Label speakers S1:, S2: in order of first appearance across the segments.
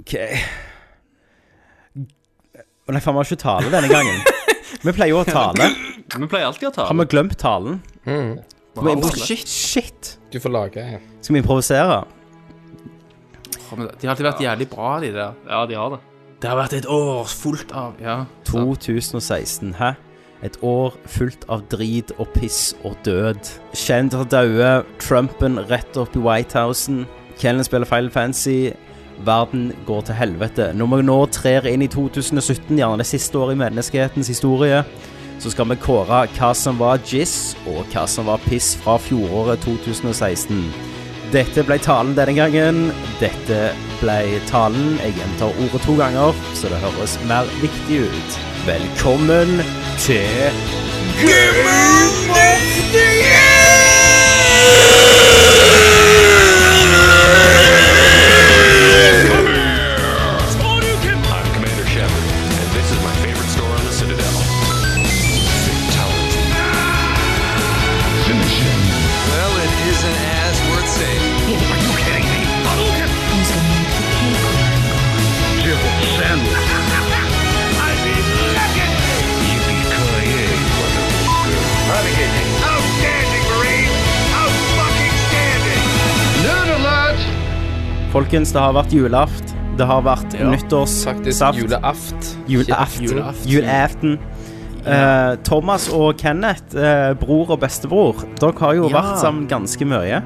S1: OK Å, Nei, faen, vi har ikke tale denne gangen. Vi pleier jo å tale.
S2: Vi pleier alltid å ta
S1: Har vi glemt talen?
S2: Vi har alle.
S1: Shit, shit.
S3: Du får lage en.
S1: Skal vi improvisere?
S2: Har vi det? De har alltid vært jævlig bra, de der.
S4: Ja, de har det.
S2: Det har vært et år fullt av Ja.
S1: 2016, hæ? Et år fullt av drit og piss og død. Kjent har daue, Trumpen rett opp i Whitehousen, Kellen spiller Final Fantasy, verden går til helvete. Når vi nå trer inn i 2017, gjerne det siste året i menneskehetens historie, så skal vi kåre hva som var jizz, og hva som var piss fra fjoråret 2016. Dette ble talen denne gangen. Dette ble talen. Jeg gjentar ordet to ganger, så det høres mer viktig ut. Velkommen til
S5: I'm Commander Shepard, and this is my favorite store on the Citadel. Fatality. Finish him.
S6: Well, it isn't as worth saying.
S5: Are you kidding me? Civil sandwich. I mean, look at me! Yippee-ki-yay, motherfucker. Renegade. Outstanding, Marine! Out-fucking-standing! Noodle-lodge!
S1: Folkens, det har vært julaft. Det har vært nyttårssaft.
S3: Faktisk juleaft.
S1: Julaften.
S2: Julaften.
S1: Julaften. Eh, Thomas og Kenneth, eh, bror og bestebror, dere har jo
S2: Ja.
S1: vært sammen ganske mye.
S3: Ja,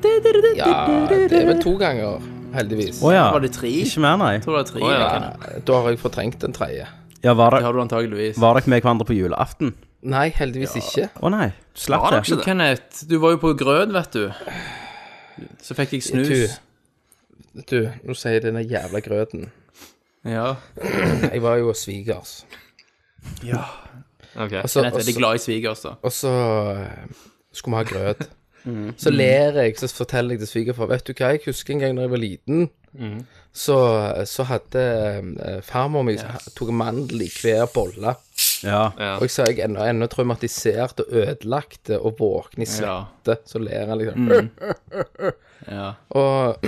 S3: det er vel to ganger, heldigvis.
S1: Å ja.
S2: Var det tre?
S1: Ikke mer, nei.
S2: Jeg tror det var tre.
S3: Ja,
S2: Kenneth.
S3: Da har jeg fortrengt den tredje.
S1: Ja, var,
S2: Det
S1: dere-
S2: har du antageligvis.
S1: var dere med hverandre på julaften?
S3: Nei, heldigvis ikke.
S1: Å nei, du slapp
S2: Var det
S1: det.
S2: ikke det? Kenneth, du var jo på grød, vet du. Så fikk jeg snus.
S3: Du, du, nå sier jeg denne jævla grøten.
S2: Ja.
S3: Jeg var jo svigers.
S4: Ok.
S3: Og så-
S2: Kenneth er veldig glad i svigers, da.
S3: og så eh, skulle vi ha grøt. Så ler jeg, så forteller jeg til svigerfar Vet du hva, jeg husker en gang da jeg var liten, så, så hadde eh, farmor mi tok mandel i hver bolle.
S1: Ja.
S3: Og jeg sa jeg er ennå, ennå traumatisert og ødelagt og våken i svette. Så ler han liksom.
S2: Ja.
S3: Og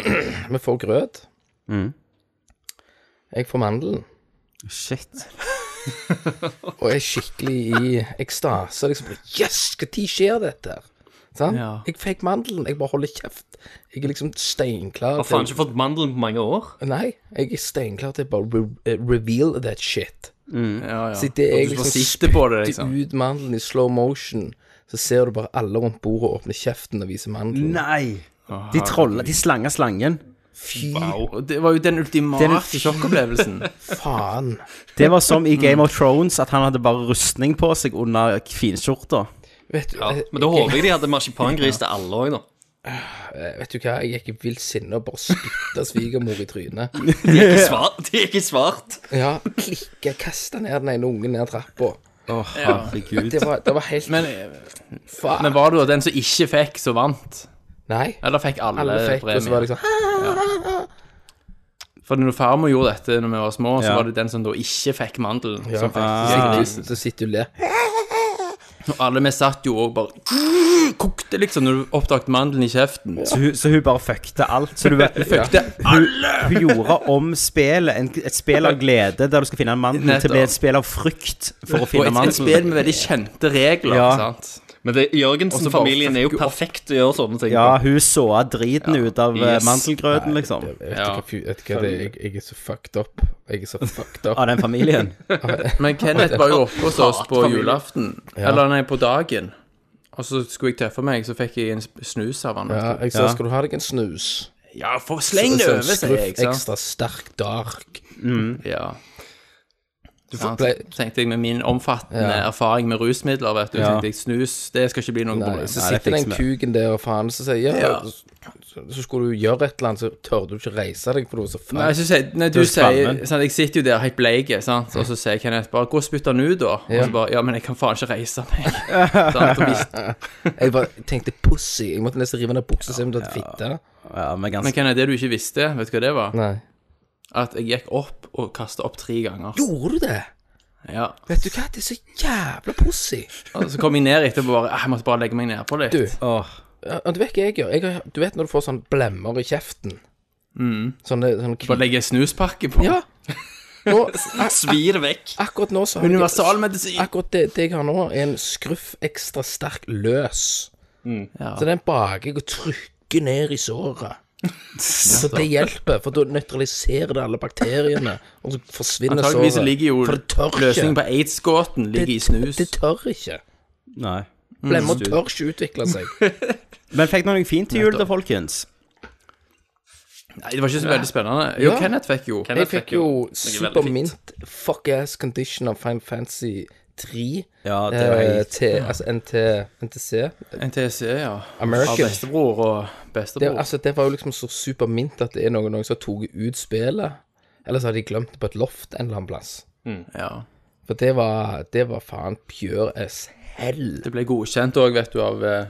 S3: vi får grøt. Jeg får mandelen.
S1: Shit.
S3: Og er skikkelig i ekstase. Liksom bare, Yes, når skjer dette? her? Sant?
S2: Ja.
S3: Jeg fikk mandelen. Jeg bare holder kjeft. Jeg er liksom steinklar
S4: Har faen ikke fått mandelen på mange år.
S3: Nei, jeg er steinklar til bare re eh, reveal that shit.
S2: ja, ja.
S3: Så det jeg
S2: du
S3: liksom
S2: bare sitter på det, liksom.
S3: Ut mandelen i slow motion, så ser du bare alle rundt bordet åpne kjeften og vise mandelen.
S1: Nei! De trolla, de slanga slangen.
S3: Fy
S2: Og det var jo den ultimate
S1: Den-
S2: sjokkopplevelsen.
S3: faen.
S1: Det var som i Game of Thrones, at han hadde bare rustning på seg under finskjorta.
S3: Vet du,
S4: Ja,
S3: jeg-
S4: men da
S3: jeg-
S4: håper jeg de hadde marsipangris til alle òg, da.
S3: Vet du hva, jeg gikk i vilt sinne og bare spytta svigermor i trynet.
S4: De er ikke svart. De er ikke svart.
S3: Ja, klikka, kasta ned den ene ungen ned trappa.
S1: Å, herregud.
S3: Det var, det var helt
S2: Men,
S3: faen.
S2: men var det jo den som ikke fikk, som vant?
S3: Nei.
S2: Eller fikk alle,
S3: Alle fikk, og så
S2: premier?
S3: var det liksom
S2: For når farmor gjorde dette når vi var små, så
S1: Ja.
S2: var det den som da ikke fikk mandelen. Som fikk
S3: ah. Så sitter du og ler.
S2: Og alle vi satt jo og bare kokte, liksom, når du oppdaget mandelen i kjeften.
S1: Så hun, så hun bare fuckte alt. Så du vet, hun,
S2: Fuck det.
S1: hun gjorde om spelet, en, et spill av glede der du skal finne en mandel, til å bli et spill av frykt for å
S2: Og
S1: finne
S2: et, et
S1: mandelen.
S2: spill med veldig kjente regler,
S1: Ja.
S2: sant.
S4: Men det-
S2: Og så bare
S4: Jørgensen-familien er jo
S2: fucker opp.
S4: perfekt til å gjøre sånne ting.
S1: Ja, hun såa driten ut av eh,
S4: Yes.
S1: mandelgrøten, liksom.
S3: Jeg vet
S2: Ja.
S3: ikke hva fy- vet du hva det er, jeg, jeg er så fucked up. Jeg er så fucked up.
S1: Av den familien.
S2: Men Kenneth var jo oppe hos oss på
S4: Hatfamilie.
S2: julaften. Eller nei, på dagen. Og så skulle jeg tøffe meg, så fikk jeg en snus av han.
S3: Ja,
S2: vet
S3: jeg sa
S1: Ja.
S3: skal du ha deg en snus?
S2: du. Ja, for sleng det over seg,
S3: Skruff
S2: ikke sant.
S3: ekstra sterk dark.
S2: Ja. Du får,
S3: ble-
S2: tenkte jeg med min omfattende erfaring med rusmidler, vet du.
S1: Ja.
S2: Tenkte jeg snus, det skal ikke bli noe
S3: Nei,
S2: problem.
S1: Nei,
S3: så
S1: det
S3: sitter den
S1: fikser
S3: kuken der og faen så sier ja,
S2: Ja.
S3: Så, så skulle du gjøre et eller annet, så tør du ikke reise deg, for du er så
S2: Nei,
S3: fucked.
S2: så sier, nei du
S1: er
S2: sier
S1: skammen.
S2: sant, Jeg sitter jo der helt bleike, sant? og så sier Kenneth bare 'Gå og spytt den ut, da.' Og så bare 'Ja, men jeg kan faen ikke reise meg'. sant? Og hvis-
S3: Jeg bare tenkte pussy. Jeg måtte nesten rive ned buksa og se om du hadde fitte.
S1: Ja, men
S2: men
S1: ganske
S2: Kenneth, det du ikke visste, vet du hva det var?
S3: Nei.
S2: At jeg gikk opp og kasta opp tre ganger.
S3: Gjorde du det?
S2: Ja.
S3: Vet du hva, det er så jævla pussy.
S2: Og så kom jeg ned etterpå og bare «Ah, 'Jeg måtte bare legge meg nedpå litt'.
S3: Du.
S1: Åh,
S3: Ja, Du vet hva jeg gjør? Jeg, har- du vet når du får sånn blemmer i kjeften? Sånne, sånne
S2: Mm. Bare legge snuspakke på.
S3: Ja. Nå, ak
S4: Svi det vekk.
S3: akkurat nå så har jeg
S2: Universalmedisin.
S3: Akkurat det, det jeg har nå, er en skruff ekstra sterk løs.
S2: Mm.
S3: Så den baker jeg og trykker ned i såret. Så det hjelper, for da nøytraliserer det alle bakteriene, og så forsvinner såret.
S2: Antakeligvis ligger jo
S3: for det tør ikke.
S2: løsningen på aids-gåten ligger i snus.
S3: Det, det tør ikke.
S1: Nei.
S3: Blemmer tør ikke utvikle seg.
S1: Men fikk dere noe fint til jul, da, folkens?
S2: Nei, det var ikke så veldig spennende. Jo,
S3: Ja.
S2: Kenneth fikk jo.
S4: Kenneth
S3: Jeg fikk jo
S4: noe veldig
S3: Super
S4: fint.
S3: Mint Fuck Ass Condition of Fine Fancy 3
S1: Ja, det var
S3: eh,
S1: helt
S3: til altså NT, NTC
S2: NTSE, E, ja. Av
S3: American.
S2: bestebror og
S3: Det,
S2: bestebror.
S3: altså, det var jo liksom så super mint at det er noen, noen som har tatt ut spillet. Eller så har de glemt det på et loft en eller annen plass.
S2: ja.
S3: For det var, det var faen pure as hell.
S2: Det ble godkjent òg, vet du, av eh,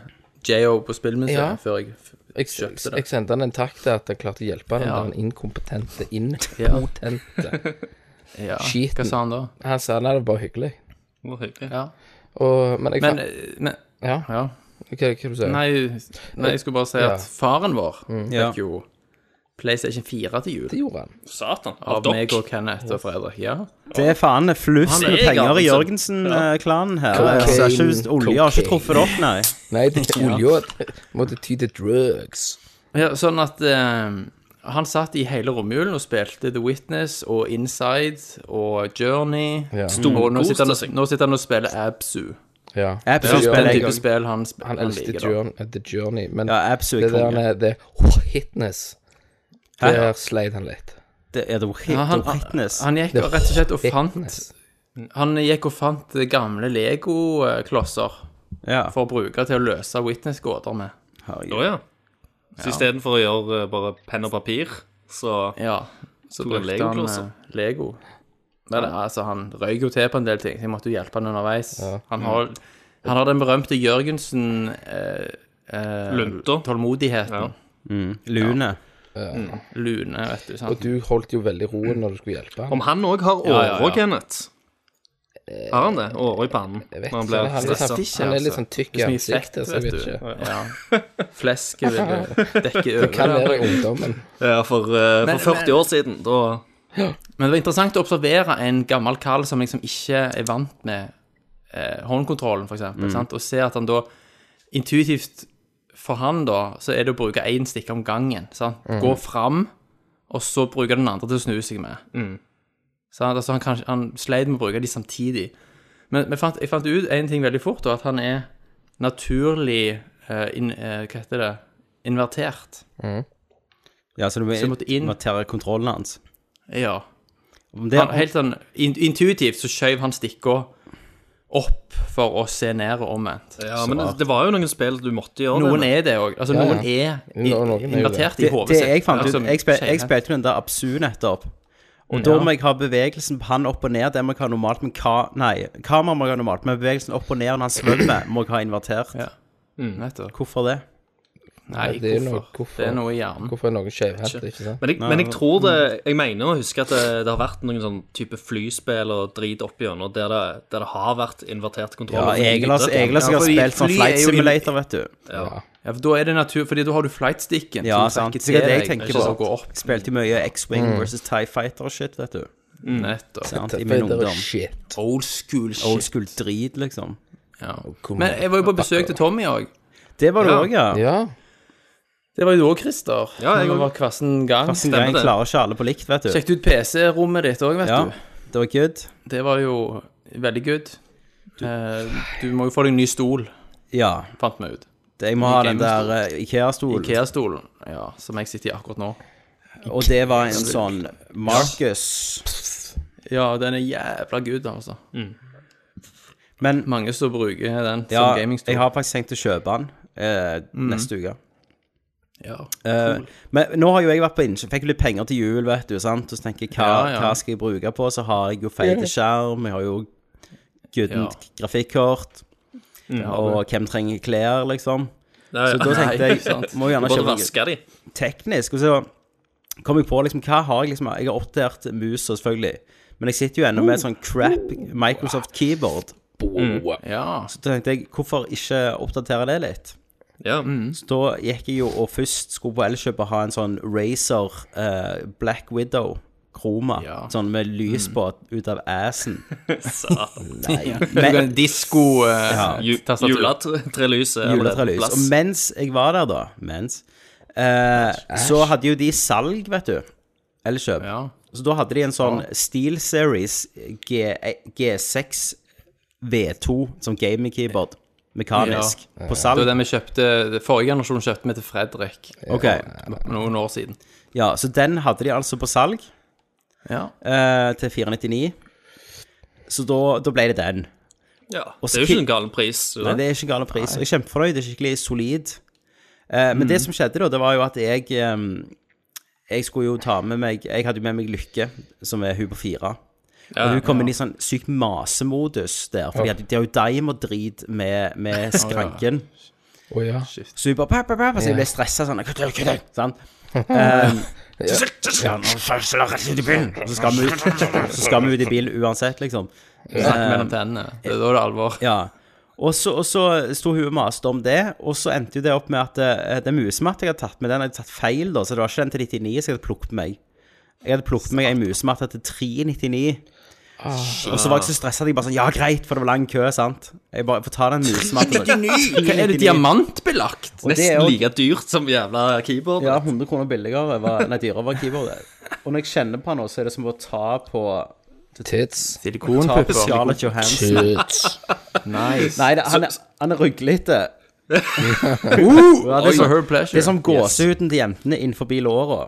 S2: JO på Spillmuseet
S3: Ja.
S2: før jeg f-
S3: Jeg,
S2: kjøpte det.
S3: jeg sendte han en takk til at jeg klarte å hjelpe den
S2: Ja.
S3: der inkompetente, impotente.
S2: Ja.
S3: Skiten.
S2: Hva sa han da?
S3: Han sa nei, det var bare hyggelig.
S4: Hvor hyggelig.
S2: Ja.
S3: Og, men jeg
S2: Men,
S3: klarte
S2: eh, men
S3: Ja, hva,
S2: ja.
S3: hva er det du sier
S2: Nei, nei, jeg skulle bare si
S3: Ja.
S2: at faren vår
S1: Ja.
S2: fikk jo PlayStation 4 til jul.
S3: Det gjorde han.
S4: Satan. Av
S2: Av meg
S4: dere.
S2: og Kenneth og Fredrik. Ja.
S1: Det er faen flust
S4: Han er
S1: med penger i
S4: gammel, så-
S1: Jørgensen-klanen her. Jeg ser ikke ut- Olje har ikke
S3: Cocaine.
S1: truffet det opp, nei.
S3: Nei, det er olja. Måtte ty til drugs.
S2: Ja, sånn at eh, han satt i hele romjulen og spilte The Witness og Inside og Journey.
S3: Ja.
S2: Og nå sitter,
S4: Storkoste seg.
S2: han, nå sitter han og spiller Absu.
S3: ja.
S1: Absu
S2: Den
S1: spiller jeg
S2: type
S1: også.
S2: spill han, sp
S3: Han
S2: han
S3: elsket
S2: liker, da.
S3: journey, eh, The Journey, men
S1: Ja, Absu er
S3: det der
S1: konge.
S3: med det oh, hitness
S1: Hæ?
S3: Der sleit han litt.
S1: Det er The Hit
S2: Ja, han,
S1: og Witness.
S2: han gikk og rett og slett og fant
S3: Hitness.
S2: Han gikk og fant gamle Lego-klosser
S1: Ja.
S2: for å bruke til å løse Witness-gåter med.
S4: Å ja. Så istedenfor å gjøre eh, bare penn og papir, så
S2: Ja, så
S4: Tog han
S2: brukte han
S4: Lego-klosser?
S2: eh, Lego. Men altså, han røyk jo til på en del ting, så jeg måtte jo hjelpe han underveis. Han, har, han har den berømte Jørgensen eh, eh,
S4: Lunta.
S2: Tålmodigheten.
S1: Mm. Lune.
S2: Lune, vet du. sånn.
S3: Og
S2: sant?
S3: du holdt jo veldig roen når du skulle hjelpe ham.
S4: Om han òg har
S2: Ja,
S4: åre,
S2: ja, Eh, ja.
S4: Kenneth? Har han det? Åre i pannen når han
S3: han,
S4: blir
S3: er litt
S4: stressa?
S3: sånn-
S2: Ikke,
S3: han er litt
S2: altså.
S3: sånn tykk
S2: Det
S3: i
S2: er så mye fett,
S3: ansiktet, så jeg
S2: vet
S3: vet
S2: du.
S3: ikke.
S2: Ja. Flesket vil jo dekke over.
S3: Kan
S2: der.
S3: være ungdommen.
S4: Ja, for, eh,
S2: Men-
S4: for 40
S2: men-
S4: år siden, da
S2: Men det var interessant å observere en gammel kall som liksom ikke er vant med eh, håndkontrollen, for eksempel, sant? og se at han da intuitivt for han da, så er det å bruke én stikk om gangen. Sant? Gå fram, og så bruke den andre til å snu seg med. Sant? altså han, kan, han sleit med å bruke de samtidig. Men, men fant, jeg fant ut en ting veldig fort, da, at han er naturlig eh, inn- eh, Hva heter det? Invertert.
S1: Ja, så du
S2: Så måtte inn-
S1: invitere kontrollen hans.
S2: Ja.
S1: Om
S2: Det
S1: det
S2: er helt sånn in- Intuitivt så skjøv han stikka opp for å se ned og omvendt.
S4: Ja, men det, det var jo noen spill du måtte gjøre
S2: Noen
S4: det.
S2: er det òg. Altså,
S3: Ja, ja.
S2: noen er i-
S3: No- noen er jo det.
S2: invertert i
S1: det,
S2: hodet
S1: det
S2: sitt.
S1: jeg fant ut
S2: Altså,
S1: Jeg, spil,
S2: skjeve.
S1: jeg spilte jo den der Absu nettopp.
S2: Mm,
S1: Og da må jeg ha bevegelsen på han opp og ned. Det må jeg ha normalt, men ka, nei, kameraet må jeg ha normalt. Men bevegelsen opp og ned når han svømmer, må jeg ha invertert.
S2: Ja. Nettopp.
S1: Hvorfor det?
S2: Nei,
S3: det er noe-
S2: hvorfor?
S3: hvorfor?
S2: Det er noe i hjernen.
S3: Hvorfor er noen skjevhendte, ikke sant?
S4: Men jeg, men jeg tror det
S1: mm.
S4: Jeg mener å huske at det, det har vært noen sånn type flyspill og drit opp gjennom der, det- der det har vært invertert
S1: Ja,
S4: kontroll.
S1: Egil har Egil har
S2: Ja,
S1: sikkert
S2: fordi
S1: spilt sånn
S2: fly er
S1: flight
S2: jo in-
S1: simulator, vet du.
S2: Ja, for da er det natur, fordi da har du flightsticken
S1: Ja,
S2: som
S1: sant. Sikkert
S2: trekker til
S1: det jeg
S2: deg.
S1: tenker
S2: ikke
S1: på.
S2: som går opp.
S1: Spilte jo mye X-Wing versus Tie Fighter og shit, vet du. Mm.
S2: Nettopp.
S1: Sant? I min
S3: Fedder
S1: ungdom.
S3: shit.
S2: Old school shit.
S1: Old school drit, liksom.
S2: Ja. Men jeg var jo på besøk til Tommy òg.
S1: Det var det
S4: Ja.
S1: òg, ja.
S3: Ja.
S2: Det var jo du òg, Christer.
S4: Ja,
S2: Når
S4: jeg
S2: vi
S4: òg.
S2: var Kvassen gang.
S1: Karsten Grein
S4: det.
S1: klarer ikke alle på likt, vet du.
S2: Sjekket ut PC-rommet ditt òg, vet
S1: Ja,
S2: du.
S1: det var good.
S2: Det var jo veldig good. Eh, du må jo få deg en ny stol,
S1: Ja.
S2: fant vi ut.
S1: Det, jeg må ha
S2: Ny
S1: den der eh, Ikea-stolen.
S2: Ikea-stolen, ja, som jeg sitter i akkurat nå.
S1: Og det var en sånn Marcus
S2: Ja, den er jævla good, altså.
S1: Mm. Men
S2: Mange som bruker den
S1: ja,
S4: sånn
S2: som gamingstol.
S1: jeg har faktisk tenkt å kjøpe den eh,
S4: Mm.
S1: neste uke.
S2: Ja.
S1: Eh, men nå har jo jeg vært på innkjøp, fikk jo litt penger til jul, vet du, sant? og så tenker jeg hva,
S2: Ja, ja.
S1: hva skal jeg bruke på? Så har jeg jo feite skjerm, jeg har jo
S2: Ja. Mm.
S1: guttent grafikkort, og hvem trenger klær, liksom?
S4: Ja,
S1: Så da
S4: ja.
S1: tenkte jeg,
S2: sant.
S1: må gjerne
S4: Bare
S1: kjøpe noe
S4: vaske de.
S1: teknisk. Og så kom jeg på liksom, hva har jeg liksom Jeg har oppdatert mus, og selvfølgelig. Men jeg sitter jo ennå
S2: Uh.
S1: med et sånn crap Microsoft keyboard. Mm.
S2: ja.
S1: Så tenkte jeg, hvorfor ikke oppdatere det litt?
S4: Ja.
S1: Så da gikk jeg jo og først skulle på Elkjøp og ha en sånn Razer eh, Black Widow kroma.
S2: Ja.
S1: Sånn med lys på ut av assen.
S4: Satan.
S1: Men,
S4: Ju-
S2: Disko-tastatur.
S4: Juletrelyset. eller
S1: juletrelys.
S4: plass.
S1: Og mens jeg var der, da, mens, eh, så hadde jo de salg, vet du. Elkjøp.
S2: ja.
S1: Så da hadde de en sånn Steel Series G G6 V2 som sånn gaming keyboard. Mekanisk. På
S2: Det var
S1: salg.
S2: den vi kjøpte, det forrige generasjon kjøpte vi til Fredrik
S1: Ok.
S2: noen år siden.
S1: Ja, så den hadde de altså på salg.
S2: Ja.
S1: eh, til 499. Så da, da ble det den.
S4: Ja.
S1: Og
S4: Det er jo ikke
S1: ski-
S4: en galen pris. jo da.
S1: Nei, det er ikke en gal pris. Jeg er kjempefornøyd. Det er skikkelig solid. Eh, men det som skjedde, da, det var jo at jeg ehm, Jeg skulle jo ta med meg Jeg hadde jo med meg Lykke, som er hun på fire. og hun kom inn i sånn sykt masemodus der, for de hadde- de har jo daim og drit med, med skranken.
S3: Å ja.
S1: Så hun bare «Pap, pap, pap», Så jeg ble stressa sånn. «Kutt, kutt, kutt», Sånn. Um, så skal vi ut Så skal vi ut i bil uansett, liksom.
S2: Snakk mellom tennene. Det er da det er alvor.
S1: Ja. Og så, og så sto hun og maste om det, og så endte jo det opp med at eh, den musematta jeg hadde tatt med, den hadde jeg tatt feil, da, så det var ikke den til 99 som jeg hadde plukket med meg. Jeg hadde plukket med meg en musematte til 399. og så var jeg så stressa at jeg bare sånn Ja, greit, for det var lang kø, sant. Jeg bare får ta den musematta.
S2: Hva er det diamantbelagt?
S1: Og det er
S4: Nesten
S1: jo-
S4: like dyrt som jævla keyboard.
S1: Ja, 100 kroner billigere var Nei, dyrere var keyboardet. Og når jeg kjenner på han nå, så er det som å ta på
S3: Tits.
S1: Ta på
S2: Silikonpupper.
S1: Scarlett Johansson.
S3: Tits.
S2: Nice.
S1: Nei, det, han, er- han er ruglete. ja, det, er
S2: Oi,
S1: som,
S2: her pleasure.
S1: det er som gåsehuden til jentene innenfor låra.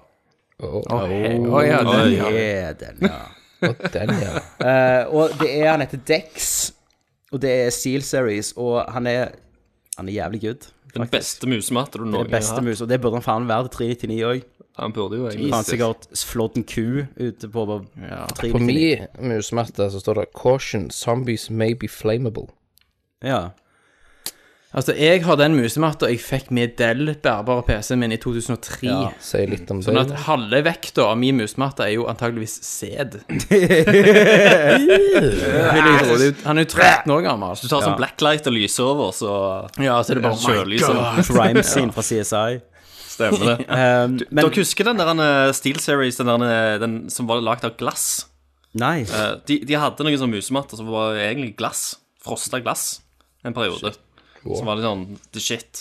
S3: Å,
S2: Hei. Å ja, den, ja.
S1: Ja, den, ja.
S3: å, den, ja.
S1: Eh, og det er, han heter Dex, og det er Seal Series, og han er, han er jævlig good.
S4: Den beste musematta du
S1: Det
S4: noen
S1: er beste
S4: har.
S1: mus, og det burde han faen være til 399 òg.
S4: Han burde jo egentlig
S1: Faen sikkert flådd en ku ute på, på
S2: Ja.
S1: 399.
S3: På min musematte så står det 'Caution, zombies may be flammable'.
S1: Ja.
S2: Altså, jeg har den musematta jeg fikk med Dell bærbare PC-en min i 2003.
S3: Sier litt om
S2: Sånn at
S3: det.
S2: halve vekta av min musematte er jo antageligvis sæd. Han er jo 13 år gammel.
S4: Du tar sånn blacklight og lyser over, så
S2: Ja, så er det bare oh my
S4: Kjølelys
S2: God.
S4: over.
S1: Crime scene fra CSI.
S4: Stemmer det.
S1: Um, men
S4: Dere husker den der eh, Steel Series, den, der, eh, den som var lagd av glass?
S1: Nei.
S4: Eh, De, de hadde noen sånne musematter som var egentlig glass. Frosta glass en periode. Som var litt sånn the shit.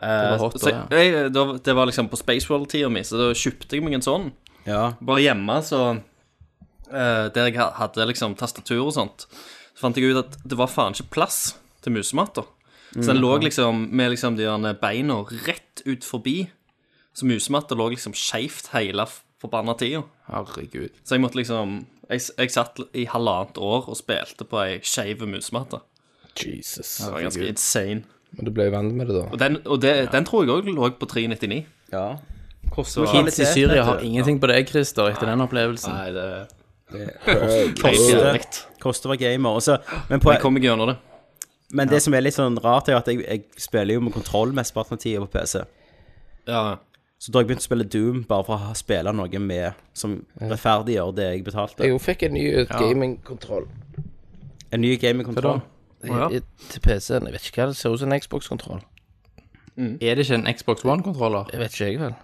S4: Eh,
S2: var hot
S4: så,
S2: da,
S4: jeg, da, det var liksom på Spaceworld-tida mi, så da kjøpte jeg meg en sånn.
S1: Ja.
S4: Bare hjemme, så eh, Der jeg ha- hadde liksom tastatur og sånt, så fant jeg ut at det var faen ikke plass til musematter. Så
S2: Mm,
S4: den lå liksom med liksom de der beina rett ut forbi. Så musematta lå liksom skeivt hele f- forbanna tida.
S2: Herregud.
S4: Så jeg måtte liksom Jeg, jeg satt i halvannet år og spilte på ei skeiv musematte.
S3: Jesus.
S4: Det var ganske insane.
S3: Men du ble jo vant med det, da.
S4: Og den, og det, den tror jeg òg lå på 399.
S1: ja.
S4: Så
S2: Kids i Syria har ingenting på deg, Christer, etter den opplevelsen.
S4: Nei, det
S1: Koste-
S4: er jævlig.
S1: Koste å være gamer. Og så- men, på,
S4: Jeg kom meg gjennom det.
S1: men det som er litt sånn rart, er at jeg, jeg spiller jo med kontroll mesteparten av tida på PC.
S4: Ja.
S1: Så da har jeg begynt å spille Doom bare for å ha- spille noe med som rettferdiggjør det jeg betalte.
S3: Jeg jo fikk en ny gamingkontroll
S1: En ny gamingkontroll.
S2: Å, ja.
S3: til PC-en. Jeg vet ikke hva det ser ut som en Xbox-kontroll.
S2: Er det ikke en Xbox One-kontroller?
S3: Jeg vet ikke, jeg vel.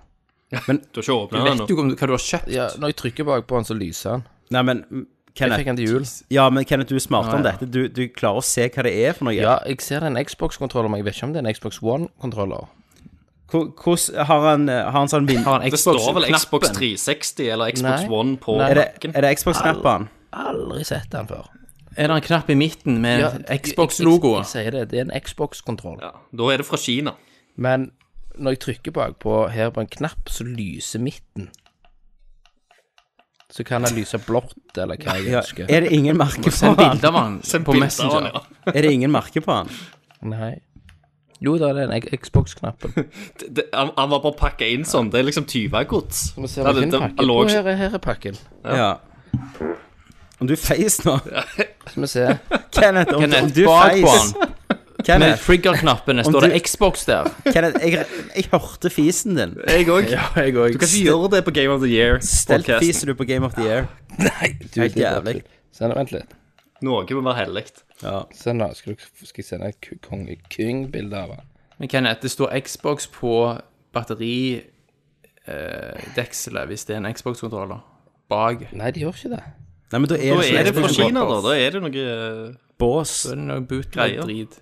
S4: Du har ikke
S2: Du
S4: åpna den
S2: vet
S4: ennå?
S2: jo om- hva du har kjøpt.
S3: Ja, når jeg trykker bakpå den, så lyser den.
S1: Nei, men mm,
S3: Jeg
S1: Kenneth,
S3: fikk den til jul.
S1: ja, men Kenneth, du er smartere enn dette. Du, du klarer å se hva det er for noe.
S3: Ja, jeg ser det er en Xbox-kontroller, men jeg vet ikke om det er en Xbox One-kontroller.
S1: Hvor- Hvordan har han, eh, har han sånn vind...
S2: Har han
S4: Det står vel
S2: Xbox-knappen?
S4: Xbox 360 eller Xbox
S3: Nei.
S4: One på
S3: Nei.
S1: Er det,
S4: nakken.
S1: er det Xbox-knappen?
S3: Aldri sett den før.
S2: Er det en knapp i midten med
S3: Ja,
S2: Xbox-logo?
S3: Jeg, jeg, jeg sier det. Det er en Xbox-kontroll.
S4: Ja. Da er det fra Kina.
S3: Men når jeg trykker bakpå her på en knapp, så lyser midten. Så kan den lyse blått, eller hva jeg
S1: Ja.
S3: ønsker.
S1: Er det ingen merke på
S2: Send
S1: han?
S2: bilder av han på Messenger.
S4: Ja.
S1: Er det ingen merke på han?
S3: Nei. Jo da, det er en Xbox-knappen.
S4: Det, det, han, han var bare pakka inn sånn. Det er liksom tyvegods.
S3: Vi ser hvilken pakke. Å,
S4: lå ikke-
S3: her, er- her er pakken.
S1: Ja. Om du feis nå?
S3: Skal vi se.
S1: Kenneth, om, om
S2: Kenneth,
S1: du
S2: bak på
S1: feis
S2: Med
S1: Kenneth,
S2: trigger-knappene står
S1: du-
S2: det Xbox der.
S1: Kenneth jeg, jeg hørte fisen din.
S4: Jeg òg.
S3: jeg òg.
S4: Du kan ikke gjøre det på Game of the Year. podcasten.
S1: Stelt-fiser du på Game of the Year.
S3: Nei, du,
S1: Helt
S3: det er
S1: jævlig.
S3: godt. Send den, vent litt.
S4: Noe må være hellig.
S1: Ja.
S3: Send den. Skal, du, skal jeg sende et ku- konge-king-bilde av den?
S2: Men Kenneth, det står Xbox på batteridekselet, eh, dekselet, hvis det er en Xbox-kontroller, bak. Da
S3: Nei, de gjør ikke det.
S1: Nei, men da er
S4: Da
S1: det,
S4: er det fra
S1: sånn
S4: Kina, da. Da er det noe eh,
S1: bås.
S2: er det noe bootleg
S4: Greier.
S2: drit.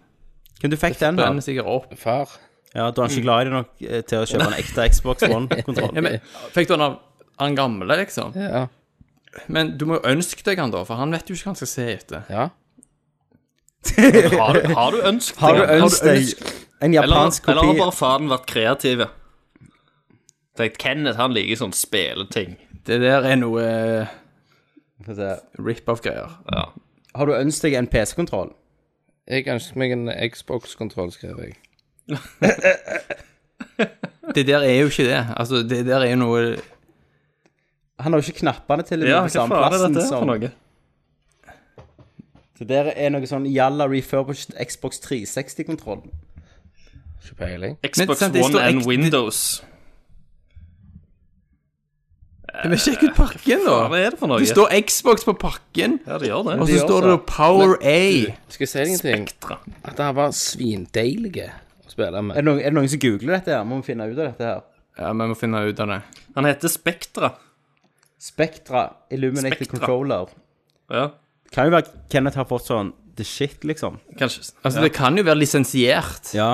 S1: Hvem du fikk den, da?
S2: Den er sikkert opp.
S3: Far.
S1: Ja, Du er ikke glad i det nok eh, til å kjøpe en ekte Xbox One-kontroll?
S2: Ja, men, fikk du den av han gamle, liksom?
S3: Ja.
S2: Men du må jo ønske deg han, da, for han vet jo ikke hva han skal se etter.
S3: ja.
S4: Har, du- har du ønsket
S1: Har du
S4: det?
S1: ønsket deg en
S4: Eller,
S1: japansk
S4: eller har
S1: kopi?
S4: bare faren vært kreativ? Tenkt, Kenneth han liker sånn speleting.
S2: Det der er noe eh,
S1: Få se.
S2: rip-off-greier.
S4: Ja.
S1: Har du ønsket deg en PC-kontroll?
S3: Jeg ønsker meg en Xbox-kontroll, skrev jeg.
S2: Det der er jo ikke det. Altså, det der er jo noe
S1: Han har jo ikke knappene til og med
S4: ja, hva
S1: på samme
S4: faen er
S1: plassen
S4: dette her for
S1: som
S4: noe?
S1: Det der er noe sånn jalla refurbished Xbox 360-kontroll.
S3: Ikke peiling.
S2: Men
S4: Xbox
S2: sant, det står
S4: One and
S2: ekte-
S4: Windows.
S2: Men sjekk ut pakken,
S4: Hva
S2: da!
S4: er det for noe?
S2: Det står Xbox på pakken,
S4: Ja, det gjør
S2: og
S4: det.
S2: så står det Power A.
S3: Skal jeg si deg en ting?
S4: Spektra.
S3: At han var svindeilige å spille med.
S1: Er det, noen, er det noen som googler dette? her? Må vi finne ut av dette her?
S2: Ja, vi må finne ut av det.
S4: Han heter Spektra.
S1: Spectra Illuminated
S4: Spectra.
S1: Controller.
S4: Ja,
S1: Kan jo være Kenneth har fått sånn the shit, liksom.
S4: kanskje.
S2: Altså, det kan jo være lisensiert.
S1: Ja.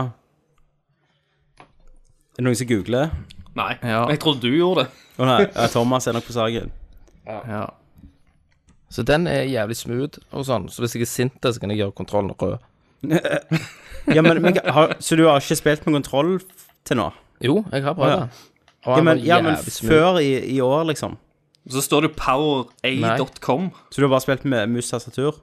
S1: Er det noen som googler?
S4: Nei,
S2: Ja.
S4: jeg trodde du gjorde det.
S1: Å nei, ja, Thomas er nok på saken.
S2: Ja.
S3: Så den er jævlig smooth og sånn. Så hvis jeg er sint, da, så kan jeg gjøre kontrollen rød.
S1: Ja, men, men har, Så du har ikke spilt med kontroll f- til nå?
S3: Jo, jeg har prøvd
S1: Å, ja.
S3: det. Og
S1: Ja,
S3: han
S1: men,
S3: var
S1: ja, men
S3: jævlig smooth.
S1: før i, i år, liksom.
S4: Så står det powera.com.
S1: Så du har bare spilt med mus tastatur?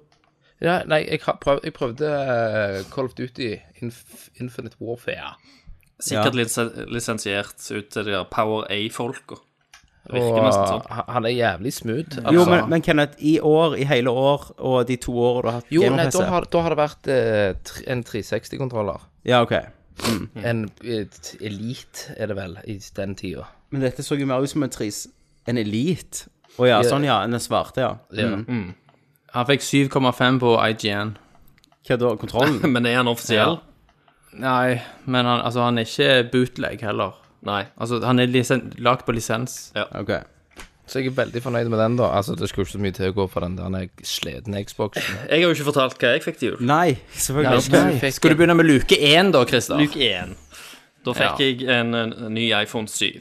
S3: Ja, nei, jeg, har prøvd, jeg prøvde uh, Call of Duty Inf Infinite Warfare.
S1: Ja.
S4: Sikkert lisen- lisensiert ut til de der Power A-folka. Det
S3: Og eh,
S4: virker nesten sånn.
S3: han- han er jævlig smooth.
S1: Jo,
S3: altså.
S1: men, men Kenneth, i år, i hele år, og de to årene du har hatt
S3: jo nei,
S1: gamer-PC
S3: da har, da har det vært eh, tr- en 360-kontroller.
S1: Ja, ok. Mm.
S3: En eh, t- Elite er det vel, i den tida.
S1: Men dette så jo mer ut som en tris. En elite. Å ja, sånn ja. En svarte, ja.
S3: Ja.
S1: Mm.
S2: Han fikk 7,5 på IGN.
S1: Hva da? Kontrollen?
S4: Men er han offisiell?
S2: Nei, men han, altså, han er ikke bootleg heller.
S4: Nei.
S2: Altså, han er lisen, lagt på lisens.
S1: Ok.
S3: Så jeg er veldig fornøyd med den, da. Altså, Det skulle ikke så mye til å gå for den der sletne Xboxen.
S4: Jeg har jo ikke fortalt hva jeg fikk til jul.
S1: Nei, selvfølgelig ikke.
S3: Nei.
S2: Nei. Skal du begynne med luke 1 da, Christer?
S4: Luke 1. Da fikk jeg en, en ny iPhone 7.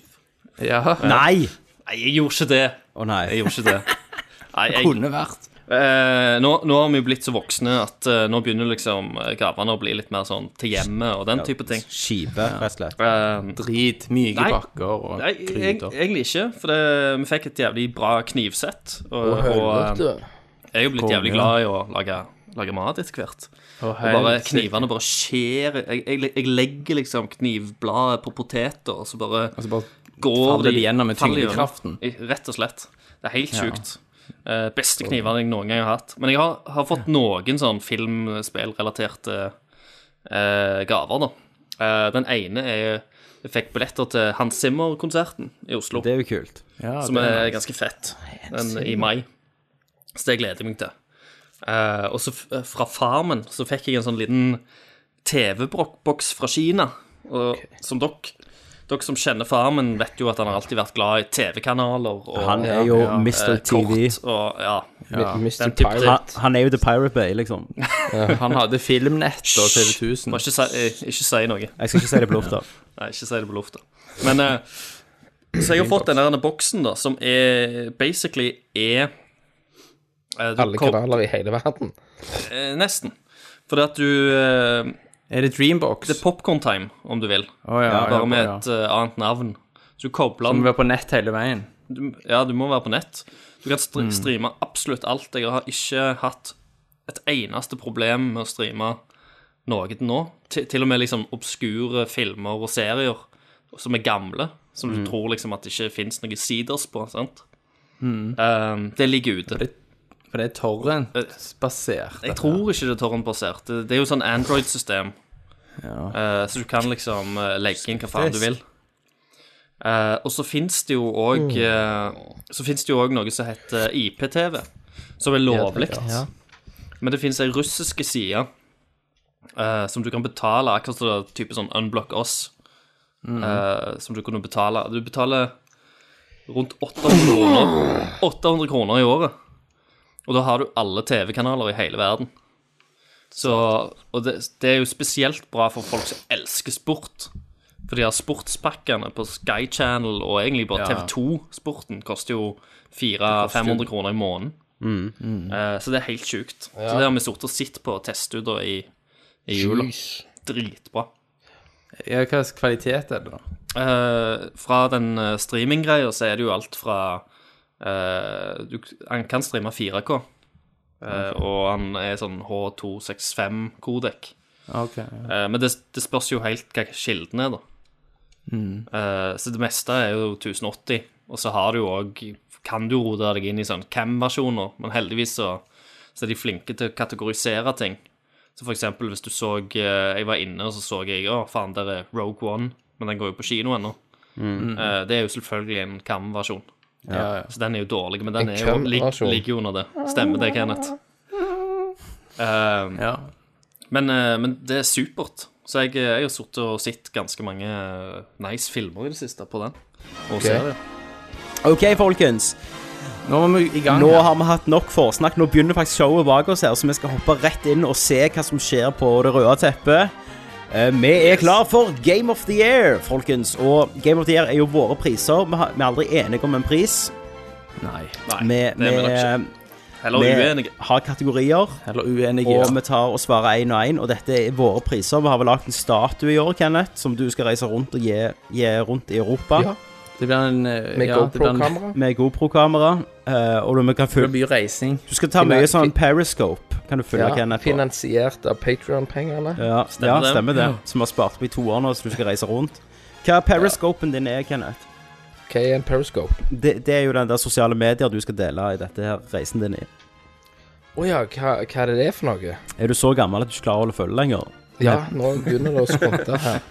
S2: Ja.
S1: Nei!
S4: Nei, jeg gjorde ikke det.
S1: Å nei.
S4: Jeg gjorde ikke det. Nei, jeg,
S2: Kunne vært.
S4: eh, nå, nå har vi jo blitt så voksne at eh, nå begynner liksom eh, gavene å bli litt mer sånn til hjemmet og den type ting.
S1: Skipe, rett og slett.
S4: Eh,
S2: Drit, myke
S4: Nei.
S2: pakker og
S4: nei, jeg,
S2: krydder.
S4: egentlig ikke, for det, vi fikk et jævlig bra knivsett. Og,
S3: Og
S4: og
S3: helvete.
S4: eh, jeg er jo blitt jævlig
S2: Konge.
S4: glad i å lage, lage mat etter hvert.
S2: Og
S4: Og bare
S2: helt-
S4: knivene bare skjer jeg, jeg, jeg legger liksom knivbladet på poteter, og så bare
S2: Og så Altså, bare
S4: går
S2: faller de gjennom med
S4: faller de gjennom.
S2: tyngdekraften.
S4: I- Rett og slett. Det er helt sjukt. Eh, beste knivene jeg noen gang har hatt. Men jeg har, har fått noen sånn filmspillrelaterte eh, gaver, da. Eh, den ene er Jeg fikk billetter til Hans Zimmer-konserten i Oslo,
S1: Det er jo kult.
S2: Ja,
S4: som
S2: det
S4: er ganske fett. Den i mai. Så det gleder jeg meg til. Eh, og så f- eh, fra Farmen så fikk jeg en sånn liten TV-boks fra Kina. Og som dere dere som kjenner Farmen, vet jo at han har alltid vært glad i TV-kanaler og
S1: Han er jo Mr.
S4: eh,
S1: TV.
S4: kort og ja.
S3: Mr.
S4: den type
S3: Pirate.
S1: Han, han er jo The Pirate Bay, liksom.
S2: Han hadde filmnett og TV 1000.
S4: Bare ikke si, eh, ikke si noe.
S1: Jeg skal ikke si det på lufta.
S4: Nei, ikke si det på lufta. Men eh, Så jeg har fått den der boksen, da, som er basically er eh, du
S3: Alle
S4: kom-
S3: kanaler i hele verden.
S4: eh, Nesten. Fordi at du eh,
S2: Er det Dreambox?
S4: Det er popcorn time, om du vil.
S2: Å, ja, ja,
S4: Bare med
S2: ja.
S4: et eh, annet navn. Så du kobler
S2: Må
S4: den
S2: være på nett hele veien.
S4: du, Ja, du må være på nett. Du kan
S2: Mm.
S4: stri streame absolutt alt. Jeg har ikke hatt et eneste problem med å streame noe til nå. Til, til og med liksom obskure filmer og serier som er gamle, som
S2: Mm.
S4: du tror liksom at det ikke fins noen siders på. sant?
S2: Mm.
S4: Eh, det ligger ute.
S2: For det er torrent-basert.
S4: Jeg tror ikke det er torrentbasert. Det, det er jo sånn Android-system. Eh, så du kan liksom eh, legge inn hva faen du vil. Eh, og så fins det jo òg Så finnes det jo òg noe som heter IPTV, som er lovlig.
S3: Ja.
S4: Men det fins ei russiske side eh, som du kan betale, akkurat som det er type sånn Unblock Us, eh, som du kunne betale. Du betaler rundt 800 kroner, 800 kroner i året, og da har du alle TV-kanaler i hele verden. Så, og det, det er jo spesielt bra for folk som elsker sport. For de her sportspakkene på Sky Channel og egentlig bare TV2-sporten koster jo 400-500 kroner i måneden. Eh, Så det er helt sjukt. Så det har vi sittet og sett på og testet ut da i, i jula. Dritbra.
S2: Ja, hva slags kvalitet er det, da?
S4: Eh, fra den eh, streaminggreia så er det jo alt fra eh, du, Han kan streame 4K, eh, og han er sånn H265-kodek.
S2: Ok, ja.
S4: Eh, Men det, det spørs jo helt hva kilden er, da. Eh, så det meste er jo 1080, og så har du jo òg Kan du rote deg inn i sånn cam-versjoner, men heldigvis så, så er de flinke til å kategorisere ting. Så for eksempel hvis du så eh, Jeg var inne, og så så jeg Å, faen, der er Rogue One, men den går jo på kino ennå. Eh, det er jo selvfølgelig en cam-versjon,
S2: Mm. Ja, ja.
S4: så den er jo dårlig, men
S3: En
S4: den er jo, lig,
S3: cam-versjon.
S4: ligger jo under det. Stemmer det, Kenneth? Eh,
S2: ja.
S4: men, eh, men det er supert. Så jeg, eh, jeg har sittet og sett ganske mange eh, nice filmer i det siste på den. Og serier.
S1: OK, folkens.
S2: Nå må vi i
S4: Ah,
S2: gang.
S1: Nå
S2: her.
S1: har vi hatt nok forsnakk. Nå begynner faktisk showet bak oss her, så vi skal hoppe rett inn og se hva som skjer på det røde teppet. Eh, Vi er klar for Game of the Year, folkens. Og Game of the Year er jo våre priser. Vi har- vi er aldri enige om en pris.
S2: Nei.
S4: Nei,
S1: Vi, eh,
S4: det er vi nok ikke. Heller
S1: vi
S4: uenige.
S1: har kategorier,
S2: Eller uenige.
S1: og vi tar og svarer én og én. Og dette er våre priser. Vi har vel lagd en statue i år, Kenneth, som du skal reise rundt og gi, gi rundt i Europa
S3: Ja.
S2: Det blir en eh,
S3: Med
S2: ja, det blir en-
S3: GoPro-kamera.
S1: med GoPro-kamera. eh, Og vi kan
S2: Det
S1: følge
S2: blir mye reising.
S1: Du skal ta
S3: Finan-
S1: mye sånn periscope, kan du følge
S3: Ja,
S1: Kenneth på.
S3: finansiert av Patrion-pengene.
S1: Ja, stemmer, ja,
S4: Stemmer det.
S1: stemmer det. Som har spart opp i to år nå, så du skal reise rundt. Hva periscopen din er, Kenneth?
S3: Hva er en periscope?
S1: Det, det er jo den der sosiale medier du skal dele i dette her reisen din i.
S3: Å ja, hva, hva er det det er for noe?
S1: Er du så gammel at du ikke klarer å holde følge lenger?
S3: Ja, nå begynner det å skrunte her.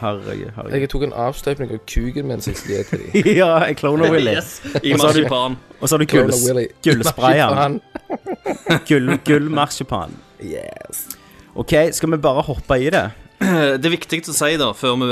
S1: Herregud. herregud.
S3: Jeg tok en avstøpning av kuken min sist jeg til dem.
S1: ja, jeg kloner Willy.
S4: Yes, I marsipan.
S1: Og så har du
S3: Corona
S1: gulls-
S3: Willy.
S1: gullsprayeren.
S3: Han.
S1: Gull- Gullmarsipan.
S3: Yes.
S1: OK, skal vi bare hoppe i det?
S4: Eh, Det er viktig å si da, før vi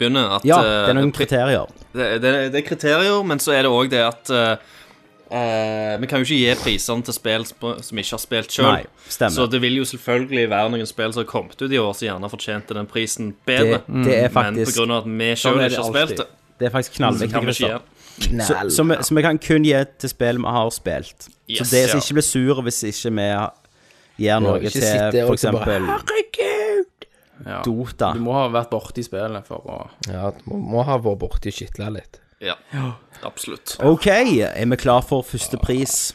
S4: begynner, at
S1: Ja,
S4: eh,
S1: det er noen kriterier.
S4: det, det, det er kriterier, men så er det òg det at eh, eh, Vi kan jo ikke gi prisene til spill sp- som vi ikke har spilt sjøl.
S1: Nei, stemmer.
S4: Så det vil jo selvfølgelig være noen spill som har kommet ut i år, som gjerne fortjente den prisen bedre.
S1: Det, det er
S4: Men
S1: faktisk,
S4: på grunn Mm, av at vi
S2: Sånn er
S4: sjøl
S2: det
S4: ikke har
S2: alltid.
S4: spilt det,
S1: det er faktisk
S4: så
S1: knallviktig.
S4: kan vi ikke
S1: Christer.
S4: gjøre
S1: Så, så, vi, så vi kan kun gi til spill vi har spilt. så
S4: Yes,
S1: dere som
S4: ja.
S1: ikke blir sure hvis ikke vi gjør noe
S3: ikke sitte
S1: til
S3: der og
S1: f.eks.
S3: liksom bare,
S2: Ja.
S1: Dota.
S2: Du må ha vært borti spillet for å
S3: Ja, må, må ha vært borti og kitla litt.
S4: Ja, absolutt.
S1: OK, er vi klar for første pris?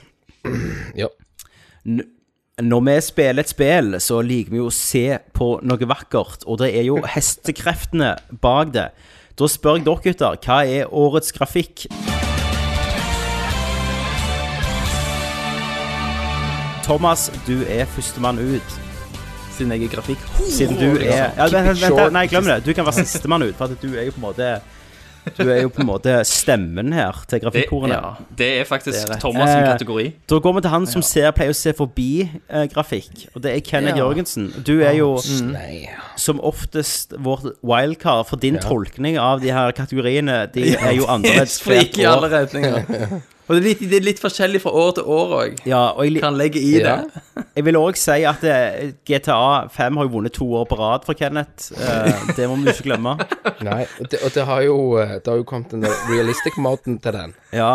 S3: Ja.
S1: Når vi spiller et spill, så liker vi jo å se på noe vakkert, og det er jo hestekreftene bak det. Da spør jeg dere, gutter, hva er årets grafikk? Thomas, du er førstemann ut.
S2: Siden jeg er grafikk.
S1: Siden du er ja, vent,
S2: sånn
S3: Keep it
S1: vent, vent,
S3: short.
S1: Nei, glem det. Du kan være sistemann ut, for at du er jo på en måte Du er jo på en måte stemmen her til grafikkorene.
S2: Ja.
S4: Det er faktisk
S2: Det er rett.
S4: Thomas sin
S1: Eh,
S4: kategori.
S1: Da går vi til han som ser, pleier å se forbi eh, grafikk, og det er Kenneth
S2: Ja. Mm.
S1: Jørgensen. Du er jo
S3: Nei.
S1: som oftest vårt wildcard, for din tolkning av de her kategoriene De er jo annerledes
S2: Sprik
S1: hvert
S2: i alle
S1: år.
S2: retninger. Og det er, litt, det er litt forskjellig fra år til år òg.
S1: Ja, og jeg, li-
S2: Hva han legger i
S3: Ja.
S2: det.
S1: jeg vil òg si at eh, GTA 5 har jo vunnet to år på rad for Kenneth. Eh, det må vi ikke glemme.
S3: Nei. Og det, og det har jo eh, Det har jo kommet en realistic mountain til den.
S1: Ja.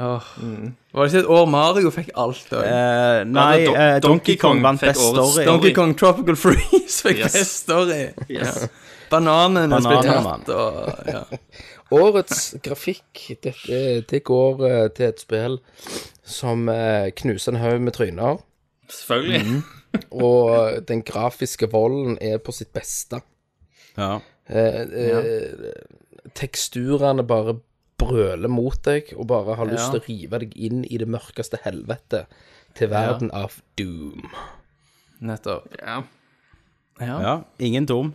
S2: Åh. Var det ikke et år Mario fikk alt òg?
S1: Eh, nei,
S4: Ja,
S1: eh,
S4: Don-
S1: Donkey
S4: Donkey
S1: Kong
S4: Kong
S1: vant
S4: fikk
S1: Best
S4: årets
S1: Story.
S2: Donkey Kong Tropical Freeze fikk
S4: Yes.
S2: best story. Ja. Bananen er blitt
S1: Bananen.
S2: tatt og ja.
S3: Årets grafikk, det, det- det går eh, til et spill som eh, knuser en haug med tryner.
S4: Selvfølgelig.
S3: Mhm. Og den grafiske volden er på sitt beste.
S1: Ja.
S3: Eh, eh, Teksturene bare brøler mot deg, og bare har lyst
S2: Ja.
S3: til å rive deg inn i det mørkeste helvete til verden av doom.
S2: Nettopp.
S4: Ja.
S1: ja. Ingen dum.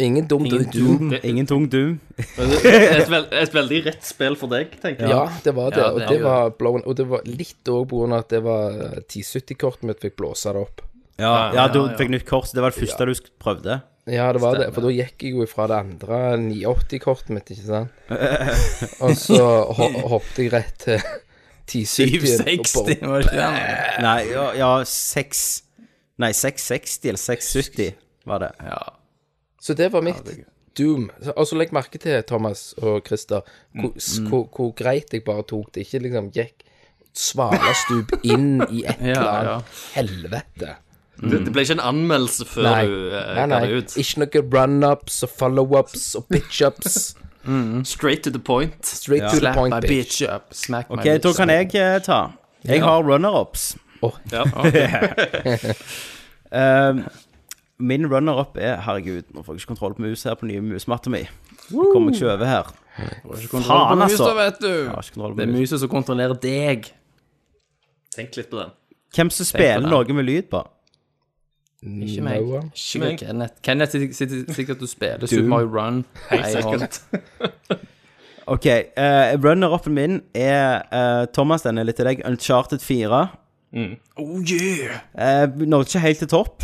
S3: Ingen dum
S2: Ingen
S3: doom. doom.
S1: Ingen tung dum.
S4: Et, vel, et veldig rett spill for deg, tenker jeg.
S3: Ja, det var det.
S2: Ja,
S3: og
S2: det er
S3: det
S2: jo
S3: var blown Og det var litt òg på grunn av at det var eh, 1070-kortet mitt fikk blåse det opp.
S1: Ja, ja,
S2: ja,
S1: du
S2: ja.
S1: fikk nytt kort. så Det var det første du sk- prøvde.
S3: Ja, det var det. For da gikk jeg jo ifra det andre 980-kortet mitt, ikke sant. Og så ho hoppet jeg rett til 1070.
S2: 760,
S3: og bare-
S2: var det ikke det?
S1: Nei, ja, ja 6 Nei, 660 eller 670 var det.
S2: Ja.
S3: Så det var mitt doom. Så- Og så legg merke til, Thomas og Christer, hvor, s- hvor, hvor greit jeg bare tok det. Ikke liksom gikk svalastup inn i et eller
S2: Ja,
S3: annet
S2: ja.
S3: helvete.
S4: Det, det ble ikke en anmeldelse før
S3: Nei.
S4: du eh,
S3: Nei,
S4: ga det
S3: nei.
S4: ut.
S3: Ikke noe run-ups og follow-ups og bitch-ups.
S4: Mm. Straight to the point.
S3: Straight to the
S2: Slap
S3: point,
S2: my
S3: bitch.
S2: bitch up. Smack my
S1: Ok,
S2: bitch
S1: da kan jeg eh, ta. Jeg har runner-ups.
S4: Ja.
S1: Um, min runner-up er Herregud, nå får jeg ikke kontroll på mus her på nye musmatta mi. Nå kommer jeg ikke over her. Faen, altså.
S2: Musa, vet du.
S1: Jeg har ikke kontroll
S2: Det
S1: på
S2: er
S1: mus.
S2: musa som kontrollerer deg.
S4: Tenk litt på den.
S1: Hvem som spiller
S2: den.
S1: noe med lyd på?
S2: Ikke meg.
S3: Noah.
S2: Ikke meg. Kenneth. Kenneth sitter- sitter sikkert du spiller Super Mario Run. Nei, jeg har-
S1: Ok, eh, runner-upen min er eh, Thomas, den er litt til deg. Uncharted 4.
S2: Oh yeah!
S1: Eh, nådde ikke helt til topp.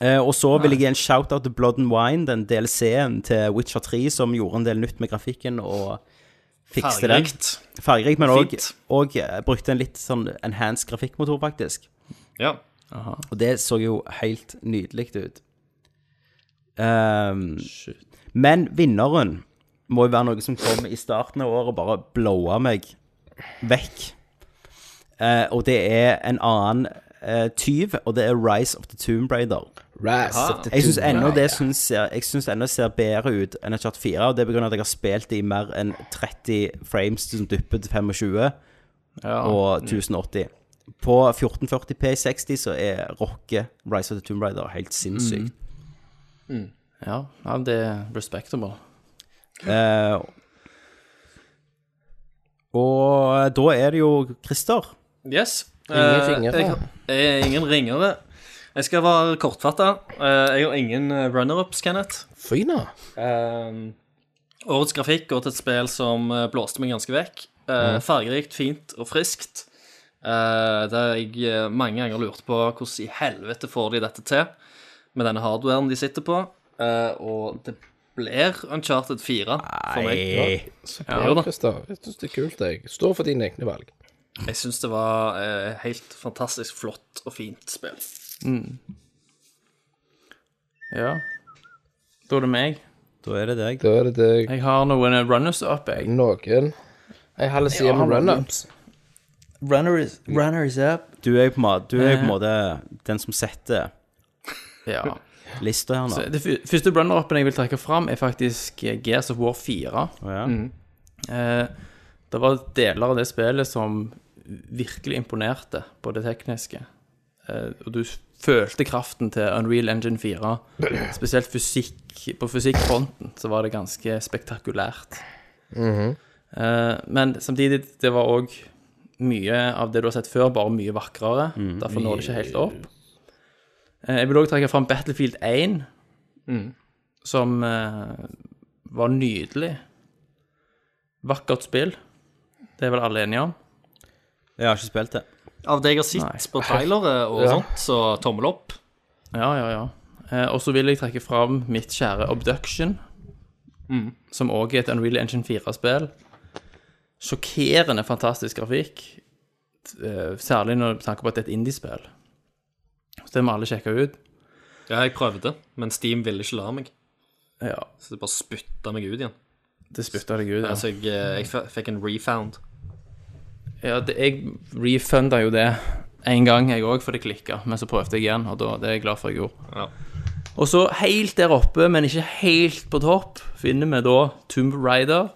S1: Eh, og så vil jeg gi en shout-out til Blood and Wine, den DLC-en til Witcher 3, som gjorde en del nytt med grafikken og fikste den.
S4: Fargerikt.
S1: Fargerikt, men òg
S4: Fint.
S1: og, eh, brukte en litt sånn enhanced grafikkmotor, faktisk.
S4: Ja.
S1: Og det så jo helt nydelig ut. Ehm, men vinneren må jo være noe som kom i starten av året og bare blowa meg vekk. Eh, og det er en annen eh, tyv, og det er Rise of the Tomb Raider.
S3: Rise of the
S1: Jeg syns
S3: Tomb
S1: ennå det
S3: Raider.
S1: syns ser, jeg synes ennå ser bedre ut enn Uncharted 4, og det er pga. at jeg har spilt det i mer enn 30 frames som dupper til 25
S2: Ja.
S1: og 1080. På 1440p 60 så er rocke Rise of the Tomb Raider helt sinnssykt.
S2: ja. ja, det er respectable. Mhm.
S1: Eh, og da er det jo Christer.
S4: Yes.
S3: Ingen fingre.
S4: Eh, Jeg, jeg er ingen ringere. Jeg skal være kortfatta. Eh, jeg har ingen eh, runner-ups, Kenneth.
S3: Fy nå.
S4: Ehm, årets grafikk går til et spill som eh, blåste meg ganske vekk. Eh, Fargerikt, fint og friskt. Eh, der jeg eh, mange ganger lurte på hvordan i helvete får de dette til med denne hardwaren de sitter på. Eh, og det blir Uncharted 4
S1: Ah,
S4: for meg.
S1: Nei.
S3: Ja, Christer, jeg syns det er kult, jeg. Står for dine egne valg.
S4: Jeg syns det var eh, helt fantastisk flott og fint spill.
S2: Ja. Da er det meg.
S1: Da er det deg.
S3: Da er det deg.
S2: Jeg har noen runners up, jeg.
S3: Noen. Jeg holder siden med run-ups.
S2: Runners, up.
S1: Du er jo på, en måte- du er jo på en
S2: Eh.
S1: måte den som setter
S2: Ja.
S1: lista her nå.
S2: Så det fyr- første runner-upen jeg vil trekke fram, er faktisk eh, Gears of War 4.
S1: Å, Ja.
S2: Eh, det var deler av det spillet som virkelig imponerte på det tekniske. Eh, og du følte kraften til Unreal Engine 4. Spesielt fysikk, på fysikkfronten så var det ganske spektakulært. eh, men samtidig, det var òg mye av det du har sett før, bare mye vakrere. Derfor når det ikke helt opp. Eh, jeg vil òg trekke fram Battlefield 1, som eh, var nydelig. Vakkert spill. Det er vel alle enige om?
S1: Jeg har ikke spilt det.
S4: Av det jeg har sett
S2: Nei.
S4: på trailere og
S3: Ja.
S4: sånt, så tommel opp.
S2: Ja, ja, ja. Eh, og så vil jeg trekke fram mitt kjære Obduction, som òg er et Unreal Engine 4-spill. Sjokkerende fantastisk grafikk, t- eh, særlig når du tenker på at det er et indiespill. Så det må alle sjekke ut.
S4: Ja, jeg prøvde, men Steam ville ikke la meg.
S2: Ja,
S4: Så det bare spytta meg ut igjen.
S2: det spytter deg ut. Ja.
S4: Altså, jeg, eh, jeg f- fikk en refound.
S2: Ja, det, jeg refunda jo det en gang, jeg òg, for det klikka. Men så prøvde jeg igjen, og da, det er jeg glad for jeg gjorde.
S4: Ja.
S2: Og så helt der oppe, men ikke helt på topp, finner vi da Tomb Raider.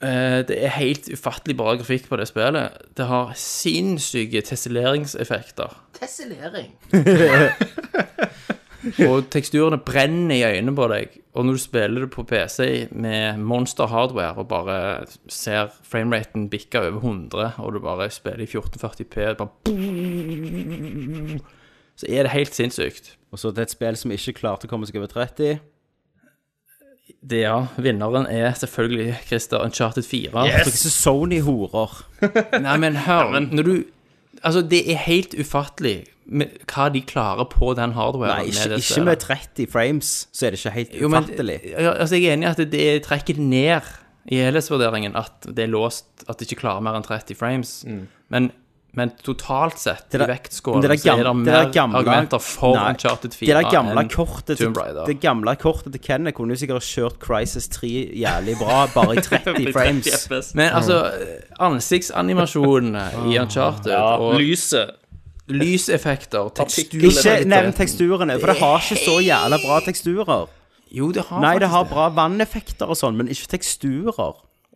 S2: Eh, det er helt ufattelig bra grafikk på det spillet. Det har sinnssyke tesselleringseffekter. Tessellering? og teksturene brenner i øynene på deg. Og når du spiller det på PC med monster hardware og bare ser frameraten bikke over 100, og du bare spiller i 1440P, bare så er det helt sinnssykt.
S1: Og så det er et spill som ikke klarte å komme seg over 30.
S2: Det, ja. Vinneren er selvfølgelig Christer Uncharted 4.
S1: Yes! Dere er ikke så Sony-horer.
S2: Nei, men hør, når du Altså, det er helt ufattelig med hva de klarer på den hardwaren.
S1: Nei, ikke,
S2: det
S1: ikke
S2: spillet.
S1: med 30 frames, så er det ikke helt
S2: Jo, men-
S1: ufattelig.
S2: Ja, altså, jeg er enig i at det, det trekker det ned i helhetsvurderingen at det er låst, at det ikke klarer mer enn 30 frames. Men, men totalt sett, i
S1: der-
S2: vektskålen,
S1: men Mm. det der
S2: så er det
S1: gam-
S2: mer
S1: det der gamle-
S2: argumenter for
S1: Nei,
S2: Uncharted 4
S1: Det der gamle
S2: enn
S1: kortet til,
S2: Tomb Raider.
S1: det gamle kortet til Kenneth kunne jo sikkert kjørt Crisis 3 jævlig bra, bare i 30 frames.
S2: Men altså,
S1: Mm.
S2: ansiktsanimasjonene i Uncharted og
S4: Lyset.
S2: lyseffekter,
S1: Ikke
S2: teksturkvalitet
S1: nevn teksturene, for det har ikke så jævla bra teksturer.
S2: Jo, det har
S1: Nei, det
S2: faktisk
S1: har bra vanneffekter og sånn, men ikke teksturer.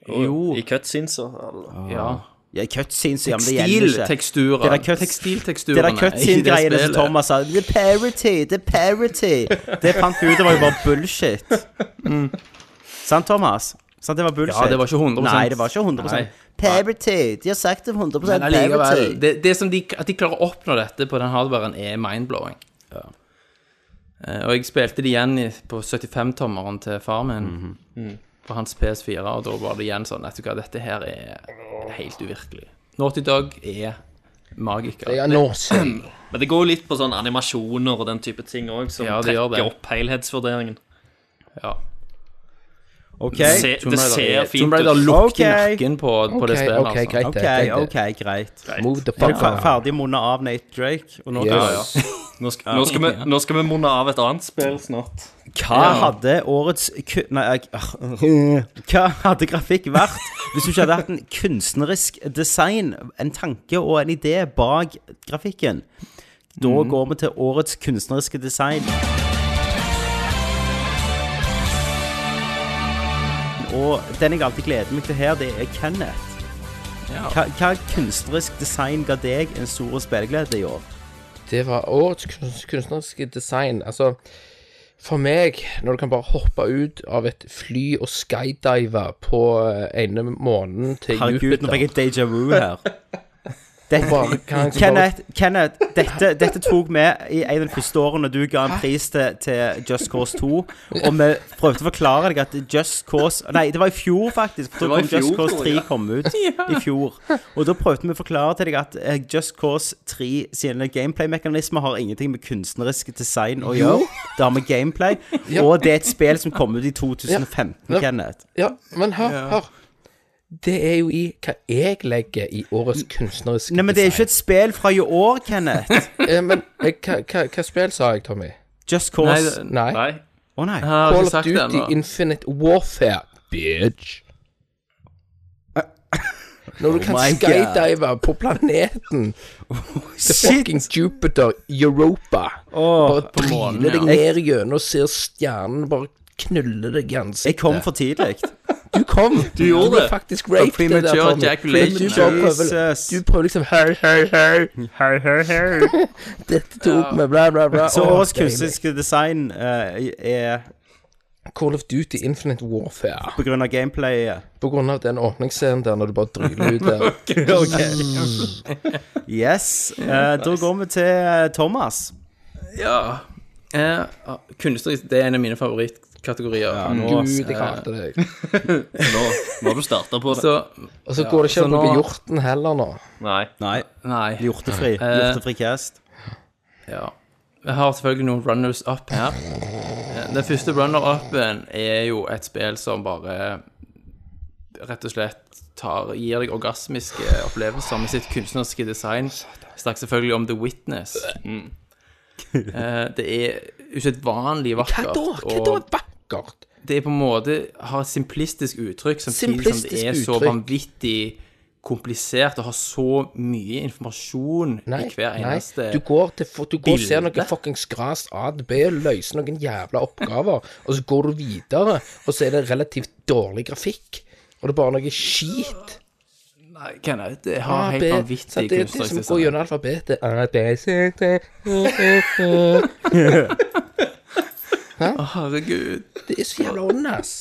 S2: Jo.
S4: I cutscenes og
S2: Ja.
S1: Ja, cutscenes, ja, men det gjelder ikke.
S2: Tekstilteksturer.
S1: Det der cut- Det
S2: Tekstilteksturene.
S1: der cutscene-greiene som Thomas sa The parity, the parity Det fant vi ut, det var jo bare bullshit Mm. Sant, Thomas? Sant, det var bullshit
S2: Ja, det var ikke 100%.
S1: Nei, det var ikke 100%
S2: Nei.
S1: Parity, de har sagt det 100%
S2: Men
S1: parity
S2: allikevel, det, det som de, at de klarer å oppnå dette på den hardwaren, er mindblowing. Eh, og jeg spilte det igjen i, på 75-tommeren til far min,
S3: Mhm.
S2: på hans PS4, og da var det igjen sånn Vet du hva, dette her er helt uvirkelig. Naughty Dog er magiker.
S3: Ja, nå ser jeg.
S4: Men det går jo litt på sånn animasjoner og den type ting òg, som
S2: Ja, det gjør
S4: trekker
S2: det.
S4: opp helhetsvurderingen.
S2: Ja.
S1: Ok,
S4: Se,
S2: Tomb Raider
S4: det ser
S2: er- Tomb
S4: fint
S2: Raider
S4: ut.
S2: lukter
S1: Ok.
S2: nakken på, på det
S3: Ok,
S2: spillet,
S3: ok,
S2: altså.
S3: greit,
S1: ok,
S3: det, greit.
S1: ok, greit
S3: det. Move the
S1: Er
S3: fuck
S1: du fer-
S3: on.
S1: ferdig munnet av Nate Drake? Og nå,
S3: Yes.
S4: Nå skal, nå, skal vi, nå skal vi munne av et annet spill snart.
S1: Hva hadde årets ku- Nei, jeg- ah. Hva hadde grafikk vært hvis du ikke hadde hatt en kunstnerisk design, en tanke og en idé bak grafikken? Da går vi til årets kunstneriske design. Og den jeg alltid gleder meg til her, det er Kenneth. Hva, hva kunstnerisk design ga deg en stor spilleglede i år?
S3: Det var årets kunst- kunstneriske design. Altså, for meg, når du kan bare hoppe ut av et fly og skydive på eh, ene måneden til
S1: Herregud, nå
S3: Jupiter
S1: fikk jeg deja vu her.
S3: Bare- kan jeg-
S1: Kenneth, Kenneth dette, dette tok vi i en av de første årene du ga en pris til, til Just Cause 2. Og vi prøvde å forklare deg at Just Cause Nei, det var i fjor, faktisk. For
S4: Det var
S1: da kom
S4: i fjor,
S1: Just Cause
S4: tror
S1: 3
S4: jeg,
S1: kom ut i fjor. Og da prøvde vi å forklare til deg at eh, Just Cause 3 sine gameplay-mekanismer har ingenting med kunstnerisk design å gjøre. Det har med gameplay. Og det er et spill som kom ut i 2015,
S3: Ja.
S1: Kenneth.
S3: Ja, men hør, hør. Det er jo i hva jeg legger i årets kunstneriske
S1: Nei, men det er jo ikke et spill fra i år, Kenneth.
S3: design. Eh, Men eh, hva, hva, hva spill sa jeg, Tommy?
S1: Just
S2: Nei,
S1: Cause
S2: det-
S3: Nei.
S4: Nei.
S1: Å nei.
S2: jeg har
S3: Call
S2: ikke
S3: of
S2: sagt det
S3: Duty
S2: ennå.
S3: Infinite Warfare, bitch. Når du kan
S1: my God.
S3: skydive på planeten til fucking Jupiter, Europa Bare
S2: månen,
S3: drille deg
S2: ja.
S3: ned gjennom og ser stjernen bare knulle deg i
S1: Jeg
S3: ansiktet.
S1: kom for tidlig.
S3: Du kom! Du
S4: gjorde
S3: ble
S4: det.
S3: faktisk raped. det der,
S2: premature
S3: Tommy.
S2: ejaculation.
S3: Du bare prøver,
S1: Jesus.
S3: du prøver liksom Hør, hør, hør. Dette tok meg, bla, bla, bla.
S1: Så
S3: Åh,
S1: årets
S3: deilig.
S1: kunstneriske design eh, er
S3: Call of Duty Infinite Warfare.
S1: på grunn av gameplayet.
S3: På grunn av den åpningsscenen der når du bare dryller ut der.
S1: Yes. eh, Da går vi til eh, Thomas.
S2: Ja. Eh, kunstnerisk det er en av mine favorittkategorier. altså, eh,
S3: Gud, jeg hater deg.
S4: Nå, nå har du starta på det.
S2: Så
S3: Og så går det ikke
S2: så
S3: an å bruke
S2: nå-
S3: hjorten heller nå.
S4: Nei.
S1: Nei.
S2: Nei.
S1: Hjortefri.
S3: Eh,
S1: Hjortefri cast.
S2: Ja. Jeg har selvfølgelig noen runners up her. Eh, Den første runner-upen er jo et spill som bare rett og slett tar, gir deg orgasmiske opplevelser med sitt kunstneriske design. Jeg Snakker selvfølgelig om The Witness. Mm. Eh, Det er usedvanlig
S3: Hva
S2: vakkert.
S3: da? Hva da
S2: og
S3: er vakkert?
S2: det er på en måte har et simplistisk uttrykk, samtidig som liksom det
S3: Simplistisk
S2: er så
S3: uttrykk.
S2: vanvittig komplisert og har så mye informasjon
S3: Nei,
S2: i hver
S3: nei.
S2: eneste
S3: Du går, til, du går og ser noe
S2: bilde.
S3: fuckings gras ADB, løser noen jævla oppgaver, og så går du videre, og så er det relativt dårlig grafikk. Og det er bare noe skit.
S2: Nei, Kenneth, det har helt
S3: B,
S2: vanvittig
S3: sant? Det er det
S2: kunstnerisk
S3: som går
S2: design.
S3: gjennom alfabetet. A, B, C, E, D.
S2: Å, herregud.
S3: Det er så jævla ond, ass.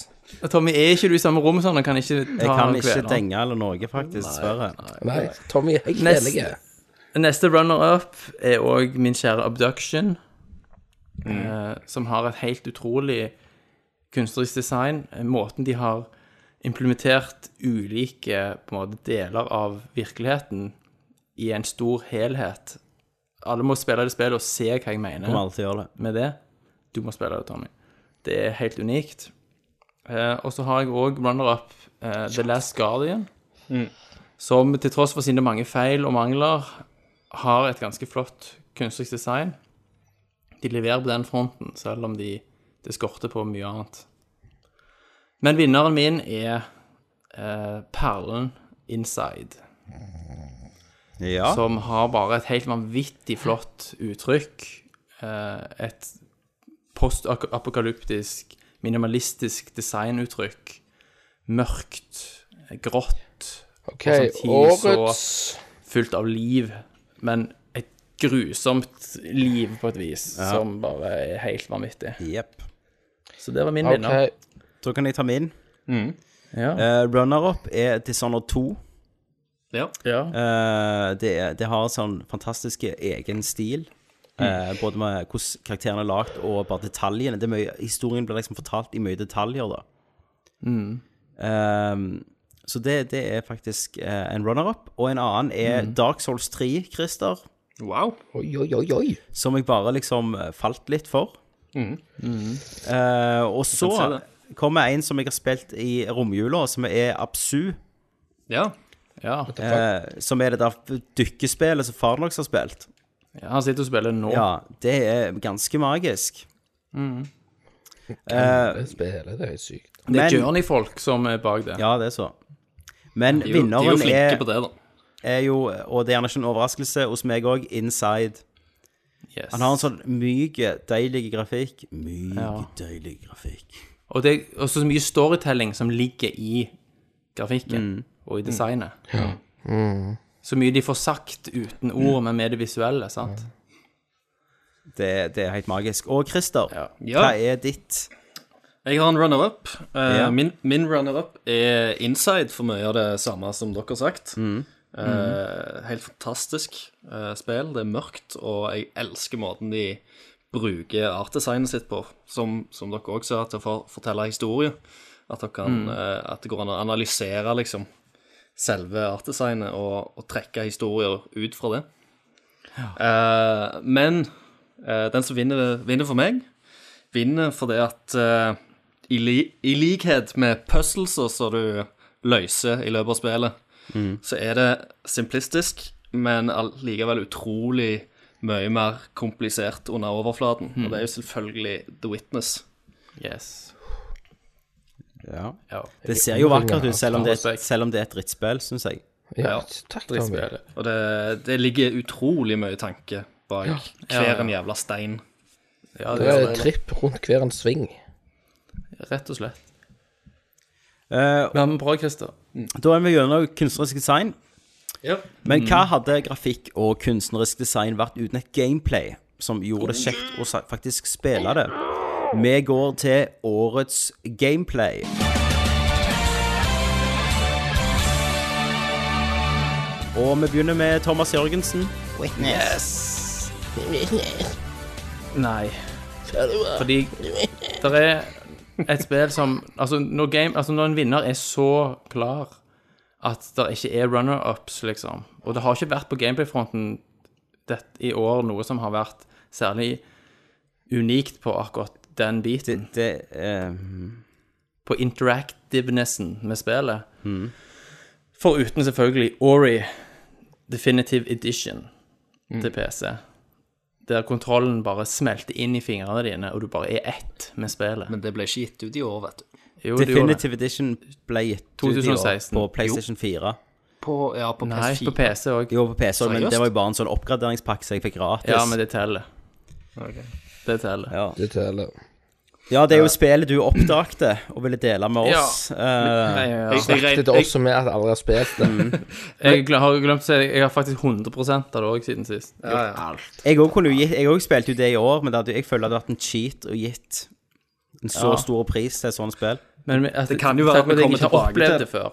S2: Og Tommy, er ikke du i samme rom sånn? Han kan ikke ta
S1: Jeg kan
S2: han
S1: ikke
S2: kvelden.
S1: denge eller noe, faktisk. Dessverre.
S3: Nei, Tommy er helt
S2: Nest-
S3: enig.
S2: Neste runner-up er òg min kjære Abduction,
S1: Mm.
S2: eh, som har et helt utrolig kunstnerisk design. Eh, Måten de har implementert ulike på en måte, deler av virkeligheten i en stor helhet. Alle må spille det spillet og se hva jeg mener
S1: Kommer alle til å gjøre det.
S2: med det. Du må spille det, Tommy. Det er helt unikt. Eh, og så har jeg òg runner-up eh, The Last Guardian, som til tross for sine mange feil og mangler har et ganske flott kunstnerisk design. De leverer på den fronten, selv om de, det skorter på mye annet. Men vinneren min er eh, perlen Inside
S1: Ja.
S2: som har bare et helt vanvittig flott uttrykk. eh, Et postapokalyptisk, minimalistisk designuttrykk. Mørkt, grått, Og
S3: OK,
S2: samtidig sånn så-
S3: årets
S2: fullt av liv. Men et grusomt liv på et vis som bare er helt vanvittig.
S1: Jepp.
S2: Så det var min
S3: OK.
S2: vinner.
S1: Så kan jeg ta min.
S2: Ja.
S1: Eh, Runner-up er Dishonored 2.
S4: Ja.
S2: ja.
S1: Eh, det, det har sånn fantastisk egen stil. Eh, både med hvordan karakterene er lagd, og bare detaljene. Det er mye, historien blir liksom fortalt i mye detaljer, da. Eh, så det, det er faktisk eh, en runner-up. Og en annen er Dark Souls 3, Christer.
S4: Wow.
S3: Oi, oi, oi, oi.
S1: Som jeg bare liksom eh, falt litt for. Eh, og så
S4: se
S1: kommer en som jeg har spilt i romjula, som er Absu.
S4: Ja.
S2: ja.
S1: eh, som er det der dykkespillet som faren deres har spilt.
S2: ja. Han sitter og spiller nå.
S1: Ja, det er ganske magisk.
S3: Det spillet det er helt sykt.
S2: Det
S1: Men-
S2: er Journey-folk som er bak det.
S1: Ja, det er så. Men
S4: De er jo- de er jo
S1: vinneren
S4: flinke
S1: er,
S4: på det, da.
S1: er jo, og det er gjerne ikke en overraskelse hos meg òg, Inside.
S2: Yes.
S1: Han har en sånn myk, deilig grafikk. Myk,
S2: Ja.
S1: deilig grafikk.
S2: Og det er også så mye storytelling som ligger i grafikken og i designet. Så mye de får sagt uten ord, men med det visuelle, sant?
S1: Det, det er helt magisk. Og Christer,
S4: Ja.
S1: hva er ditt?
S4: Jeg har en runner-up. Eh,
S1: Ja.
S4: Min, min runner-up er inside for mye av det samme som dere har sagt. Eh, helt fantastisk eh, spill. Det er mørkt, og jeg elsker måten de bruker artdesignet sitt på, som, som dere også sa, til å for, fortelle historie. At, dere kan, eh, at det går an å analysere liksom, selve artdesignet og, og trekke historier ut fra det. Eh, men eh, den som vinner, vinner for meg, vinner fordi at eh, i, li i likhet med puzzles og så du løser i løpet av spillet, så er det simplistisk, men allikevel utrolig mye mer komplisert under overflaten. Og det er jo selvfølgelig The Witness.
S2: Yes.
S1: Ja.
S2: Ja.
S1: Det ser jo vakkert ut, selv om det,
S2: Respekt.
S1: selv om det er et drittspill, syns jeg.
S3: Ja,
S4: Ja,
S3: takk, Tommy.
S4: Og det, det ligger utrolig mye tanke bak
S2: Ja, ja.
S4: hver en jævla stein.
S2: Ja,
S3: Det
S2: det
S3: er
S2: er det.
S3: tripp rundt hver en sving.
S2: Rett og slett.
S1: Eh,
S2: Ja, men bra, Christer.
S1: da er vi gjennom kunstnerisk design.
S4: Ja.
S1: Men
S2: Mm.
S1: hva hadde grafikk og kunstnerisk design vært uten et gameplay som gjorde
S4: Mm.
S1: det kjekt å sa- faktisk spille det? Vi går til årets gameplay. Og vi begynner med Thomas Jørgensen.
S2: Nei. Fordi det er et spill som Altså, når, game, altså når en vinner er så klar at det ikke er runner-ups, liksom Og det har ikke vært på gameplay-fronten det- i år noe som har vært særlig unikt på akkurat den
S1: Det,
S2: biten.
S1: det eh,
S2: På interactivenessen med spillet.
S4: Mm.
S2: Foruten selvfølgelig Ori Definitive Edition
S4: Mm.
S2: til PC. Der kontrollen bare smelter inn i fingrene dine, og du bare er ett med spillet.
S4: Men det ble ikke gitt ut i år, vet du.
S2: Jo, det gjorde det.
S1: Definitive Edition ble gitt ut i år
S2: 2016.
S1: på PlayStation 4.
S4: På, ja, på
S2: Nei,
S4: PS4.
S2: på PC òg.
S1: Jo, på PC, men
S4: Seriøst?
S1: det var jo bare en sånn oppgraderingspakke som jeg fikk gratis.
S2: Ja, men det teller. Det teller.
S1: ja.
S3: Det teller.
S1: ja, det er jo spillet du oppdagte og ville dele med
S2: Eh. Ja.
S1: oss. Eh,
S2: Nei, ja.
S4: Jeg- jeg-
S3: Det er også med at jeg Mm. aldri har spilt det.
S2: Jeg gl- har glemt å si jeg har faktisk 100 av det òg siden sist. Jeg har gjort alt.
S1: Jeg òg kunne jo gitt Jeg òg spilte jo det i år, men det hadde, jeg føler det hadde vært en cheat å gitt en så
S2: Ja.
S1: stor pris til et sånt spill.
S2: Men at,
S4: Det kan jo være at vi
S2: at jeg
S4: kommer
S2: ikke har
S4: tilbake til
S2: opplevd
S4: det.
S2: det før,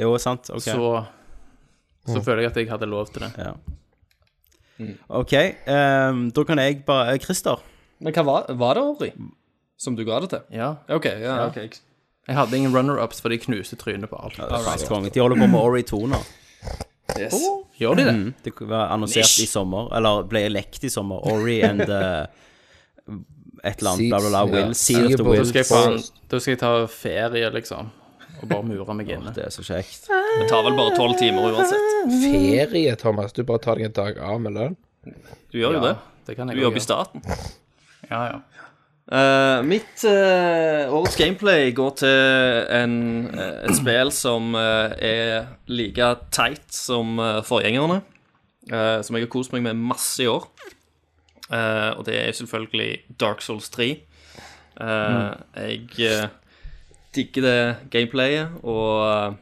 S1: Jo, sant? OK.
S2: så, så føler jeg at jeg hadde lov til det.
S1: Ja. OK. ehm, da kan jeg bare eh, Christer.
S4: Men hva var, var det, Ori, som du ga det til?
S2: Ja.
S4: OK, ja, ok.
S2: Jeg hadde ingen runner-ups, for de knuste trynet på alt.
S1: Konge. De holder på med Ori 2 nå.
S4: Yes.
S2: Gjør de det?
S1: Mm. Det var annonsert i sommer, eller ble lekt i sommer. Ori and eh, et eller annet, bla, bla, bla. Will.
S3: Ja.
S1: Sea of the
S3: Sea
S2: Da
S1: Will.
S2: skal, jeg faen, da skal jeg ta ferie, liksom. Og bare mure meg inne.
S1: Det er så kjekt.
S4: Det tar vel bare tolv timer uansett.
S3: Ferie, Thomas. Du bare tar deg en dag av med lønn.
S4: Du gjør jo det.
S2: det kan jeg
S4: Du
S2: også
S4: jobber i
S2: gjøre.
S4: staten.
S2: Ja, ja.
S4: Eh, mitt eh, årets gameplay går til en, eh, et spill som eh, er like teit som eh, forgjengerne. eh, som jeg har kost meg med masse i år. Eh, og det er selvfølgelig Dark Souls 3. Eh, Jeg eh, digger det gameplayet, og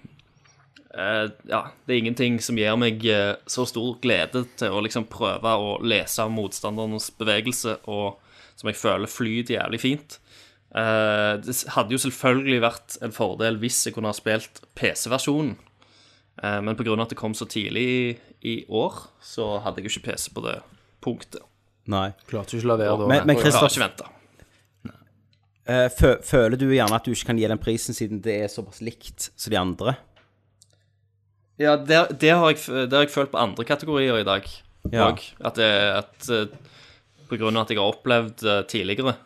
S4: eh, ja, det er ingenting som gir meg eh, så stor glede til å liksom prøve å lese motstandernes bevegelse og som jeg føler flyter jævlig fint. Eh, det hadde jo selvfølgelig vært en fordel hvis jeg kunne ha spilt PC-versjonen, Eh, men pga. at det kom så tidlig i, i år, så hadde jeg jo ikke PC på det punktet.
S1: Nei.
S2: Klarte ikke å la være da.
S1: Men, men
S4: Jeg klarer
S1: Christoph,
S4: ikke vente.
S1: eh, fø føler du gjerne at du ikke kan gi den prisen siden det er såpass likt som de andre?
S4: Ja, det, det, har jeg, f- det har jeg følt på andre kategorier i dag.
S1: Ja.
S4: Og at det, at eh, på grunn av at jeg har opplevd eh, tidligere.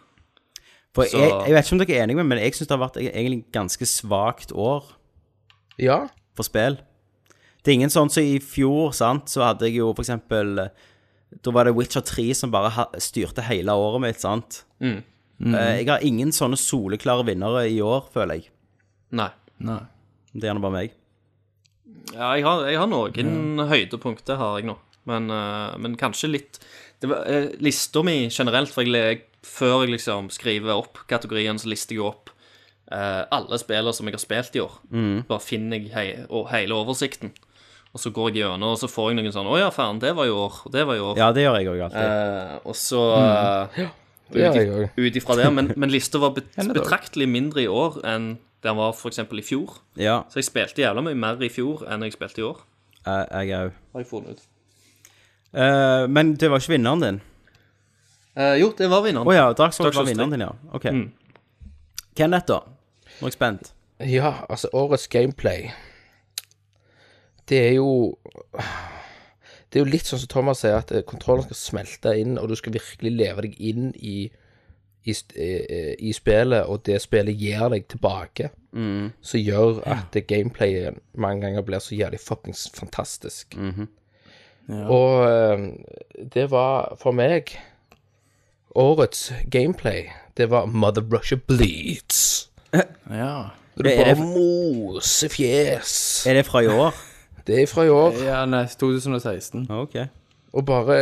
S1: For
S4: Så-
S1: jeg, jeg vet ikke om dere er enige med meg, men jeg syns det har vært e-, egentlig et ganske svakt år
S3: Ja.
S1: for spill. Det er ingen sånn som i fjor, sant, så hadde jeg jo for eksempel eh, Da var det Witcher 3 som bare ha, styrte hele året mitt, sant. Eh, Jeg har ingen sånne soleklare vinnere i år, føler jeg.
S4: Nei.
S2: Nei.
S1: Det er gjerne bare meg.
S4: Ja, jeg har, jeg har noen høydepunkter har jeg nå, men, eh, men kanskje litt det var, eh, Lista mi generelt, for jeg, le- før jeg liksom skriver opp kategorien, så lister jeg jo opp eh, alle spillere som jeg har spilt i år.
S3: Mm.
S4: Bare finner jeg hei, og hele oversikten. Og så går jeg gjennom, og så får jeg noen sånn Å ja, faen, det var i år, og det var i år.
S1: Ja, det gjør jeg òg alltid.
S4: Eh, og så eh,
S3: Mm. Det gjør jeg òg.
S4: ut ifra det, men, men lista var bet
S2: Eller dårlig.
S4: betraktelig mindre i år enn den var f.eks. i fjor.
S1: Ja,
S4: Så jeg spilte jævla mye mer i fjor enn jeg spilte i år.
S1: eh, jeg òg.
S4: Har jeg funnet ut.
S1: Eh, men det var ikke vinneren din?
S4: Eh, jo, det var vinneren.
S1: Å ja, Dark Souls
S4: Dark
S1: var
S4: Souls
S1: vinneren din, ja. OK. Kenneth, da? Nå er jeg spent.
S3: Ja, altså, årets gameplay Det er jo Det er jo litt sånn som Thomas sier, at eh, kontrollen skal smelte inn, og du skal virkelig leve deg inn i i, st- eh, eh, i spillet, og det spillet gir deg tilbake, som gjør at det gameplayet mange ganger blir så jævlig fuckings fantastisk. Og eh, det var for meg årets gameplay. Det var Mother Russia Bleeds.
S2: Ja.
S3: Når du
S1: Er det-
S3: bare moser fjes.
S1: Er det fra i år?
S3: Det er fra i år,
S2: ja, nei, 2016.
S1: OK.
S3: og bare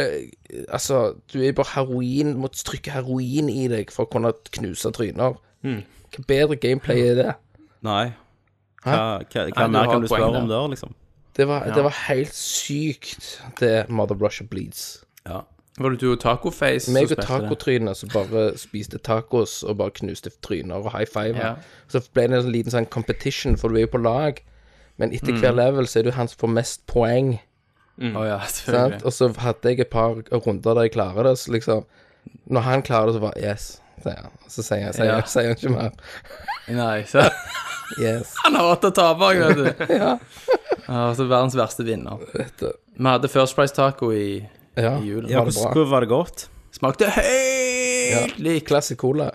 S3: Altså, du er bare heroin, må trykke heroin i deg for å kunne knuse tryner. Hva bedre gameplay er det?
S1: Nei. Hva, hva, hva
S2: Nei, du
S1: mer
S2: har
S1: kan du
S2: poeng
S1: spørre
S2: der.
S1: om der, liksom?
S3: Det var, det var helt sykt, det Mother Russia Bleeds.
S2: Var det du og Tacoface som
S3: Meg og
S2: spilte det?
S3: tacotrynet som bare spiste tacos og bare knuste tryner og high five.
S2: Ja.
S3: Så ble det en sånn liten sånn competition, for du er jo på lag. Men etter hver level så er du han som får mest poeng.
S2: Å ja,
S3: Sant?
S2: selvfølgelig.
S3: Og så hadde jeg et par runder der jeg klarer det, så liksom Når han klarer det, så bare Yes, sier han. Og Så sier, jeg, sier,
S2: Ja.
S3: jeg- sier han ikke mer.
S2: Nei, så
S3: Yes.
S2: Han har hatt å tape, jeg, vet du. Ja, Altså verdens verste vinner.
S3: Dette.
S2: Vi hadde First Price Taco i
S3: Ja.
S2: I julen.
S1: Ja,
S3: Ha det
S1: hvordan-
S3: bra.
S1: Hvor var det godt?
S2: Smakte helt lik
S3: Classic Cola.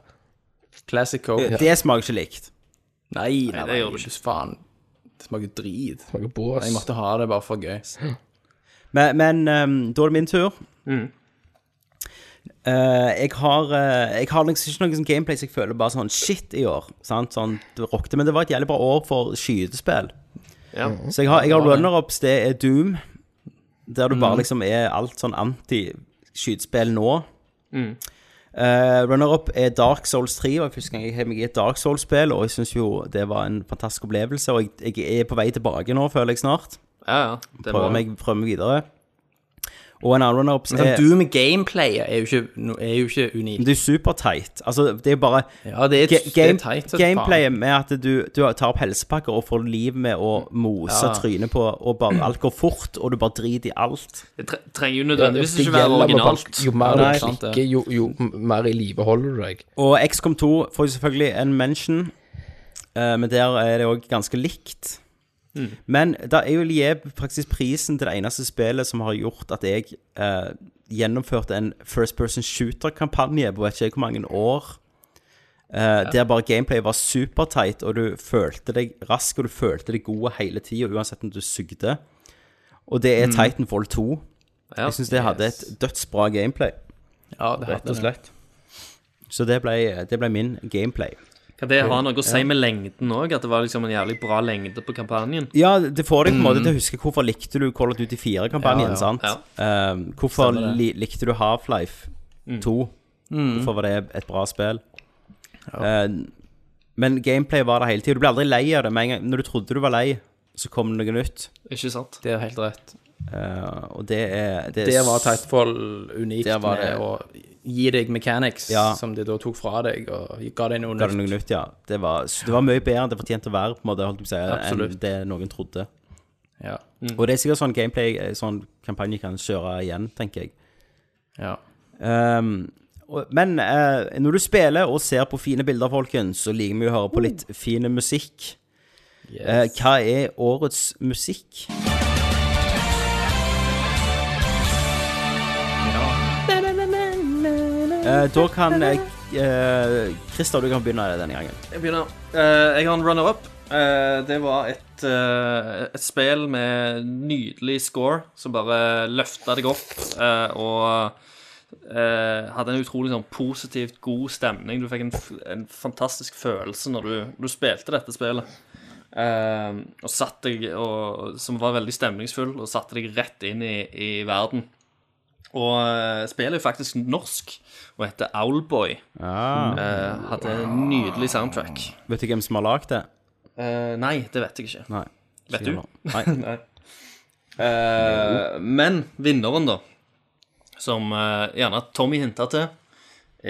S2: Classic Coke.
S1: Det smaker ikke likt.
S2: Nei, nei,
S4: det
S2: nei,
S4: gjør du
S2: ikke faen. Det smaker drit.
S3: Smaker bås.
S2: Jeg måtte ha det bare for gøy.
S1: Men, men ehm, da er det min tur. Mm. Eh, jeg har eh, Jeg har liksom ikke noe sånn gameplay som jeg føler bare sånn shit i år. Sant? Sånn, det rockte, men det var et jævlig bra år for skytespill.
S4: Ja.
S1: Så jeg har, jeg har runner-ups, det er Doom. Der du bare liksom er alt sånn anti-skytespill nå. Mm. Eh, runner-up er Dark Souls 3. Det var første gang jeg har meg i et Dark Souls-spill, og jeg syns jo det var en fantastisk opplevelse. Og jeg, jeg er på vei tilbake nå, føler jeg snart.
S4: ja, ja. Det
S1: Prøver meg, prøver meg videre. Og en annen runner-up
S2: Men
S1: er
S2: sånn, du med gameplay er jo ikke, no- er jo ikke unik.
S1: Det er superteit. Altså, det er bare
S2: Ja, det
S1: Ga-
S2: er, det er
S1: game,
S2: teit. så
S1: Gameplayet med at du, du tar opp helsepakker og får liv med å mose
S2: Ja.
S1: trynet på, og bare alt går fort, og du bare driter i alt.
S4: Det tre trenger jo
S3: Ja,
S4: nødvendigvis
S3: det
S4: ikke være
S3: gjelder med
S4: originalt.
S3: bare- Jo mer
S2: Nei,
S3: du
S2: sant det.
S3: klikker, jo, jo mer i live holder du deg.
S1: Og XCOM 2 får jo selvfølgelig en mention, eh, men der er det òg ganske likt. Men det er jo Lieb faktisk prisen til det eneste spillet som har gjort at jeg eh, gjennomførte en first person shooter-kampanje på vet ikke jeg hvor mange år. eh, Der bare gameplay var superteit, og du følte deg rask og du følte deg god hele tida, uansett om du sugde. Og det er Titanfall 2.
S4: Ja.
S1: Jeg syns det hadde et dødsbra gameplay,
S2: Ja, det
S1: rett
S2: hadde
S1: og
S2: det.
S1: slett. Så det ble, det ble min gameplay.
S4: Kan det ha noe å si med lengden òg? At det var liksom en jævlig bra lengde på kampanjen?
S1: Ja, det får deg på en måte til å huske hvorfor likte du Call of Duty 4-kampanjen,
S2: Ja, ja.
S1: sant?
S4: Ja.
S1: Ehm, hvorfor li likte du Half-Life 2? Hvorfor var det et bra spill? Ehm, men gameplay var det hele tiden. Du ble aldri lei av det. Med en gang når du trodde du var lei, så kom det noe nytt.
S4: Ikke sant?
S2: Det er helt rett.
S1: Ehm, og det er det er
S2: Det var
S1: s- eh,
S2: Titanfall unikt
S1: Der var det-
S2: med å gi deg mechanics,
S1: Ja.
S2: som de da tok fra deg, og ga deg noe
S1: Ga det
S2: nytt.
S1: noe nytt, ja. Det var, s- det var mye bedre enn det fortjente å være, på en måte, holdt jeg på å si, enn
S2: Absolutt.
S1: det noen trodde.
S2: Ja.
S1: Og det er sikkert sånn gameplay, eh, sånn kampanje kan kjøre igjen, tenker jeg.
S2: ja.
S1: Um, og- men eh, når du spiller og ser på fine bilder, folkens, så liker vi å høre på litt fin musikk. Eh, hva er årets musikk? Eh, da kan jeg eh, Christer, du kan begynne denne gangen.
S4: Jeg begynner. Eh, jeg har en runner-up. Eh, det var et, eh, et spill med nydelig score som bare løfta deg opp eh, og eh, hadde en utrolig sånn positivt god stemning. Du fikk en, f- en fantastisk følelse når du, du spilte dette spillet. Eh, og satt deg, og, som var veldig stemningsfull, og satte deg rett inn i, i verden. Og eh, spillet er jo faktisk norsk og heter Owlboy. Eh, hadde en nydelig soundtrack.
S1: Vet du hvem som har lagd det?
S4: Eh, nei, det vet jeg ikke.
S1: Nei.
S4: Vet du?
S1: Nei.
S4: Nei. Eh, men vinneren, da, som eh, gjerne Tommy hinta til,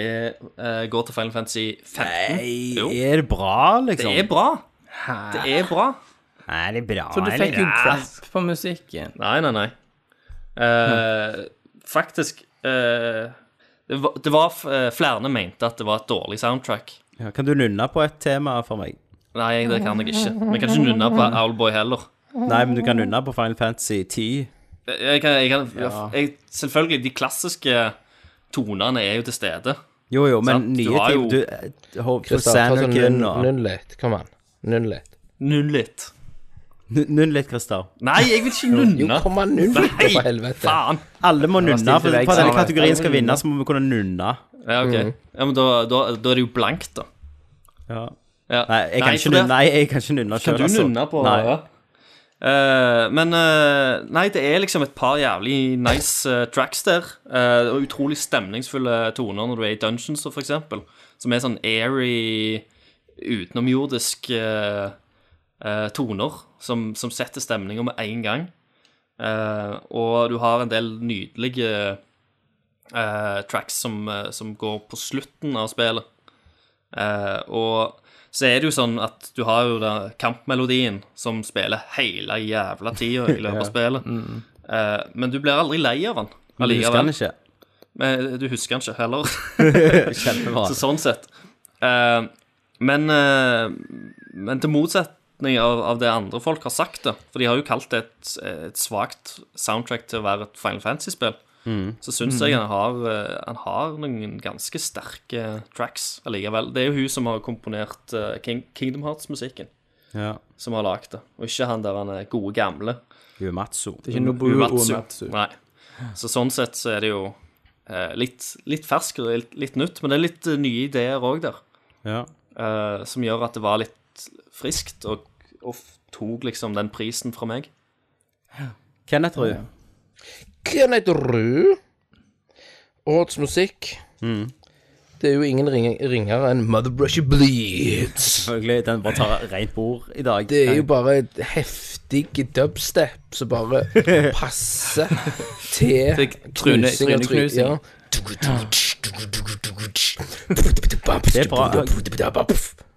S4: er, eh, går til Final Fantasy 15. Mm. Jo.
S1: Er det bra, liksom?
S4: Det er bra! Det er bra.
S1: Er det bra,
S2: Så du fikk jo
S1: eller?
S2: crap på musikken.
S4: Nei, nei, nei. Eh, Faktisk eh, Det var, det var f- eh, flere mente at det var et dårlig soundtrack.
S1: Ja, kan du nunne på et tema for meg?
S4: Nei, det kan jeg ikke. Men jeg kan ikke nunne på Owlboy heller.
S1: Nei, men du kan nunne på Final Fantasy 10.
S4: Jeg kan, jeg kan, jeg, selvfølgelig, de klassiske tonene er jo til stede.
S1: Jo, jo, men
S4: Sant? Du
S1: nye
S4: har
S1: ting
S4: jo-
S1: Du, eh, ho-
S3: Kristian, ta sånn
S1: Sandhagen
S3: nunn
S1: og
S3: nunn litt. Kom an. Nunn litt.
S4: Nunn litt.
S1: Nun- Nunn litt, Christer.
S4: Nei, jeg vil ikke nunne.
S3: Jo, kom an, nunn litt,
S4: Nei,
S3: for helvete.
S4: faen.
S1: Alle må nunne.
S2: stilte
S1: For
S2: deg
S1: for at denne
S2: eksamen.
S1: kategorien skal vinne, så må vi kunne nunne.
S4: Ja, ok.
S1: Mm.
S4: Ja, men da, da, da er det jo blankt, da.
S1: Ja.
S4: Ja.
S1: Nei, jeg kan ikke
S4: for det-
S1: nunne Nei, jeg kan ikke nunne
S4: Kan
S1: selv,
S4: du
S1: altså.
S4: nunne på
S1: Nei.
S4: ja. Eh, men eh, Nei, det er liksom et par jævlig nice eh, tracks der. eh, og utrolig stemningsfulle toner når du er i dungeons, og for eksempel. Som er sånn airy, utenomjordisk eh, eh, toner. Som, som setter stemninga med en gang. Eh, og du har en del nydelige eh, tracks som, eh, som går på slutten av spillet. Eh, og så er det jo sånn at du har jo den kampmelodien som spiller hele jævla tida i løpet av spillet. Eh, men du blir aldri lei av den
S1: Mm. Du husker
S4: allikevel.
S1: den ikke.
S4: Men eh, Du husker den ikke heller.
S1: Kjempebra.
S4: Så sånn sett. Eh, men, eh, men til motsetning av, av det andre folk har sagt, da, for de har jo kalt det et, et svakt soundtrack til å være et Final Fantasy-spill, så syns jeg han har, eh, han har noen ganske sterke tracks allikevel. Det er jo hun som har komponert eh, King, Kingdom Hearts-musikken,
S1: Ja.
S4: som har lagd det, og ikke han der han er gode gamle.
S1: Uematsu.
S2: Det er ikke Nobuo
S4: Uematsu.
S2: Uematsu.
S4: Nei. Så sånn sett så er det jo eh, litt, litt ferskt og litt, litt nytt, men det er litt eh, nye ideer òg der
S1: Ja.
S4: eh, som gjør at det var litt friskt, og, og f- tok liksom den prisen fra meg.
S1: Kenneth Ruud.
S3: Kenneth Ruud. Årets musikk. Det er jo ingen ring ringere enn Mother Brushy Bleeds.
S1: Selvfølgelig. Den bare tar rent bord i dag.
S3: Det er jo bare et heftig dubstep som bare passer til
S2: tryne-
S3: knusing og try-
S2: tryneknusing.
S3: Ja.
S1: Det er bra.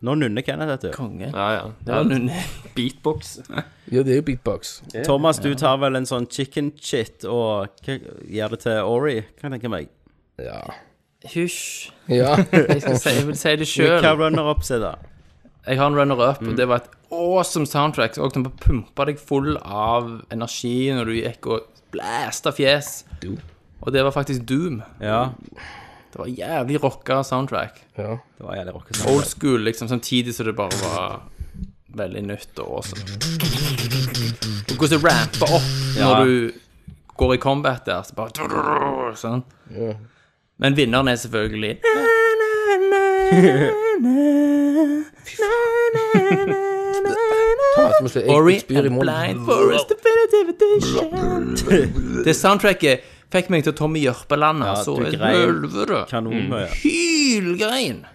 S1: Nå nunner Kenneth, vet du.
S2: Konge.
S4: Ja, ja.
S2: Det var noen
S4: Beatbox.
S3: Ja, det er jo beatbox.
S1: Thomas, du tar vel en sånn chicken shit og k- gjør det til Ori, kan jeg tenke meg.
S3: Ja.
S2: Hysj.
S3: ja.
S2: Jeg, skal si, jeg vil si det
S1: Hva
S2: sjøl.
S1: runner up er det?
S4: Mm.
S2: Jeg har en runner-up, og det var et awesome soundtracks, og den bare pumpa deg full av energi når du gikk og blæsta fjes. Og det var faktisk Doom.
S1: Ja,
S2: Det var jævlig rocka soundtrack.
S3: Ja.
S1: det var jævlig rocket.
S2: Old school, liksom, samtidig som det bare var veldig nytt og awesome. Og hvordan det ramper opp
S1: Ja.
S2: når du går i combat der, så bare sånn. Men vinneren er selvfølgelig
S3: Ta, så må jeg- jeg- jeg
S2: Ori
S3: spyr i
S2: and
S3: munnen.
S2: Blind Forest Definitive Edition. Det soundtracket fikk meg til Tommy Jørpeland, altså.
S1: du
S2: Et
S1: grein.
S2: helvete.
S1: Kanonmøye.
S3: Mm.
S2: Hylgrein.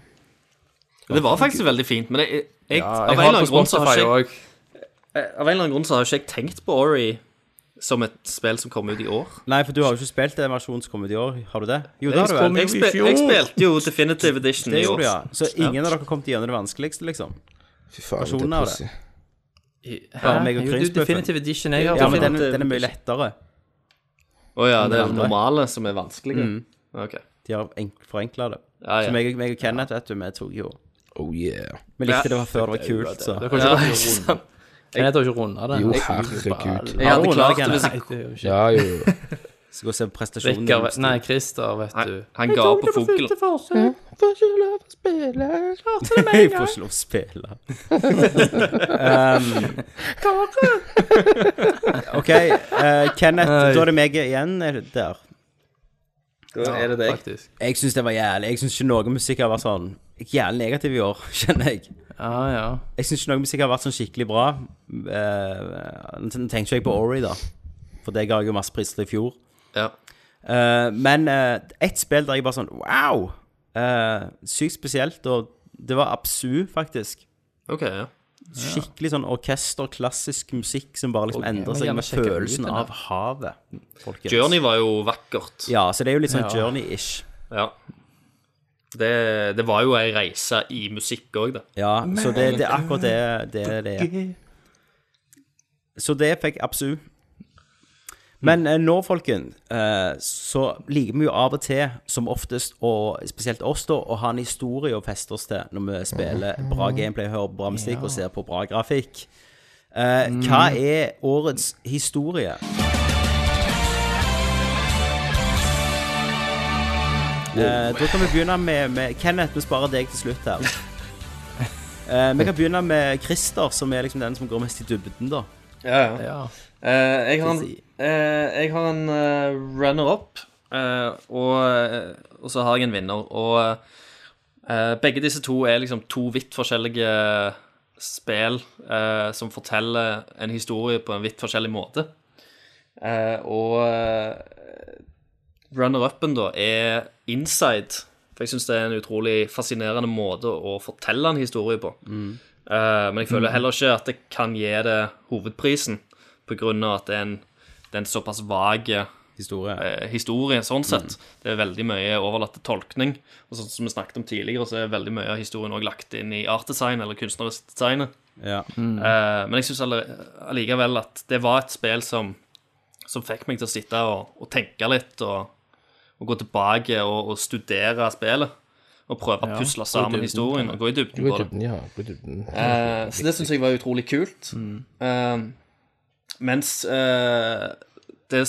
S4: Det var faktisk veldig fint, men det, jeg, jeg,
S2: Jeg
S4: av, en
S2: har
S4: eller
S2: det på
S4: annen grunn så har
S2: Spotify
S4: ikke, jeg-
S2: òg.
S4: av en eller annen grunn så har ikke jeg tenkt på Ori som et spill som kom ut i år.
S1: Nei, for du har jo ikke spilt den versjonen som kom ut i år. Har du det? Jo, det
S2: Jeg
S1: har du vel.
S2: kom i-
S4: Jeg, spil, jeg spilte jo Definitive Edition
S1: Det
S4: i
S1: gjorde
S4: år.
S1: du, ja. Så ingen av dere kom til gjennom det vanskeligste, liksom?
S3: Fy faen, det
S1: Versjonen
S3: er
S1: av
S3: pussy.
S1: Bare meg og
S2: Jo, du,
S1: Krinsbøffen.
S2: Definitive Edition. Jeg har
S1: Ja, men den,
S2: Definitive-
S1: den er mye lettere.
S4: Å ja, det er
S1: andre. Mm.
S4: normale som er vanskelige. Ok.
S1: De har enk- forenkla det.
S4: Ja, ja.
S1: Så meg, meg og Kenneth, vet du, vi tok jo
S3: Oh yeah.
S1: Vi likte det var før det var kult, så.
S2: Det kommer ikke til å runde. Jeg tar ikke runde den.
S3: Jo, herregud.
S4: Jeg hadde
S1: Hallo,
S4: klart det
S1: Norge.
S4: hvis jeg
S3: Ja, jo, jo.
S1: Skal gå og se på prestasjonen.
S2: Rikard,
S1: din.
S2: nei, Christer, vet du.
S4: Han ga på
S1: Jeg
S4: fuglen.
S1: får ikke lov å spille. um, OK, eh, Kenneth, da er det meg igjen er det der.
S4: Er det deg?
S2: Faktisk.
S1: Jeg syns det var jævlig. Jeg syns ikke noe musikk har vært sånn jævlig negativ i år, kjenner jeg.
S2: Ja, ja.
S1: Jeg syns ikke noe musikk har vært sånn skikkelig bra. Eh, Nå tenkte ikke jeg på Ori, da, for det ga jeg jo masse priser til i fjor.
S4: Ja.
S1: Eh, men eh, ett spill der jeg bare sånn wow! Eh, sykt spesielt, og det var Absu, faktisk.
S4: Ok, ja.
S1: Skikkelig sånn orkester, klassisk musikk som bare liksom
S2: Ok,
S1: endrer
S2: men
S1: seg
S2: gjerne
S1: med
S2: sjekke den ut,
S1: følelsen
S2: den
S1: av havet. folkens.
S4: Journey var jo vakkert.
S1: Ja, så det er jo litt sånn journey-ish.
S4: Ja. Det, det var jo ei reise i musikk òg, det.
S1: Ja, så det, det er akkurat det det er det. er. Så det fikk Absu. Men eh, nå, folken, eh, så liker vi jo av og til, som oftest, og spesielt oss, da, å ha en historie å feste oss til når vi spiller bra gameplay, hører bra musikk og ser på bra grafikk. Eh, hva er årets historie? Eh, da kan vi begynne med, med Kenneth, vi sparer deg til slutt her. Eh, vi kan begynne med Christer, som er liksom den som går mest i dybden, da.
S4: Ja, ja.
S2: ja.
S4: Eh, jeg har en, eh, jeg har en eh, runner-up, eh, og, eh, og så har jeg en vinner. Og eh, begge disse to er liksom to vidt forskjellige spill eh, som forteller en historie på en vidt forskjellig måte. Eh, og eh, runner-upen, da, er inside. For jeg syns det er en utrolig fascinerende måte å fortelle en historie på. Eh, men jeg
S3: Mm.
S4: føler heller ikke at jeg kan gi det hovedprisen på grunn av at det er en, det er en såpass vag eh,
S1: Historie.
S4: historie, sånn sett.
S3: Mm.
S4: Det er veldig mye overlatt til tolkning. Og sånn som vi snakket om tidligere, så er veldig mye av historien også lagt inn i artdesign, eller kunstnerisk design.
S1: Ja.
S3: Mm.
S4: Eh, men jeg syns allikevel at det var et spill som, som fikk meg til å sitte og, og tenke litt, og, og gå tilbake og, og studere spillet. Og prøve å pusle sammen historien og gå i dybden
S3: Gå i
S4: på det.
S3: dybden, ja. Gå i dybden.
S4: Eh, så det syns jeg var utrolig kult. Eh, mens eh, det,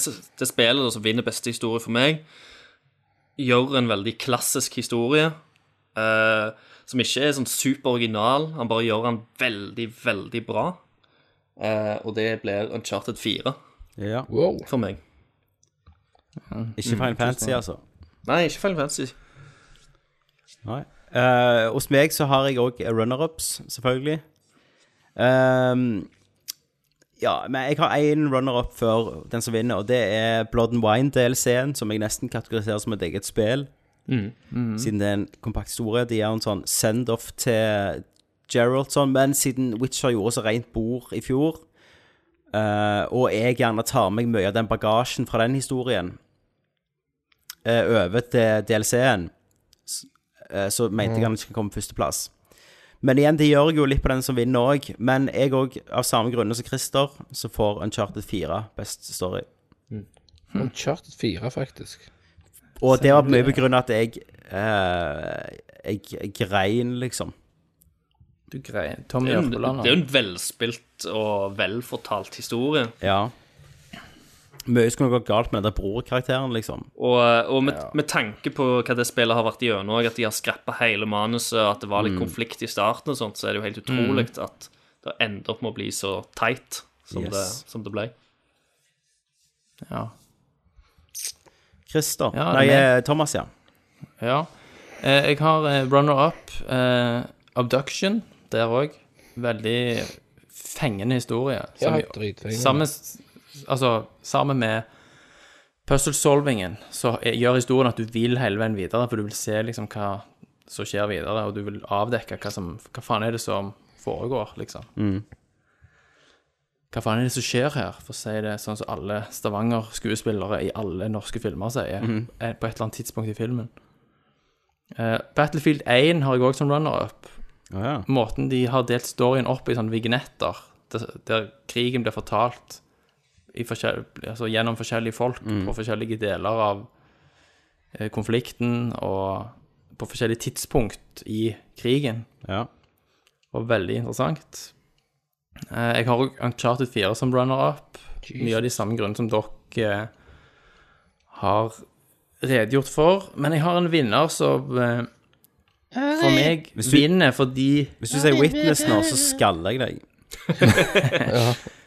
S4: det spillet da som vinner beste historie for meg, gjør en veldig klassisk historie. eh, som ikke er sånn superoriginal. Han bare gjør den veldig, veldig bra. Eh, og det blir Uncharted 4
S1: ja.
S3: Wow.
S4: for meg.
S1: Ikke Final Fantasy, altså.
S4: Nei, ikke Final Fantasy.
S1: Nei. Eh, hos meg så har jeg òg runner-ups, selvfølgelig. Ehm, ja, men jeg har én runner-up før den som vinner, og det er Blood and Wine-DLC-en, som jeg nesten kategoriserer som et eget spill. Siden det er en kompakt historie. De er jo en sånn send-off til Geraldson, men siden Witcher gjorde så rent bord i fjor, eh, og jeg gjerne tar meg mye av den bagasjen fra den historien eh, over til DLC-en, Eh, så mente
S2: Mm.
S1: jeg han ikke kunne komme førsteplass. Men igjen, det gjør jeg jo litt på den som vinner òg. Men jeg òg, av samme grunner som Christer, så får Uncharted 4 best story.
S3: Uncharted 4, sånn faktisk.
S1: Og det var mye på grunn av at jeg eh, Jeg grein, liksom.
S2: Du greier Tommy
S4: Det er jo en-
S2: Jørpeland.
S4: det er jo en velspilt og velfortalt historie.
S1: Ja. Mye skulle gått galt med den der brorkarakteren, liksom.
S4: Og, og med, med tanke på hva det spillet har vært igjennom, og at de har skrappa hele manuset, at det var
S1: Mm.
S4: litt konflikt i starten, og sånt, så er det jo helt utrolig at det ender opp med å bli så tight som,
S1: Yes.
S4: det, som det ble.
S2: Ja.
S1: Christer.
S2: Ja,
S1: Nei,
S2: det er-
S1: eh, Thomas, ja.
S2: ja. Eh, jeg har eh, runner-up eh, Abduction der òg. Veldig fengende historie.
S3: Ja,
S2: Som,
S3: dritfengende.
S2: sammen, altså, sammen med puzzle-solvingen så er- gjør historien at du vil hele veien videre, for du vil se liksom hva som skjer videre, og du vil avdekke hva som Hva faen er det som foregår, liksom? Hva faen er det som skjer her, for å si det sånn som alle Stavanger-skuespillere i alle norske filmer sier eh, på et eller annet tidspunkt i filmen. Eh, Battlefield 1 har jeg òg som runner-up
S1: Å, ja.
S2: måten de har delt storyen opp i sånne vignetter, der, der krigen blir fortalt i forskjell, altså gjennom forskjellige folk
S1: Mm.
S2: på forskjellige deler av eh, konflikten og på forskjellige tidspunkt i krigen,
S1: ja.
S2: var veldig interessant. Eh, jeg har òg Uncharted 4 som runner-up. Mye av de samme grunnene som dere eh, har redegjort for. Men jeg har en vinner som eh, for meg
S1: Hvis du-
S2: vinner fordi
S1: Hvis du sier Witness nå, så skaller jeg deg.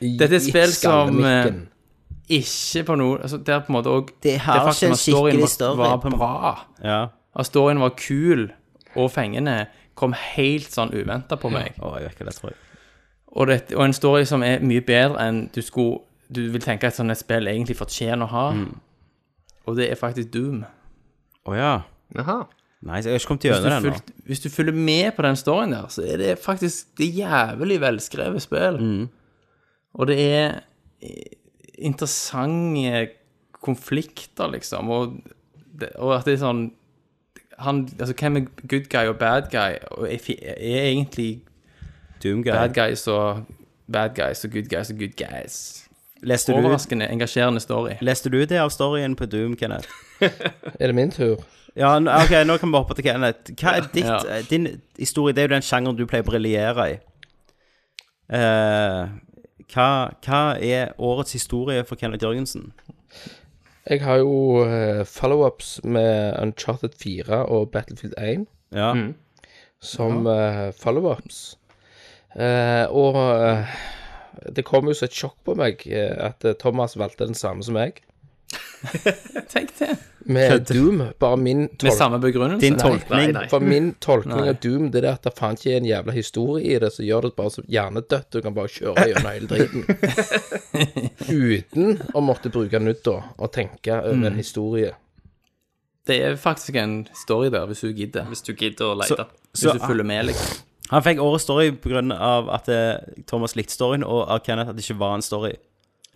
S2: Dette er et
S3: I
S2: spill som, eh,
S3: skallemikken.
S2: ikke på noe altså Det er på en måte òg
S1: Det har ikke en skikkelig story,
S2: var
S1: på en
S2: bra.
S1: Ja.
S2: At storyen var kul og fengende, kom helt sånn uventa på meg.
S1: Å, jeg vet ikke hva det tror jeg.
S2: Og, det, og en story som er mye bedre enn du skulle Du vil tenke at sånn et spill egentlig fortjener å ha.
S1: Mm.
S2: Og det er faktisk Doom.
S1: Å ja.
S4: Jaha.
S1: Nei, så jeg har ikke kommet
S2: Hvis du,
S1: gjennom det ennå.
S2: fulgt, hvis du følger med på den storyen der, så er det faktisk det er jævlig velskrevet spill.
S1: Mm.
S2: Og det er eh, interessante konflikter, liksom. Og, det- og at det er sånn han, altså, Hvem er good guy og bad guy? Og er, fi- er egentlig bad
S1: Doomguy.
S2: guys og bad guys og good guys og good guys?
S1: Leste du,
S2: Overraskende engasjerende story.
S1: leste du det av storyen på Doom, Kenneth?
S3: Er det min tur?
S1: Ja, n- ok, nå kan vi hoppe til Kenneth. Hva er ditt,
S2: Ja.
S1: eh, din historie? Det er jo den sjangeren du pleier å briljere i. Eh, hva, hva er årets historie for Kenneth Jørgensen?
S3: Jeg har jo eh, follow-ups med Uncharted 4 og Battlefield 1
S1: Ja,
S3: som eh, follow-ups. Eh, og eh, det kom jo som et sjokk på meg eh, at eh, Thomas valgte den samme som meg.
S2: Tenk det.
S3: Med Doom, bare min
S2: Med
S3: tolk.
S2: samme begrunnelse.
S1: Din tolkning.
S3: For min tolkning
S2: Nei.
S3: av Doom det er det at det faen ikke er en jævla historie i det, så gjør det bare så hjernedødt. Du kan bare kjøre gjennom hele driten. Uten å måtte bruke nudda og tenke
S2: Mm.
S3: over en historie.
S2: Det er faktisk en story der, hvis du gidder. Hvis,
S4: Hvis du gidder å lete.
S1: Så-
S2: du følger med, liksom.
S1: Han fikk årets story pga. at eh, Thomas likte storyen, og av Kenneth at det ikke var en story.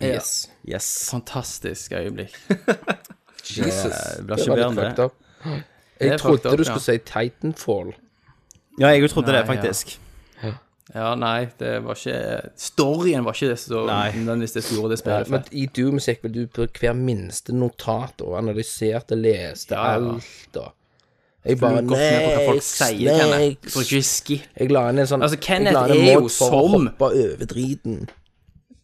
S3: Yes.
S1: Yes.
S2: Fantastisk øyeblikk.
S3: Jesus.
S1: det blir
S3: Det
S1: ikke
S3: var
S1: bedre
S3: litt
S1: enn det.
S3: fucked up.
S2: Det er
S3: Jeg trodde
S2: fucked up,
S3: du
S2: ja.
S3: skulle si Titanfall.
S1: Ja, jeg jo trodde det,
S2: Nei, ja.
S1: faktisk.
S2: Ja, nei, det var ikke Storyen var ikke det som
S1: Nei.
S2: nødvendigvis det store det spillet.
S3: Men i Doom så gikk vel du på hver minste notat og analyserte, leste
S2: Ja, ja.
S3: alt og Jeg
S2: Du
S3: bare
S2: går med på hva folk
S3: next,
S2: sier, Kenneth.
S3: next.
S2: Du får ikke skip.
S3: Jeg la inn en sånn
S2: Altså, Kenneth
S3: jeg la inn en
S2: er jo
S3: mod for å
S2: som-
S3: hoppe over driten.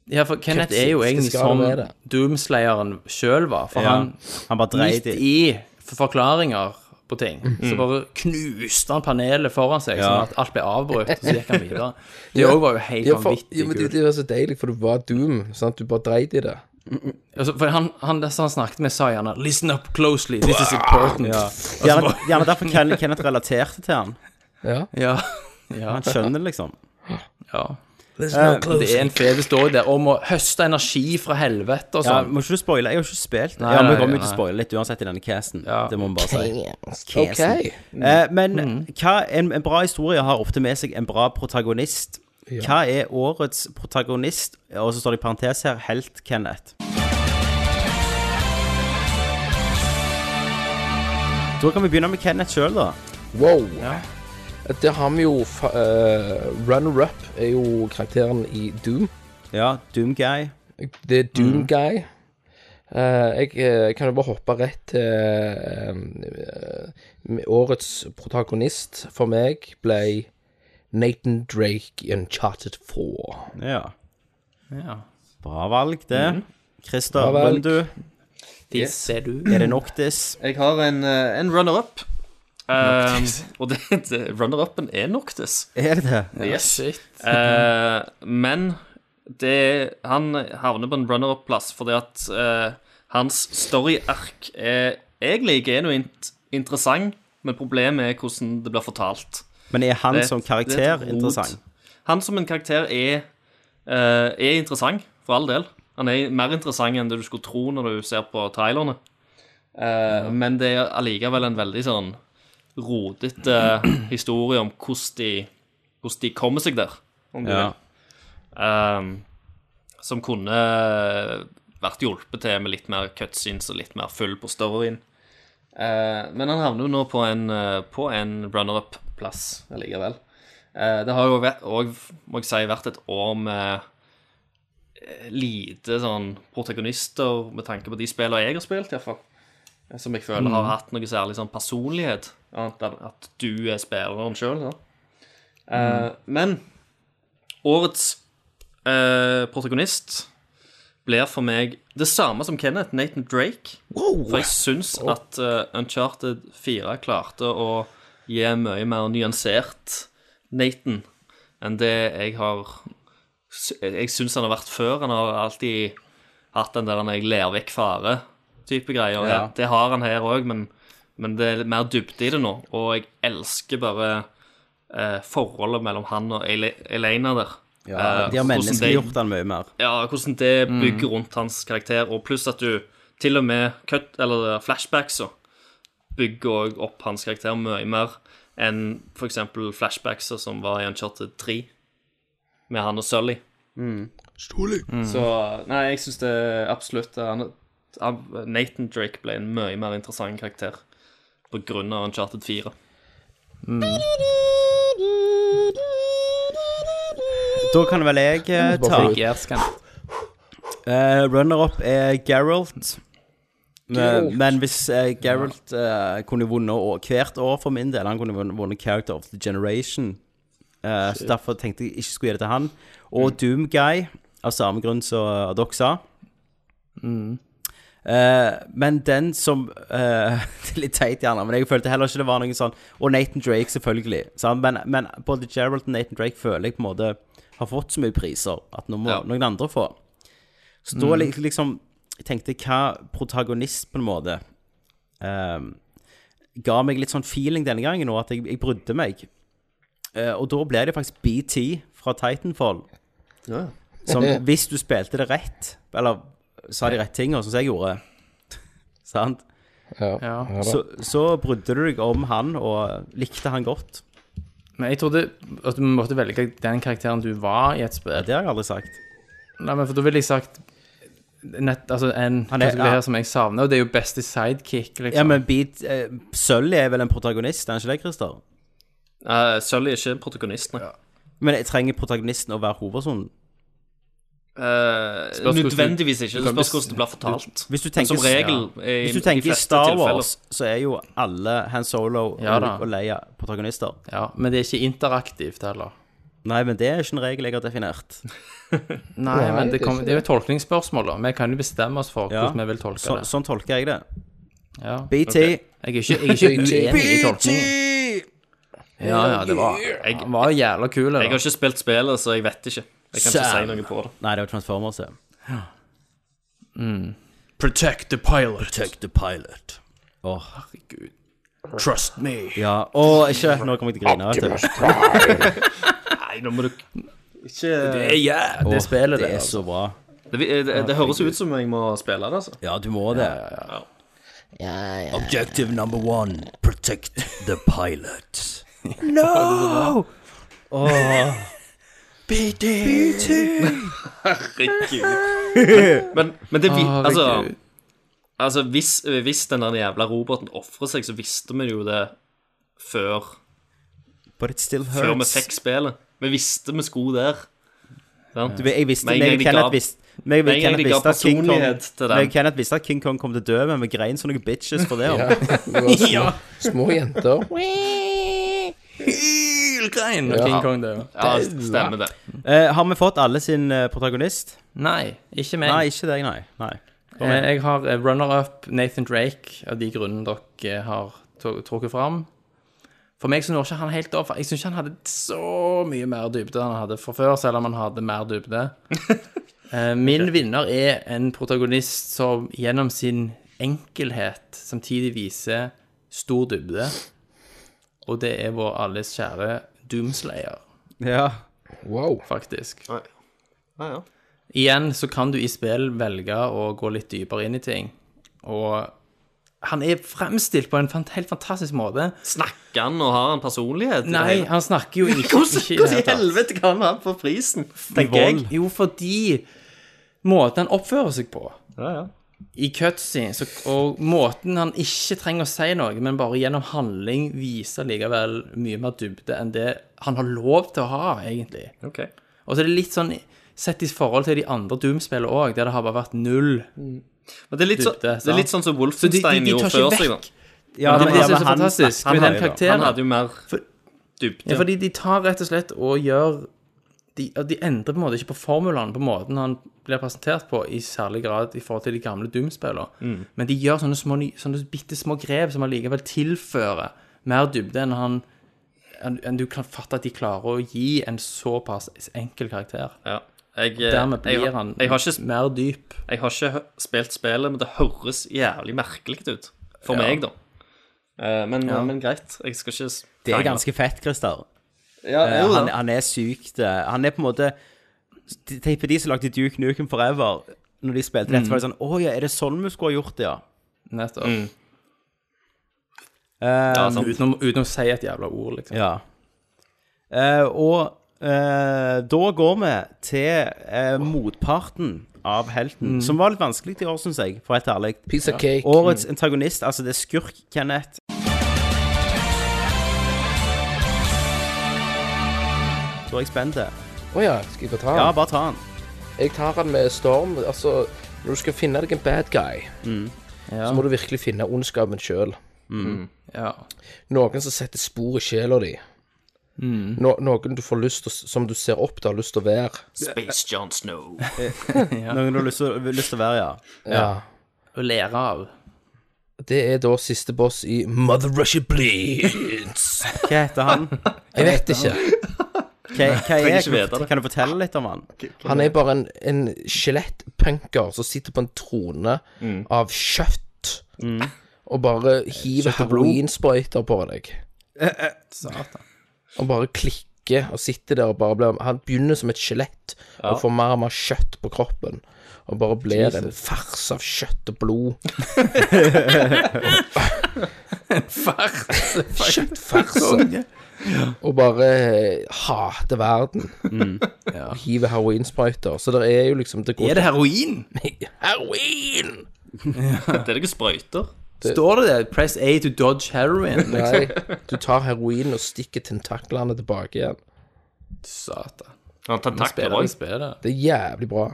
S2: Ja, for Kenneth er jo
S3: Hva
S2: egentlig
S3: skal
S2: som
S3: det være?
S2: Doomslayeren sjøl var, for
S1: Ja.
S2: han
S1: Han bare dreit
S2: midt
S1: i.
S2: i for- forklaringer på ting, så bare knuste han panelet foran seg, sånn at alt ble avbrutt, og så gikk han videre. Det òg var jo helt
S3: Ja, for, ja,
S2: vanvittig kult.
S3: men det, det var så deilig, for du var Doom. Sant? Du bare dreit i det.
S2: Altså, for han, han, han snakket med sa gjerne 'Listen up closely, this is important'.
S1: Ja. Gjerne, gjerne derfor Ken- Kenneth relaterte til han.
S3: Ja.
S2: Ja. ja.
S1: Han skjønner det, liksom.
S2: ja. Eh, Det er en fet story der om å høste energi fra helvete og
S1: Ja,
S2: sånn.
S1: må ikke du spoile? Jeg har jo ikke spilt.
S2: Nei,
S1: ja, men
S2: nei,
S1: Vi kommer jo til å
S2: nei.
S1: spoile litt uansett i denne casten.
S2: Ja.
S1: Det må vi bare si.
S3: OK.
S1: Eh, men hva, en, en bra historie har ofte med seg en bra protagonist. Hva er årets protagonist? Og så står det i parentes her helt Kenneth. Da kan vi begynne med Kenneth sjøl, da.
S3: Wow. Der har vi jo fa- eh, Runner-up er jo karakteren i Doom.
S1: Ja, Doomguy.
S3: Det er Doom
S2: Mm.
S3: Guy. Eh, jeg eh, kan jo bare hoppe rett til eh, eh, årets protagonist for meg ble Nathan Drake i Uncharted 4.
S1: Ja.
S2: Ja.
S1: Bra valg, det. Christer,
S3: Bra valg.
S1: vant du?
S2: De
S4: Yes.
S2: ser du.
S1: Er det Noctis?
S4: Jeg har en, eh, en runner-up. Eh, og det, det, runner-upen er Noctis.
S1: Er det det?
S4: Yes.
S2: Shit.
S4: Eh, men det, han havner på en runner-up-plass fordi at eh, hans story-ark er egentlig genuint interessant, men problemet er hvordan det blir fortalt.
S1: Men er han
S4: Det-
S1: som
S4: det er
S1: karakter
S4: et rot.
S1: interessant?
S4: Han som en karakter er, eh, er interessant, for all del. Han er mer interessant enn det du skulle tro når du ser på trailerne. Eh, Men det er allikevel en veldig sånn rodete historie om hvordan de, hvordan de kommer seg der, om du
S1: Ja.
S4: vil. Ehm, som kunne vært hjulpet til med litt mer cutscenes og litt mer full på storyen. Eh, men han havner jo nå på en, eh, på en runner-up-plass allikevel. Eh, det har jo vært- og, må jeg si, vært et år med eh, lite sånn protagonister, med tanke på de spillene jeg har spilt, iallfall. Eh, Som jeg føler har hatt noe særlig sånn personlighet, annet enn at du er spilleren sjøl. Men årets eh, protagonist blir for meg det samme som Kenneth, Nathan Drake. For jeg syns at eh, Uncharted 4 klarte å gi mye mer nyansert Nathan enn det jeg har sy- Jeg syns han har vært før. Han har alltid hatt den der han jeg ler vekk fare-type greier.
S1: Ja.
S4: Det har han her òg, men, men det er litt mer dybde i det nå. Og jeg elsker bare eh, forholdet mellom han og Ele- Elena der.
S1: Ja,
S4: Eh,
S1: de har
S4: hvordan
S1: menneskeliggjort han mye mer.
S4: ja, hvordan det
S1: Mm.
S4: bygger rundt hans karakter, og pluss at du til og med cut, eller flashbacks så bygger også opp hans karakter mye mer enn f.eks. flashbacks som var i Uncharted 3, med han og Sully.
S1: Mm.
S4: Så nei, jeg syns det er absolutt han, han, Nathan Drake ble en mye mer interessant karakter på grunn av Uncharted 4.
S1: Da kan vel jeg eh,
S3: bare
S1: ta
S3: få ut.
S2: Gjerskan.
S1: Eh, Runner-up er Geralt. Men, men hvis eh, Geralt eh, kunne vunnet å- hvert år for min del Han kunne vunnet- vunnet Character of the Generation. Eh, så Derfor tenkte jeg ikke skulle gi det til han. Og Doom Guy, av samme grunn som dere sa. Eh, men den som eh, Det er litt teit, gjerne, men jeg følte heller ikke det var noen sånn Og Nathan Drake, selvfølgelig. Sant? Men, men både Gerald og Nathan Drake føler jeg på en måte har fått så mye priser at nå må
S4: Ja.
S1: noen andre få. Så da li- liksom jeg tenkte hva protagonist, på en måte, ehm, ga meg litt sånn feeling denne gangen, og at jeg, jeg brydde meg. Eh, og da ble det faktisk BT fra Titanfall. Som hvis du spilte det rett, eller sa de rett tingene, som jeg gjorde Sant?
S3: Ja.
S2: Ja.
S1: Så, så brydde du deg om han, og likte han godt.
S2: Men jeg trodde at du måtte velge den karakteren du var i et spill.
S1: Det har jeg aldri sagt.
S2: Nei, men for da ville jeg sagt nett, altså en
S1: Han er-
S2: kategori
S1: ja.
S2: her som jeg savner, og det er jo beste sidekick, liksom.
S1: Ja, men Beat eh, Sølvi er vel en protagonist, er han ikke det, Christer?
S4: Eh, Sully er ikke protagonisten. Ja.
S1: Men jeg trenger protagonisten å være hovedpersonen?
S2: hvordan-
S4: Eh, nødvendigvis ikke.
S2: du
S4: Det
S2: kan
S4: spørs
S2: bes-
S4: hvordan det blir fortalt.
S1: Hvis du tenker,
S4: Som regel i,
S1: hvis du
S4: i
S1: tenker
S4: fleste
S1: Star
S4: tilfeller.
S1: Wars, så er jo alle Han Solo
S2: Ja
S1: og,
S2: da.
S1: og Leia protagonister.
S2: Ja, men det er ikke interaktivt heller.
S1: Nei, men det er ikke en regel jeg har definert.
S2: Nei, men det,
S3: det er
S2: kommer-
S3: ikke
S2: det er jo et tolkningsspørsmål, da. Vi kan jo bestemme oss for
S1: Ja.
S2: hvordan vi vil tolke
S1: Så,
S2: det.
S1: sånn tolker jeg det.
S2: Ja.
S1: BT.
S2: Jeg er ikke, jeg er ikke uenig i tolkningen. Ja, ja, det var Han var jo jævla kul.
S4: Jeg har
S2: da.
S4: ikke spilt spillet, så jeg vet ikke. Jeg kan ikke si
S1: Sam.
S4: noe på det.
S1: Nei, det var Transformers, det.
S7: Protect the pilot.
S1: Take the pilot. Åh,
S2: Herregud.
S7: Trust me.
S1: ja. Åh, ikke Nå kommer jeg til å grine, vet du.
S4: Nei, nå må du ikke
S2: Det er jæ- det
S1: Åh,
S2: spillet, det.
S1: Det er
S2: altså.
S1: så bra.
S4: Det, det, det, det høres ut som jeg må spille det, altså.
S1: Ja, du må det. Objective number one, protect the pilot. no!
S4: Herregud. Men, men det vi, altså,
S2: Herregud.
S4: altså hvis, hvis den der jævla roboten ofrer seg, så visste vi jo det før,
S1: But it still
S4: før vi
S1: hurts.
S4: fikk spillet. Vi visste vi skulle der. Sant?
S1: Du, jeg visste,
S4: Men
S1: meg og
S4: egentlig
S1: Kenneth
S4: gav-
S1: visste meg og
S4: men
S1: Kenneth
S4: egentlig gav
S1: visste at King Kong
S4: personlighet til den.
S1: meg og Kenneth visste at King Kong kom til å dø, men vi grein som noen altså. bitches for det.
S3: Det var små, små jenter.
S4: Sylgrein!
S2: Når King Kong dør.
S4: Ja, stemmer det.
S1: Eh, har vi fått alle sin eh, protagonist?
S2: Nei, ikke meg.
S1: Nei, ikke deg, nei. nei.
S2: Eh, Jeg har eh, runner-up Nathan Drake av de grunnene dere eh, har tr- trukket fram. For meg så når ikke han helt opp. for Jeg syns ikke han hadde så mye mer dybde enn han hadde fra før, selv om han hadde mer dybde. Eh, Min vinner er en protagonist som gjennom sin enkelhet samtidig viser stor dybde, og det er vår alles kjære Doomslayer,
S1: Ja.
S3: Wow.
S2: faktisk.
S4: Ja, ja.
S2: Igjen så kan du i spill velge å gå litt dypere inn i ting. Og han er fremstilt på en fan- helt fantastisk måte.
S4: Snakker han og har en personlighet? i det
S2: Nei,
S4: hele?
S2: han snakker jo ikke,
S4: Hvordan
S2: ikke
S4: hvordan i
S2: hele tatt.
S4: helvete kan han få prisen? Tenker jeg.
S1: Vold.
S2: Jo, fordi måten han oppfører seg på
S4: Ja, ja.
S2: i cutscenes, og, og måten han ikke trenger å si noe, men bare gjennom handling viser likevel mye mer dybde enn det han har lov til å ha, egentlig.
S4: Ok.
S2: Og så er det litt sånn sett i forhold til de andre Doom-spillene òg, der det har bare vært null.
S4: Men det er litt, så,
S2: Dybde,
S4: det
S2: sant?
S4: er litt sånn
S2: Så
S4: som
S2: de, de,
S4: Wolfenstein
S2: de
S4: gjorde
S2: tar
S4: før
S2: ikke
S4: seg.
S2: vekk
S4: da.
S1: ja
S2: det er det som er fantastisk med
S1: har
S2: den
S1: jo det.
S2: karakteren.
S4: Han hadde jo mer
S2: For-
S4: dybde.
S2: Ja, fordi de tar rett og slett og gjør de, og de endrer på en måte ikke på formulaen på måten han blir presentert på, i særlig grad i forhold til de gamle Doom-spillene.
S4: Mm.
S2: Men de gjør sånne, små, ny- sånne bitte små grep som allikevel tilfører mer dybde enn han enn enn du kan fatte at de klarer å gi en såpass enkel karakter.
S4: ja. jeg, eh,
S2: Dermed
S4: jeg,
S2: blir
S4: har-
S2: han
S4: jeg, har ikke,
S2: mer dyp.
S4: jeg har ikke hø- spilt spillet, men det høres jævlig merkelig ut. For meg, da. Eh, Men, men greit. Jeg skal ikke s-
S1: Det er
S4: krangle.
S1: ganske fett, Christer.
S4: ja,
S1: Eh,
S4: jo, da.
S1: han, han er sykt eh, Han er på en måte de- Tenk på de som lagde Duke Nukem Forever. Når de spilte
S4: Mm.
S1: dette, var det sånn Å ja, er det sånn vi skulle ha gjort det, ja?
S2: Nettopp.
S1: Eh,
S4: sant.
S2: Altså, Uten, å, uten å si et jævla ord, liksom.
S1: ja. Eh, og eh, da går vi til eh, motparten av helten,
S4: Mm.
S1: som var litt vanskelig i år, syns jeg, for å være helt ærlig.
S3: Piece of cake.
S1: Årets antagonist, altså det er skurk Kenneth. Så er jeg spent.
S3: Å ja, skal jeg få ta den?
S1: Ja, bare ta den.
S3: Jeg tar han med storm. Altså, når du skal finne deg en bad guy, så må du virkelig finne ondskapen sjøl.
S2: Ja.
S3: Noen som setter spor i sjela di. No, noen du får lyst til, å- som du ser opp til, har lyst til å være.
S4: Space John Snow.
S1: Noen du har lyst til- lyst til å være, ja.
S3: Ja.
S2: Å lære av.
S3: Det er da siste boss i Mother Russia Bleeds.
S1: Hva heter han?
S3: Jeg vet ikke.
S1: Hva, hva er
S4: ikke vite det.
S1: Kan du fortelle litt om han?
S3: Han er bare en, en skjelettpunker som sitter på en trone av kjøtt og bare hiver heroinsprøyter på deg.
S2: Satan.
S3: og bare klikker og sitter der og bare blir Han begynner som et skjelett og får mer og mer kjøtt på kroppen. Og bare blir en fars av kjøtt og blod. Kjøttfars. og bare hater verden. Og hiver heroinsprøyter. Så det er jo liksom det
S2: Er
S3: går
S2: det heroin?
S3: Heroin!
S4: Det er ikke sprøyter.
S2: Står det det? Press A to dodge heroin.
S3: Nei, du tar heroin og stikker tentaklene tilbake igjen.
S2: Satan.
S4: Han har tentakler
S2: Spiller i
S4: òg.
S2: spillet.
S3: Det er jævlig bra.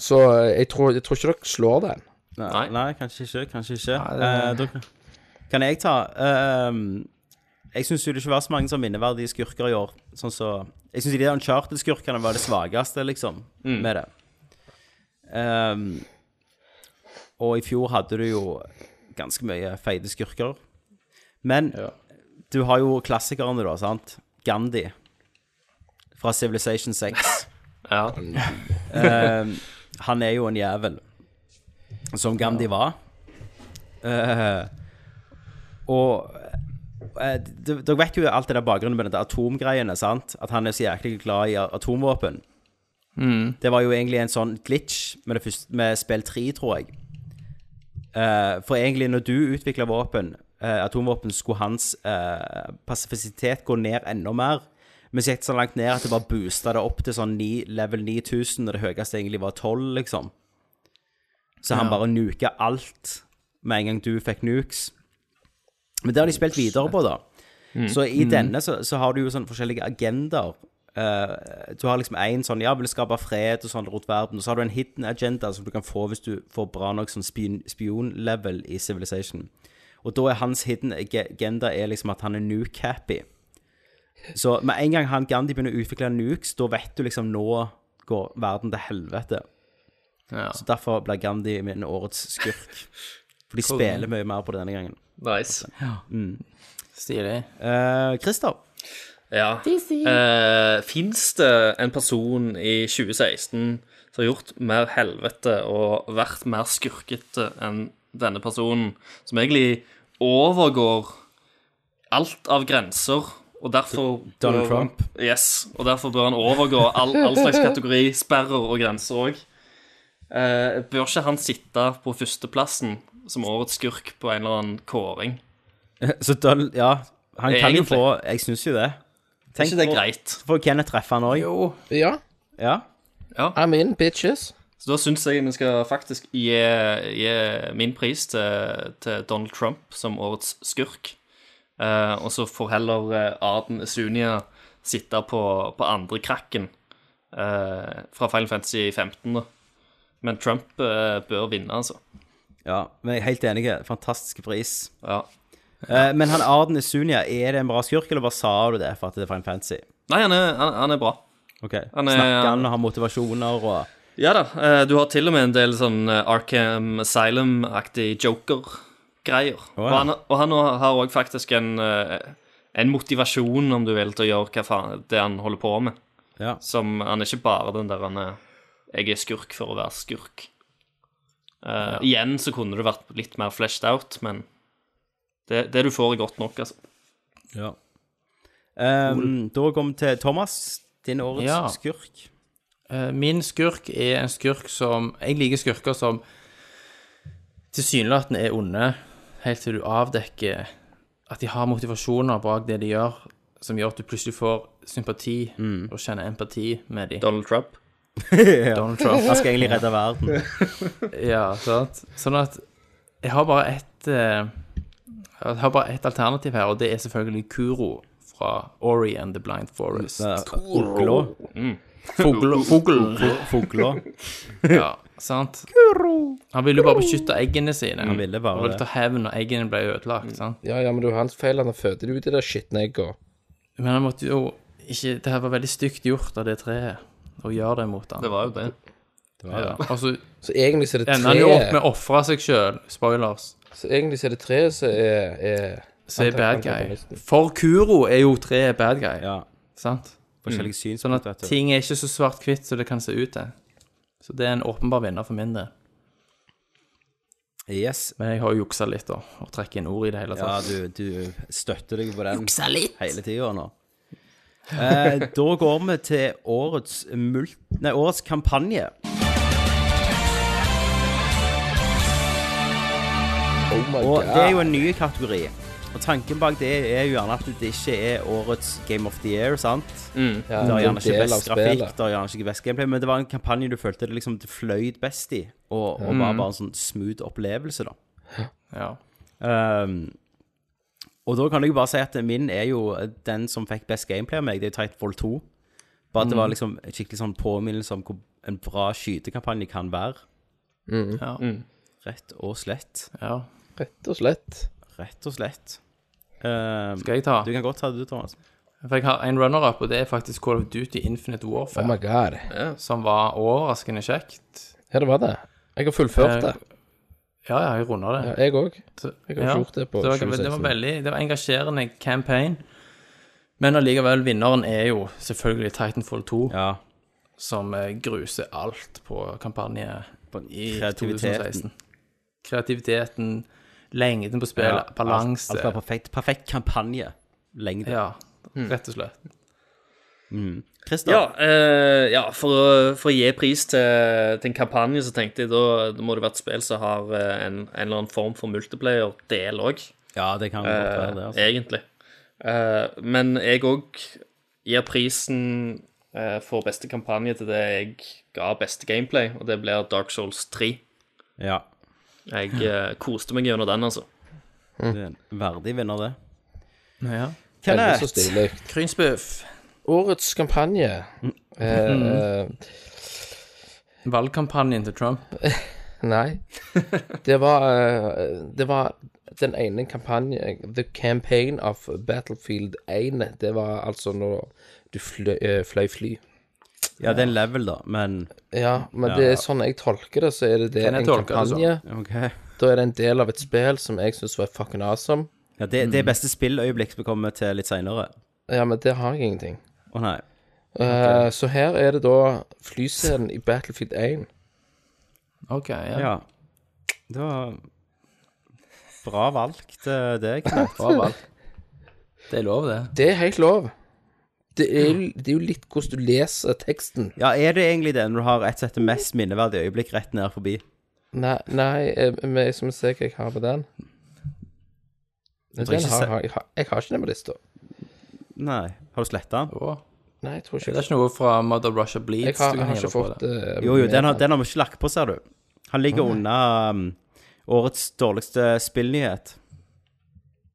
S3: Så eh, jeg tror, jeg tror ikke dere slår den.
S1: Nei,
S4: Nei.
S1: nei kanskje ikke. Kanskje ikke. Eh, da, kan jeg ta ehm, Jeg syns det ikke var så mange som minneverdige skurker i år. Sånn så, jeg syns de der Uncharted-skurkene var det svakeste, liksom, med det. Ehm, og i fjor hadde du jo ganske mye feite skurker. Men du har jo klassikerne, da, sant? Gandhi fra Civilization 6.
S4: Ja.
S1: Han er jo en jævel. Som Gandhi var. Eh, og eh, d- Dere vet jo alt det der bakgrunnen med de atomgreiene. sant? At han er så jæklig glad i a- atomvåpen. Det var jo egentlig en sånn glitch med, det første, med spill 3, tror jeg. Eh, for egentlig, når du utvikla våpen, eh, atomvåpen, skulle hans eh, pasifisitet gå ned enda mer. Men så gikk det så langt ned at det bare boosta det opp til sånn ni, level 9000, og det høyeste egentlig var 12, liksom. Så han bare nuka alt med en gang du fikk nukes. Men det har de spilt videre på, da. Så i denne så, så har du jo sånn forskjellige agendaer. Eh, du har liksom én sånn ja, vil skape fred og sånn rundt verden, og så har du en hidden agenda som du kan få hvis du får bra nok sånn spion- spion-level i Civilization. Og da er hans hidden ag- agenda er liksom at han er nuke-happy. Så med en gang han Gandhi begynner å utvikle nukes, da vet du liksom nå går verden til helvete.
S2: Ja.
S1: Så derfor blir Gandhi min årets skurk. For de spiller mye mer på det denne gangen.
S4: Nice.
S2: Stilig.
S1: Eh, Christer,
S4: Ja. Uh, Fins det en person i 2016 som har gjort mer helvete og vært mer skurkete enn denne personen, som egentlig overgår alt av grenser, og derfor
S1: Donald
S4: bør-
S1: Trump.
S4: Yes, og derfor bør han overgå all, all slags kategori, sperrer og grenser òg. bør ikke han sitte på førsteplassen som årets skurk på en eller annen kåring?
S1: så Donald Ja, han kan jo
S4: Egentlig.
S1: få Jeg syns jo det.
S4: Er
S1: Tenk
S4: ikke det
S1: på-
S4: greit?
S1: Så får Kenneth treffe han òg.
S2: Jo.
S3: Ja,
S1: Ja.
S3: I'm in, bitches.
S4: Så da syns jeg vi skal faktisk gi, gi min pris til, til Donald Trump som årets skurk. Eh, og så får heller eh, Arden Esunia sitte på, på andre krakken eh, fra Final Fantasy 15. Da. Men Trump eh, bør vinne, altså.
S1: ja. Men jeg er helt enig. Fantastisk pris.
S4: Ja.
S1: Eh, men han Arden Esunia, er det en bra skurk, eller bare sa du det for at det er Fine Fantasy?
S4: Nei, han er, han, han er bra.
S1: Ok,
S4: Han er-
S1: Snakker han og har motivasjoner og
S4: Ja da. eh, du har til og med en del sånn eh, Arkham Asylum-aktig joker-greier.
S1: ja.
S4: og, han, og han har òg faktisk en, eh, en motivasjon, om du vil, til å gjøre hva faen det han holder på med.
S1: Ja.
S4: Som Han er ikke bare den der han er Jeg er skurk for å være skurk. Eh, Igjen så kunne det vært litt mer fleshed out, men det, det du får, er godt nok, altså.
S1: Ja. Ehm, da kom vi til Thomas, din årets
S2: Ja.
S1: skurk.
S2: Eh, Min skurk er en skurk som Jeg liker skurker som tilsynelatende er onde, helt til du avdekker at de har motivasjoner bak det de gjør, som gjør at du plutselig får sympati og kjenner empati med de.
S4: Donald Trump.
S2: Donald Trump.
S1: Han skal egentlig redde verden.
S2: Ja, sant. Sånn at jeg har bare ett eh, Jeg har bare ett alternativ her, og det er selvfølgelig Kuro fra Ori and the Blind Forest.
S1: Fugla.
S2: Fugl. fugl.
S1: Fugla.
S2: Ja, sant? Han ville jo bare beskytte eggene sine. Han
S1: ville bare
S2: ville
S1: det.
S2: ta hevn når eggene ble ødelagt. sant?
S3: Ja, ja, men du, hans feil, han har født deg ut i det skitne egget.
S2: Men han måtte jo ikke Det her var veldig stygt gjort av det treet å gjøre det mot han.
S4: Det var jo det.
S2: ja. Og så
S3: Så egentlig så er det
S2: ender han jo opp med
S3: treet
S2: å ofre seg sjøl. Spoilers.
S3: Så egentlig så er det treet som er, er
S2: Så er bad guy.
S3: Antagonisten.
S2: For Kuro er jo treet bad guy.
S1: Ja.
S2: Sant?
S1: Forskjellige synspunkter.
S2: Sånn at
S1: vet du.
S2: ting er ikke så svart-hvitt som det kan se ut til. Så det er en åpenbar vinner for min del.
S1: Yes.
S2: Men jeg har jo juksa litt, da. Og trekker inn ord i det hele
S1: Ja,
S2: tatt.
S1: du, du støtter deg på den hele tida nå. Eh, da går vi til årets, mult... Nei, årets kampanje.
S3: Oh my
S1: Og
S3: god.
S1: det er jo en ny kategori. Og tanken bak det er jo gjerne at det ikke er årets Game of the Year, sant?
S3: ja,
S1: Det er gjerne
S3: Eh, en
S1: ikke
S3: del av
S1: best grafikk,
S3: spillet.
S1: det er gjerne ikke best gameplay, men det var en kampanje du følte det liksom det fløyd best i, og, og
S3: Mm.
S1: var bare en sånn smooth opplevelse, da.
S2: Ja.
S1: Ehm, og da kan jeg jo bare si at min er jo den som fikk best gameplay av meg, det er jo Titanfall 2. Bare at det
S3: Mm.
S1: var liksom en skikkelig sånn påminnelse om hvor en bra skytekampanje kan være.
S2: Ja.
S3: Mm.
S1: Rett og slett.
S2: ja.
S3: Rett og slett.
S1: Rett og slett. Ehm,
S2: Skal jeg ta?
S1: du kan godt ta det, du, Thomas.
S2: For jeg har en runner-up, og det er faktisk Call of Duty Infinite Warfare,
S3: Oh my god.
S2: som var overraskende kjekt.
S3: Ja, det var det. Jeg har fullført det.
S2: Ja, ja, jeg runder det.
S3: Ja, Jeg òg.
S2: Så-
S3: jeg har ikke gjort det på
S2: så det var,
S3: 2016.
S2: det var veldig det var engasjerende campaign, men allikevel, vinneren er jo selvfølgelig Titanfall 2,
S1: Ja.
S2: som eh, gruser alt på kampanje
S1: på
S2: i
S1: Kreativiteten.
S2: 2016. Kreativiteten, lengden på spillet, balanse.
S1: Alt var perfekt. Perfekt kampanje. Lengde.
S2: ja,
S3: Mm.
S2: rett og slett.
S1: Mm. Christer,
S4: Ja, eh, ja for, å, for å gi pris til, til en kampanje, så tenkte jeg da, da må det være et spill som har eh, en, en eller annen form for multiplayer-del òg,
S1: Ja, det kan godt være det. Altså.
S4: egentlig. Eh, men jeg òg gir prisen eh, for beste kampanje til det jeg ga beste gameplay, og det blir Dark Souls 3.
S1: Ja,
S4: Jeg eh, koste meg gjennom den, altså.
S1: det er en verdig vinner, det.
S2: Ja.
S1: eh.
S3: Veldig så
S1: Kenneth,
S3: stilig.
S2: Krynsbøff,
S3: Årets
S2: Mm.
S3: kampanje eh,
S2: valgkampanjen til Trump.
S3: Nei. Det var, eh, det var den ene kampanjen The Campaign of Battlefield 1. Det var altså når du fløy, eh, fløy fly.
S1: Ja, det er en level, da, men
S3: Ja, men
S1: Ja,
S3: det
S1: ja.
S3: er sånn jeg tolker det, så er det, det
S2: Kan jeg
S3: en
S2: tolke det sånn.
S3: kampanje.
S1: OK.
S3: Da er det en del av et spill som jeg syns var fucking awesome.
S1: Ja, det, det er beste spilløyeblikk som vi kommer til litt seinere.
S3: Ja, men det har jeg ingenting.
S1: Å nei.
S3: Eh, Så her er det da flyscenen i Battlefield 1.
S2: OK, ja.
S1: Ja. Det var bra valgt, eh, det, Knut.
S2: Bra valg. Det er lov, det.
S3: Det er helt lov. Det er, jo- det er jo litt hvordan du leser teksten.
S1: Ja, er det egentlig det, når du har et sett det mest minneverdige øyeblikk rett ned forbi?
S3: Nei, nei eh, men jeg skal vi se hva jeg har på den.
S1: tror
S3: Den
S1: ikke
S3: har,
S1: se-
S3: har, jeg, har, jeg har ikke den på lista.
S1: Nei. Har du sletta den?
S2: Å,
S3: Nei, jeg tror ikke
S2: Det er ikke noe fra Mother Russia Bleeds
S3: Jeg har,
S2: du
S3: jeg
S2: kan
S3: har
S2: hive
S3: ikke
S2: på
S3: fått
S2: det.
S3: eh,
S1: Jo, jo,
S3: med
S1: den har, den har vi ikke lagt på, ser du. Han ligger unna um, årets dårligste spillnyhet.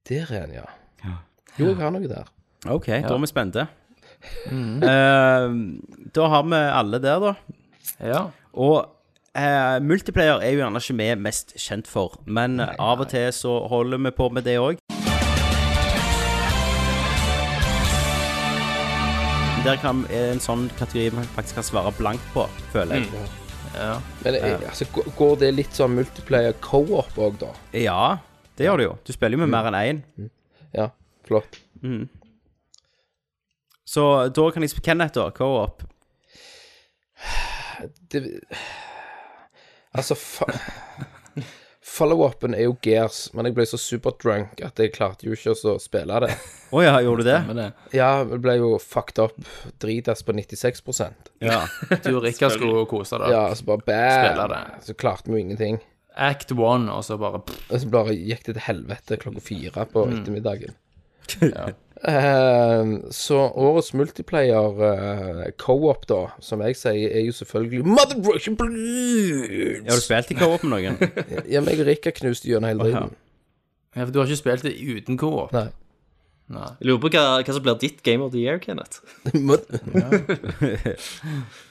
S3: Der er den, ja. Jo, jeg har noe der.
S1: OK, da er vi spente. Mhm. Eh, da har vi alle der, da.
S2: Ja.
S1: Og eh, multiplayer er jo gjerne ikke vi mest kjent for, men eh, av og til så holder vi på med det òg. Der kan, er en sånn kategori man faktisk kan svare blankt på, føler jeg.
S3: Men jeg, altså, gå- går det litt sånn multiplayer co-op òg, da?
S1: Ja, det gjør det jo. Du spiller jo med mer enn én.
S3: Ja, flott.
S1: Så da kan jeg sp- Kenneth, da. Co-op.
S3: Det, altså, fa Follow-upen er jo Gears, men jeg ble så superdrunk at jeg klarte jo ikke å så spille det.
S1: Å ja, gjorde du det?
S2: Men eh, det.
S3: Ja, jeg ble jo fucked up dritas på 96
S1: Ja.
S2: Du og Rikard skulle kose deg.
S3: Ja, så bare
S2: Spille
S3: bæ,
S2: det.
S3: så klarte vi jo ingenting.
S2: Act one, og så bare pff,
S3: Og så bare gikk det til helvete klokka fire på
S4: Mm.
S3: ettermiddagen. Eh, så årets multiplayer eh, co-op, da, som jeg sier, er jo selvfølgelig Mother Russian Blues!
S1: Har du spilt i co-op med noen?
S3: Ja, meg og Rikard knuste gjennom hele driten.
S2: Ja, for du har ikke spilt det uten co-op.
S3: Nei.
S4: Jeg lurer på hva, hva som blir ditt Game of the Year, Kenneth.
S3: Mother-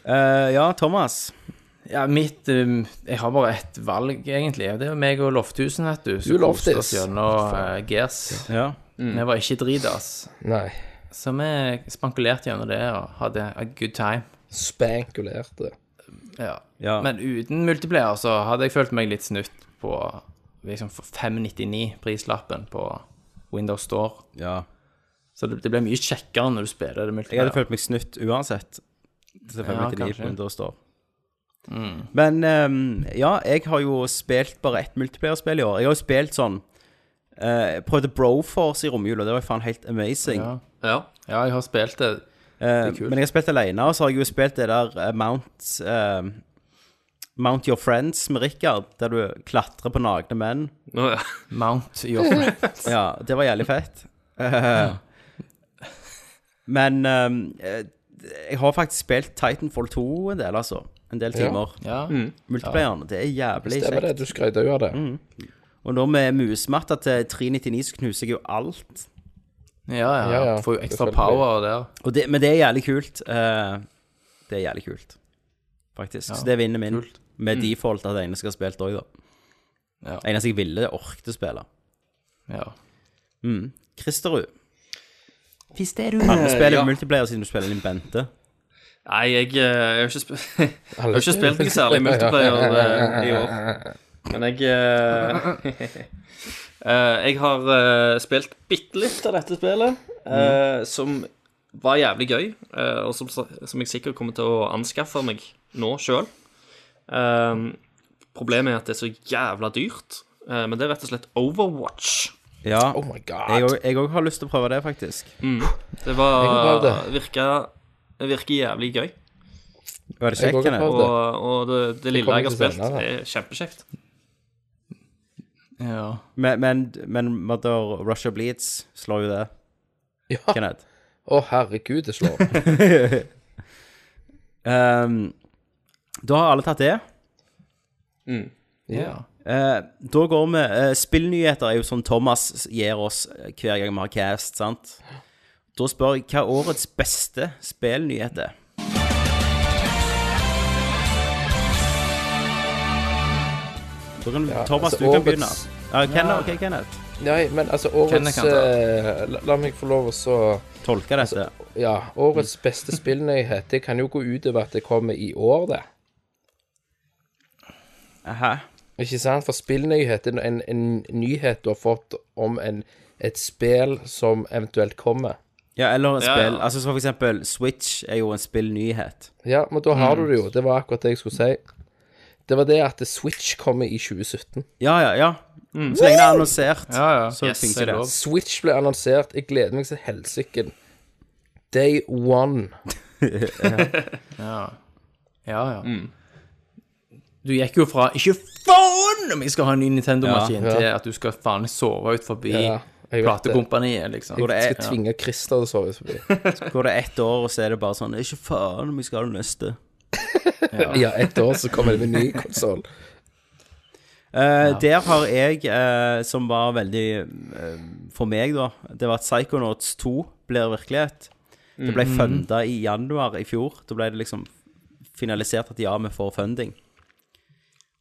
S1: Eh, ja, Thomas.
S2: Ja, mitt um, Jeg har bare ett valg, egentlig. og Det er meg og Lofthusen, vet du.
S3: Du,
S2: Som koste
S3: Lofthus.
S2: oss gjennom eh, Gears.
S1: Ja.
S2: Vi var ikke dritas.
S3: Nei.
S2: Så vi spankulerte gjennom det og hadde a good time.
S3: Spankulerte.
S2: Ja.
S1: Ja.
S2: Men uten multiplayer så hadde jeg følt meg litt snytt på liksom 599-prislappen på Windows Store.
S1: ja.
S2: Så det, det ble mye kjekkere når du spiller det
S1: Jeg hadde
S2: multiplayer.
S1: følt meg snytt uansett. Selvfølgelig
S2: Ja,
S1: ikke de
S2: kanskje. Mm.
S1: under står. Men ehm, ja, jeg har jo spilt bare ett multiplayerspill i år. Jeg har jo spilt sånn eh, Jeg prøvde Broforce i romjula, det var jo faen helt amazing.
S2: Ja.
S4: Ja.
S2: ja, jeg har spilt det.
S1: Eh,
S2: kult.
S1: men jeg har spilt alene, og så har jeg jo spilt det der eh, Mount eh, Mount Your Friends med Richard, der du klatrer på nakne menn.
S4: Nå, ja.
S2: Mount Your Friend.
S1: Ja, det var jævlig fett. Eh, Men ehm, eh, jeg har faktisk spilt Titanfall 2 en del, altså. En del timer.
S2: Ja.
S3: Mm.
S1: Multiplayeren. Det er jævlig
S3: Det var
S1: kjekt.
S3: det, du skrøt jo av det.
S4: Mm.
S1: Og nå med musematta til 399, så knuser jeg jo alt.
S2: Ja, ja.
S3: Ja, ja.
S2: Du får jo ekstra
S3: Selvfølgelig.
S2: power der.
S1: Og det, men det er jævlig kult. eh, det er jævlig kult, faktisk. så det vinner min.
S2: kult. Mm.
S1: Med default at det eneste jeg har spilt òg, da.
S2: Ja.
S1: Det eneste jeg ville, det orket å spille.
S2: Ja.
S1: Kristerud. Kan du spille multiplayer siden du spiller din Bente?
S4: Nei, jeg, eh, jeg har ikke, sp jeg har ikke spilt noe særlig multiplayer eh, i år. Men jeg eh, eh, Jeg har eh, spilt bitte litt av dette spillet, eh,
S3: Mm.
S4: som var jævlig gøy, eh, og som, som jeg sikkert kommer til å anskaffe meg nå sjøl. problemet er at det er så jævla dyrt, eh, men det er rett og slett Overwatch.
S1: Ja.
S3: Oh my god.
S1: Jeg òg- jeg òg har lyst til å prøve det, faktisk.
S3: har
S4: Det var
S3: prøvd
S4: virka, virker jævlig gøy.
S1: Var det
S3: Jeg
S1: kjekt,
S3: går ikke
S1: Kenneth?
S3: på-
S4: Og, og det, det lille
S3: kommer
S4: jeg har
S3: til
S4: spilt,
S3: senere, da.
S4: det er kjempekjekt.
S2: ja.
S1: Men, men, men Mother Russia Bleeds slår jo det,
S3: Ja.
S1: Kenneth.
S3: Å, herregud, det slår.
S1: Ehm, da har alle tatt det.
S2: ja.
S1: Eh, da går vi eh, Spillnyheter er jo sånn Thomas gir oss eh, hver gang vi har cast, sant? Da spør jeg hva er årets beste spillnyhet er. Da kan du,
S3: Ja,
S1: Thomas,
S3: altså,
S1: du kan
S3: årets-
S1: begynne. Ja, Kenneth, ok, Kenneth.
S3: Nei, men altså,
S2: Kenneth
S3: årets
S2: kan ta
S3: eh, la, la meg få lov å så
S1: Tolke
S3: Altså,
S1: dette.
S3: Ja, årets beste spillnyhet Det kan jo gå utover at det kommer i år, det.
S1: Hæ?
S3: Ikke sant? For spillnyhet er en, en nyhet du har fått om en, et spill som eventuelt kommer.
S1: Ja, eller spill.
S4: Ja, ja.
S1: Altså, så for eksempel Switch er jo en spillnyhet.
S3: Ja, men da
S2: Mm.
S3: har du det jo. Det var akkurat det jeg skulle si. Det var det at Switch kommer i 2017.
S1: Ja, ja, ja. Så lenge det er annonsert,
S2: Ja, ja.
S1: så
S2: Yes,
S1: funker
S2: det er
S1: det.
S2: lov.
S3: Switch ble annonsert. Jeg gleder meg til helsike. Day one.
S2: Ja, ja.
S3: Mm.
S2: Du gikk jo fra 'ikke faen om jeg skal ha en ny Nintendo-maskin'
S3: Ja.
S2: til at du skal faen sove ut forbi
S3: Ja, jeg vet det.
S2: platekompaniet, liksom.
S1: Hvor det
S3: Jeg
S1: er-
S3: skal tvinge Christer til å sove forbi.
S1: Går det ett år, og så er det bare sånn Ikke faen om vi skal ha det neste.
S3: Ja, ett år så kommer det med en ny konsoll.
S1: Eh, Der har jeg, eh, som var veldig eh, For meg, da Det var at Psychonauts 2 blir virkelighet. Det ble funda i januar i fjor. Da ble det liksom finalisert at ja, vi får funding.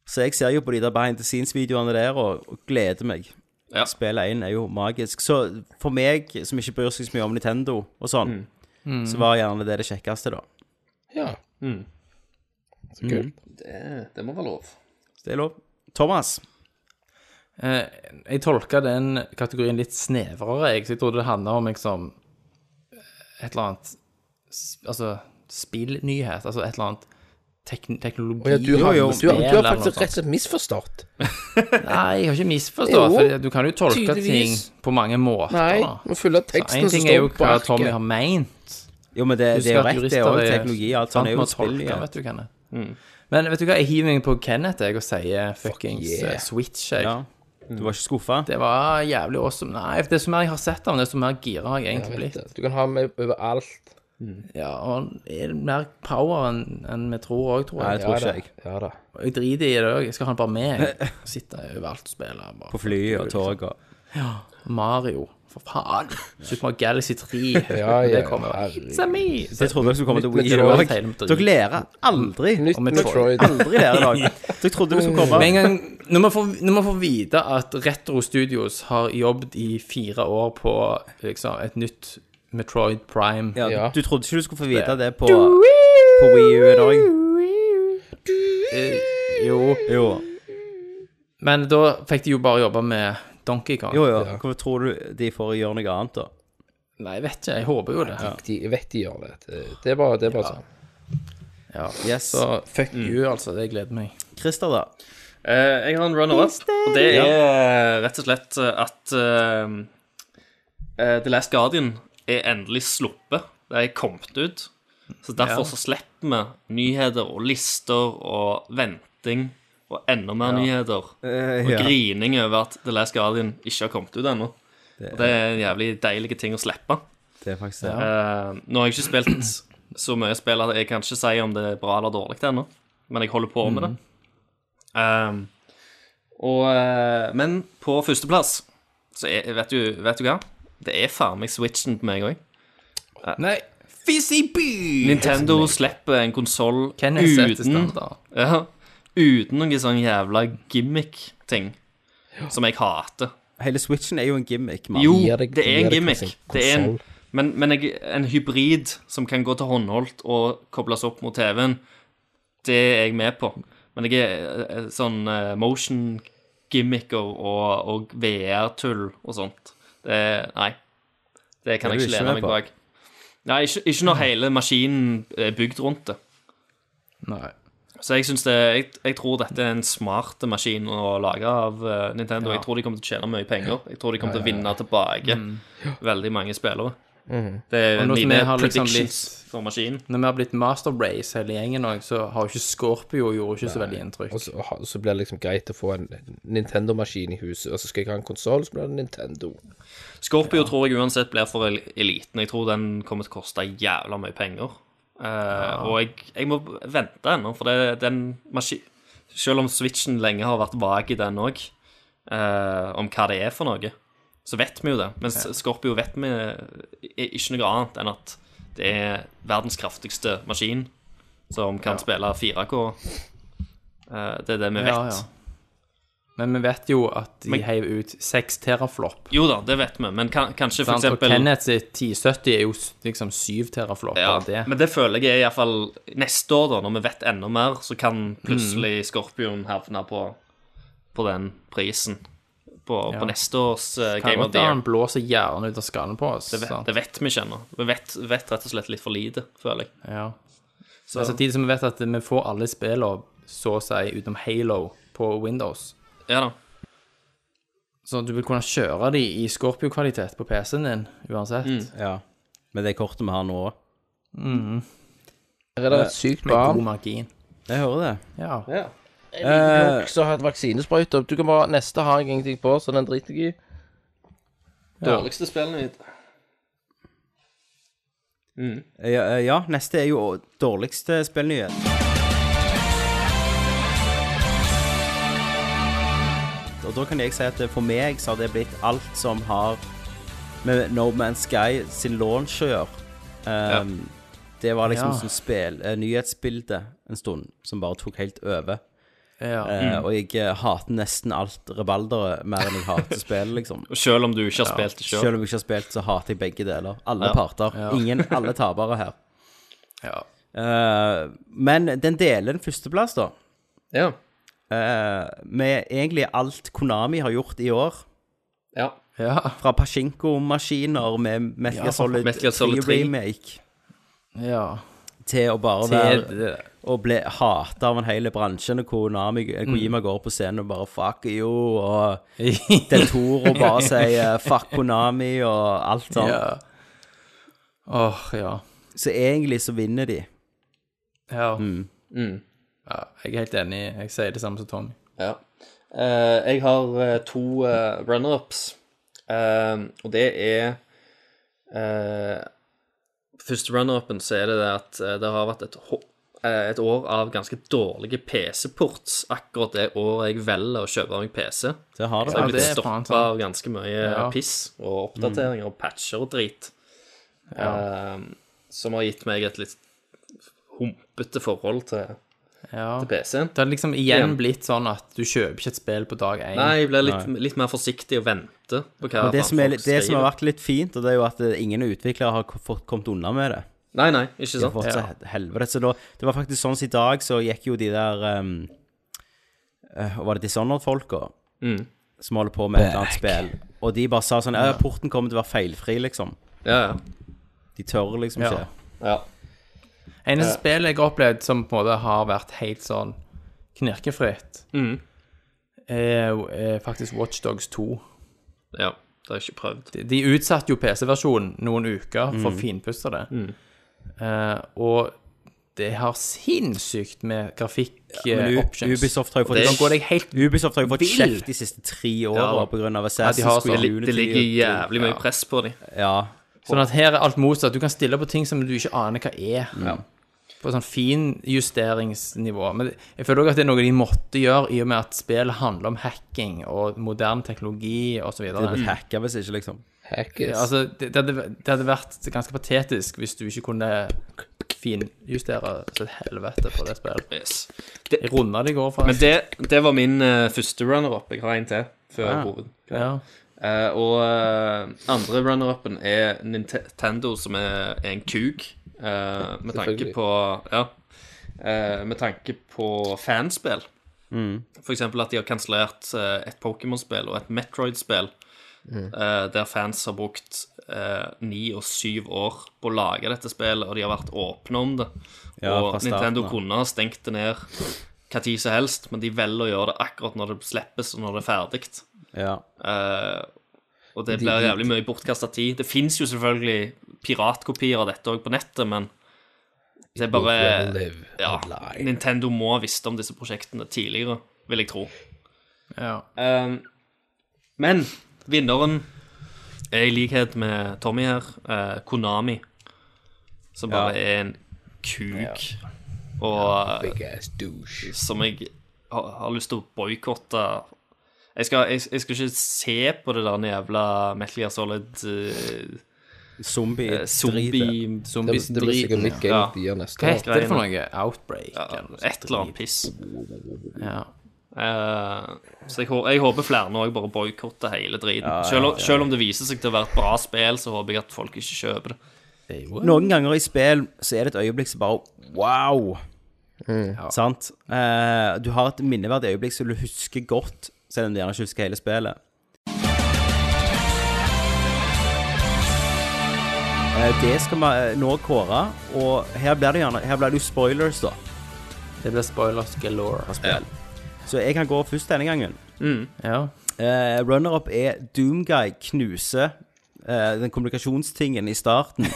S1: Så jeg ser jo på de der behind the scenes-videoene der og, og gleder meg.
S4: Ja.
S1: Spillet 1 er jo magisk. Så for meg, som ikke bryr seg så mye om Nintendo og sånn,
S2: Mm.
S1: så var gjerne det det kjekkeste, da.
S3: Ja. Mm. Så kult.
S4: Det må være lov.
S1: Så det er lov. Thomas,
S2: Eh, jeg tolka den kategorien litt snevrere, jeg. Så jeg trodde det handla om liksom et eller annet s- Altså spillnyhet. Altså et eller annet tekn teknologi
S3: Å ja, du har,
S2: eller noe
S3: du, har, du
S2: spill
S3: har
S2: eller noe
S3: faktisk
S2: sånt.
S3: rett og slett misforstått.
S2: Nei, jeg har ikke misforstått.
S3: Jo,
S2: For du kan jo tolke ting
S3: tydeligvis.
S2: på mange måter.
S3: Nei,
S2: da.
S3: må
S2: Så en
S3: følge teksten som
S2: ting er
S3: står
S2: jo
S3: på
S2: hva Tommy
S3: arket.
S2: har meint.
S1: Jo, men det,
S2: Husk
S1: det er jo
S2: at
S1: rett, det
S2: jurister
S1: er jo teknologi og alt sånt.
S2: vant
S1: Det er jo
S2: med å
S1: spill.
S2: tolke,
S1: ja.
S2: vet du, Kenneth.
S3: Mm.
S2: Men vet du hva, jeg hiver meg på Kenneth jeg, og sier fuckings
S3: yeah.
S2: eh, Switch. Jeg.
S1: Ja. Du var ikke skuffa?
S2: Det var jævlig awesome. Nei, for desto mer jeg har sett av den, desto mer gira har jeg
S3: Jeg
S2: egentlig
S3: vet
S2: blitt.
S3: det. Du kan ha med overalt.
S2: Ja, og han er mer power enn enn vi tror òg, tror
S1: Nei,
S2: jeg.
S1: det tror
S3: Ja
S1: ikke
S3: da,
S1: jeg.
S3: Ja da.
S2: Og Jeg driter i det òg. Jeg skal ha han bare med. jeg. Sitte overalt og spille. Bare.
S1: På fly og tog og
S2: Mario. For faen. Super Mario Galaxy 3.
S3: Ja, ja,
S2: det kommer.
S3: herregud.
S2: It's a me.
S1: Det trodde dere skulle komme til
S2: Litt- litt
S1: Wii U
S2: dårlig
S1: òg.
S2: tegn om
S1: Dere lærer aldri.
S3: Nytt
S2: Og Metroid.
S3: Metroid.
S1: Aldri lærer dere. Dere trodde dere skulle
S2: Med en
S1: komme.
S2: gang, når man, får, når man får vite at Retro Studios har jobbet i fire år på liksom, et nytt Metroid Prime
S1: Ja,
S3: Ja.
S1: du trodde ikke du skulle få vite det på, på Wii U en dag.
S2: Eh, Jo,
S1: Jo,
S2: men da fikk de jo bare jobbe med Donkey Kong.
S1: jo. jo. Hvorfor tror du de får gjøre noe annet, da?
S2: Nei, jeg vet ikke. Jeg håper jo det. Ja.
S3: De jeg vet de gjør det. Det- Det er bare, det er bare sånn.
S1: Yes.
S2: Så fuck
S4: Mm.
S2: you, altså. Det gleder meg.
S1: Christer, da?
S4: Eh, jeg har en runner-up, og det er rett og slett eh, at eh, eh, The Last Guardian er endelig sluppet. Det er kommet ut. Så derfor så slipper vi nyheter og lister og venting og enda mer nyheter. Og grining over at The Last Guardian ikke har kommet ut ennå. Og det er en jævlig deilig ting å slippe.
S1: Det er faktisk det.
S4: Eh, nå har jeg ikke spilt så mye spill at jeg kan ikke si om det er bra eller dårlig ennå, men jeg holder på med det. Ehm, og, eh, men på førsteplass, så er, vet, du, vet du hva? Det er faen meg switchen på meg òg.
S2: Nei, Fizzy-by!
S4: Nintendo slipper en konsoll
S2: Kenneth setter
S4: uten,
S2: standard.
S4: ja, uten noen sånn jævla gimmick-ting som jeg hater.
S1: Hele Switchen er jo en gimmick, mann.
S4: Jo,
S3: Gir deg-
S4: det er
S3: gir
S4: en
S3: deg
S4: gimmick.
S3: konsol-
S4: Det er en,
S3: konsol.
S4: men men jeg, en hybrid som kan gå til håndholdt og kobles opp mot TV-en, det er jeg med på. Men jeg er eh, eh, sånn eh, motion gimmicker og, og VR-tull og sånt. Det, nei. Det kan
S1: Det er
S4: jeg
S1: du
S4: ikke
S1: ikke
S4: lene
S1: med
S4: meg
S1: på.
S4: bak. Nei, ikke, ikke når hele maskinen er bygd rundt det.
S2: Nei.
S4: Så jeg, synes det, jeg, jeg tror dette er en smart maskin å lage av eh, Nintendo. Jeg tror de kommer til å tjene mye penger. Jeg tror de kommer til å vinne tilbake
S1: Mm.
S4: veldig mange spillere. Det er
S2: Og nå som
S4: mine
S2: jeg har liksom
S4: predictions
S2: blitt-
S4: for maskinen.
S2: Når vi har blitt Master Race hele gjengen òg, så har jo ikke Scorpio gjort ikke så veldig inntrykk.
S3: Og
S4: Altså-
S3: så, og ha- så blir det liksom greit å få en Nintendo-maskin i huset. Og så skal jeg ha en konsoll, så blir det Nintendo.
S4: Scorpio tror jeg uansett blir for el- eliten. Jeg tror den kommer til å koste jævla mye penger. Eh, Og jeg, jeg må vente ennå, for det, den maski- Selv om Switchen lenge har vært vag i den òg, om hva det er for noe, så vet vi jo det. Mens Scorpio vet vi eh, i- ikke noe annet enn at det er verdens kraftigste maskin som kan spille 4K. Eh, det er det vi vet.
S2: Ja, ja. Men vi vet jo at de heiv ut 6 teraflop.
S4: Jo da, det vet vi, men kan, kanskje for
S2: sant? Og
S4: eksempel
S2: Kenneth sitt 1070 er jo s- liksom 7 teraflop.
S4: ja,
S2: bare det.
S4: Men det føler jeg er iallfall neste år, da, når vi vet enda mer, så kan plutselig
S2: Mm.
S4: Scorpion havne på, på den prisen på, på neste års eh,
S2: Kan
S4: Game of
S2: godt
S4: the
S2: være
S4: Year.
S2: han blåser hjernen ut av skallen på oss.
S4: Det vet,
S2: sant?
S4: det vet vi ikke ennå. Vi vet, vet rett og slett litt for lite, føler jeg.
S2: Ja.
S4: Så,
S2: Men samtidig som vi vet at vi får alle spillene, så å si, utenom Halo på Windows.
S4: ja da.
S2: Så du vil kunne kjøre de i Scorpio-kvalitet på PC-en din uansett.
S4: Mm.
S1: Ja. Med det kortet vi har nå.
S3: Her er det et sykt
S2: Med god
S3: barn
S2: margin.
S1: Jeg hører det.
S2: Ja.
S1: Eh,
S3: som har et vaksinesprøyte. Du kan bare Neste har jeg ingenting på, så den driter jeg i.
S4: Dårligste spillene mitt.
S1: ja, eh, ja, neste er jo dårligste spillnyhet. Og da kan jeg si at for meg så har det blitt alt som har med No Man's Sky sin launch å gjøre. Um, Det var liksom
S2: Ja.
S1: sånn spill, eh, nyhetsbilde en stund som bare tok helt over.
S2: ja.
S1: Eh, Og jeg eh, hater nesten alt rebalderet mer enn jeg hater spill, liksom.
S4: Og selv om du ikke har spilt det sjøl.
S1: Selv om jeg ikke har spilt, så hater jeg begge deler. Alle
S4: Ja.
S1: parter. Ingen, alle tapere her.
S2: ja.
S1: Eh, men den deler den førsteplass, da.
S4: Ja.
S1: eh, med egentlig alt Konami har gjort i år.
S4: ja.
S2: Ja.
S1: Fra Pashinko-maskiner med Metal Gear Solid,
S4: Metal Gear Solid
S1: 3
S4: 3.
S1: Remake
S2: ja.
S1: til å bare
S2: Til
S1: være
S2: det.
S1: Og bli hata av en hel bransje når Konami eh,
S4: Mm.
S1: Kojima går på scenen og bare 'fuck you', og Del Toro bare sier 'fuck Konami' og alt sånt.
S2: ja. Åh, ja.
S1: Så egentlig så vinner de.
S2: Ja. Mm. ja. Jeg er helt enig. Jeg sier det samme som Tommy.
S4: ja. Eh, jeg har eh, to eh, runner-ups, Eh, og det er eh, Første runner-upen så er det det at eh, det har vært et, hå- eh, et år av ganske dårlige PC-ports. Akkurat det året jeg velger å kjøpe meg PC.
S1: Det har det.
S4: Så jeg
S2: Ja,
S4: har blitt
S2: det er faen sant.
S4: stoppa av ganske mye
S2: Ja. Mm.
S4: piss og oppdateringer og patcher og drit. eh, som har gitt meg et litt humpete forhold til,
S2: Ja.
S4: til PC-en.
S2: Det har liksom igjen blitt sånn at du kjøper ikke et spill på dag én.
S4: Nei, jeg blir litt, litt mer forsiktig og vente på hva
S1: Og det
S4: faen
S1: som, er,
S4: folk
S1: det som
S4: skriver.
S1: har vært litt fint, og det er jo at eh, ingen utviklere har k- fått kommet unna med det.
S4: Nei, nei, ikke
S1: De har
S4: sant?
S1: fått seg he- helvete. Så da, det var faktisk sånn som i dag, så gikk jo de der um, eh, Var det Dishonored-folka som holder på med et eller annet spill, og de bare sa sånn Ja, porten kommer til å være feilfri, liksom.
S4: Ja,
S1: De tør liksom
S2: Ja.
S1: ikke.
S4: ja. ja.
S2: Eneste spill jeg har opplevd som på en måte har vært helt sånn knirkefritt, er, jo- er faktisk Watchdogs 2.
S4: ja. Det har jeg ikke prøvd.
S2: De, de utsatte jo PC-versjonen noen uker for å finpusse det. Eh, og det har sinnssykt med eh,
S1: Men U-
S2: grafikk-options.
S1: Ubisoft har jo
S2: det kan gå
S1: fått
S2: deg helt
S1: Ubisoft har jo fått
S2: Vill.
S1: kjeft de siste tre åra
S4: Ja.
S1: pga.
S2: de
S1: Assassin's
S2: har
S1: Creed
S2: sånn.
S4: Det, det ligger
S1: Unity.
S4: jævlig mye press på dem.
S1: Ja.
S2: Sånn at her er alt motsatt. Du kan stille på ting som du ikke aner hva er. På sånn finjusteringsnivå. Men jeg føler òg at det er noe de måtte gjøre, i og med at spillet handler om hacking og moderne teknologi osv.
S1: Det hadde
S2: Ja,
S1: blitt hacka hvis ikke, liksom.
S3: Hackes.
S2: altså, det, det, hadde, det hadde vært ganske patetisk hvis du ikke kunne finjustere så et helvete på det spillet.
S4: Yes.
S2: Jeg runda det i går, forresten.
S4: Men det, det var min eh, første runner-up. Jeg har en til før
S1: Ah.
S4: hoved.
S2: Ja.
S4: Eh, og eh, andre runner-upen er Nintendo, som er, er en kuk. eh, med tanke
S3: Selvfølgelig.
S4: på Ja. eh, med tanke på fanspill.
S1: Mm.
S4: For eksempel at de har kansellert eh, et Pokémon-spill og et Metroid-spill.
S1: Mm.
S4: eh, der fans har brukt eh, ni og syv år på å lage dette spillet, og de har vært åpne om det.
S1: Ja,
S4: og
S1: fra starten
S4: Nintendo
S1: av.
S4: kunne ha stengt det ned hva tid som helst, men de velger å gjøre det akkurat når det slippes, og når det er ferdig.
S1: Ja.
S4: Eh, og det blir jævlig mye bortkasta tid. Det fins jo selvfølgelig piratkopier av dette òg på nettet, men det er bare ja, Nintendo må ha visst om disse prosjektene tidligere, vil jeg tro.
S2: ja.
S4: Eh, men vinneren er i likhet med Tommy her, eh, Konami, som bare er en kuk. Og
S3: Big ass douche.
S4: som jeg har, har lyst til å boikotte. Jeg, skal- jeg, jeg skal ikke se på det der jævla Metal Gear Solid eh,
S1: Zombie.
S4: zombie
S3: Det, det blir sikkert
S2: Zombies-driten.
S3: nytt game
S4: Ja.
S3: of the year neste
S2: Hva
S3: år.
S2: heter det for noe? Outbreak?
S4: ja, Et eller annet piss.
S2: Ja.
S4: Eh, så jeg, hå- jeg håper flere nå bare boikotter hele driten. selv, om- selv om det viser seg til å være et bra spill, så håper jeg at folk ikke kjøper det.
S1: Noen ganger i spill så er det et øyeblikk som bare Wow! Sant? Eh, du har et minneverdig øyeblikk som du husker godt, selv om du gjerne ikke husker hele spillet. Eh, det skal vi eh, nå kåre, og her blir det gjerne Her blir det jo spoilers, da.
S2: Det blir spoilers galore.
S1: av spill. Så jeg kan gå først denne gangen.
S2: Ja.
S1: Eh, Runner-up er Doomguy knuse eh, den kommunikasjonstingen i starten.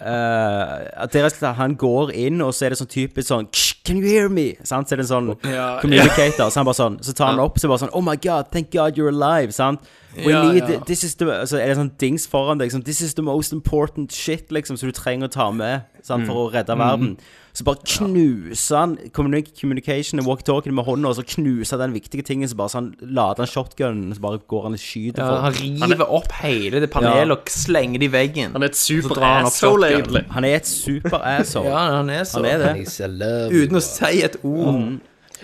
S1: Eh, at det er rett og slett at han går inn, og så er det sånn typisk sånn «Ksh, Can you hear me? Sant? Så er det en sånn communicator. Så han bare sånn Så tar han opp, så bare sånn Oh my God, thank God you're alive. Sant? We
S2: Ja,
S1: need
S2: ja.
S1: This is the Så er det sånn dings foran deg. Sånn, This is the most important shit, liksom, som du trenger å ta med sant? for
S2: Mm.
S1: å redde verden. Så bare knuser han communi- communication og walkietalkien med hånda, og så knuser han den viktige tingen, så bare sånn lader han shotgunen, så bare går han og skyter
S2: Ja,
S1: folk.
S2: han river opp hele det panelet
S1: Ja.
S2: og slenger det i veggen.
S4: Han er et
S2: Så
S4: super
S2: drar han opp
S4: asshole,
S2: shotgun.
S4: egentlig.
S1: Han er et super-asshole.
S2: Ja, han er så
S1: Han er det. Mm.
S3: He's a love.
S2: Uten å si et ord.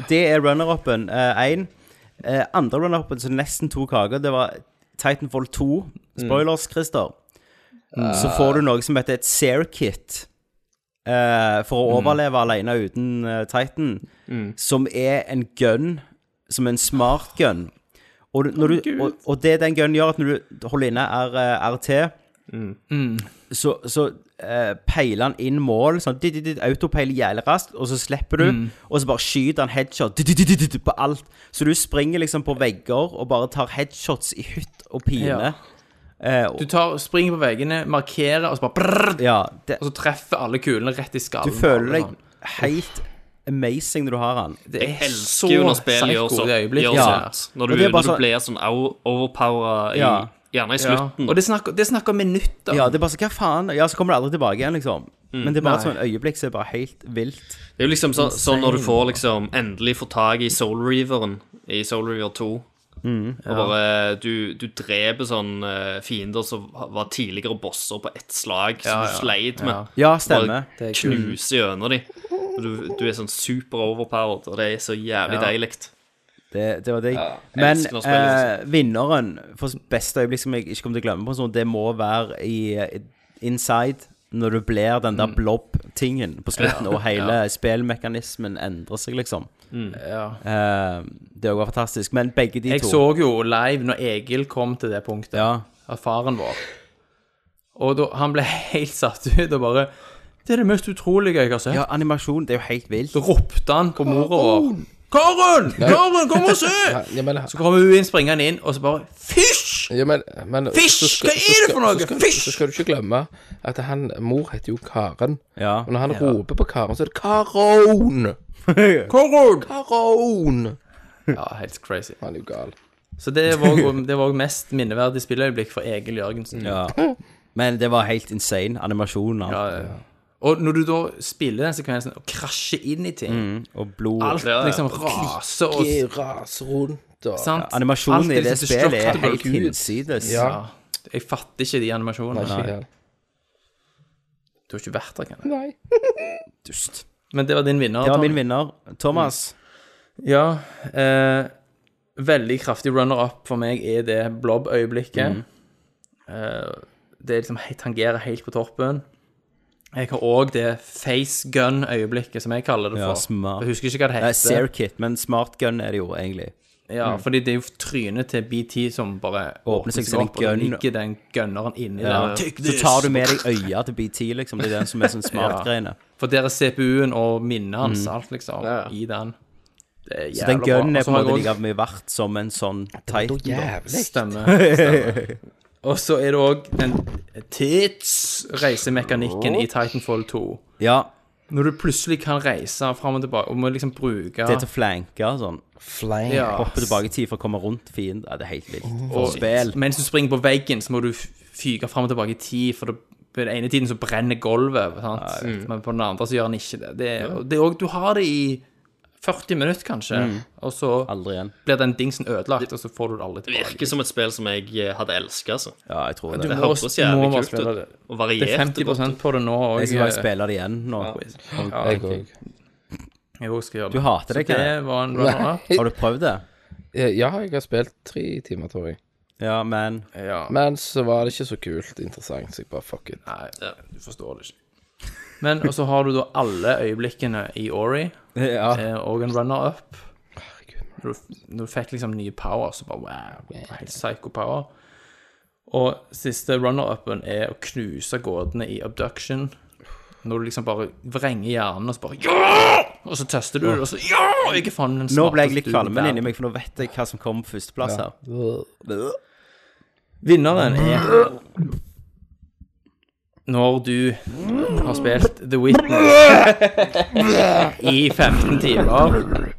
S1: Det er runner-upen én. andre runner-upen som nesten tok kaka, det var Titanfall 2. Spoilers, Christer. Så får du noe som heter et Sarekit. eh, for å overleve alene uten eh, Titan. Som er en gun. Som er en smart gun. Og, du- når du, og, og det den gunnen gjør, at når du holder inne R, eh, RT, så, så eh, peiler han inn mål, sånn dit, dit, dit, autopeil jævlig raskt, og så slipper du, og så bare skyter han headshot dit, dit, dit, dit, dit, på alt. Så du springer liksom på vegger og bare tar headshots i hytt og pine.
S2: Ja.
S1: Eh, og,
S2: Du tar, springer på veggene, markerer, og så bare brrr,
S1: ja, det,
S2: Og så treffer Altså, alle kulene rett i
S1: du
S2: skallen.
S1: føler deg helt amazing når du har han.
S2: Det er så
S4: elsker jo når spill gjør
S2: psycho,
S4: sånn.
S2: det øyeblikket.
S4: Gjør
S1: Ja.
S4: sånt. Når
S1: Og
S4: du,
S1: det er bare
S4: når
S1: sånn-
S4: du blir sånn overpower i,
S1: Ja.
S4: gjerne i
S2: Ja.
S4: slutten.
S2: Og det er snakk- det er snakk om minutter.
S1: Ja, det er bare sånn, hva faen? Ja, så kommer det aldri tilbake igjen, liksom. Men det er bare
S2: Mm. Nei.
S1: sånn øyeblikk som er bare helt vilt.
S4: Det er jo liksom sånn sånn når du får liksom endelig får tak i Soul Reaveren i Soul Reaver 2.
S2: Mm,
S4: Og bare du, du dreper sånn eh, fiender som var tidligere bosser på ett slag, som
S2: Ja,
S4: du
S2: ja,
S4: sleit med.
S2: ja.
S1: Ja, stemmer.
S4: Bare knuser gjennom dem. Du, du er sånn super overpowered, og det er så jævlig deilig.
S1: Det, det var digg.
S4: jeg
S1: Men
S4: elsker liksom- å spille
S1: eh, vinneren for beste øyeblikk som jeg ikke kommer til å glemme, på en sånn, det må være i, i Inside. Når du blir den
S2: Mm.
S1: der blob-tingen på slutten, og hele spillmekanismen endrer seg, liksom.
S2: Ja.
S1: Eh, det òg var fantastisk. Men begge de
S2: Mm. Jeg
S1: to
S2: så jo live når Egil kom til det punktet,
S1: Ja.
S2: av faren vår. Og da, han ble helt satt ut og bare Det er det mest utrolige jeg har sett.
S1: ja, animasjon, det er jo helt vilt.
S2: Så ropte han på mora vår. Karen! Karen, kom og se!
S3: Ja, men,
S2: Så kommer hun inn springende inn, og så bare Fysj!
S3: ja, men, men
S2: Fish!
S3: så skal-
S2: Hva er
S3: så skal-
S2: det for noe?
S3: så skal-
S2: Fish!
S3: Så skal du ikke glemme at han, mor heter jo Karen.
S1: Ja.
S3: Og når han roper på Karen, så er det Karon!
S2: Karen!
S3: Karon!
S2: Ja, helt crazy.
S3: Han er jo gal.
S2: Så det var vår- det var vår mest minneverdige spilleøyeblikk for Egil Jørgensen.
S1: Ja. Men det var helt insane, animasjonen og alt.
S2: Ja, ja. Og når du da spiller den sekvensen sånn, og krasjer inn i ting,
S1: Mm. og blod.
S2: alt
S4: Ja, ja.
S2: liksom raser og Sånn.
S3: Jeg raser rundt og
S2: sant?
S1: Animasjonen
S2: Alt
S1: i det
S2: liksom
S1: spillet er
S2: destructible.
S1: helt hinsides.
S3: Ja.
S2: Ja. Jeg fatter ikke de animasjonene.
S3: Nei, ikke helt.
S2: Du har ikke vært der, kan jeg.
S3: Nei.
S1: Dust.
S2: Men det var din vinner.
S1: Det var
S2: Tom.
S1: min vinner. Thomas.
S2: Mm. Ja. Eh, veldig kraftig runner-up for meg er det
S1: Mm.
S2: blob-øyeblikket. Eh, det er liksom helt, tangerer helt på toppen. Jeg har òg det face gun-øyeblikket, som jeg kaller det
S1: Ja,
S2: for.
S1: smart.
S2: Jeg husker ikke hva det
S1: Eh,
S2: heter.
S1: Sarekit, men smart gun er det jo egentlig.
S2: Ja, fordi det er jo trynet til BT som bare åpner seg
S1: Mm. seg en
S2: opp, og da
S1: gun.
S2: ligger den gunneren inni der.
S1: Så tar du med deg øya til BT, liksom. Det er den som er sånn smart-greiene.
S2: For der er CPU-en og minnet hans,
S1: Mm.
S2: alt liksom, i den. Det er
S1: Så den
S2: jævla bra.
S1: gunnen
S2: Og
S1: er
S2: så
S1: på en
S2: har
S1: måte
S2: jeg
S1: like mye verdt som en sånn Titan. da.
S3: Jævlig.
S2: Stemmer. stemmer. Og så er det òg den tidsreisemekanikken i Titanfall 2.
S1: Ja,
S2: Når du plutselig kan reise fram og tilbake og må liksom bruke
S1: det er til flanker sånn.
S3: Flank.
S2: ja,
S1: Hoppe tilbake i tid for å komme rundt fienden. Ja, det er helt vilt.
S2: og,
S1: spill.
S2: Mens du springer på veggen, så må du f- fyke fram og tilbake i tid, for det, på den ene tiden så brenner gulvet, sant? men på den andre så gjør den ikke det. det, er- og det er også, du har det i 40 minutter, kanskje, og så
S1: Aldri igjen.
S2: blir den dingsen ødelagt, og så får du det aldri
S4: Det
S2: tilbake.
S4: virker som et spill som jeg eh, hadde elska, altså.
S1: Ja, jeg tror
S2: Du
S1: det.
S4: Det
S2: må-
S4: høres jævlig
S2: må bare
S4: kult
S2: spille
S4: ut.
S2: det. Det er
S4: Og variert.
S2: 50 på det nå. og-
S1: Jeg skal faktisk spille det igjen nå.
S2: Ja,
S3: Jeg òg.
S2: Jeg også skal gjøre
S1: Du
S2: det.
S1: hater
S2: Så
S1: det, Kenneth.
S2: Det var en runner-up.
S1: Har du prøvd det?
S3: Eh, Ja, jeg har spilt tre timer, tror jeg.
S1: Ja, men
S2: Ja.
S3: Men så var det ikke så kult interessant, så jeg bare fuck it.
S2: Nei, du forstår det ikke. Men, og så har du da alle øyeblikkene i Ori,
S1: ja.
S2: eh, og en runner-up. Når, du- når du fikk liksom nye power, så bare wow, helt psycho power. Og siste runner-upen er å knuse gåtene i abduction. Når du liksom bare vrenger hjernen, og så bare ja! Og så tester du det, og så ja! Jeg er faen den
S1: Nå ble jeg
S2: smarteste
S1: litt
S2: duden i
S1: kvalmen
S2: verden.
S1: inni meg, for nå vet jeg hva som kommer på førsteplass her.
S2: Vinneren er
S1: Mm.
S2: Når du har spilt The Witness i 15 timer,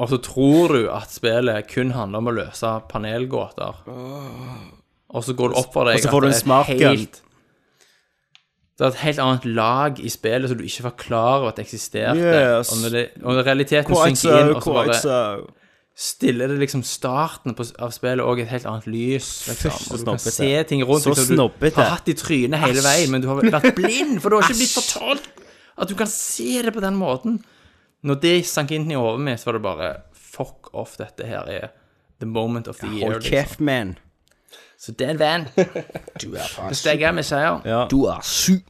S2: og så tror du at spillet kun handler om å løse panelgåter, og så går det opp for deg
S1: Og så får du en
S2: det er et
S1: smart gun.
S2: helt- Det er et helt annet lag i spillet som du ikke var klar over at eksisterte.
S1: Yes.
S2: Og, når det, og når realiteten
S1: Quite
S2: synker
S1: so,
S2: inn, og så
S1: quite
S2: bare
S1: so.
S2: stiller det liksom starten på, av spillet òg i et helt annet lys. Liksom.
S1: Fy, så
S2: Og du kan
S1: snobbete.
S2: se ting rundt
S1: Så
S2: deg som
S1: snobbete.
S2: du har hatt i trynet hele veien, men du har vært blind, for du har ikke blitt fortalt at du kan se det på den måten. Når det sank inn i hodet mitt, så var det bare Fuck off, dette her er the moment of the year. liksom.
S1: Hold kjeft, man.
S2: Så det er en venn.
S3: Du er faen
S2: Hvis jeg er med seier
S1: Ja.
S3: Du er syk.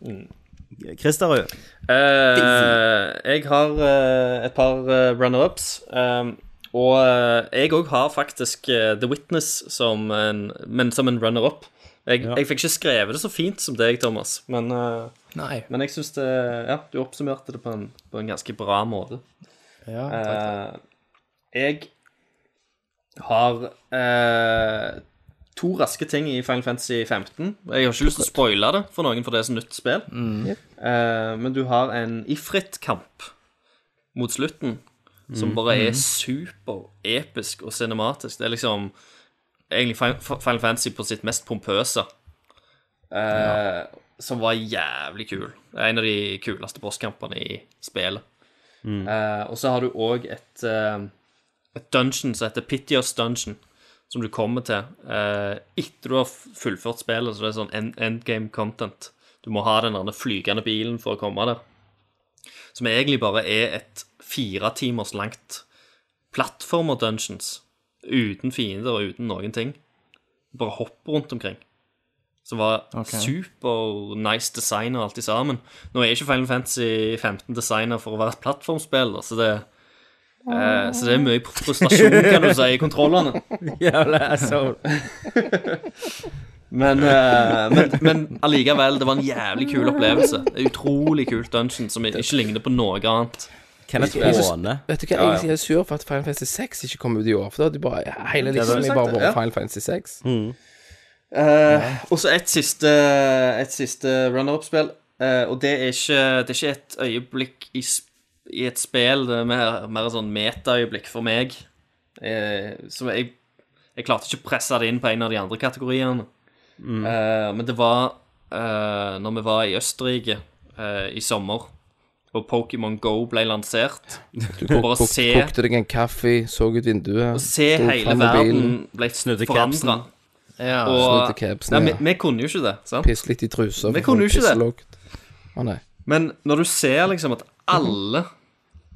S1: Kristerud.
S4: Eh, jeg har eh, et par eh, runner-ups. eh, og eh, jeg òg har faktisk eh, The Witness som en, men som en runner-up. Jeg, jeg fikk ikke skrevet det så fint som deg, Thomas, men, eh,
S2: Nei.
S4: men jeg syns det Ja, du oppsummerte det på en, på en ganske bra måte.
S2: Ja,
S4: Eh, jeg Eh, har eh, to raske ting i Final Fantasy 15. Jeg har ikke lyst til å spoile det for noen, for det er så nytt spill. Eh, men du har en Ifrit-kamp mot slutten som bare er super-episk og cinematisk. Det er liksom egentlig Fin- Final Fantasy på sitt mest pompøse. eh, Som var jævlig kul. Det er En av de kuleste bosskampene i spillet. Eh, og så har du òg et, eh, et dungeon som heter Piteous Dungeon, som du kommer til eh, etter du har f- fullført spillet. Så det er sånn end endgame content. Du må ha den der flygende bilen for å komme der. Som egentlig bare er et fire timers langt plattformer dungeons. Uten fiender og uten noen ting. Bare hopp rundt omkring. Som var super nice design og alt i sammen. Nå er ikke Final Fantasy 15 designer for å være et plattformspill, da, så det eh, så det er mye frustrasjon, kan du si, i kontrollene.
S1: Jævla asshole.
S4: Men, eh, men, men allikevel, det var en jævlig kul opplevelse. Et utrolig kult dungeon som ikke ligner på noe annet.
S1: Kenneth
S3: Jeg synes-
S1: Aane.
S3: Vet du hva, jeg er egentlig sur for at Final Fantasy 6 ikke kom ut i år. For da hadde bare hele listen min bare vært Final Fantasy 6.
S4: Eh, og så et siste, et siste runner-up-spill. eh, og det er, ikke, det er ikke et øyeblikk i, sp- i et spill, det er mer, mer et sånn metaøyeblikk for meg. Eh, så jeg, jeg klarte ikke å presse det inn på en av de andre kategoriene.
S3: Mm.
S4: Eh, men det var uh, når vi var i Østerrike eh, i sommer, og Pokémon Go ble lansert.
S3: Du
S4: Bare
S3: kok- kok-
S4: se-
S3: kokte deg en kaffe, så ut vinduet.
S4: Se
S3: dro
S4: hele
S3: frem
S4: verden
S3: mobilen,
S4: ble
S1: Snudde
S4: forandra.
S1: capsen.
S2: ja.
S4: Og
S3: Snudde capsen,
S4: Nei, vi,
S3: ja.
S4: vi kunne jo ikke det. sant?
S3: Piss litt i trusa.
S4: Vi kunne jo ikke det.
S3: Å nei.
S4: Men når du ser liksom at alle,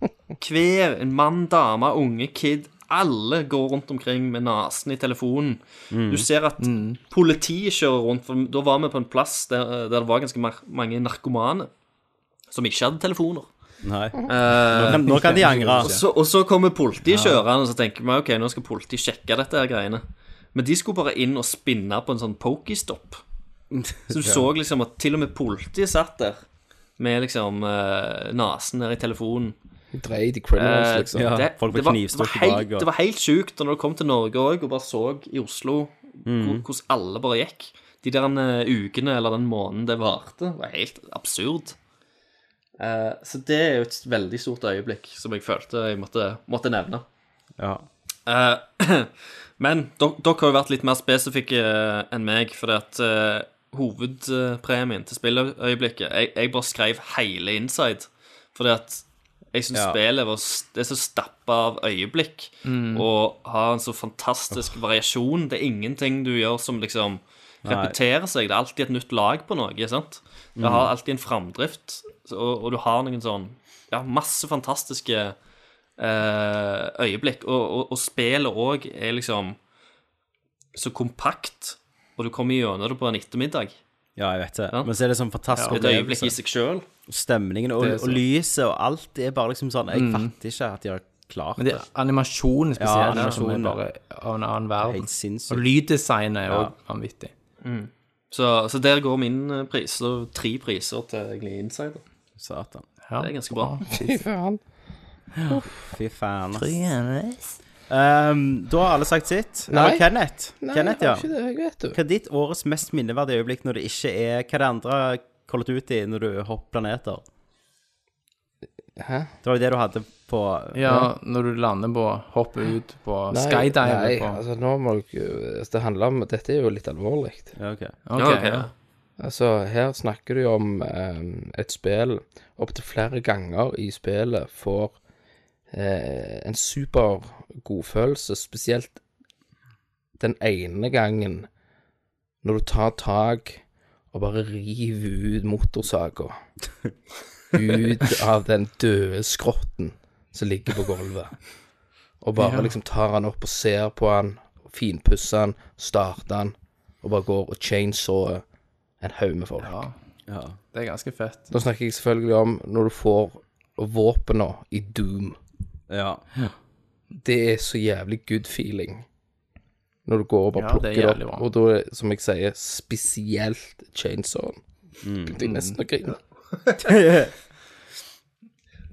S4: hver en mann, dame, unge, kid, alle går rundt omkring med nesen i telefonen. Du ser at politiet kjører rundt, for da var vi på en plass der, der det var ganske mar- mange narkomane som ikke hadde telefoner.
S1: Nei. Nå kan- Nå kan de angre.
S4: Og så, og så kommer politiet kjørende, og så tenker vi ok, nå skal politiet sjekke dette her greiene. Men de skulle bare inn og spinne på en sånn pokestop. Så du så liksom at til og med politiet satt der med liksom eh, nesen ned i telefonen.
S3: Drei de criminals,
S4: Eh,
S3: liksom.
S1: Ja,
S4: det,
S1: folk ble
S4: det var-
S1: knivstukket
S4: det var helt-
S1: bak, og-
S4: Det var helt sjukt. Og når du kom til Norge òg og bare så i Oslo
S1: Mm.
S4: hvor- hvordan alle bare gikk De der eh, ukene eller den måneden det varte, var helt absurd. Eh, så det er jo et veldig stort øyeblikk som jeg følte jeg måtte, måtte nevne.
S1: Ja.
S4: Eh, men dere, dere har jo vært litt mer spesifikke eh, enn meg, fordi at eh, hovedpremien til spilløyeblikket jeg, jeg bare skrev hele Inside, fordi at jeg syns
S1: Ja.
S4: spillet var, s- det er så stappa av øyeblikk, og har en så fantastisk variasjon. Det er ingenting du gjør som liksom repeterer seg. Det er alltid et nytt lag på noe. sant? Det har alltid en framdrift, og, og du har noen sånn ja, masse fantastiske eh, øyeblikk. Og, og, og spillet òg er liksom så kompakt, og du kommer gjennom det på en ettermiddag.
S1: Ja, jeg vet det.
S4: Ja.
S1: Men så er det sånn fantastisk
S4: Et øyeblikk i
S1: opplevelse.
S4: seg sjøl.
S1: Stemningen og, og lyset og alt det er bare liksom sånn Jeg fatter ikke at de har klart
S2: Men det
S1: det.
S2: er animasjonen spesielt
S1: Ja,
S2: som er
S1: animasjonen.
S2: bare av en annen verden.
S1: Helt sinnssykt.
S2: Og lyddesignet er òg vanvittig.
S4: Så, så der går min eh, pris. Så tre priser til egentlig Insider.
S1: Satan.
S2: Ja.
S4: Det er ganske bra.
S1: Fy faen. ass. Ehm, da har alle sagt sitt.
S3: Nei.
S1: Eller Kenneth. Kenneth, ja.
S3: jeg har ikke det, jeg vet du.
S1: Hva er ditt årets mest minneverdige øyeblikk når det ikke er Hva er det andre kollet ut i når du hopper planeter?
S3: Hæ?
S1: Det var jo det du hadde på
S2: ja, når du lander på Hopper ut på
S3: Nei,
S2: Skydiver
S3: nei,
S2: på
S3: altså nå må du ikke- altså, Det handler om Dette er jo litt alvorlig.
S1: Ja, ok.
S2: Ok,
S4: Ja, ok, ja.
S3: Altså, her snakker du jo om eh, et spill opptil flere ganger i spillet får eh, en super godfølelse, spesielt den ene gangen når du tar tak og bare river ut motorsaga ut av den døde skrotten som ligger på gulvet. Og bare liksom tar han opp og ser på han, finpusser han, starter han, og bare går og chainsawer en haug med folk.
S2: Det er ganske fett.
S3: Nå snakker jeg selvfølgelig om når du får våpna i Doom.
S1: Ja.
S3: Det er så jævlig good feeling. Når du går og
S2: Ja,
S3: bare
S2: det er
S3: plukker det
S2: jævlig
S3: opp.
S2: bra.
S3: Og da, er det, som jeg sier, spesielt chainsawen.
S2: Mm.
S3: Begynte jeg nesten å grine.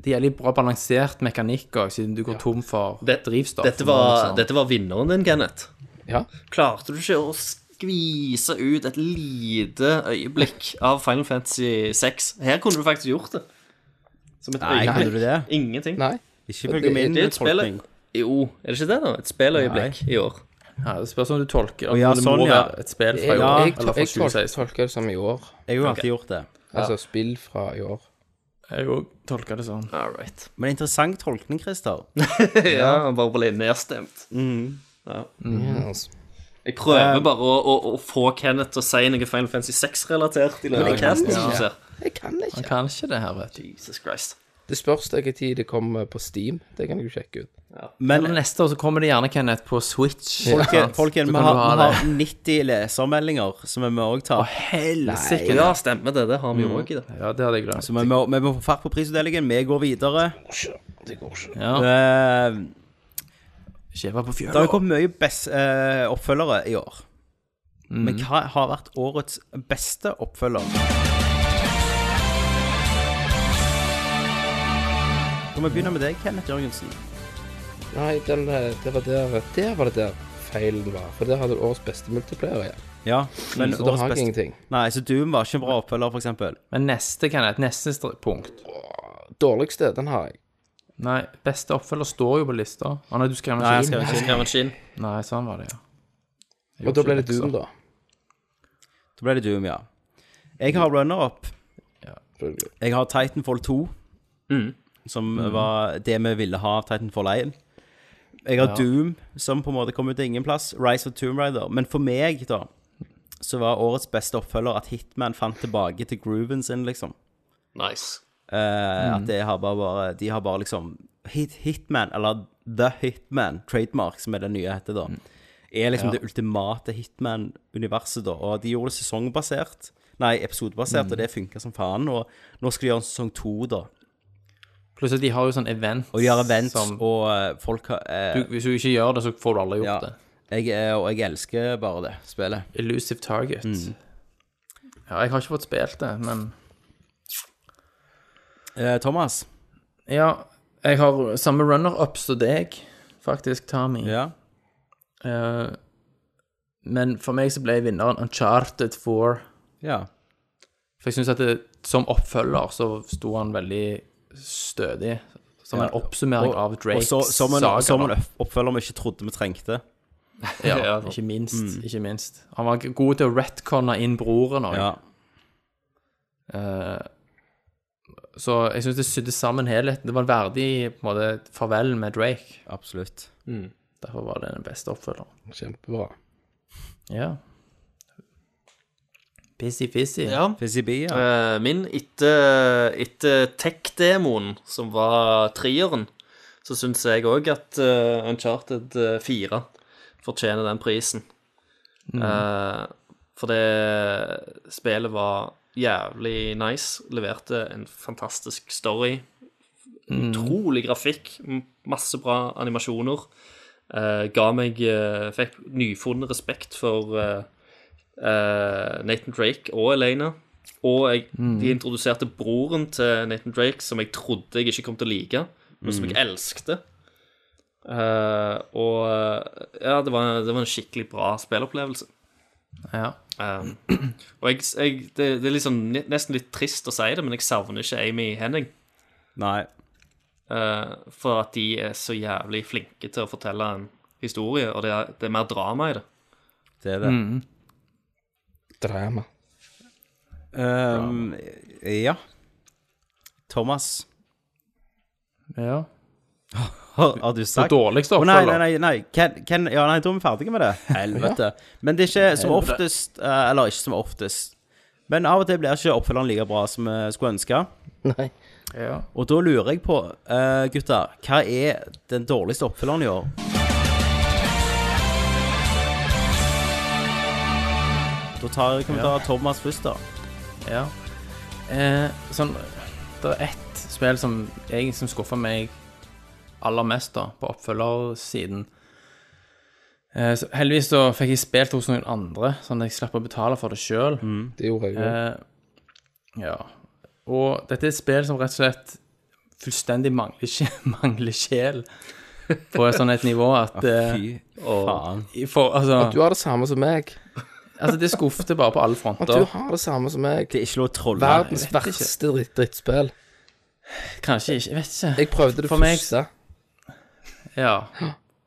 S2: Det er litt bra balansert mekanikk òg, siden du går tom for
S4: Det-
S2: drivstoff.
S4: Dette var, dette var vinneren din, Kenneth.
S3: Ja.
S4: Klarte du ikke å skvise ut et lite øyeblikk av Final Fantasy 6? Her kunne du faktisk gjort det. Som et
S1: Nei, kunne
S4: øyeblikk.
S1: du det?
S4: Ingenting.
S3: Nei.
S1: Ikke ifølge min
S4: Det er et spill
S1: tolkning.
S4: Jo, er det ikke det, da? Et spilløyeblikk i år.
S2: ja, Det spørs om du tolker
S1: Å, ja,
S2: men det. må
S1: sånn, ja.
S2: være et spill fra
S3: Jeg,
S2: i år,
S3: jeg,
S2: eller
S3: jeg,
S2: fra
S3: tol-
S2: 2016.
S3: tolker det som i år.
S1: Jeg har jo alltid gjort det.
S3: Altså spill fra i år.
S2: Jeg òg tolker det sånn.
S4: All right.
S1: Men interessant tolkning, Christer.
S4: Ja, bare ble nedstemt.
S3: Altså.
S4: Jeg prøver bare å, å, å få Kenneth til å si noe Final Fantasy 6-relatert i løpet av casten. som skjer.
S3: Jeg kan det
S2: Han
S3: ikke.
S2: kan ikke det her, vet du.
S4: Jesus Christ.
S3: Det spørs deg når det kommer på Steam. Det kan jeg jo sjekke ut.
S1: Men
S2: Eller neste år så kommer det gjerne, Kenneth, på Switch.
S1: folke- folkens, vi
S2: Så kan
S1: har,
S2: du ha
S1: vi
S2: det.
S1: har 90 lesermeldinger, så vi må òg ta
S2: Helsike.
S4: Ja, stemmer det. Det har vi jo òg i det.
S2: Ja, det hadde jeg glemt.
S1: Så vi må, vi må få fart på prisutdelingen. Vi går videre.
S2: Ja.
S1: Eh,
S2: Skjeva på
S1: Det har
S2: fjøla.
S1: jo kommet mye best, eh, oppfølgere i år. Men hva har vært årets beste oppfølger? Kan vi begynne med deg, Kenneth Jørgensen?
S3: Nei, den, eh, det var der, der var det der feilen var. For der hadde du årets beste multiplayer igjen.
S1: Ja, men
S3: Så da
S1: årets
S3: har jeg
S1: beste
S3: ingenting.
S1: Nei, så Doom var ikke en bra oppfølger, for eksempel.
S2: Men neste, Kenneth, neste str- punkt.
S3: Dårligste, den har jeg.
S2: Nei, beste oppfølger står jo på lista. Å nei, du skrev
S1: Nei, jeg
S2: den ikke
S1: skrev
S2: inn.
S1: ikke inn.
S4: Skrev en skin.
S2: Nei, sånn var det, ja. Jeg
S3: Og da
S2: gjorde
S3: ble
S2: ikke
S3: det Doom,
S2: lekser.
S3: da.
S1: Da ble det Doom, ja. Jeg har runner-up.
S3: selvfølgelig.
S1: Jeg har Titanfall 2, som var det vi ville ha av Titanfall 1. Jeg har Doom, som på en måte kom ut av ingen plass. Rise of Tomb Raider. Men for meg, da, så var årets beste oppfølger at Hitman fant tilbake til grooven sin, liksom.
S4: Nice.
S1: Eh, At det har bare, bare De har bare liksom hit, Hitman, eller The Hitman Trademark, som er det nye heter, da. Er liksom det ultimate Hitman-universet, da. Og de gjorde det sesongbasert. Nei, episodebasert, og det funka som faen. Og nå skal de gjøre en sesong to, da.
S2: Pluss at de har jo sånn event
S1: Og de har events,
S2: som
S1: og eh, folk har eh,
S2: du, Hvis du ikke gjør det, så får du aldri gjort
S1: ja.
S2: det.
S1: jeg, eh, Og jeg elsker bare det spillet.
S2: Elusive Target.
S1: Mm.
S2: Ja, jeg har ikke fått spilt det, men
S1: Eh, Thomas?
S2: Ja, jeg har samme runner-ups som deg, faktisk, Tami.
S1: Ja?
S2: Eh, men for meg så ble vinneren Uncharted 4.
S1: Ja.
S2: For jeg syns at det, som oppfølger så sto han veldig stødig. Som
S1: Ja,
S2: en oppsummering av Drakes
S1: og så, som, en,
S2: saga.
S1: som en
S2: da.
S1: opp- oppfølger vi ikke trodde vi trengte.
S2: ja, ikke minst. Ikke minst. Han var god til å retconne inn broren òg.
S1: Mm. Ja.
S2: Eh, Så jeg syns det sydde sammen helheten. Det var en verdig på en måte, farvel med Drake.
S1: Absolutt.
S2: Mm. Derfor var det den beste oppfølgeren.
S3: Kjempebra.
S2: Ja. Pissy, pissy.
S4: Ja.
S1: Fizzy-bee, ja.
S4: Eh, Min etter, etter tech-demoen, som var trieren, så syns jeg òg at eh, Uncharted eh, 4 fortjener den prisen. Eh, for det spillet var jævlig nice. Leverte en fantastisk story. Utrolig grafikk. m- Masse bra animasjoner. Eh, ga meg eh, Fikk nyfunnen respekt for eh, eh, Nathan Drake og Elena. Og jeg, de introduserte broren til Nathan Drake, som jeg trodde jeg ikke kom til å like, men som jeg elskte. Eh, og eh, ja, det var, det var en skikkelig bra spillopplevelse.
S2: Ja.
S4: Um, og jeg, jeg, det, det er liksom ne- nesten litt trist å si det, men jeg savner ikke Amy Henning.
S1: Nei.
S4: eh, for at de er så jævlig flinke til å fortelle en historie, og det er, det er mer drama i det.
S1: Det er det.
S3: Drama.
S1: Ehm, ja. Thomas,
S2: ja.
S1: har, har du
S2: Så
S1: sagt
S2: dårligste
S1: Å, nei,
S2: oppfølger.
S1: nei, nei, nei. Ken, Ken, ja, nei, da er vi ferdige med det. Helvete. Men det er ikke som oftest eh, Eller ikke som oftest. Men av og til blir ikke oppfølgeren like bra som vi skulle ønske.
S3: Nei.
S2: Ja.
S1: Og da lurer jeg på, eh, gutter, hva er den dårligste oppfølgeren i år? Da tar jeg kommentarer Thomas først, da.
S2: Ja. Eh, sånn, det er ett spill som jeg som skuffer meg aller mest da, på oppfølgersiden. Eh, så heldigvis så fikk jeg spilt hos noen andre, sånn at jeg slapp å betale for det sjøl.
S3: Det gjorde jeg jo.
S2: Eh, ja. Og dette er et spill som rett og slett fullstendig mangler, sj- mangler sjel på et sånn et nivå at eh,
S1: Fy faen.
S2: for,
S3: Du
S2: altså,
S3: har det samme som meg.
S2: altså, det skuffet bare på alle
S3: At du
S2: fronter.
S3: har det samme som meg.
S1: Det er ikke lov å trolle.
S3: Verdens
S2: jeg vet ikke.
S3: verste dritt- drittspill.
S2: Kanskje ikke, jeg vet ikke.
S3: Jeg prøvde det
S2: For meg-
S3: første.
S2: Ja.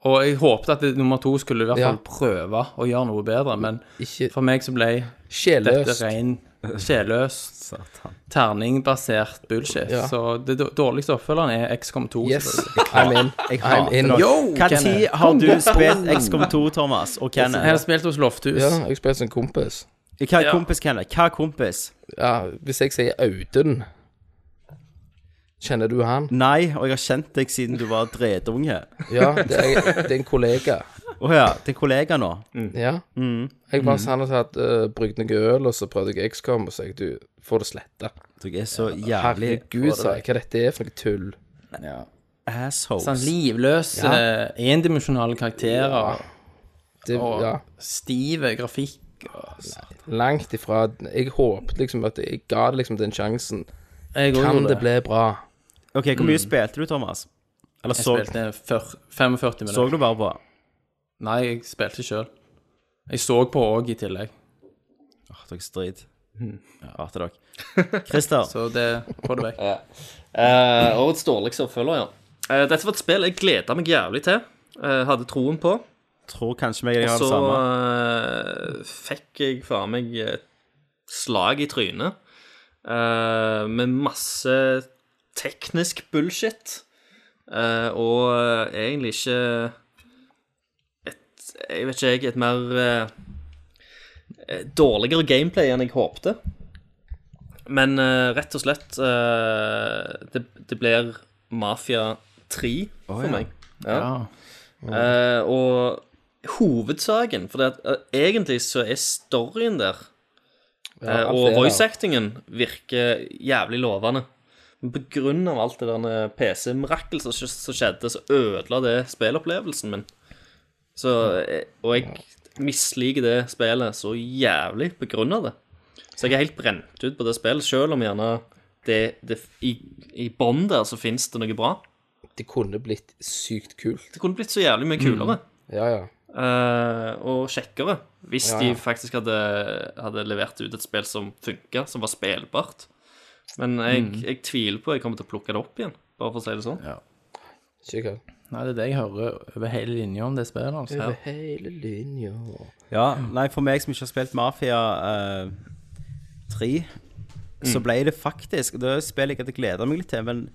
S2: Og jeg håpte at det, nummer to skulle i hvert
S3: Ja.
S2: fall prøve å gjøre noe bedre, men
S3: Ikke
S2: for meg så ble dette
S3: sjelløst.
S2: ren sjelløst,
S1: Satan.
S2: terningbasert bullshit.
S3: Ja.
S2: Så det dår- dårligste oppfølgeren er XCOM2.
S3: Yes,
S2: selvfølgelig.
S3: I'm in.
S1: Jeg
S3: I'm in.
S1: hater det. Når har du spilt XCOM 2, Thomas? Og
S2: Jeg har
S1: Kenneth?
S2: spilt hos Lofthus.
S3: Ja, jeg spilte som kompis.
S1: Hva er kompis, Kenneth? Hva er kompis?
S3: Ja, hvis jeg sier Audun Kjenner du han?
S1: Nei, og jeg har kjent deg siden du var dritunge.
S3: Ja, det er, det er en kollega.
S1: Å ja, til kollega nå.
S3: Ja. Jeg var sånn og satt, uh, brukte noe øl, og så prøvde jeg XCOM, og så sa jeg du, får det sletta.
S1: Du er så jævlig
S3: Herregud, sa jeg, hva dette er for noe tull.
S2: Sånn
S1: assholes.
S2: livløse,
S3: Ja.
S2: endimensjonale karakterer,
S3: Det,
S2: og
S3: ja,
S2: stive grafikk.
S3: langt ifra Jeg håpet liksom at jeg ga det liksom den sjansen.
S2: Jeg også
S3: Kan
S2: gjorde
S3: det bli bra?
S1: OK, hvor mye spilte du, Thomas? Eller
S2: Jeg
S1: så,
S2: spilte fyr- 45 minutter.
S1: så du bare på?
S2: Nei, jeg spilte sjøl. Jeg så på òg i tillegg.
S1: Åh, dere er strid. Hater dere. Christer,
S2: Så det får det vekk.
S4: Eh, årets dårligste oppfølger, ja. Eh, dette var et spill jeg gleda meg jævlig til. eh, hadde troen på.
S1: tror kanskje meg jeg har
S4: Og
S1: det
S4: så
S1: samme.
S4: eh, fikk jeg faen meg et slag i trynet eh, med masse teknisk bullshit. eh, og eh, egentlig ikke et Jeg vet ikke, jeg. Et mer eh, eh, dårligere gameplay enn jeg håpte. Men eh, rett og slett eh, det, det blir Mafia 3 for
S1: ja.
S4: meg. Ja. Eh, og hovedsaken For det at, eh, egentlig så er storyen der, eh,
S3: alt
S4: og
S3: er der.
S4: voice-actingen virker jævlig lovende. Men på grunn av alt det der PC-miraklet som skj- som skjedde, så ødela det spillopplevelsen min. Så, eh, og jeg misliker det spillet så jævlig på grunn av det. Så jeg er helt brent ut på det spillet, sjøl om gjerne det, det I, i bånn der så fins det noe bra.
S3: Det kunne blitt sykt kult.
S4: Det kunne blitt så jævlig mye
S3: Mm.
S4: kulere.
S3: Ja, ja.
S4: eh, og kjekkere. Hvis
S3: Ja, ja.
S4: de faktisk hadde, hadde levert ut et spill som funka, som var spillbart. Men jeg,
S3: Mhm.
S4: jeg tviler på jeg kommer til å plukke det opp ign, bare for å si det sånn.
S3: Ikke hva.
S2: Nei, det er det jeg hører over hele linja om det spillet. Altså.
S3: Over hele linja.
S1: Ja, nei, for meg som ikke har spilt Mafia eh, 3, så ble det faktisk og Det er et spill jeg hadde gleda meg litt til, men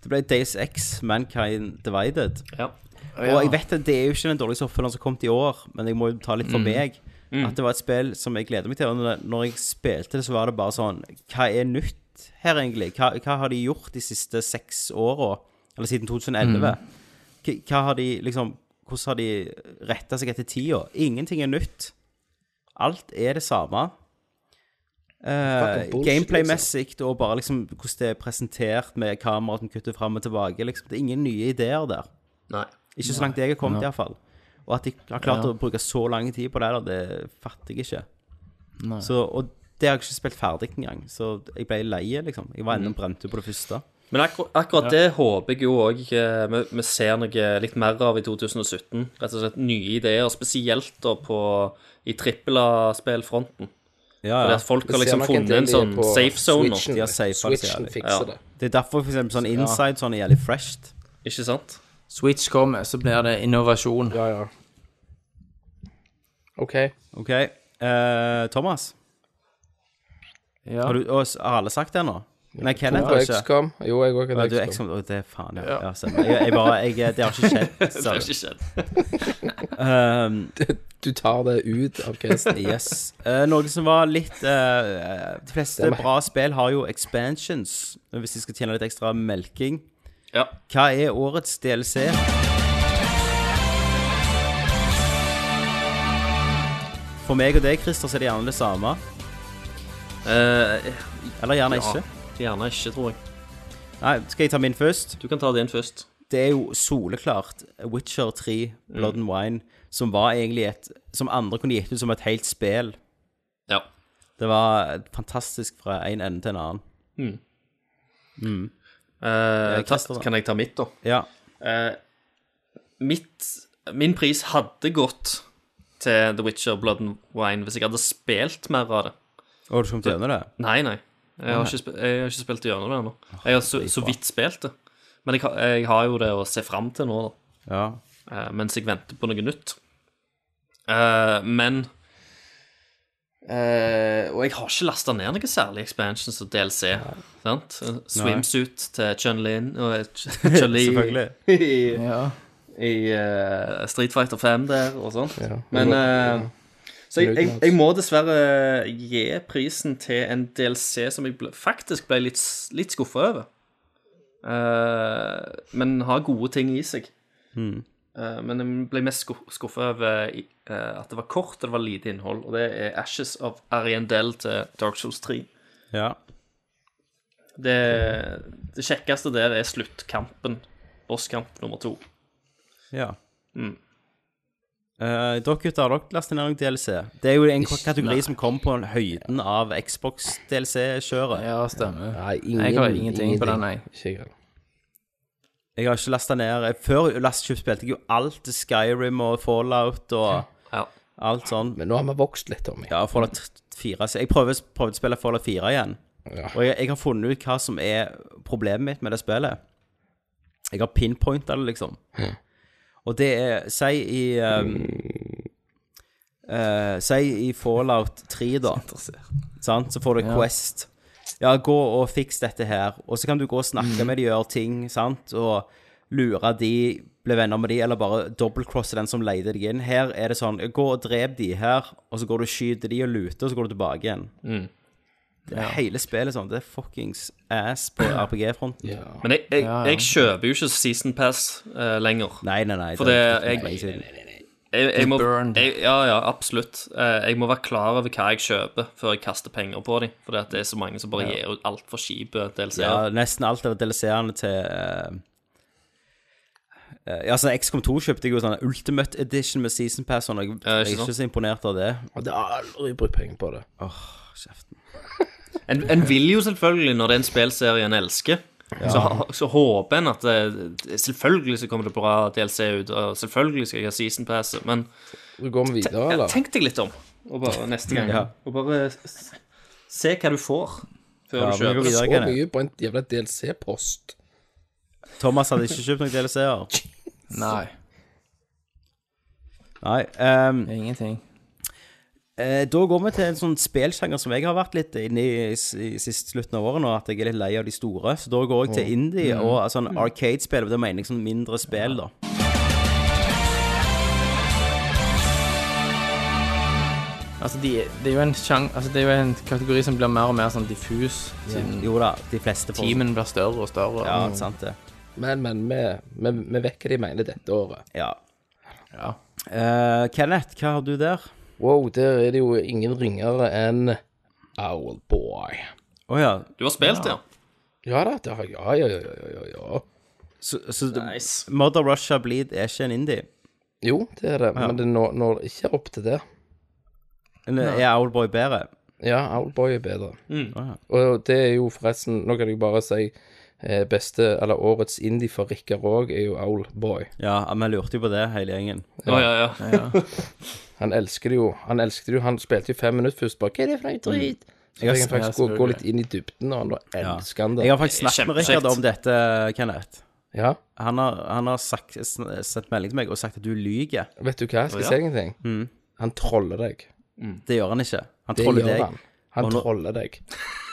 S1: det ble Days X, Mankind Divided.
S4: Ja.
S1: Og jeg vet at det er jo ikke den dårligste oppfølgeren som har kommet i år, men jeg må jo ta litt for meg. At det var et spill som jeg gleder meg til. Og når- når jeg spilte det, så var det bare sånn Hva er nytt her, egentlig? Hva, hva har de gjort de siste seks åra? Eller siden 2011? Hva, hva har de liksom Hvordan har de retta seg etter tida? Ingenting er nytt. Alt er det samme. Eh,
S3: Fucking bullshit, altså.
S1: Gameplay-messig og bare liksom hvordan det er presentert med kamera som kutter fram og tilbake. Liksom. Det er ingen nye ideer der.
S4: Nei.
S1: Ikke så langt jeg har kommet, i hvert iallfall. Og at de har klart å bruke så lang tid på det, der, det fatter jeg ikke. Så, og det har jeg ikke spilt ferdig engang, så jeg ble lei, liksom. Jeg var ennå
S3: Mm.
S1: brent ut på det første.
S4: Men akkur akkurat det håper jeg jo òg vi, vi ser noe litt mer av i 2017. Rett og slett nye ideer, spesielt da på, i trippel A-spillfronten.
S1: Ja,
S4: Fordi
S1: ja.
S4: at folk har
S3: ser
S4: liksom
S3: nok en
S4: funnet en
S3: del
S4: sånn
S3: på
S4: safe zone nå,
S3: Switchen,
S1: De har safet seg
S3: Switchen
S1: jævlig.
S3: fikser
S4: Ja.
S3: det.
S1: Det er derfor for eksempel sånn inside sånn er jævlig fresht.
S4: ikke sant?
S2: Switch kommer, så blir det innovasjon.
S3: Ja, ja. OK.
S1: OK. eh, Thomas,
S2: Ja.
S1: har, du, og, s- har alle sagt det nå? Nei, Kenneth
S3: På
S1: har ikke.
S3: XCOM. Jo, jeg òg
S1: Ja, du
S3: hadde
S1: er
S3: XCOM.
S1: XCOM. Å, det er faen, ja. ja stemmer. jeg, jeg bare, jeg, eh, det har ikke skjedd.
S4: Det har
S1: sorry.
S4: ikke skjedd.
S1: Um,
S3: Du tar det ut av casten.
S1: Yes. Eh, noe som var litt eh, De fleste
S3: Stemmer.
S1: bra spill har jo expansions, hvis de skal tjene litt ekstra melking.
S4: Ja.
S1: Hva er årets DLC? For meg og deg, Christer, så er det gjerne det samme.
S4: Eh,
S1: Eller gjerne
S4: ja.
S1: ikke.
S4: Gjerne ikke, tror jeg.
S1: Nei, Skal jeg ta min først?
S4: Du kan ta din først.
S1: Det er jo soleklart Witcher 3, Blood and Wine, som var egentlig et Som andre kunne gitt ut som et helt spill.
S4: Ja.
S1: Det var fantastisk fra en ende til en annen.
S4: Eh, ta,
S1: Christer, da.
S4: kan jeg ta mitt, da?
S1: Ja.
S4: Eh, mitt, min pris hadde gått til The Witcher Blood and Wine hvis jeg hadde spilt mer av det.
S1: Og du kom til gjennom det?
S4: Nei, nei. Jeg har ikke, sp jeg har ikke spilt gjennom det ennå. Jeg har så, så vidt spilt det. Men jeg, har- jeg har jo det å se fram til nå, da.
S1: Ja.
S4: eh, mens jeg venter på noe nytt. Eh, men eh, Og jeg har ikke lasta ned noe særlig expansions og DLC. Sant? Eh, Swimsuit til Chun-Lin og Chun-Li
S1: Selvfølgelig.
S4: i,
S2: Ja.
S4: i eh, Street Fighter 5 der og sånt.
S3: Ja.
S4: Men eh, Så jeg, jeg,
S3: Lugnad.
S4: jeg må dessverre gi prisen til en DLC som jeg ble, faktisk ble litt, s- litt skuffa over. Eh, men har gode ting i seg.
S3: Hmm.
S4: Eh, men jeg ble mest skuffa over i- eh, at det var kort og det var lite innhold. Og det er Ashes of Ariendel til Dark Souls 3.
S1: Ja.
S4: Det, det kjekkeste der er sluttkampen. Bosskamp nummer to.
S1: ja. Mm. Eh, dere gutter, har dere lastet ned noen DLC? Det er jo en kategori som kom på en høyden av Xbox-DLC-kjøret.
S2: ja, stemmer.
S3: Nei, ingen,
S2: Jeg har ingenting på den, jeg.
S3: Ikke jeg heller.
S1: Jeg har ikke lasta ned Før Last Ship spilte jeg jo alt Skyrim og Fallout og
S4: Ja.
S1: alt sånn.
S3: Men nå har vi vokst litt, Tommy.
S1: Ja, Fallout 4 så Jeg prøver, prøvde å spille Fallout 4 igjen.
S3: Ja.
S1: Og jeg, jeg har funnet ut hva som er problemet mitt med det spillet. Jeg har pinpointa det, liksom. Og det er Si i um, eh, Si i Fallout 3, da. Sant? Så får du Quest. Ja, gå og fiks dette her. Og så kan du gå og snakke
S4: Mhm.
S1: med de, gjøre ting, sant, og lure de, bli venner med de, eller bare dobbeltcrosse den som leide deg inn. Her er det sånn, gå og drep de her, og så går du og skyter de og luter, og så går du tilbake igjen.
S4: Mm.
S1: Det er hele spillet sånn, det er fuckings ass på RPG-fronten.
S4: Men jeg, jeg, jeg kjøper jo ikke Season Pass eh, lenger.
S1: Nei, nei, nei.
S4: For det-
S1: er-
S4: jeg-
S1: lenge siden.
S4: Jeg, jeg må,
S2: burned.
S4: jeg, ja, ja, absolutt. Eh, Jeg må være klar over hva jeg kjøper, før jeg kaster penger på dem. For det er så mange som bare gir ut altfor kjipe
S1: Ja,
S4: DLC-er.
S1: nesten alt av DLC-ene til eh, eh, Ja, sånn XCOM 2 kjøpte jeg jo sånn Ultimate Edition med Season Pass, og jeg,
S4: Ja, ikke
S1: jeg er ikke så imponert av det.
S3: Og det har aldri brukt penger på det.
S1: Kjeften.
S4: En, en vil jo selvfølgelig, når det er en spillserie en elsker, så, ha- så håper en at det, selvfølgelig så kommer det bra DLC ut, og selvfølgelig skal jeg ha Season Pass, men
S3: Så går vi videre,
S4: ja,
S3: eller?
S4: tenk deg litt om, og bare neste gang.
S1: Ja.
S4: Og bare s- se hva du får, før
S1: Ja,
S4: du
S1: men vi går
S4: kjøper.
S1: videre,
S3: Så
S1: Kenneth.
S3: mye på en jævla DLC-post.
S1: Thomas hadde ikke kjøpt noen DLC-er.
S2: Nei.
S1: Nei. ehm,
S2: Ingenting.
S1: eh, da går vi til en sånn spelsjanger som jeg har vært litt inne i i, s- i sist slutten av året nå, at jeg er litt lei av de store. Så da går jeg til indie
S3: Mm.
S1: og sånn arcade-spill, og det mener jeg sånn mindre spill, da.
S2: Altså, de, det, er jo en sjang, altså, det er jo en kategori som blir mer og mer sånn diffus, siden
S1: Jo da, de fleste får
S2: teamen blir større og større.
S1: Ja, sant det.
S3: Men, men, vi, vi, vi vekker de mener dette året.
S1: Ja.
S2: Ja.
S1: Eh, Kenneth, hva har du der?
S3: Wow, der er det jo ingen ringere enn Owlboy.
S1: Å ja.
S4: Du har spilt, ja?
S3: Ja da, det har ja, ja, ja, ja, ja, ja.
S1: Så, så det- Mother Russia Bleed er ikke en indie?
S3: Jo, det er det, men det når, når det ikke er opp til det.
S1: Eller er Owlboy bedre?
S3: Ja, Owlboy er bedre.
S4: Mm.
S3: Og det er jo forresten, nå kan jeg bare si eh, beste, eller årets indie for Rikard Rog er jo Owlboy.
S1: Ja, vi lurte jo på det, hele gjengen.
S4: Å, ja, ja.
S3: Han elsker det jo. Han elsker det jo. Han spilte jo fem minutter først, bare 'Hva er det for noe dritt?' Så
S1: Mm. Jeg
S3: jeg kan
S1: har-
S3: faktisk
S2: ja,
S3: gå, gå litt inn i dybden, og da elsker han det.
S1: Jeg har faktisk snakket med Rikard
S4: Kjempeprosjekt.
S1: om dette, Kenneth.
S3: Ja,
S1: Han har, han har sagt, sn- sendt melding til meg og sagt at du lyver.
S3: vet du hva, skal jeg si deg en ting? Han troller deg.
S1: Det gjør han ikke. Han
S3: Det
S1: Mm. troller
S3: gjør
S1: deg.
S3: han. Han
S1: Og nå-
S3: troller deg.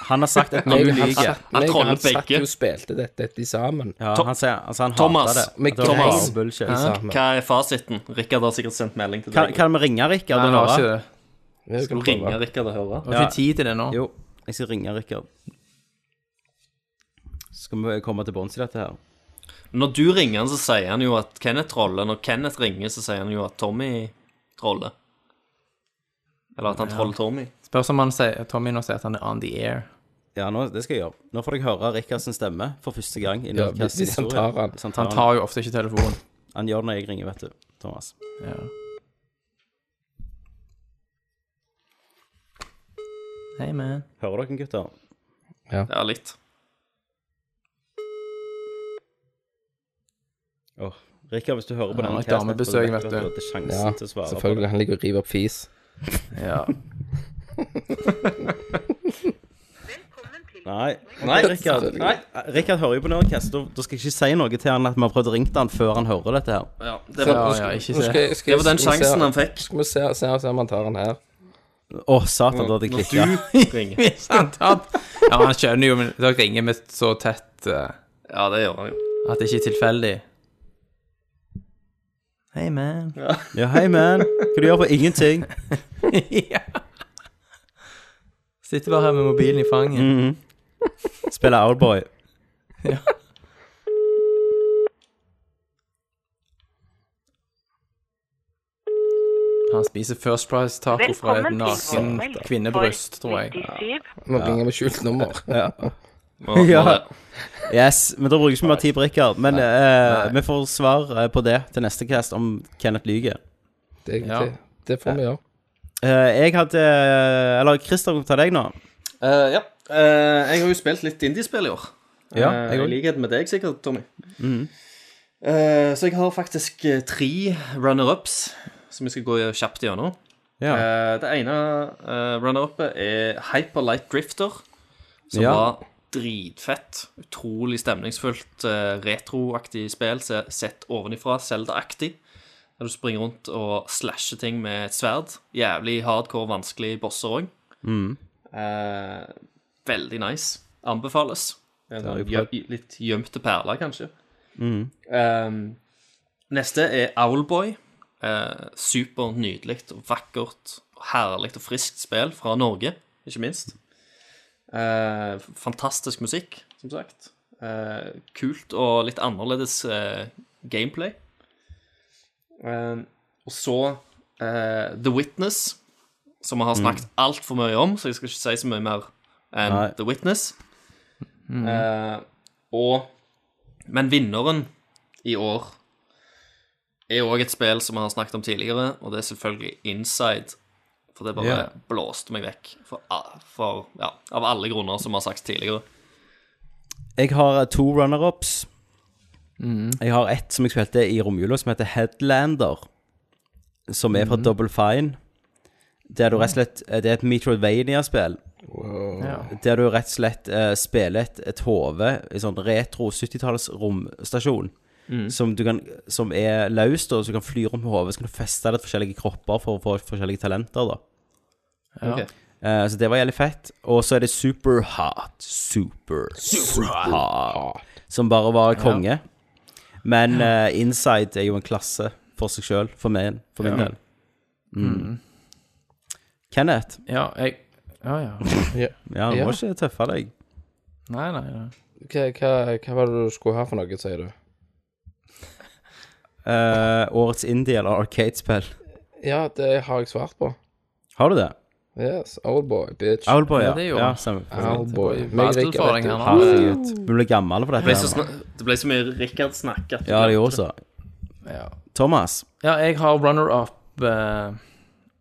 S1: Han har sagt at du
S3: Jeg- han
S1: lyver.
S3: satt-
S4: Han
S3: meg og
S4: troller
S3: han satt
S4: begge.
S3: jo og spilte dette, dette sammen.
S1: Ja, han sier altså, han
S4: Thomas,
S1: hater det.
S3: med
S1: At det var
S3: Thomas.
S1: bare bullshit.
S3: sammen.
S4: Hva er fasiten? Rikard har sikkert sendt melding til
S1: Kan,
S4: deg.
S1: kan vi ringe Rikard og
S2: Han har
S1: høre?
S2: ikke det.
S3: Vi kan
S4: Skal du
S3: prøve.
S4: ringe Rikard og høre?
S2: Han har ikke tid til det nå.
S1: Jo, jeg skal ringe Rikard. Skal vi komme til bunns i dette her?
S4: Når du ringer han, så sier han jo at Kenneth troller. Når Kenneth ringer, så sier han jo at Tommy troller. Eller at han troller Tommy.
S2: Spørs om han sier, Tommy nå sier at han er on the air.
S1: Ja, nå, det skal jeg gjøre. Nå får dere høre Rikards stemme for første gang. i
S3: Ja,
S1: Nerdcasts
S3: hvis- hvis han
S1: historie.
S3: tar han.
S1: Hvis han tar
S2: Han
S1: han.
S2: tar jo ofte ikke telefonen.
S1: Han gjør det når jeg ringer, vet du, Thomas.
S2: Ja. Hei, man.
S1: Hører dere, gutter?
S4: Ja, litt.
S1: Åh, Rikard, hvis du hører på
S2: Ja,
S1: denne
S2: jeg har damebesøk,
S1: vet du at
S2: vet du.
S1: du hadde sjansen
S3: Ja,
S1: til å svare
S3: selvfølgelig. Han ligger og river opp fis.
S2: Ja.
S1: på det. Nei, nei, Rikard. Nei, Rikard hører jo på Nerdcast. Da, da skal jeg ikke si noe til han at vi har prøvd å ringe han før han hører dette her.
S4: Ja, det
S2: ja,
S4: var,
S2: ja, ikke
S3: Nå skal
S2: se.
S3: jeg- skal
S4: det
S3: jeg-
S4: var den
S3: skal jeg se-
S4: sjansen han fikk.
S3: Skal vi se, se, se om han tar den her.
S1: Åh, satan, da hadde jeg
S4: Når
S1: klikka.
S4: du ringer.
S2: Hvis han tar Ja, han skjønner jo, men dere ringer med så tett eh,
S4: Ja, det gjør han jo.
S2: at det ikke er tilfeldig. Hei, man.
S1: Ja, hei, man. Hva du gjør for ingenting?
S2: ja. Sitter bare her med mobilen i fanget.
S1: Spiller Outboy.
S2: Han spiser First Price taco fra et naken kvinnebryst, tror jeg.
S3: Nå ringer vi skjult nummer.
S4: Må- må
S1: Ja.
S4: det.
S1: Yes, men da bruker vi ikke mer tid på Rikard. Men eh, vi får svar eh, på det til neste cast om Kenneth lyver.
S3: Det,
S2: Ja.
S3: det, det får vi gjøre.
S1: Eh, jeg hadde eh, Eller Christer, ta deg nå.
S4: Eh, ja. Eh, jeg har jo spilt litt indiespill i år.
S1: Ja,
S4: Eh,
S1: jeg
S4: I
S1: òg.
S4: likhet med deg, sikkert, Tommy.
S1: Mm.
S4: Eh, så jeg har faktisk eh, tre runner-ups som jeg skal gå kjapt gjennom.
S1: Ja.
S4: Eh, det ene eh, runner-upet er Hyperlight Drifter, som
S1: Ja.
S4: var dritfett. Utrolig stemningsfullt, eh, retroaktig spill se- sett ovenifra, Zelda-aktig. Der du springer rundt og slasher ting med et sverd. Jævlig hardcore, vanskelig bosser òg.
S1: Mm.
S4: veldig nice. Anbefales. En
S1: har jeg
S4: sånn gjem- litt gjemte perler, kanskje. Eh, neste er Owlboy. Eh, super nydelig og vakkert og herlig og friskt spill fra Norge, ikke minst. Eh, fantastisk musikk, som sagt. Eh, kult og litt annerledes eh, gameplay. Eh, og så eh, The Witness, som vi
S1: Mm.
S4: har snakket altfor mye om, så jeg skal ikke si så mye mer enn
S1: Nei. Mm.
S4: The Witness. Eh, og Men vinneren i år er òg et spill som vi har snakket om tidligere, og det er selvfølgelig Inside. For det bare
S1: Ja.
S4: blåste meg vekk, for, a- for, ja, av alle grunner, som vi har sagt tidligere.
S1: Jeg har to runner-ups. Jeg har ett som jeg spilte i romjula, som heter Headlander. Som er fra Double Fine. Der du rett og slett eh, Det er et Metroidvania-spill. Der du rett og slett eh, spiller et, et hode i sånn retro 70-talls romstasjon. Som, du kan, som er løst, og så du kan fly rundt med hodet. Så kan du feste det til forskjellige kropper for å få forskjellige talenter. da
S2: Ja.
S4: Ok.
S1: Eh, Så det var jævlig fett. Og så er det Super Hot. Super, super Hot. Som bare var konge. Men eh, Inside er jo en klasse for seg sjøl, for meg, for min del. Mm. Kenneth,
S2: Mm. Ja, jeg Ja, ja.
S1: ja, du
S3: Ja.
S1: må ikke tøffe deg.
S2: Nei, nei. nei.
S3: Hva, hva, hva var det du skulle ha for noe, sier du?
S1: Eh, årets indie eller arcade-spill.
S3: Ja, det har jeg svart på.
S1: Har du det?
S3: Yes, Oldboy, bitch.
S1: Owlboy, ja.
S2: Ja, det gjorde
S1: ja
S2: han.
S1: stemmer.
S3: Oldboy.
S2: Baselfaring her nå.
S1: Herregud. Vi ble gamle for
S4: ble så
S1: dette. her.
S4: sna- det ble så mye Rikard-snakk at
S1: Ja, det gjorde så.
S2: Ja.
S1: Thomas,
S2: ja, jeg har runner-up eh,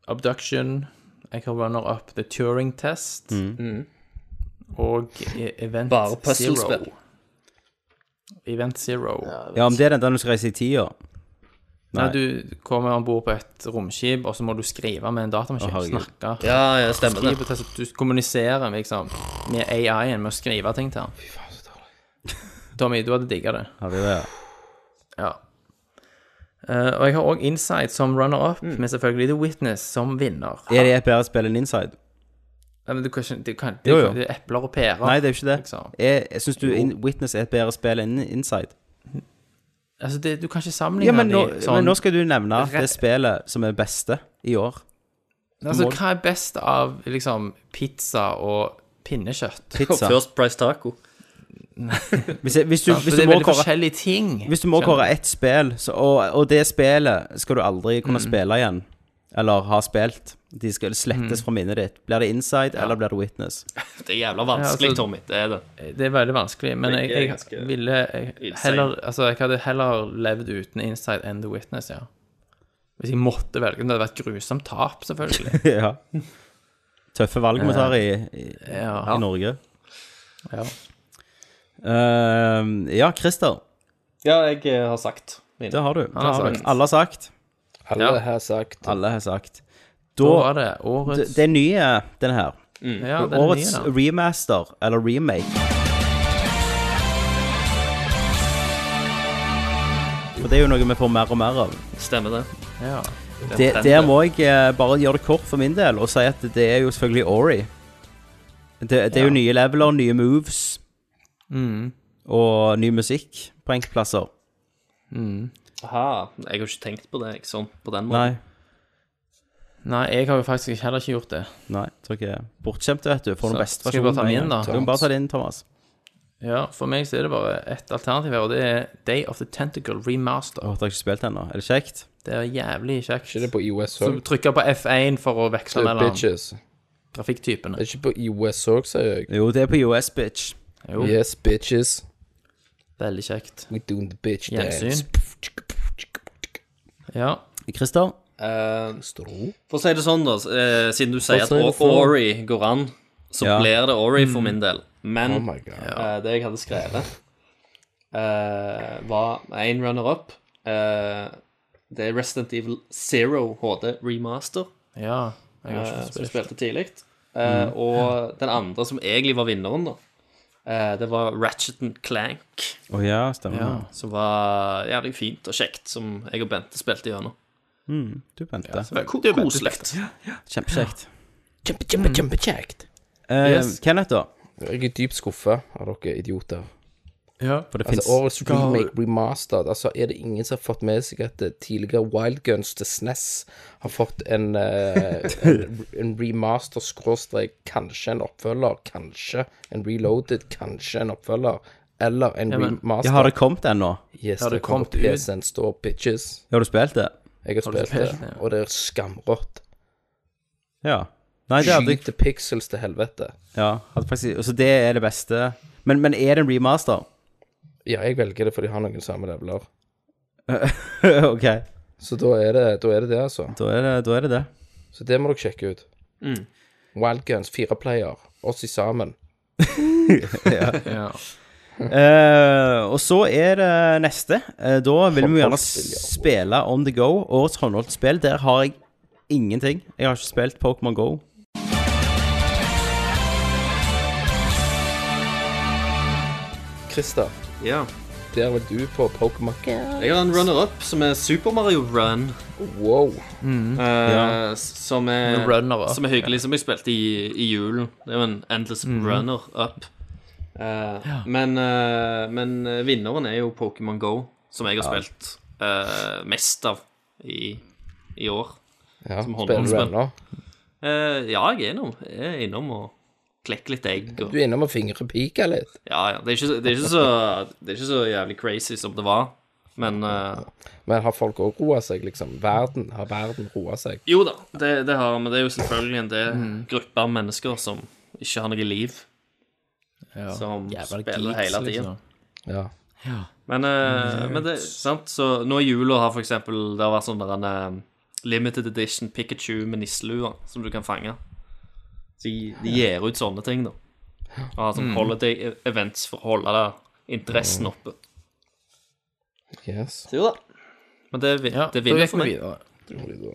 S2: Abduction. Jeg har runner-up The Turing Test. Mm. Og e- Event
S4: Bare
S2: Zero.
S4: puzzlespill.
S2: Event Zero.
S1: ja, om det er den der du skal reise i tida?
S2: Nei, du kommer om bord på et romskip, og så må du skrive med en datamaskin.
S1: herregud.
S2: snakke.
S4: Ja, ja, stemmer det.
S2: Skrive til, så du kommuniserer liksom, med AI-en med å skrive ting til han. Tommy, du hadde digga det.
S1: Har vi det? ja.
S2: Ja. Eh, og jeg har òg Insight som runner-up, men selvfølgelig The Witness som vinner.
S1: Er det et bedre spill enn Inside?
S2: Nei, men du kan ikke, du kan,
S1: Jo, jo.
S2: det- Det er epler og pærer.
S1: Nei, det er jo ikke det.
S2: Liksom.
S1: Jeg, jeg syns du In Witness er et bedre spill enn Inside.
S2: Altså, det, du kan ikke
S1: Ja,
S2: sammenligne
S1: men nå,
S2: de sånn-
S1: men nå skal du nevne
S2: Re-
S1: det spillet som er beste i år.
S2: altså, Hva er best av liksom pizza og pinnekjøtt?
S1: Pizza.
S4: First Price Taco.
S1: Hvis, jeg- hvis, du,
S2: For
S1: hvis,
S2: Altså, det
S1: du,
S2: er
S1: må
S2: veldig
S1: kåre,
S2: forskjellige ting.
S1: hvis du må
S2: skjønner
S1: kåre ett spill, så, og, og det spillet skal du aldri kunne
S2: Mm.
S1: spille igjen, eller ha spilt De skal
S2: Mm.
S1: slettes fra minnet ditt. Blir det Inside, eller blir det Witness?
S4: Det er jævla vanskelig,
S2: Ja, altså-
S4: Tommy. Det er det.
S2: Det er veldig vanskelig, men jeg,
S4: Begge er
S2: jeg,
S4: ganske
S2: ville jeg
S4: insane.
S2: heller Altså, jeg hadde heller levd uten Inside enn The Witness, ja. Hvis jeg måtte velge. Men det hadde vært grusomt tap, selvfølgelig.
S1: ja. Tøffe valg vi tar i, i,
S2: Ja.
S1: i Norge.
S2: ja.
S1: Ehm, ja, Christer.
S4: Ja, jeg eh, har sagt.
S1: Det har du. Det
S2: har
S1: har du.
S2: sagt.
S1: Alle har sagt.
S3: Alle har sagt
S1: Alle har sagt. Da,
S2: Da var det årets
S1: det, det er nye, den her.
S2: Ja, den
S1: Årets
S2: nye, da.
S1: remaster, eller remake. For det er jo noe vi får mer og mer av.
S4: Stemmer det.
S2: Ja.
S1: Det, der må jeg eh, bare gjøre det kort for min del og si at det er jo selvfølgelig Ori. Det, det er jo nye leveler, nye moves
S2: Mm.
S1: og ny musikk på enkelte plasser.
S4: Aha. Jeg har jo ikke tenkt på det ikke sånn på den måten.
S1: Nei,
S2: Nei, jeg har jo faktisk ikke- heller ikke gjort det.
S1: nei, tror ikke bortskjemt, vet du. Får den
S2: Så,
S1: beste
S2: skal vi bare ta den inn,
S1: med en gang.
S2: da?
S1: Du må bare ta den inn, Thomas.
S2: Ja, For meg så er det bare ett alternativ her, og det er Day of the Tentacle Remaster.
S1: Åh, det har jeg ikke spilt ennå. Er det kjekt?
S2: Det er jævlig kjekt.
S3: Ikke det på IOS
S2: Så du
S3: òg?
S2: trykker på F1 for å veksle mellom
S3: Bitches.
S2: trafikktypene.
S3: Det er ikke på IOS òg, sier jeg.
S1: Jo, det er på US, bitch.
S2: Jo,
S3: Yes, bitches.
S2: veldig kjekt.
S3: We doing the bitch dance.
S2: Gjensyn. Ja.
S1: Christer?
S4: For å si det sånn, da, s- eh, siden du sier
S3: å
S4: at
S3: si det
S4: O-
S3: sånn.
S4: Ori går an, så
S1: Ja.
S4: blir det Ori for min del. Men
S3: Oh my god.
S4: Mm. eh, det jeg hadde skrevet, eh, var én runner-up. Eh, det er Resident Evil Zero HD Remaster,
S2: ja. Jeg har
S4: eh,
S2: ikke
S4: som
S2: fått
S4: vi
S2: spilt.
S4: spilte tidlig. Eh, Og den andre som egentlig var vinneren, da, eh, det var Ratchet and Clank.
S1: Å ja, stemmer.
S2: Ja.
S4: Som var jævlig fint og kjekt, som jeg og Bente spilte gjennom.
S1: Hmm, Du, Bente.
S4: Ko Koselig.
S1: Kjempekjekt.
S3: Kjempe, kjempe, kjempekjekt.
S1: Eh,
S2: Yes.
S1: Kenneth, da?
S3: Jeg er dypt skuffa av dere idioter.
S2: Ja.
S1: For det
S3: Altså,
S1: finnes-
S3: årets remake remastered. Altså, er det ingen som har fått med seg at eh, tidligere Wild Guns til SNES har fått en, eh, en, en remaster skråstrek, kanskje en oppfølger, kanskje en reloaded, kanskje en oppfølger, eller en
S2: men-
S1: ja, Har
S3: remaster.
S1: det kommet ennå?
S3: Yes,
S2: har
S3: det
S2: det
S3: kom på
S2: kommet ut?
S3: PC-en står bitches.
S1: Har du spilt det?
S3: Jeg har
S2: du
S3: spilt det,
S2: spilt det, ja?
S3: og det er skamrått.
S1: Ja. Nei, det hadde jeg
S3: Skyter pixels til helvete.
S1: Ja, hadde faktisk Altså, det er det beste. Men, men er det en remaster?
S3: Ja, jeg velger det, for de har noen samme leveler.
S1: ok,
S3: Så da er det da er det, det, altså.
S1: da er det da er det. det.
S3: Så det må dere sjekke ut.
S2: Mm.
S3: Wild Guns, fire player, oss i sammen.
S2: Ja.
S1: Eh, og så er det neste. Eh, da vil vi gjerne
S3: Håndholdtspill, ja.
S1: spille On The Go. Årets håndholdt spill. Der har jeg ingenting. Jeg har ikke spilt Pokémon Go.
S3: Christer,
S4: Ja.
S3: der var du på Pokémon Go.
S4: Jeg har en runner-up som er Super Mario Run.
S3: Wow.
S4: eh, s- som, er,
S2: Runner-up,
S4: som er hyggelig, som jeg spilte i, i julen. Det er jo en endless runner-up. Eh, men, eh, men eh, vinneren er jo Pokémon Go, som jeg har spilt eh, mest av i, i år.
S3: Ja,
S4: Som
S3: spiller du
S4: håndballspill.
S3: ennå?
S4: Eh, ja, jeg er innom. Jeg er innom og klekker litt egg. Og,
S3: Du er innom og fingerpika litt.
S4: ja, ja. Det, er ikke, det, er ikke så, det er ikke så jævlig crazy som det var. Men eh,
S3: Men har folk òg roa seg, liksom? Verden, har verden roa seg?
S4: jo da, det, det har vi. Det er jo selvfølgelig en del
S2: Mm.
S4: grupper av mennesker som ikke har noe liv.
S2: Ja.
S4: Som
S2: Jævla
S4: spiller
S2: geeks, liksom. Mm,
S4: hele tiden.
S3: Ja.
S4: Men, eh, men det sant? Så nå i jula har for eksempel Det har vært sånn der en eh, limited edition Pikachu med nisselua som du kan fange. Så de, de gir ut sånne ting, da. Og har
S2: Mm.
S4: sånn holiday events for å holde der interessen oppe.
S3: Yes.
S4: Jo da. Men det, vi-
S2: Ja,
S4: det
S2: da
S4: vinner
S2: gikk
S4: for
S2: vi
S4: meg.
S2: videre.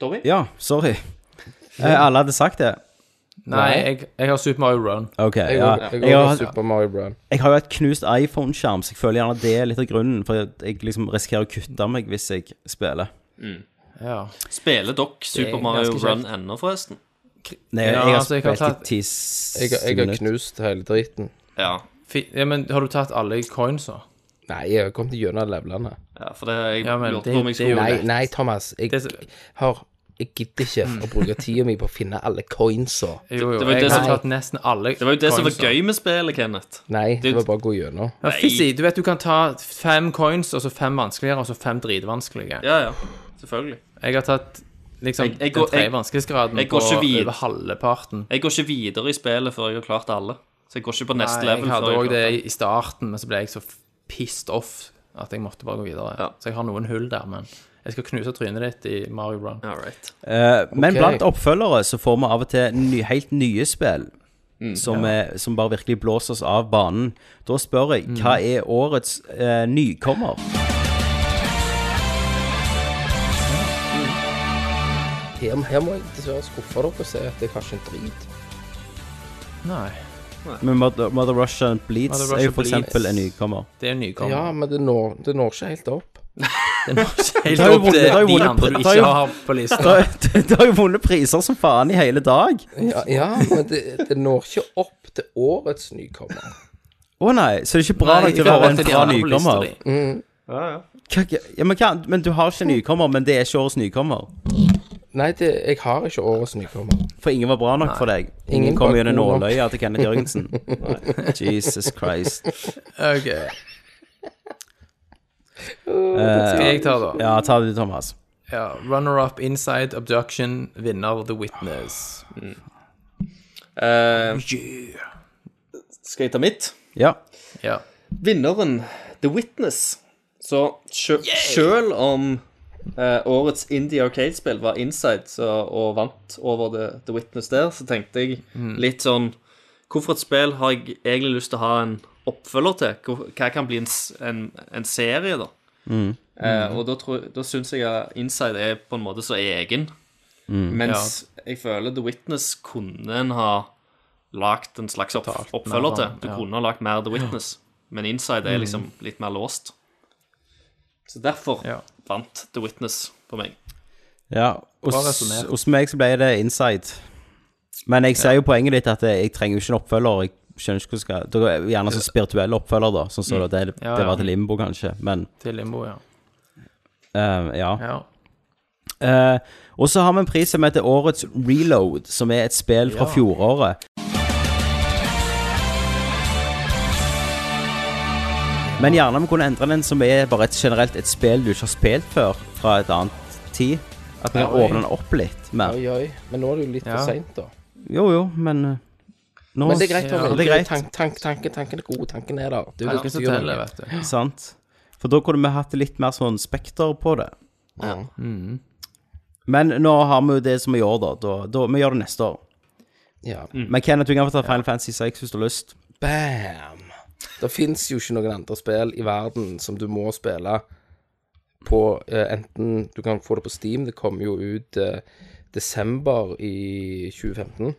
S4: Tommy?
S1: Ja, sorry. Eh, alle hadde sagt det?
S2: Nei, jeg, jeg har Super Mario Run.
S1: OK.
S3: Jeg
S1: ja.
S3: går- jeg
S1: Jeg,
S3: går med
S1: har,
S3: Super Mario Bros.
S1: jeg har jo et knust iPhone-skjerm, så jeg føler gjerne det er litt av grunnen. For jeg liksom risikerer å kutte meg hvis jeg spiller.
S2: Ja.
S4: Spiller dere Super
S2: ganske
S4: Mario
S2: kjekt.
S4: Run ennå, forresten?
S1: Nei,
S2: Ja,
S1: jeg har
S2: altså, jeg har
S1: spilt i
S2: tatt-
S1: ti
S3: Jeg, jeg har
S1: minutter.
S3: knust hele driten.
S4: Ja.
S2: Fi- ja, men har du tatt alle coinsa?
S3: Nei, jeg har kommet gjennom levelene.
S4: ja. For det jeg
S2: Ja, men
S4: lurte
S2: det-
S4: på om jeg
S2: det er jo
S4: skulle
S3: Nei, nei, Thomas. Jeg
S2: Det er
S3: har Jeg gidder ikke å bruke tida mi på å finne alle coinsa.
S2: Jo, jo,
S4: det var jo
S2: jeg
S4: det
S2: har
S4: som-
S2: tatt nesten alle
S4: Det var jo det som var
S2: coinsa.
S4: gøy med spillet, Kenneth.
S3: Nei, det
S4: Du-
S3: var bare å gå gjennom.
S2: Ja, Fizzy, du vet du kan ta fem coins, og så fem vanskeligere, og så fem dritvanskelige.
S4: Ja, ja. Selvfølgelig.
S2: Jeg har tatt liksom
S4: Jeg- jeg går-
S2: den tredje
S4: jeg-
S2: vanskelighetsgraden
S4: jeg
S2: på
S4: går ikke vid-
S2: over halvparten.
S4: Jeg går ikke videre i spillet før jeg har klart alle. Så jeg går ikke på neste
S2: Nei,
S4: level.
S2: jeg hadde
S4: før
S2: òg
S4: har
S2: det
S4: klart alle.
S2: i starten, men så ble jeg så f- pissed off at jeg måtte bare gå videre.
S4: Ja.
S2: Så jeg har noen hull der, men jeg skal knuse trynet ditt i Mario Run.
S4: All right.
S1: Eh, Men
S3: Ok.
S1: blant oppfølgere så får vi av og til ny, helt nye spill.
S3: Mm,
S1: Som, er, som bare virkelig blåser oss av banen. Da spør
S3: Mm.
S1: jeg hva er årets eh, nykommer?
S3: Her, her må jeg dessverre skuffe dere og si at jeg har ikke en drit.
S2: Nei,
S1: Men Mother, Mother Russian Bleeds
S2: Mother
S1: er jo
S2: Russia
S1: for eksempel
S2: Bleeds.
S1: en nykommer.
S2: det er nykommer.
S3: Ja, men det når, det når ikke helt opp.
S2: Det når ikke
S1: Det
S2: helt
S1: har jo
S2: opp
S1: vunnet-
S2: til
S1: det har jo
S2: de
S1: vunnet-
S2: andre du
S1: det har jo-
S2: ikke har på lista.
S1: Det det har jo vunnet priser som faen i hele dag.
S3: Ja, ja men det, det når ikke opp til årets nykommer.
S1: Å nei, så det er ikke bra nok
S2: Nei,
S1: til
S2: i
S1: å være
S2: forhold
S1: en
S2: til de
S1: bra
S2: andre på lista
S1: nykommer?
S2: di.
S1: Hva- Ja, men, hva, men du har ikke nykommer, men det er ikke årets nykommer.
S3: Nei, det, jeg har ikke årets nykommer.
S1: For ingen var bra nok for deg. Ingen
S3: Ingen
S1: kom
S3: var
S1: gjennom
S3: god nok.
S1: nåløyet til Kenneth Jørgensen. Nei. Jesus Christ.
S2: Ok. Skal jeg ta, da?
S1: Eh, Ja, ta det du, Thomas.
S2: Ja, Runner-up inside abduction, vinner The Witness.
S4: Eh, Skal jeg ta mitt?
S1: Ja.
S2: Ja.
S4: Vinneren, The Witness. Så sjø sjøl om eh, årets Indie Arcade-spill var Inside så, og vant over The, The Witness der, så tenkte jeg
S2: Mm.
S4: litt sånn Hvorfor et spill har jeg egentlig lyst til å ha en oppfølger til? Hvor- Hva kan bli en, s- en, en serie, da?
S2: Mm.
S4: Eh, og da, tror- da syns jeg at Inside er på en måte så egen.
S2: Mm.
S4: Mens jeg føler The Witness kunne en ha lagt en slags opp
S2: Talt mer
S4: oppfølger til.
S2: om,
S4: Du
S2: ja. Mm.
S4: kunne ha lagt mer The Witness, men Inside er liksom litt mer låst. Så derfor
S2: Ja.
S4: vant The Witness på meg.
S1: ja.
S2: Bra
S1: Hos,
S2: resonert.
S1: hos meg så ble det inside. Men jeg ser jo poenget ditt, at jeg trenger jo ikke en oppfølger. Jeg skjønner ikke hvordan skal Det er Gjerne sånn spirituell oppfølger, da. Sånn som det, det,
S2: Ja, ja.
S1: var til Limbo, kanskje. Men
S2: Til Limbo, ja.
S1: eh, ja.
S2: ja.
S1: Eh, og så har vi en pris som heter Årets Reload, som er et spill fra
S2: Ja.
S1: fjoråret. Men gjerne vi kunne endre den som er bare et generelt et spill du ikke har spilt før, fra et annet tid. At vi kan
S3: Oi.
S1: åpne den opp litt mer.
S3: Oi, oi. Men nå er det jo litt
S2: Ja.
S3: for seint, da.
S1: Jo, jo, men eh, nå,
S3: Men det er greit, Tommy.
S1: det er greit.
S3: Tank, tank, tanken, tanken er god. Tanken er der. Det er jo det
S2: Tanken
S3: som
S2: som
S3: gjør
S2: teller,
S3: noe.
S2: vet du.
S1: Sant? For da kunne vi hatt litt mer sånn spekter på det.
S3: Ja.
S1: Men nå har vi jo det som vi gjør, da. da, da vi gjør det neste år.
S3: Ja.
S1: Men Kenneth, du kan få ta Final Fantasy 6 hvis du har lyst.
S3: Bam! Det fins jo ikke noen andre spill i verden som du må spille på eh, enten Du kan få det på Steam, det kom jo ut eh, desember i 2015.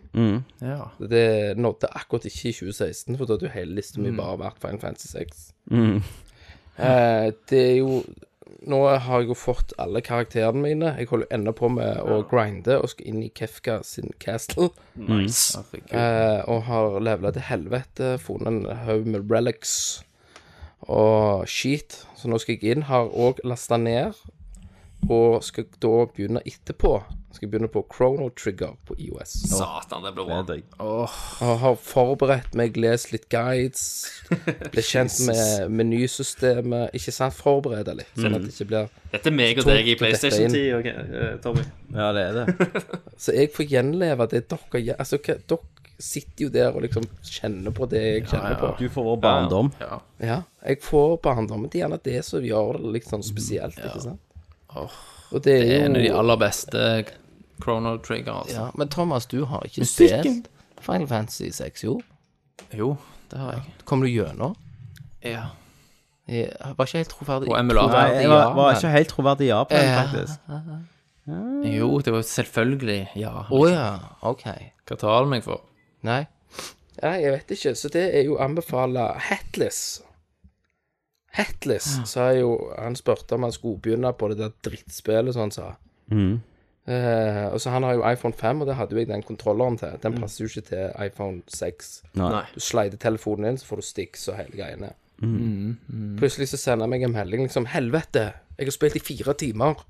S2: Ja.
S3: Det nådde akkurat ikke i 2016, for da hadde jo hele lista mi bare vært Final Fantasy 6. Eh, det er jo Nå har jeg jo fått alle karakterene mine. Jeg holder ennå på med å grinde og skal inn i Kefka sin castle.
S2: Mm. Herregud.
S3: Eh, og har levela til helvete, funnet en haug med relics og skit. Så nå skal jeg inn. Har òg lasta ned og skal da begynne etterpå. Skal begynne på Chrono Trigger på E IOS.
S4: Satan, det blir bra.
S1: deg.
S3: Jeg har forberedt meg, lest litt guides, ble kjent med menysystemet. Ikke sant? Forberede litt, sånn at det ikke blir
S4: Dette er meg og
S3: Tok
S4: deg i
S3: dette inn.
S4: PlayStation 10, ok, eh, Tommy.
S1: Ja, det er det.
S3: Så jeg får gjenleve det dere gjør. Altså, hva- dere sitter jo der og liksom kjenner på det jeg kjenner på.
S1: Du får vår barndom.
S3: Ja, jeg får barndommen. Det er gjerne det som gjør det litt sånn spesielt,
S2: Mm,
S3: ikke sant? og det er jo
S2: En av de
S1: Oh.
S2: aller beste Chrono Trigger, altså.
S8: Ja, men Thomas, du har ikke spilt Final Fantasy 6, jo?
S2: Jo, det har jeg.
S8: Kom du gjennom?
S2: Ja.
S8: Jeg var ikke helt troverdig.
S2: Og emulator.
S1: Nei, jeg var, var
S8: men-
S1: ikke helt troverdig i Japan,
S8: Ja.
S1: faktisk.
S2: Jo, det var selvfølgelig ja.
S8: Å ja, ok.
S2: Hva tar du meg for?
S8: Nei.
S3: Nei, jeg vet ikke. Så det er jo anbefala Hatless. Hatless sa jo Han spurte om han skulle begynne på det der drittspillet, som han sa. Eh, og så Han har jo iPhone 5, og det hadde jo jeg den kontrolleren til. Den passer jo ikke til iPhone 6.
S1: Nei.
S3: Du slider telefonen inn, så får du sticks og hele greiene.
S2: Mm,
S3: Plutselig så sender han meg en melding liksom 'Helvete, jeg har spilt i fire timer'.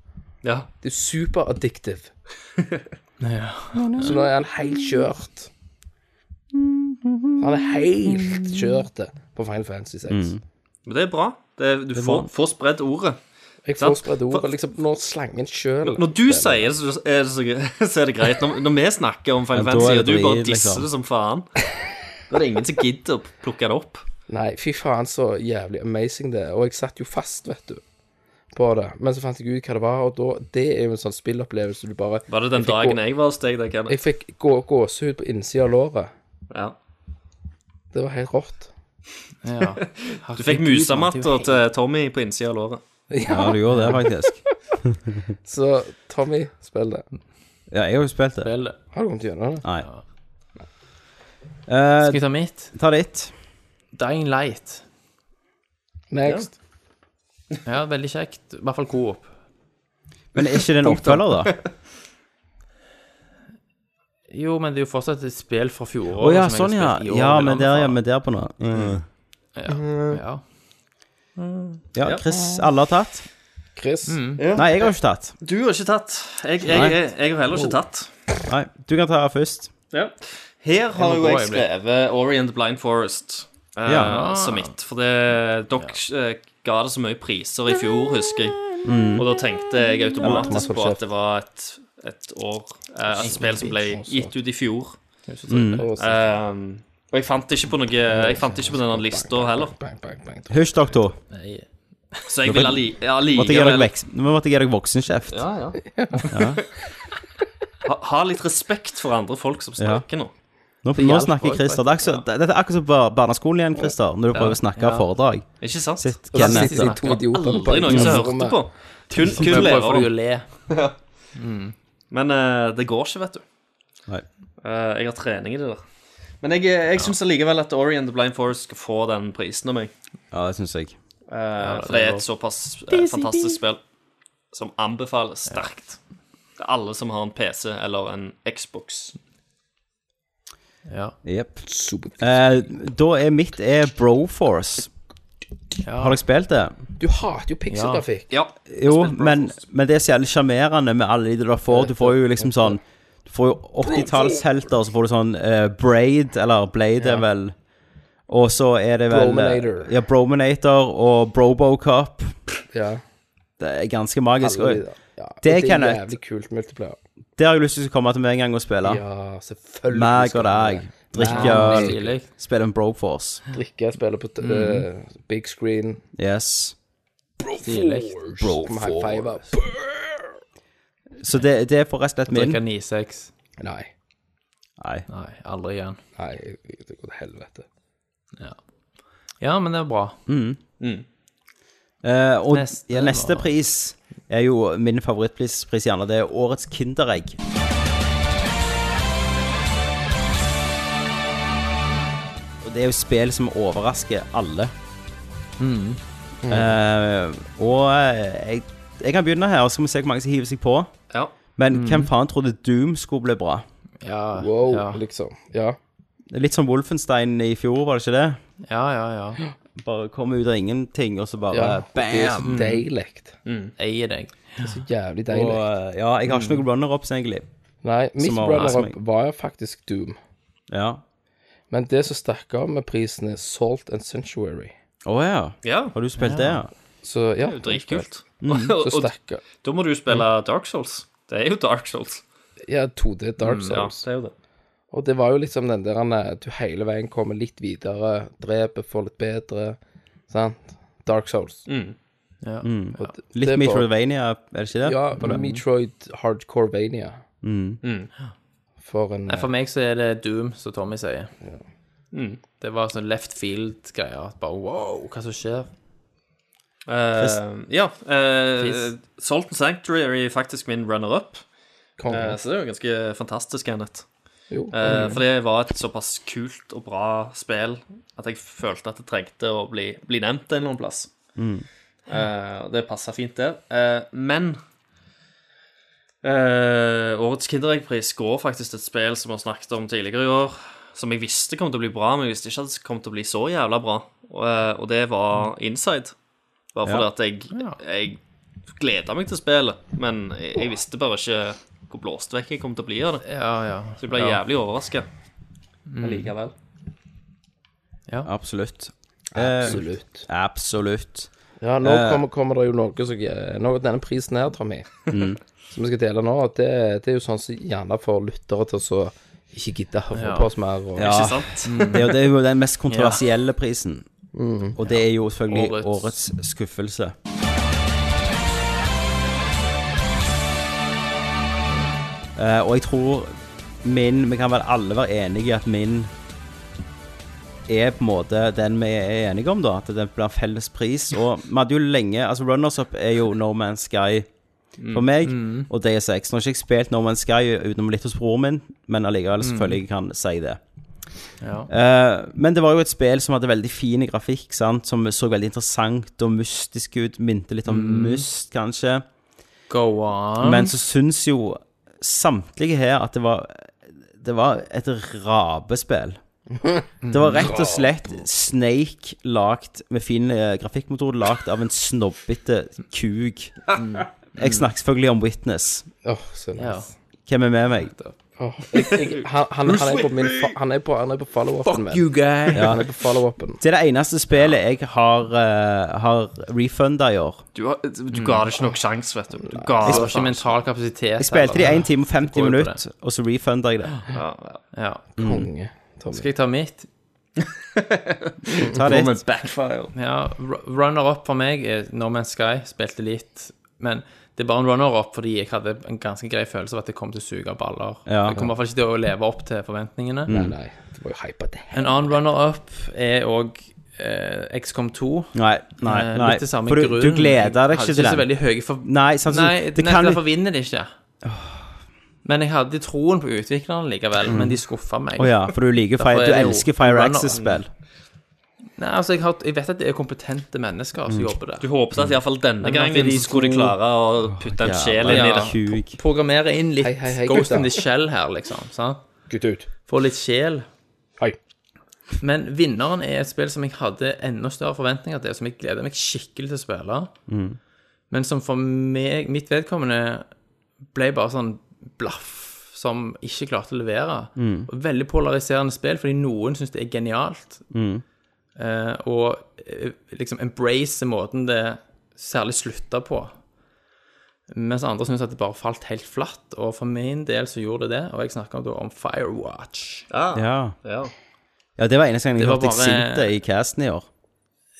S4: Ja.
S3: Det er super addictive. Så nå er han helt kjørt. Han er helt kjørt det, på Final Fantasy 6.
S4: Men det er bra. Det er, du får, får spredd ordet.
S3: Jeg
S4: Sant?
S3: får spredd ordet liksom når slangen sjøl
S4: Når du sier det, så er det, så, så er det greit. Når, når vi snakker om Final
S1: Ja, da er
S4: Fantasy, og
S1: det
S4: du bare
S1: drit, liksom.
S4: disser det som faen, da er det ingen som gidder å plukke det opp.
S3: Nei, fy faen, så jævlig amazing det er. Og jeg satt jo fast, vet du, på det. Men så fant jeg ut hva det var, og da Det er jo en sånn spillopplevelse du bare
S4: Var det den
S3: fikk
S4: dagen
S3: gå-
S4: jeg var hos deg? der, Kenneth?
S3: Jeg fikk gå, gåsehud på innsida av låret.
S4: Ja.
S3: Det var helt rått.
S2: Ja.
S4: Du fikk musematta til Tommy på innsida av låret.
S1: Ja, du gjorde det, faktisk.
S3: Så Tommy, spill det.
S1: Ja, jeg har jo spilt det.
S2: Vel,
S3: Har du kommet gjennom det?
S1: Nei. Eh,
S2: Skal jeg ta mitt?
S1: ta ditt.
S2: Dying Light.
S3: Next.
S2: Ja, veldig kjekt. I hvert fall Coop.
S1: Men er ikke det en oppfølger, da?
S2: Jo, men det er jo fortsatt et spill fra
S1: Å
S2: fjoråret.
S1: ja,
S2: som
S1: sånn,
S2: jeg
S1: ja.
S2: har spilt i år,
S1: Ja,
S2: vil
S1: men der, ja,
S2: anbefale.
S1: men der på nå. Mm.
S2: ja.
S1: Ja, Chris. Alle har tatt?
S3: Chris.
S1: Nei, jeg har ikke tatt.
S4: Du har ikke tatt. Jeg, jeg, jeg, jeg har heller ikke tatt.
S1: Nei, Du kan ta først.
S4: Her har
S2: må
S4: jo
S2: gå
S4: jeg
S2: et øyeblikk.
S4: skrevet Ori and the Blind Forest eh,
S1: Ja.
S4: som mitt. For det, dere eh, ga det så mye priser i fjor, husker jeg. Og da tenkte jeg automatisk på at det var et, et år eh, Et spill som ble gitt ut i fjor.
S3: Og så-
S4: Um, og jeg fant ikke på noe Jeg fant ikke på denne lista heller.
S3: Bang, bang, bang.
S1: Husk, dere to.
S4: Så jeg vil alli, ja,
S1: Måtte jeg gi deg
S4: allikevel
S1: veks- Nå måtte jeg gi deg voksenkjeft.
S4: ja, ja. ha, ha litt respekt for andre folk som snakker nå.
S1: Nå, nå
S4: hjelper
S1: snakker
S4: også,
S1: Christer. Det er akkurat, dette er akkurat som bar- barneskolen igjen, Christer, når du prøver å snakke foredrag.
S4: Ikke sant?
S1: Sitt,
S3: Og så
S1: Kenneth.
S3: sitter de to idiotene på
S4: Aldri noen som hørte
S3: rommet.
S4: på. Kun,
S2: Men
S4: kun
S2: jeg prøver for deg
S4: læreren.
S2: å le.
S4: Men eh, det går ikke, vet du.
S1: Nei.
S4: Eh, jeg har trening i det der. Men jeg, eh, jeg syns allikevel at Ori and the Blind Forest skal få den prisen av meg.
S1: Ja, det syns jeg.
S4: Eh, for det er et såpass eh, fantastisk spill som anbefales sterkt. Det er alle som har en PC eller en Xbox.
S2: Ja.
S1: Jepp. Eh, da er mitt er Broforce. Har dere spilt det?
S3: Du hater jo pixelgrafikk.
S4: Ja,
S1: Jo, men, men det er så jævlig sjarmerende med alle de du da får. Du får jo liksom sånn Du får jo 80-tallshelter, så får du sånn eh, Braid, eller Blade er vel Og så er det vel eh,
S3: Brominator.
S1: Ja, Brominator og Brobocop.
S3: Ja.
S1: Det er ganske magisk.
S3: Alle de
S1: Og
S3: der. Ja,
S1: Det er
S3: og
S1: Kenneth.
S3: jævlig kult multiplayer.
S1: det har jeg lyst til å komme til med en gang og spille.
S3: Ja, selvfølgelig.
S1: Meg
S3: skal
S1: og deg.
S3: vi
S1: Drikke
S2: Stilig.
S1: øl. Spille en Broforce.
S3: Drikke, spille på t-
S4: Mm.
S3: eh, big screen.
S1: Yes.
S2: Stilig.
S3: Kom high five up.
S1: Så det, det er for rett og slett min.
S2: Drikke 9-6.
S3: Nei,
S1: Nei.
S2: Nei, aldri igjen.
S3: nei, det går til helvete.
S2: Ja, men det er bra.
S1: Eh, og
S2: Neste,
S1: ja, neste
S2: da.
S1: pris er jo min favorittpris, pris gjerne. Det er årets Kinderegg. Og det er jo spill som overrasker alle.
S3: Mhm.
S1: Eh, og eh, jeg, jeg kan begynne her, og så må vi se hvor mange som hiver seg på.
S4: ja.
S1: Men hvem faen trodde Doom skulle bli bra?
S2: Ja,
S3: Wow,
S2: ja,
S3: liksom. Ja.
S1: Litt som Wolfenstein i fjor, var det ikke det?
S2: ja. ja, ja.
S1: bare kommer ut av ingenting, og så bare
S3: Ja, Det er
S1: bam!
S3: så deilig.
S4: Mm.
S2: Eier deg.
S3: Så jævlig
S1: Og
S3: deilig.
S1: eh, ja, jeg har ikke noen runner-ups, egentlig.
S3: Nei, mitt
S1: som overrasker
S3: brother-up var jo faktisk Doom.
S1: Ja.
S3: Men det som stakk av med prisen, er Salt and Sanctuary.
S1: Å ja.
S4: Ja,
S1: Har du spilt det, ja?
S3: Så ja.
S4: det er jo dritkult.
S3: Så
S4: og, og
S3: stakk av.
S4: da må du jo spille Dark Souls. Det er jo Dark Souls.
S3: Ja, 2D
S4: Mm,
S3: Dark Souls.
S4: det er jo det.
S3: Og det var jo liksom den der eh, du hele veien kommer litt videre, dreper, får litt bedre, sant? Dark Souls.
S2: Ja.
S3: Og d-
S1: Mm. Litt
S3: det er bare-
S1: Metroidvania, er det ikke det?
S3: Ja, Metroid Hardcorevania.
S1: Mm.
S3: For en
S2: Nei, For meg så er det Doom, som Tommy sier. Det var sånn left field-greier. Bare wow, hva som skjer?
S4: Eh, ja. Uh,
S2: Fis.
S4: Salt and Sanctuary er faktisk min runner-up,
S3: konge.
S4: Eh, så det er jo ganske fantastisk, Kenneth.
S3: Jo.
S4: Eh, For det var et såpass kult og bra spill at jeg følte at det trengte å bli, bli nevnt en eller annen plass. Eh, og det passa fint, det. Eh, men eh, årets Kinderegg-pris går faktisk til et spill som vi har snakket om tidligere i år, som jeg visste kom til å bli bra, men jeg visste ikke at det kom til å bli så jævla bra, og, eh, og det var Inside. Bare fordi
S1: Ja.
S4: at jeg, jeg gleda meg til spillet, men jeg, jeg visste bare ikke hvor blåst vekk jeg kom til å bli av det.
S2: Ja, ja.
S4: Så jeg ble
S2: ja.
S4: jævlig overraska. Likevel.
S1: Absolutt. Absolutt.
S3: Absolutt.
S1: absolutt.
S3: Ja, nå kommer, kommer det jo noe som eh, nå, Denne prisen her, Tommy,
S1: Mm.
S3: som vi skal dele nå, det, det er jo sånn som gjerne får lyttere til å så ikke gidde å høre
S2: Ja. Mm.
S3: på oss mer. Og,
S1: Ja.
S4: Ikke sant?
S1: Det, er jo- det er jo den mest kontroversielle prisen. Og det er jo selvfølgelig
S2: Årets.
S1: årets, skuffelse. Eh, og jeg tror min Vi kan vel alle være enige i at min er på en måte den vi er enige om, da. At den blir en felles pris. Og vi hadde jo lenge Altså, Runners Up er jo No Man's Sky for meg, og DSX. Nå har ikke jeg spilt No Man's Sky utenom litt hos broren min, men allikevel selvfølgelig kan jeg si det.
S2: Ja.
S1: Eh, men det var jo et spill som hadde veldig fin grafikk, sant? som så veldig interessant og mystisk ut. Minte litt om Myst, kanskje.
S2: Go on.
S1: Men så syns jo samtlige her at det var Det var et rabespill. Det var rett og slett Snake lagt med fin eh, grafikkmotor, lagt av en snobbete kuk. Jeg snakker selvfølgelig om Witness.
S3: Åh, så nice.
S2: ja.
S1: Hvem er med meg?
S3: Åh, jeg, jeg, han, han, han er på min fa- Han er på, han er på follow-upen min.
S2: You guy.
S3: Han er på follow-upen.
S1: Det er det eneste spillet jeg har, uh, har refunda i år.
S4: Du, har- du ga det ikke nok sjanse, vet du. Du ga
S2: Jeg
S4: det
S2: har ikke mental kapasitet.
S1: Jeg spilte det i 1 time og
S2: går
S1: 50
S2: jo på
S1: minutter, og så refunda jeg det.
S2: Ja.
S3: Konge. Tommy.
S2: Skal jeg ta mitt?
S1: Ta
S4: Kom
S1: ditt.
S4: med backfire.
S2: Ja, ru- runner-up for meg er No Man's Sky. Spilte litt, men det er bare en runner-up fordi jeg hadde en ganske grei følelse av at det kom til å suge baller.
S1: Ja. Mm.
S2: Jeg kom i hvert fall ikke til å leve opp til forventningene.
S3: Nei, nei. Det var jo hypa til
S2: En annen runner-up er òg eh, XCOM 2.
S1: Nei, nei,
S2: Eh,
S1: nei.
S2: Litt til samme
S1: For du,
S2: grunn.
S1: du gleder deg ikke til
S2: Jeg hadde ikke så
S1: den.
S2: veldig høye for...
S1: Nei, sant,
S2: Nei,
S1: det
S2: nei
S1: kan
S2: derfor vinner de ikke. Men jeg hadde troen på utviklerne likevel, men de skuffa meg.
S1: Mm. Å ja, for du liker
S2: Derfor
S1: Fire,
S2: er
S1: du
S2: det jo
S1: elsker Fire
S2: runner-
S1: Access-spill.
S2: Nei, altså, jeg, har, jeg vet at det er kompetente mennesker som jobber der.
S4: Du håpet Mm. at iallfall denne
S2: Men at
S4: gangen
S2: de
S4: skulle de
S2: to-
S4: klare å putte en sjel inn i
S2: ja.
S4: det.
S1: Kuk.
S2: Programmere inn litt
S3: Hei, hei, hei,
S2: Ghost
S3: gutta.
S2: in the Shell her, liksom. Sant?
S3: Gutt ut.
S2: Få litt sjel.
S3: Hei.
S2: Men vinneren er et spill som jeg hadde enda større forventninger til, som jeg gleder meg skikkelig til å spille. Men som for meg, mitt vedkommende ble bare sånn blaff som ikke klarte å levere. Og Veldig polariserende spill, fordi noen syns det er genialt. Eh, og eh, liksom embrace måten det særlig slutta på. Mens andre syns at det bare falt helt flatt. Og for min del så gjorde det det. Og jeg snakker da om Firewatch.
S1: Ja.
S4: Ja.
S1: ja, det var eneste gang jeg
S2: Det var
S1: hørte jeg
S2: bare-
S1: sinte i casten i år.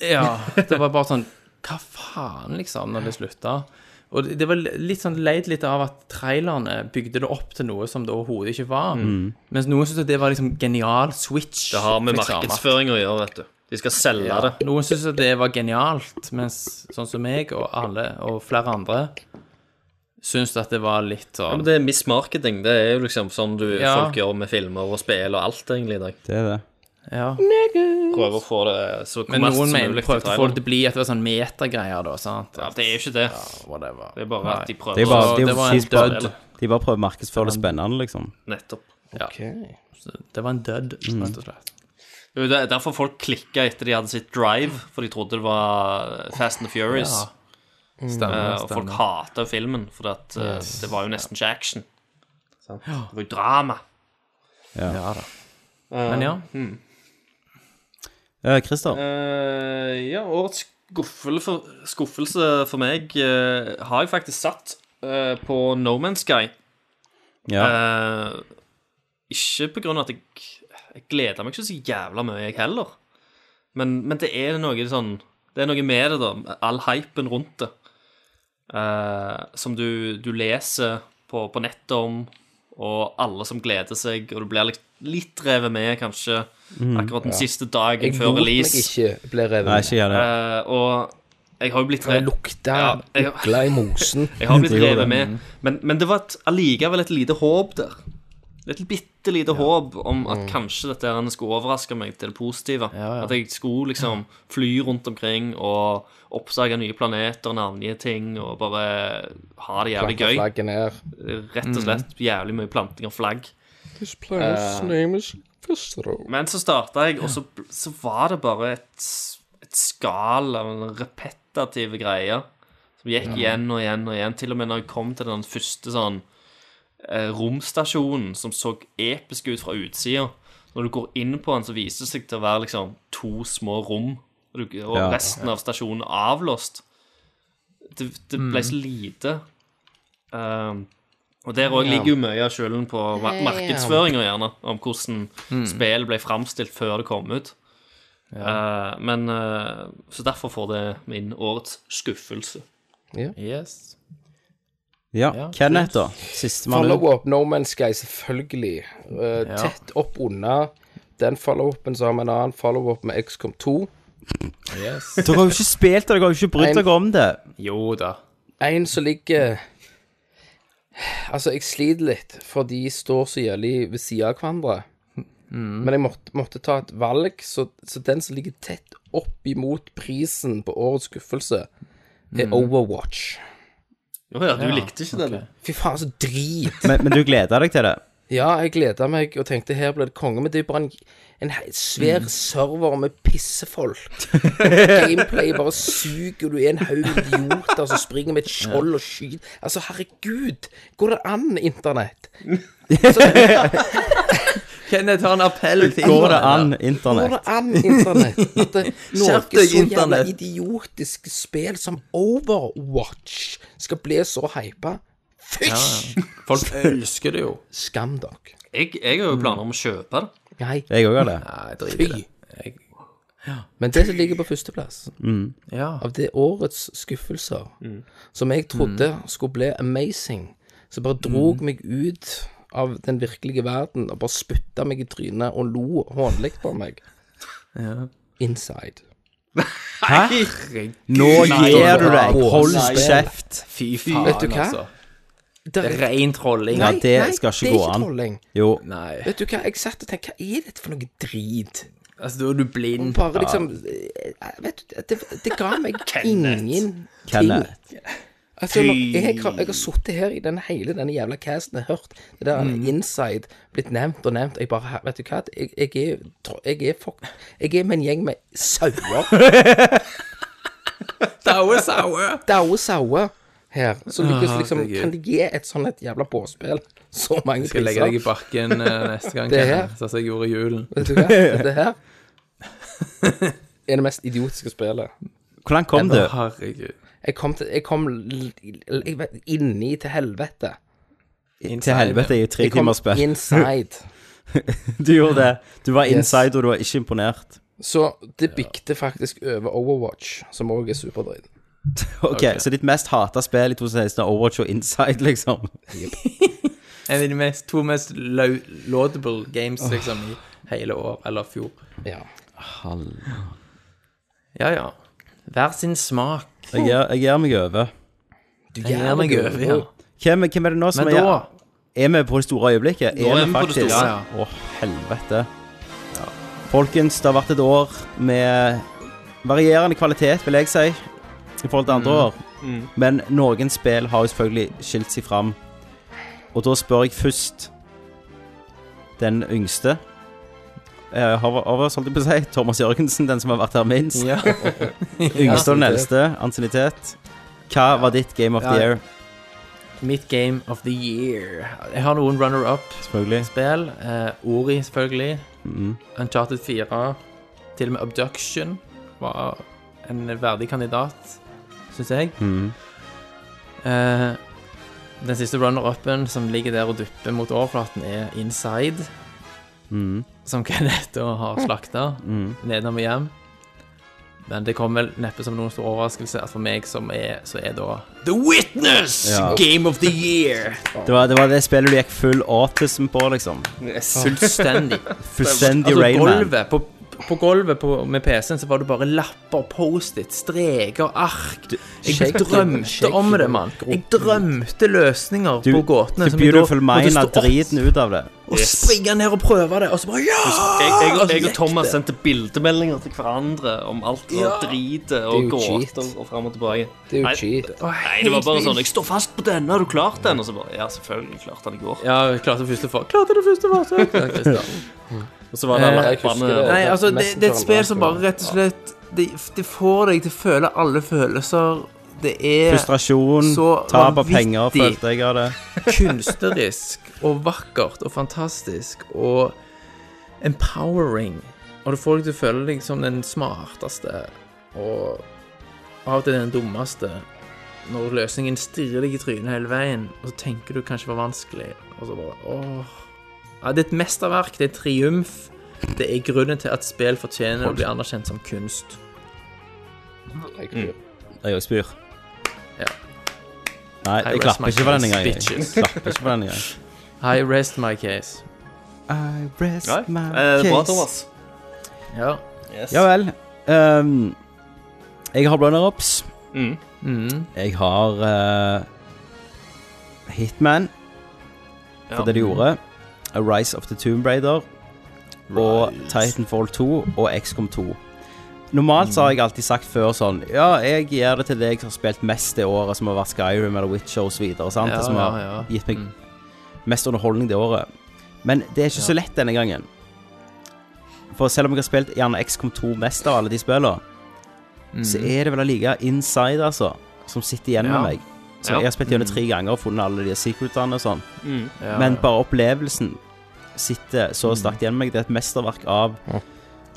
S2: Ja, det var bare sånn Hva faen, liksom, når det slutta? Og det- det var litt sånn leid litt av at trailerne bygde det opp til noe som det overhodet ikke var.
S3: Mm.
S2: Mens noen syntes at det var liksom genial switch.
S4: Det har med
S2: liksom, at-
S4: markedsføring å gjøre, vet du. De skal selge det.
S2: Noen syntes at det var genialt, mens sånn som meg og alle og flere andre syntes at det var litt
S4: Ja,
S2: sånn
S4: men det er mismarketing. Det er jo liksom sånn du,
S2: Ja.
S4: folk gjør med filmer og spill og alt, egentlig. i dag.
S1: Det er det.
S2: Ja.
S4: Prøver å få det så
S2: Men
S4: kommersielt
S2: noen
S4: som
S2: mener
S4: mulig. til
S2: prøvde å få det
S4: traileren.
S2: til å bli at det var sånn metagreier, da, sant?
S4: Ja, det er jo ikke det.
S2: Whatever.
S4: Det er bare at de prøver
S1: Det er bare, det er
S2: Så det
S1: jo
S2: var en
S1: precis bare-
S2: død.
S1: De bare prøver å markedsføre det spennende, liksom.
S4: å Nettopp.
S3: Mm.
S2: Ja. Så det var en død, rett og slett.
S4: Jo, det er derfor folk klikka etter de hadde sett Drive, for de trodde det var Fast and the Furious. Eh,
S2: Mm. Stemmer.
S4: og folk
S2: stemmer.
S4: hata filmen, for at, eh, det var jo nesten ikke action. Det var jo drama.
S2: Ja da. Men ja.
S1: Eh, Christer,
S4: Eh, ja, årets skuffel for, skuffelse for meg eh, har jeg faktisk satt eh, på No Man's Sky.
S1: ja.
S4: Eh, ikke på grunn av at jeg, jeg gleder meg ikke så jævla mye, jeg heller. Men, men det er noe sånn Det er noe med det, da. All hypen rundt det. eh, som du, du leser på, på nettet om, og alle som gleder seg, og du blir litt, litt revet med, kanskje, akkurat den siste dagen
S3: Mm, Jeg
S4: før
S3: lot meg
S4: release.
S3: ikke bli revet
S1: Nei,
S3: med.
S1: ikke gjør det.
S4: Eh, og jeg har jo blitt, re
S3: Jeg lukta
S4: Ja, jeg-
S3: ugla i mosen.
S4: jeg har blitt
S1: Det gjorde
S4: revet med. Men, men det var et, allikevel et lite håp der. Et bitte lite håp om
S1: Mm.
S4: at kanskje dette her skulle overraske meg til det positive. At jeg skulle liksom fly rundt omkring og oppsage nye planeter, navngi ting, og bare ha det jævlig
S3: Planta
S4: gøy.
S3: flagget ned.
S4: Rett
S1: Mm.
S4: og slett jævlig mye planting av flagg.
S3: This player's name is Fistro.
S4: Men så starta jeg, og så, så var det bare et, et skall av en repetative greie som gikk igjen og igjen og igjen. Til og med når jeg kom til den første sånn eh, romstasjonen som så episk ut fra utsida. Når du går inn på den, så viser det seg til å være liksom to små rom, og, du, og
S1: Ja.
S4: resten av stasjonen er avlåst. Det, det ble så lite. Um, og der òg ligger jo mye av skylden på ma- markedsføringa, gjerne. Om hvordan spill ble framstilt før det kom ut. Eh, men eh, Så derfor får det min årets skuffelse.
S2: Yes.
S1: Ja, Kenneth, da. Sistemann ut.
S3: Follow-up No Man's Sky, selvfølgelig. Eh, Tett opp unna den follow-upen, så har vi en annen follow-up med XCOM 2.
S2: yes.
S1: Dere har jo ikke spilt det, dere har jo ikke brydd dere om det.
S2: Jo da.
S3: En som ligger Altså, jeg sliter litt, for de står så jævlig ved siden av hverandre. Men jeg måtte, måtte ta et valg, så, så den som ligger tett opp imot prisen på årets skuffelse, er Overwatch.
S4: Jo ja, du likte ikke den.
S3: Fy faen, så drit!
S1: Men, men du gleder deg til det?
S3: Ja, jeg gleda meg og tenkte her blir det konge, men det er jo bare en, en he- svær
S2: Mm.
S3: server med pissefolk. Gameplay bare suger, og du er en haug idioter som springer med et skjold og skyter. Altså, herregud, går det an, internett? Altså,
S2: Kenneth har en appell til
S1: Går det an,
S3: Går
S1: internett?
S3: det an, internett? At det- noe
S2: Skjerp deg,
S3: så jævla
S2: internett.
S3: idiotisk spill som Overwatch skal bli så hypa? Fysj!
S2: Folk elsker det jo.
S3: Skam dere.
S4: Jeg, jeg har jo planer om å kjøpe det.
S3: Nei,
S1: Jeg òg har det.
S2: Nei, drit i det.
S3: fy. Men det som ligger på førsteplass
S2: Ja.
S3: av det årets skuffelser som jeg trodde
S1: Mm.
S3: skulle bli amazing, så bare drog meg ut av den virkelige verden og bare spytta meg i trynet og lo hånlig på meg. Inside.
S1: Hæ? Nå gir du deg. Hold
S3: Nei.
S1: kjeft.
S2: Fy faen,
S3: Vet du hva?
S2: altså.
S3: Det er-
S2: Rein trolling.
S1: Ja, det
S3: nei,
S1: skal ikke
S3: det er
S1: gå
S3: ikke
S1: an.
S3: trolling.
S1: Jo.
S2: Nei.
S3: Vet du hva, jeg satt og tenkte, hva er dette for noe drit?
S2: Altså, da er du
S1: Mm.
S2: blind.
S3: Bare liksom eh, Vet du, det, det ga meg ingen ting.
S1: Kenneth.
S3: Altså, når jeg har, jeg har sittet her i den hele denne jævla casten og hørt det der
S2: Mm.
S3: inside blitt nevnt og nevnt. Jeg bare Vet du hva, jeg, jeg er tro- Jeg er fuck Jeg er med en gjeng med sauer.
S2: Daue saue.
S3: Daue sauer her. Så lykkes liksom Kan de gi et sånn et jævla påspill så mange
S2: Skal legge deg i
S3: priser?
S2: bakken eh, neste gang,
S3: Det her.
S2: Kenneth, sånn som jeg gjorde i julen.
S3: Vet du hva, dette her er det mest idiotiske spillet.
S1: Hvordan kom du?
S2: Å, Herregud.
S3: Jeg kom, til, jeg kom l- l- jeg vet, inni til helvete.
S1: Til helvete i tre
S3: Jeg kom
S1: timers spill.
S3: inside.
S1: Du gjorde det. Du var inside, og du var ikke imponert.
S3: Så det bikte faktisk over Overwatch, som òg er superdritt.
S1: Ok, Så ditt mest hata spill i 2016 er Overwatch og Inside, liksom?
S2: En av de mest, to mest lau- laudable games liksom, i hele år, eller fjor.
S3: Ja.
S2: Ja, ja. Hver sin smak.
S1: Jeg gir, jeg gir meg over.
S3: Du
S2: Jeg gir meg over, ja.
S1: Hvem, hvem er det nå som
S2: Men
S1: er,
S2: da
S1: er vi på det store øyeblikket?
S4: Nå
S1: Er vi
S4: er vi på det
S1: faktisk?
S4: store.
S1: Å, helvete. Folkens, det har vært et år med varierende kvalitet, vil jeg si, i forhold til andre år. Men noen spill har jo selvfølgelig skilt seg fram. Og da spør jeg først den yngste. eh, Over- Overholdt, holdt jeg på å si. Thomas Jørgensen, den som har vært her minst.
S2: Ja.
S1: Yngste og den eldste. Ansiennitet. Hva var ditt Game of
S2: Ja.
S1: the Year?
S2: Mitt game of the year. Jeg har noen runner-up-spill.
S1: Selvfølgelig.
S2: Eh, Ori, selvfølgelig.
S1: Mm.
S2: Uncharted 4. Til og med Abduction var en verdig kandidat, syns jeg.
S1: Mm.
S2: Eh, den siste runner-upen som ligger der og dupper mot overflaten, er Inside,
S1: Mm.
S2: som Kenneth da har slakta
S1: Mm.
S2: nedenom og hjem. Men det kommer vel neppe som noen stor overraskelse at for meg som er, så er da The Witness!
S1: Ja.
S2: Game of the year!
S1: Det, var, det var det spillet du gikk full autism på, liksom.
S2: Fullstendig.
S1: Fullstendig
S2: Altså,
S1: Rayman.
S2: gulvet på, på gulvet på, med PC-en så var det bare lapper, Post-It, streker, ark. Jeg
S3: Shake-
S2: drømte om det, mann. Jeg drømte løsninger
S1: Du-
S2: på gåtene.
S1: The
S2: som jeg da
S1: Beautiful
S2: måtte
S1: Mind
S2: stå
S1: av
S2: opp
S1: driten ut av det.
S2: Og springe ned og prøve det, og så bare ja!
S4: Jeg, jeg,
S2: Og så
S4: jeg og
S2: gikk
S4: Thomas
S2: det.
S4: sendte bildemeldinger til hverandre om alt og dritet og
S3: Det er jo cheat.
S4: gåter og fram og tilbake.
S3: Det er jo
S4: Nei,
S3: cheat.
S4: Nei, det var bare sånn 'Jeg står fast på denne, har du klart den?' Og så bare Ja, selvfølgelig klarte han i går.
S2: Ja, jeg klarte første for. Klarte det første forsøk! Ja, Christian.
S4: Og så var det
S2: Eh,
S4: alle
S3: jeg husker
S4: lappene-
S2: Nei, altså, det, det er et
S3: Nesten
S2: spill som bare
S3: hverandre.
S2: rett og slett Det, det får deg til å føle alle følelser. Det er
S1: Frustrasjon,
S2: så
S1: tap av
S2: vanvittig.
S1: penger, følte jeg av det.
S2: kunstnerisk og vakkert og fantastisk og empowering. Og det får deg til å føle deg som den smarteste og av og til den dummeste. Når løsningen stirrer deg i trynet hele veien, og så tenker du kanskje det var vanskelig, og så bare åh. Ja, det er et mesterverk, det er triumf. Det er grunnen til at spill fortjener å bli anerkjent som kunst.
S1: Jeg òg spyr.
S2: Ja.
S1: Nei,
S2: I
S1: jeg
S2: rest my
S1: klapper ikke på den
S2: case,
S1: engang. Jeg
S2: bitches.
S1: klapper ikke på den engang.
S2: I rest my case.
S1: I rest
S4: Nei,
S1: my
S4: eh,
S1: case.
S4: Bra, Thomas.
S2: Ja.
S4: Yes.
S1: Ja vel. ehm, jeg har blunderups.
S4: Mm.
S2: Mm.
S1: Jeg har eh, Hitman, for
S4: Ja.
S1: det du gjorde. A Rise of the Tomb Raider. Og Titanfall 2 og XCOM 2. Normalt så har jeg alltid sagt før sånn Ja, jeg gir det til deg som har spilt mest det året, som har vært Skyrim eller Witcher osv. Ja, som
S2: Ja,
S1: har
S2: ja, ja.
S1: gitt meg
S2: Mm.
S1: mest underholdning det året. Men det er ikke så lett denne gangen. For selv om jeg har spilt gjerne XCOM 2 mest av alle de spillene,
S2: Mm.
S1: så er det vel allike Inside, altså, som sitter igjen
S2: Ja. Mm.
S1: med meg. Så
S4: Ja.
S1: jeg har spilt gjennom tre ganger og funnet alle de secretene og sånn.
S4: Mm.
S2: Ja, Mm.
S1: Men
S2: ja.
S1: bare opplevelsen sitter så sterkt igjen med meg. Det er et mesterverk av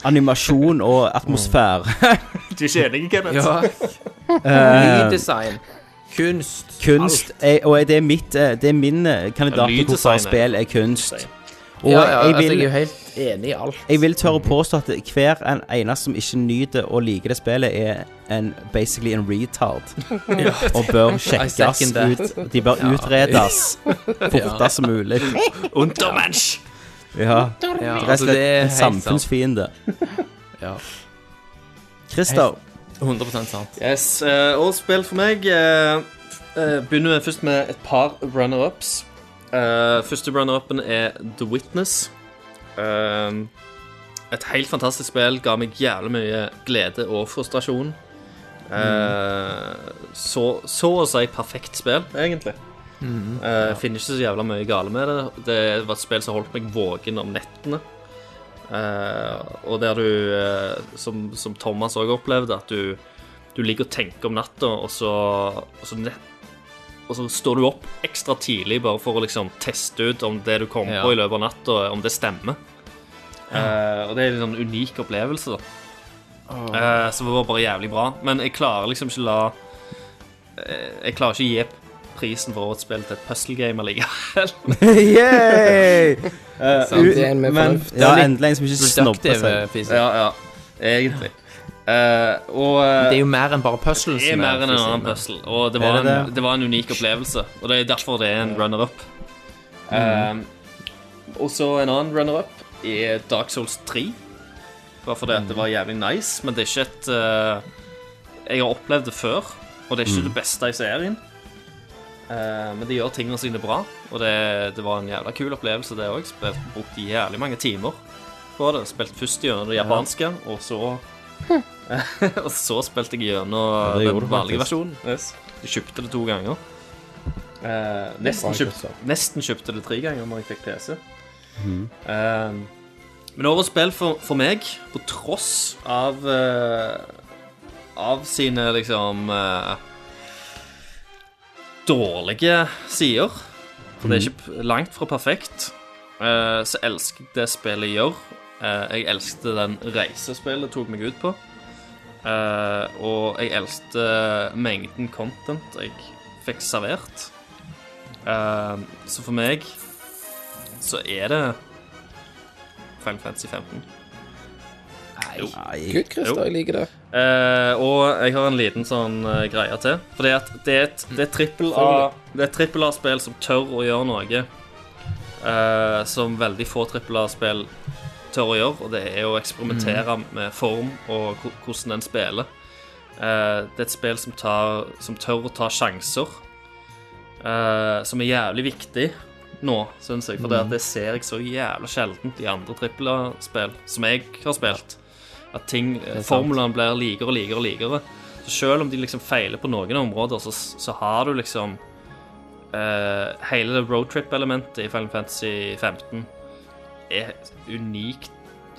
S1: animasjon og
S2: Mm.
S1: atmosfære.
S4: Du er ikke enig, Kenneth?
S2: Ja.
S1: Eh,
S2: Lyddesign. Kunst.
S1: kunst er, Og det er mitt eh, Det er min eh, kandidat til hvorfor
S4: Lyddesign er-
S1: spill er kunst. Og
S2: Ja, ja,
S1: jeg
S2: altså,
S1: vil
S2: jeg er jo helt
S3: Mm.
S2: enig i alt.
S1: Jeg vil tørre påstå at hver en eneste som ikke nyter og liker det spillet, er en, basically en retard. og bør sjekkes
S2: second that.
S1: ut. De bør utredes fortest som mulig.
S4: Untermensch!
S1: Ja.
S2: Ja,
S1: Rett og
S2: altså, det
S1: slett en
S2: er helt sant.
S1: samfunnsfiende.
S2: Ja,
S1: Christer,
S2: 100 sant.
S4: Yes, eh, og spill for meg eh, eh, Begynner vi først med et par runner-ups Eh, Første runner-upen er The Witness Eh, Et helt fantastisk spill Ga meg jævlig mye glede og frustrasjon Eh, så, så å si perfekt spill, egentlig
S2: Mhm.
S4: Eh, Finner ikke så jævla mye gale med det Det var et spill som holdt meg våken om nettene Eh, Og der du, eh, som, som Thomas også opplevde At du du ligger og tenker om natta, og så, og, så ne- og så står du opp ekstra tidlig bare for å liksom teste ut om det du kom
S2: Ja.
S4: på i løpet av natta, om det stemmer. Eh, og det er en sånn unik opplevelse, da. Eh, så det var bare jævlig bra. Men jeg klarer liksom ikke la eh, Jeg klarer ikke å gi prisen for årets spill til et puzzle game allikevel.
S1: Yay! Eh,
S2: Sant,
S1: u-
S3: det er en med
S1: men,
S3: fornuft.
S1: ja,
S2: Det er litt
S1: endelig en som ikke snobber
S2: Deductive
S1: seg.
S2: fisen.
S4: ja, ja. Egentlig. Eh, og eh,
S2: Det er jo mer enn bare puzzles.
S4: Det er mer enn en annen
S2: puzzle.
S4: puzzle, og det
S1: Er
S4: var,
S1: det
S4: en,
S1: det?
S4: det var en unik opplevelse. Og det er derfor det er en runner-up.
S1: Mm.
S4: Um, og så en annen runner-up er Dark Souls 3. Bare fordi at det var jævlig nice, men det er ikke et eh, Jeg har opplevd det før, og det er ikke
S1: Mm.
S4: det beste i serien. Eh, men det gjør tingene sine bra, og det, det var en jævla kul opplevelse, det òg. Brukte jævlig mange timer på det. Spilte først gjennom det japanske, og så og så spilte jeg gjennom eh,
S1: det gjorde
S4: den
S1: du
S4: vanlige
S1: faktisk.
S4: versjonen. Yes. Jeg kjøpte det to ganger. Eh,
S1: Mm.
S4: nesten, kjøpt, nesten kjøpte det tre ganger når jeg fikk PC. Eh, Men årets spill for, for meg, på tross av eh, Av sine liksom eh, Dårlige sider, for det er ikke p- langt fra perfekt, eh, så elsker jeg det spillet gjør. Eh, jeg elsket den reisespillet tok meg ut på. Eh, og jeg elsket eh, mengden content jeg fikk servert. Eh, så for meg så er det Final Fantasy 15.
S1: Nei.
S3: Gud, Christer, jeg liker det.
S4: Eh, og jeg har en liten sånn eh, greie til. Fordi at det er et, det er et trippel A- det er et trippel A-spill som tør å gjøre noe eh, som veldig få trippel A-spill tør å gjøre, og det er å eksperimentere med form og hvor- hvordan den spiller. Eh, det er et spill som, tar, som tør å ta sjanser, eh, som er jævlig viktig nå, syns jeg. For det, at det ser jeg så jævla sjeldent i andre trippel A-spill som jeg har spilt. At ting, formlene blir likere og likere og likere. Så selv om de liksom feiler på noen områder, så, så har du liksom eh, hele det roadtrip-elementet i Final Fantasy 15 er unikt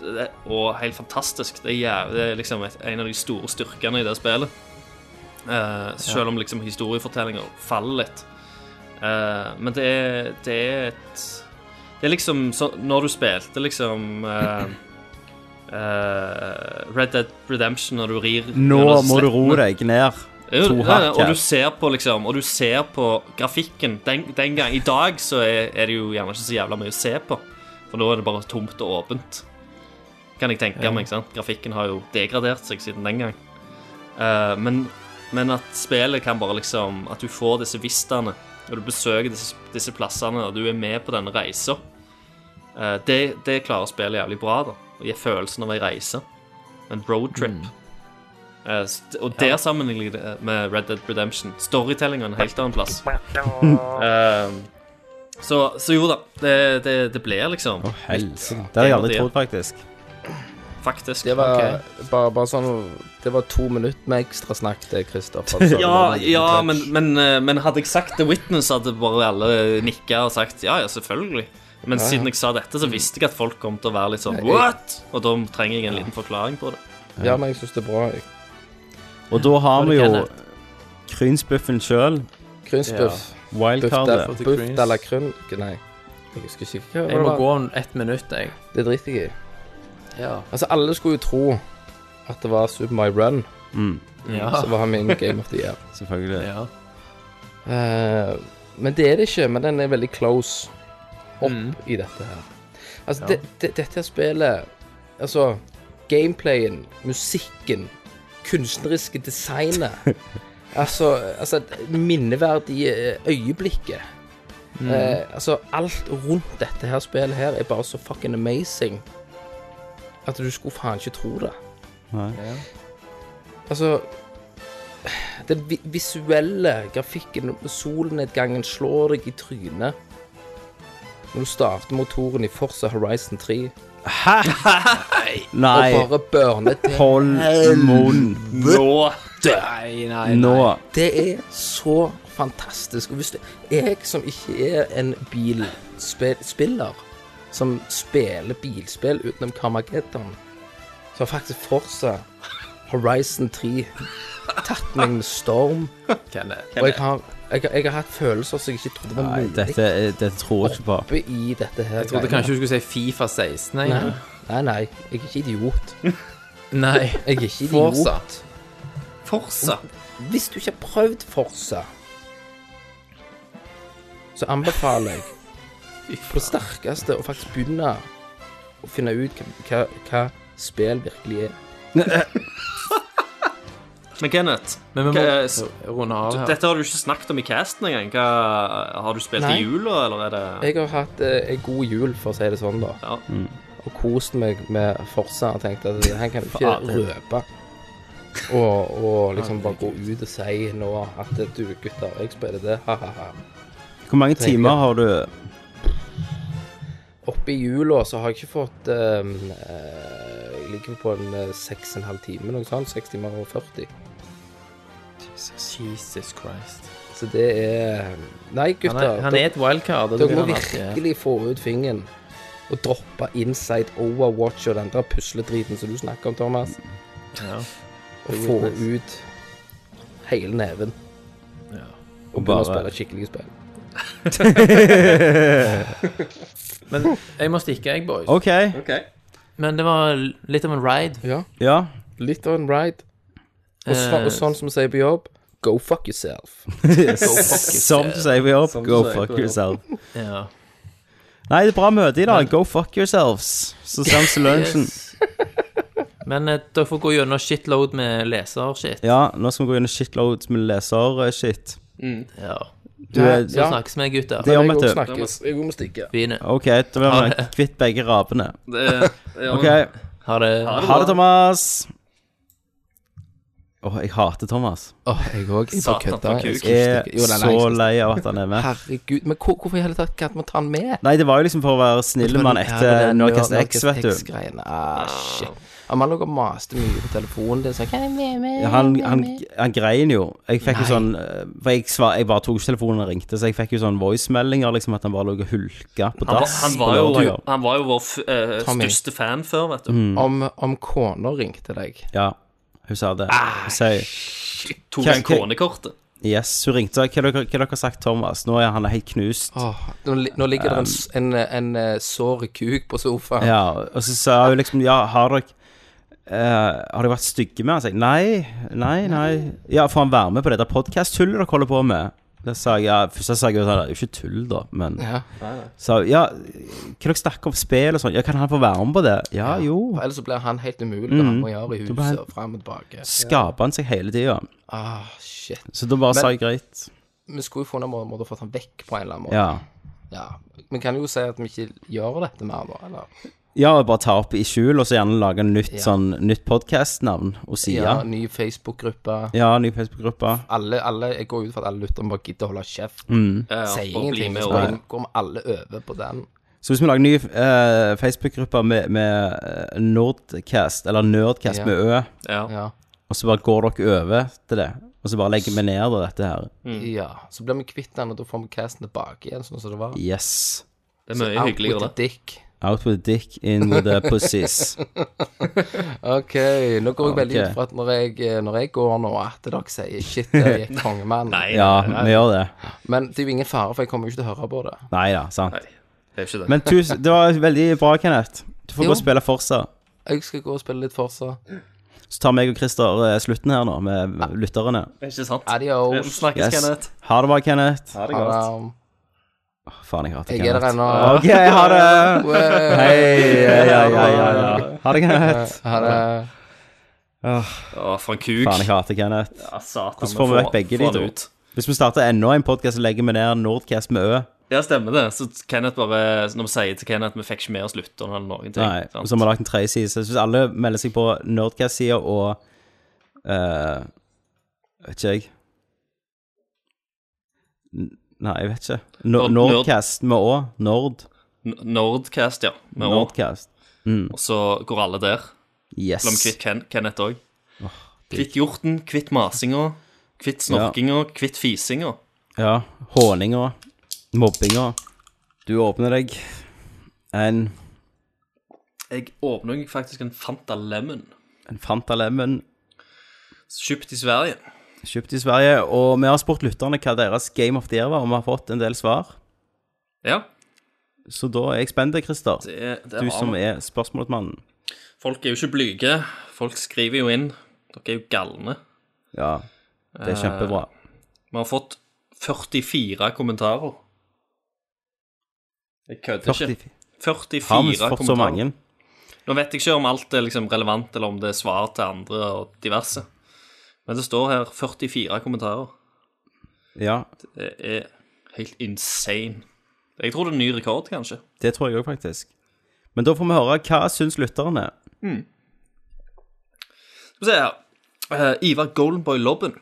S4: det- og helt fantastisk. Det er, jæv- det er liksom et, en av de store styrkene i det spillet. Eh, selv om liksom historiefortellinger faller litt. Eh, men det er, det er et Det er liksom så, Når du spilte liksom eh, eh, Red Dead Redemption, når du rir
S1: Nå
S4: gjennom
S1: må du ro
S4: slettene.
S1: deg ned.
S4: Ja,
S1: To
S4: ja,
S1: hakk
S4: Og
S1: her.
S4: du ser på liksom Og du ser på grafikken Den, den gang I dag så er, er det jo gjerne ikke så jævla mye å se på For nå er det bare tomt og åpent Kan jeg tenke meg, ikke sant? Grafikken har jo degradert seg siden den gang Eh, men, men at spillet kan bare liksom At du får disse vistene Og du besøker disse, disse plassene Og du er med på denne reisen Eh, det, det klarer spillet jævlig bra da Å gi følelsen av en reise En roadtrip
S3: Mm.
S4: Eh, st- Og der sammenligner jeg det med Red Dead Redemption. Storytellinga er en helt annen plass. Ehm, så, så jo da, det, det, det blir liksom
S1: Helsing. Det hadde jeg aldri
S4: Det må
S1: trodd, faktisk.
S4: Faktisk.
S3: Det var bare, bare sånn Det var to minutter med ekstra snakk til Christer. for at sånn-
S4: Ja, ja men, men, eh, men hadde jeg sagt The Witness, hadde bare alle nikka og sagt ja, ja, selvfølgelig. Men siden jeg sa dette, så visste jeg at folk kom til å være litt sånn What?! Og da trenger jeg en liten forklaring på det.
S3: Ja, men jeg syns det er bra. jeg.
S1: Og da har
S4: Var
S1: vi
S4: det
S1: jo
S4: Kenneth?
S1: Krynsbuffen sjøl,
S3: Krynsbuff. Buff der-
S1: wildcardet.
S2: til
S3: buff
S2: Kryns.
S3: de la krønn Nei, jeg husker ikke hva det
S2: Jeg må
S3: var.
S2: gå om ett minutt, jeg.
S3: Det driter jeg i.
S2: Ja.
S3: Altså, alle skulle jo tro at det var Super My Run
S1: Mm,
S2: Ja.
S3: som var min game of the year.
S1: selvfølgelig.
S2: ja.
S3: Eh, men det er det ikke, men den er veldig close opp i dette her. Altså, det, det, dette her spillet Altså, gameplayen, musikken, kunstneriske designet Altså, altså minneverdige øyeblikket. Eh, altså, alt rundt dette her spillet her er bare så fucking amazing at du skulle faen ikke tro det.
S1: Nei.
S3: Altså Den vi visuelle grafikken, solnedgangen slår deg i trynet når du starter motoren i Forza Horizon 3
S1: Nei,
S3: og bare burner til.
S1: hold munn
S4: Nå
S2: Nei, nei, nei.
S1: nå.
S3: Det er så fantastisk. Og hvis det jeg som ikke er en bilspiller, som spiller bilspill utenom Carmageddon, så har faktisk Forza Horizon 3 tatt meg med storm.
S2: Kenneth.
S3: Og jeg har, jeg, har- jeg har hatt følelser som jeg ikke trodde var
S1: Nei,
S3: mulig
S1: dette, dette tror jeg ikke på.
S3: oppe i dette her.
S2: Jeg trodde kanskje du skulle si Fifa 16. Jeg.
S3: Nei, nei, nei, jeg er ikke idiot.
S2: Nei.
S3: Jeg er ikke idiot.
S2: Forsa.
S4: Forsa.
S3: Hvis du ikke har prøvd Forsa, så anbefaler jeg på det sterkeste å faktisk begynne å finne ut hva- hva, hva spill virkelig er.
S4: Men Kenneth,
S2: Men vi
S4: hva-
S2: må runde av her.
S4: dette har du ikke snakket om i casten engang. Hva- Har du spilt
S3: Nei.
S4: i jula, eller er det
S3: Jeg har hatt eh, en god jul, for å si det sånn, da.
S4: Ja.
S3: Og kost meg med Forsa og tenkte at han kan ikke røpe. Og, og liksom bare gå ut og si nå at eh, du, gutter, jeg spiller det, ha-ha-ha.
S1: Hvor mange timer har du
S3: Oppe i jula så har jeg ikke fått ehm, eh, Jeg ligger på en eh, seks og en halv time, noe sånt. Seks timer og 40.
S2: Jesus Christ.
S3: Så det er
S2: Han
S3: Nei,
S2: er,
S3: gutter.
S2: han er et wildcard. og det
S3: dere
S2: vil
S3: må
S2: han alltid-
S3: virkelig få ut fingeren og droppe Inside Overwatch og den der pusledriten som du snakker om, Thomas. Og få ut hele neven. Og begynne å
S1: Bare-
S3: spille skikkelige spill.
S2: Men jeg må stikke, jeg, boys.
S1: OK.
S8: Men det var litt av en ride.
S3: Ja.
S1: Ja.
S3: Litt av en ride. Og, så, og sånn som vi sier på jobb, go fuck yourself.
S1: Som du sier på jobb, go fuck yourself.
S8: Eh, Ja.
S1: Nei, det er bra møte i dag. Go fuck yourselves. Så ses til lunsjen.
S8: Yes. Men eh, dere får gå gjennom shitload med lesershit.
S1: Ja, nå skal vi gå gjennom shitloads med leser-shit.
S8: Ja.
S1: Du er
S8: Så snakkes vi, gutter.
S1: Det gjør vi,
S3: Jeg må
S1: vet du.
S3: snakkes. Jeg må stikke.
S8: Fine.
S1: OK, da blir vi kvitt begge rapene.
S4: Det er, ja,
S1: OK.
S8: Ha det.
S1: Ha det, Thomas. Åh, jeg hater Thomas.
S3: Åh, jeg òg. Jeg bare kødda. Jeg
S1: Jeg
S3: skal ikke stikke. Jo,
S1: er
S3: nei, nei, jeg
S1: så
S3: skal
S1: lei av at han er med.
S3: Herregud, men hvor, hvorfor i hele tatt kan man ta den med?
S1: Nei, det var jo liksom for å være snille mann etter Nerdcast X, vet du.
S3: X-greiene. Ah, shit. Amanda lå og maste mye på telefonen. Det er sånn, kan jeg være med?
S1: Ja, Han, han, han grein jo. Jeg fikk jo sånn eh, For jeg, svar, jeg bare tok ikke telefonen og ringte, så jeg fikk jo sånn voicemeldinger liksom at han bare lå og hulka på
S4: Han var,
S1: dass.
S4: han
S1: på
S4: var, jo,
S1: lørdager.
S4: han var jo vår f- eh,
S3: Tommy.
S4: største fan før, vet du.
S3: Om, om kona ringte deg.
S1: Ja, hun sa det. Hun sier
S4: Tok
S1: Hva-
S4: han
S1: hva-
S4: kronekortet.
S1: Yes, hun ringte. Hva dere- hva dere har sagt, Thomas? Nå er han helt knust.
S3: Åh, nå, li- nå ligger det en, s- en, en, eh, sår kuk på sofaen.
S1: Um. Ja, og så sa hun liksom Ja, har dere eh, har dere vært stygge med han? Så jeg, Nei, nei, nei. Ja, får han være med på det der podkast-tullet dere holder på med? Da sa jeg, ja, Først så sa jeg jo sånn Det er jo ikke tull, da, men
S3: Ja.
S1: Så ja, kan dere snakke om spill og sånn? Ja, kan han få være med på det? Ja, jo. Mm.
S3: For Ellers så blir han helt umulig å ha med å gjøre i huset og frem og tilbake.
S1: Skaper han seg hele tida.
S3: Ah, shit.
S1: Så da bare sa jeg greit.
S3: Vi skulle jo funnet en må- måte å få han vekk på en eller annen måte.
S1: Ja.
S3: Ja. Vi kan jo si at vi ikke gjør dette mer, da. Eller?
S1: Ja, og bare ta opp i skjul, og så gjerne lage en nytt,
S3: Ja.
S1: sånn, nytt podkast-navn og side. Ja,
S3: Ny Facebook-gruppe.
S1: ny Facebook-gruppe.
S3: alle, alle, jeg går ut fra at alle lytterne bare gidder å holde kjeft.
S4: Ja, ja,
S3: Sier
S4: bare bli
S3: ingenting.
S4: med
S3: Så
S4: over.
S3: bare går vi alle over på den.
S1: Så hvis vi lager en ny eh, Facebook-gruppe med, med eh, Nordcast, eller Nerdcast
S3: Ja.
S1: med Ø,
S4: Ja.
S3: Ja.
S1: og så bare går dere over til det, og så bare legger vi ned dette her.
S4: Mm.
S3: ja. Så blir vi kvitt den, og da får vi casten tilbake igjen, sånn som det var.
S1: Yes.
S4: Det er mye hyggeligere,
S3: Out with
S4: det.
S3: the dick.
S1: Out with the dick, in with the pussies.
S3: OK. Nå går jeg veldig
S1: Ok.
S3: ut fra at når jeg, eh, når jeg går nå, at dere sier 'shit, der gikk kongemann'.
S1: Ja, vi gjør det.
S3: Men det er jo ingen fare, for jeg kommer jo ikke til å høre på det.
S1: Nei da, sant.
S4: Det er ikke det.
S1: Men tusen, det var veldig bra, Kenneth. Du får
S3: Jo.
S1: gå og spille Forza.
S3: Jeg skal gå og spille litt Forsa.
S1: Så tar meg og Christer eh, slutten her nå, med lytterne.
S4: Det er ikke sant.
S3: Adios.
S4: Snakkes,
S1: Yes.
S4: Kenneth.
S1: Ha det bra, Kenneth.
S3: Adam.
S1: Faen, jeg hater
S3: Jeg er der ennå.
S1: OK, ha det.
S3: Wow.
S1: Hei, ja, ja, ja, ja, ja. Ha det, Kenneth.
S3: Ha det.
S4: Å, for en kuk.
S1: Faen, jeg hater Kenneth.
S4: Ja, satan.
S1: Hvordan får vi vekk begge de
S4: få han
S1: to?
S4: ut.
S1: Hvis vi starter enda en podkast, legger vi ned Nordcast med Ø.
S4: Ja, stemmer det. Så Kenneth bare Når vi sier til Kenneth vi fikk ikke med oss lytterne eller noen ting.
S1: Nei,
S4: sant?
S1: og så har vi lagt en tredje side. Så hvis alle melder seg på Nerdcast-sida og eh, Vet ikke jeg. N- Nei, jeg vet ikke. No
S4: Nord- Nord-
S1: Nordcast med Å. Nord.
S4: N- Nordcast, ja. Med Nord.
S1: Nordcast.
S4: Og så går alle der.
S1: Yes.
S4: Blir vi kvitt Ken Kenneth òg. Kvitt hjorten, kvitt masinga, kvitt snorkinga, kvitt fisinga.
S1: Ja. Håninga. Mobbinga. Du åpner deg en,
S4: Jeg åpner jo faktisk en Fanta Lemon,
S1: en Fanta Lemon
S4: kjøpt i Sverige.
S1: kjøpt i Sverige, og vi har spurt lytterne hva deres Game of the Year var, og vi har fått en del svar.
S4: Ja,
S1: Så da er jeg spent, Christer.
S4: det, er- det
S1: Du
S4: har
S1: som
S4: vi.
S1: er spørsmålsmannen.
S4: Folk er jo ikke blyge. Folk skriver jo inn. Dere er jo galne.
S1: Ja, det er kjempebra.
S4: Eh, Vi har fått 44 kommentarer. Jeg kødder ikke.
S1: 44.
S4: 44
S1: Har vi fått så
S4: kommentarer.
S1: mange?
S4: Nå vet jeg ikke om alt er liksom relevant, eller om det er svar til andre og diverse. Men det står her 44 kommentarer.
S1: Ja,
S4: Det er helt insane. Jeg tror det er en ny rekord, kanskje.
S1: det tror jeg òg, faktisk. Men da får vi høre hva syns lytterne.
S4: Skal vi se her. Eh, Ivar Goldenboy Lobben.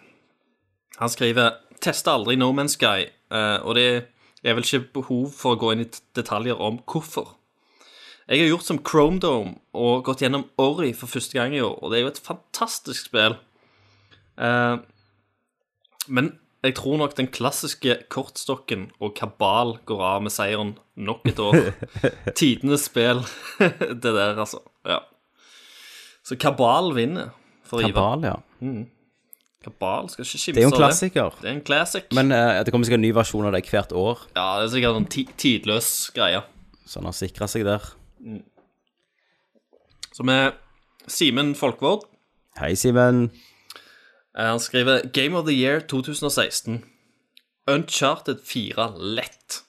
S4: Han skriver 'Testa aldri No Man's Sky', eh, og det er vel ikke behov for å gå inn i t- detaljer om hvorfor. Jeg har gjort som Chrome Dome og gått gjennom Ori for første gang i år, og det er jo et fantastisk spill. Eh, men Jeg tror nok den klassiske kortstokken og kabal går av med seieren nok et år. Tidenes spill, det der, altså. Ja. Så kabal vinner for Ivar.
S1: Kabal, ja.
S4: Kabal skal ikke kimse av
S1: Det er jo en klassiker.
S4: Det er en classic.
S1: Men eh, det kommer sikkert en ny versjon av det hvert år,
S4: ja, det er sikkert en ti tidløs greie.
S1: så han har sikra seg der.
S4: Så med Simen Folkvord
S1: Hei, Simen.
S4: Eh, Han skriver Game of the Year 2016. Uncharted 4 lett.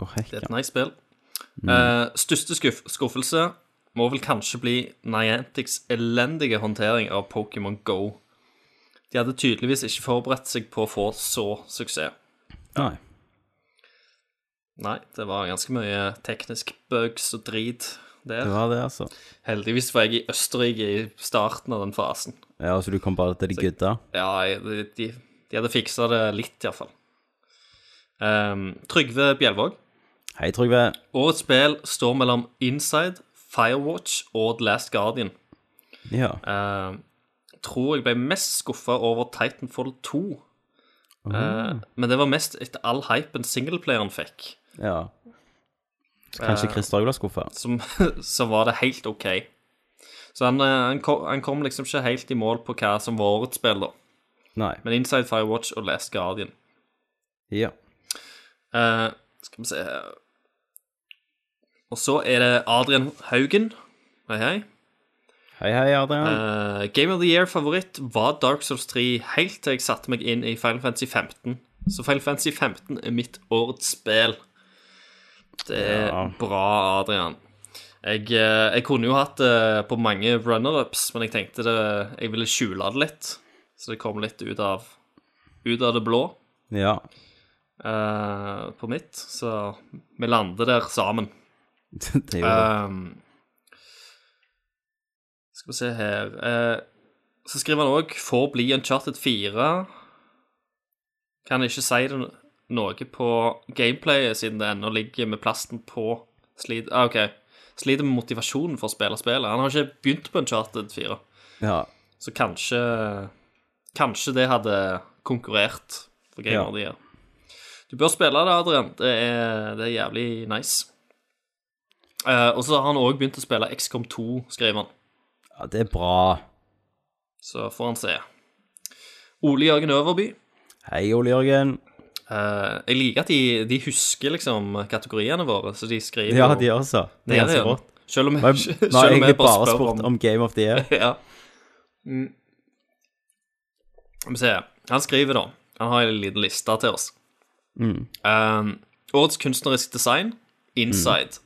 S1: Å, hekk,
S4: Det er
S1: ja. Mm.
S4: et nice spill. Eh, største skuff skuffelse må vel kanskje bli Niantics elendige håndtering av Pokémon Go. De hadde tydeligvis ikke forberedt seg på å få så suksess.
S1: Nei.
S4: Nei, det var ganske mye teknisk bugs og drit
S1: Det
S4: der.
S1: var det, altså.
S4: Heldigvis var jeg i Østerrike i starten av den fasen.
S1: Ja, så du kom bare til de gudda?
S4: Ja, jeg- de, de, de hadde fiksa det litt, iallfall. Um, Trygve Bjelvåg.
S1: Hei, Trygve.
S4: Årets spill står mellom Inside, Firewatch og The Last Guardian.
S1: Ja.
S4: Eh, tror jeg ble mest skuffa over Titanfall 2. Eh, men det var mest etter all hypen singleplayeren fikk,
S1: ja. Så
S4: Eh.
S1: kanskje Christer òg ble skuffa?
S4: som, som var det helt OK. Så han, eh, han, kom, han kom liksom ikke helt i mål på hva som var årets spill, da.
S1: Nei.
S4: Men Inside, Firewatch og Last Guardian.
S1: Ja.
S4: Eh, skal vi se Og så er det Adrian Haugen. Hei, hei.
S1: Hei, hei, Adrian.
S4: Eh, Game of the Year-favoritt var Dark Souls 3 helt til jeg satte meg inn i Final Fantasy 15. Så Final Fantasy 15 er mitt årets spill. Det er
S1: Ja.
S4: bra, Adrian. Jeg, eh, jeg kunne jo hatt det på mange runner-ups, men jeg tenkte det, jeg ville skjule det litt. Så det kom litt ut av, ut av det blå
S1: Ja.
S4: eh, på mitt. Så vi lander der sammen.
S1: Det er jo
S4: Ehm, skal vi se her eh, Så skriver han òg 'får bli Uncharted 4'. Kan ikke si det no- noe på gameplayet, siden det ennå ligger med plasten på slit... Ah, OK. Sliter med motivasjonen for å spille spillet. Han har ikke begynt på Uncharted 4,
S1: Ja.
S4: så kanskje Kanskje det hadde konkurrert for
S1: Ja.
S4: gamer de gjør. Du bør spille det, Adrian. Det er, det er jævlig nice. Eh, og så har han òg begynt å spille XCOM 2, skriver han.
S1: ja, det er bra.
S4: Så får han se. Ole Jørgen Øverby.
S1: Hei, Ole Jørgen.
S4: Eh, jeg liker at de, de husker liksom kategoriene våre, så de skriver
S1: Ja,
S4: jo
S1: de også. Det
S4: ned
S1: er ganske
S4: igjen.
S1: rått.
S4: Selv om
S1: Vi har
S4: selv
S1: vi har
S4: om jeg
S1: egentlig bare
S4: spør
S1: spurt om Game of the Year.
S4: ja. Mm. Skal vi se. Han skriver, da. Han har en liten liste til oss.
S1: Mm.
S4: Um, årets kunstnerisk design, Inside.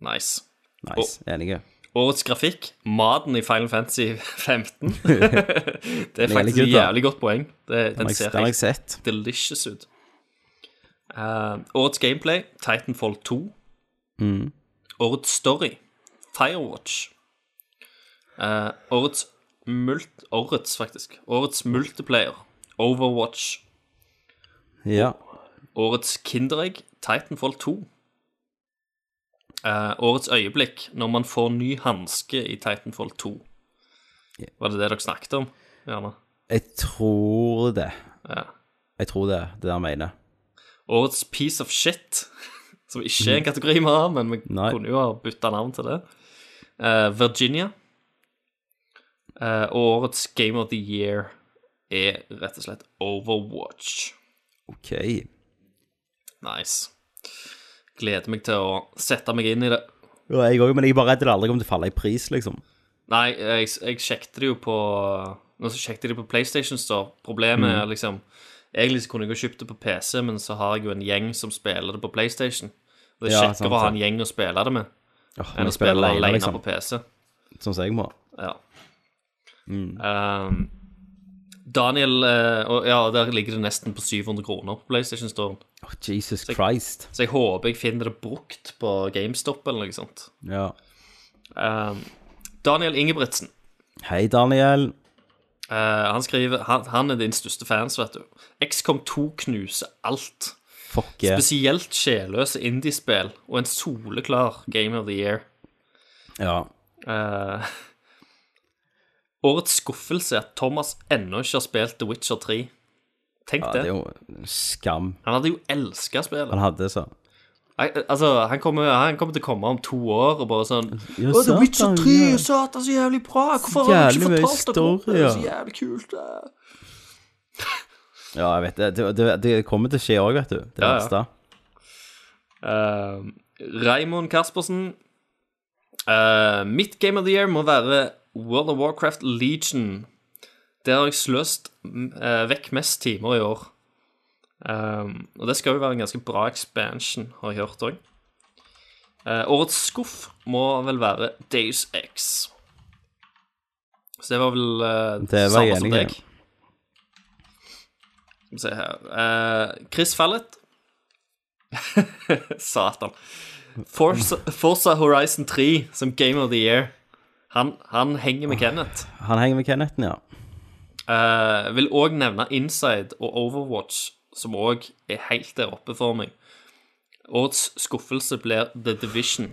S4: Nice.
S1: Nice.
S4: Oh.
S1: Enige.
S4: Årets grafikk, maten i Final Fantasy 15. det
S1: jævlig
S4: er faktisk
S1: good,
S4: et
S1: da.
S4: jævlig godt poeng. Det, den
S1: Den
S4: ser
S1: har jeg
S4: helt
S1: sett.
S4: delicious ut. Eh, årets gameplay, Titanfall 2. Årets story, Firewatch. Eh, årets mult... Årets, faktisk. Årets multiplayer, Overwatch.
S1: Ja.
S4: Årets Kinderegg, Titanfall 2. Eh, årets øyeblikk, når man får ny hanske i Titanfall 2. Var det det dere snakket om? Gjerne.
S1: Jeg tror det.
S4: Ja.
S1: Jeg tror det, det der mener.
S4: Årets piece of shit, som ikke er en kategori vi har, men vi
S1: Nei.
S4: kunne jo ha bytta navn til det. Eh, Virginia. Eh, og årets Game of the Year er rett og slett Overwatch.
S1: OK.
S4: Nice. Gleder meg til å sette meg inn i det.
S1: Ja, jeg òg, men jeg er bare redd det aldri kommer til å falle i pris, liksom.
S4: Nei, jeg, jeg sjekket det jo på Nå så sjekket jeg det på PlayStation Store. Problemet
S1: Mm.
S4: er liksom Egentlig så kunne jeg jo kjøpt det på PC, men så har jeg jo en gjeng som spiller det på PlayStation. Og det er
S1: Ja,
S4: kjekkere
S1: sant,
S4: å ha
S1: sant.
S4: en gjeng å spille det med
S1: Åh,
S4: enn
S1: men
S4: å spille
S1: spiller
S4: alene,
S1: alene, liksom.
S4: på PC.
S1: Sånn som jeg må.
S4: Ja. Um, Daniel eh, og, Ja, der ligger det nesten på 700 kroner på PlayStation Store.
S1: Åh, Jesus Christ.
S4: Så jeg håper jeg finner det brukt på GameStop eller noe sånt.
S1: Ja.
S4: Um, Daniel Ingebrigtsen.
S1: Hei, Daniel.
S4: Eh, han skriver han, han er din største fans, vet du. XCOM 2 knuser alt.
S1: Fuck eh. yeah.
S4: Spesielt sjelløse indiespill og en soleklar Game of the Year.
S1: Ja.
S4: Eh, årets skuffelse er at Thomas ennå ikke har spilt The Witcher 3. Tenk
S1: Ja, det
S4: det.
S1: er jo en skam.
S4: Han hadde jo elska spillet.
S1: Han hadde så
S4: Han, altså, han kommer, han kommer til å komme om to år og bare sånn
S1: Ja,
S4: Å, The Witcher
S1: satan,
S4: 3
S1: ja.
S4: er satan så jævlig bra! Hvorfor har du
S1: Jævlig
S4: ikke
S1: mye
S4: fortalt dere om det? Det er så
S1: story,
S4: jævlig kult. det.
S1: Ja, jeg vet det. Det, det, det kommer til å skje òg, vet du. Det
S4: Ja, ja.
S1: verste.
S4: Uh, Raymond Kaspersen. Eh, mitt game of the year må være World of Warcraft Legion. Der har jeg sløst mm, eh, vekk mest timer i år. Eh, og det skal jo være en ganske bra expansion, har jeg hørt òg. årets skuff må vel være Days X. Så det var vel eh,
S1: Det var jeg
S4: samme
S1: enig
S4: som
S1: i.
S4: deg. Skal vi se her Eh, Chris Fallet. Satan. Forza, Forza Horizon 3 som Game of the Year. Han, han henger med Kenneth.
S1: Han henger med Kennethen, ja.
S4: Eh, vil òg nevne Inside og Overwatch, som òg er helt der oppe for meg. Årets skuffelse blir The Division.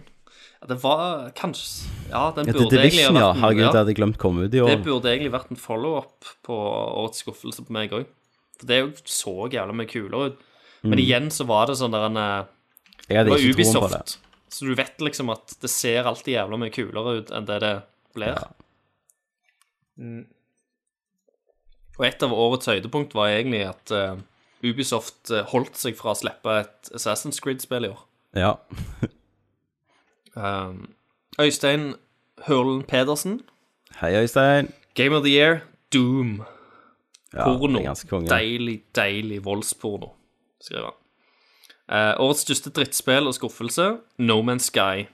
S4: Ja, Det var kanskje Ja, den
S1: ja
S4: burde
S1: The Division,
S4: egentlig ha
S1: ja.
S4: vært en,
S1: Herregud,
S4: ja,
S1: det hadde jeg glemt å komme ut i
S4: det
S1: år.
S4: burde egentlig vært en follow-up på årets skuffelse på meg òg. For det er jo så jævla mye kulere ut.
S1: Mm.
S4: Men igjen så var det sånn der en eh,
S1: Jeg
S4: det
S1: hadde
S4: var
S1: ikke troen på det.
S4: Ubisoft, så du vet liksom at det ser alltid jævla mye kulere ut enn det det blir. Mm. Og et av årets høydepunkt var egentlig at eh, Ubisoft eh, holdt seg fra å slippe et Assassin's Creed-spill i år.
S1: Ja.
S4: Um, Øystein Hølen Pedersen,
S1: Hei, Øystein.
S4: Game of the Year, Doom.
S1: Ja,
S4: porno.
S1: det er ganske konge.
S4: Deilig, deilig voldsporno, skriver han. Eh, årets største drittspill og skuffelse, No Man's Sky.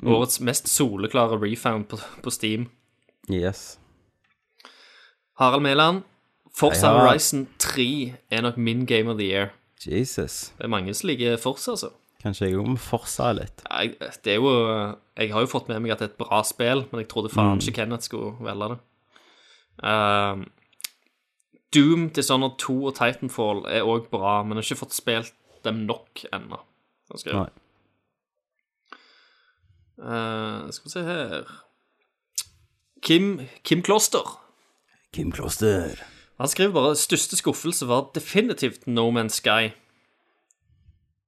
S1: Mm.
S4: Årets mest soleklare refound på, på Steam.
S1: Yes.
S4: Harald Mæland, Forza
S1: Hei, Harald.
S4: Horizon 3 er nok min game of the year.
S1: Jesus.
S4: Det er mange som liker Forza, altså.
S1: Kanskje jeg må forsa litt.
S4: Jeg, det er jo, jeg har jo fått med meg at det er et bra spill, men jeg trodde faen ikke Kenneth skulle velge det. Ehm, Doom, Dishonored 2 og Titanfall er òg bra, men jeg har ikke fått spilt dem nok ennå. Så skal jeg-
S1: Nei.
S4: Eh, skal vi se her Kim, Kim Kloster.
S1: Kim Kloster.
S4: Han skriver bare største skuffelse var definitivt No Man's Sky.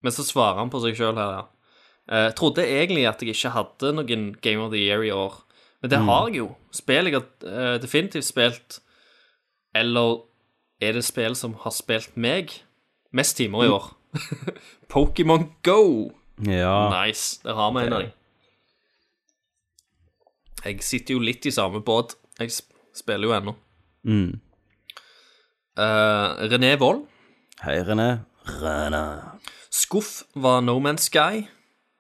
S4: Men så svarer han på seg sjøl her, ja. Eh, trodde egentlig at jeg ikke hadde noen Game of the Year i år. Men det har jeg jo. Spill jeg har eh, definitivt spilt. Eller er det spill som har spilt meg mest timer i år? Pokémon Go!
S1: Ja.
S4: Nice. Der har vi en av dem. Jeg sitter jo litt i samme båt. Jeg sp- spiller jo ennå.
S1: Mm.
S4: Eh, René Wold.
S1: Hei, René. René.
S4: Skuff var No Man's Sky.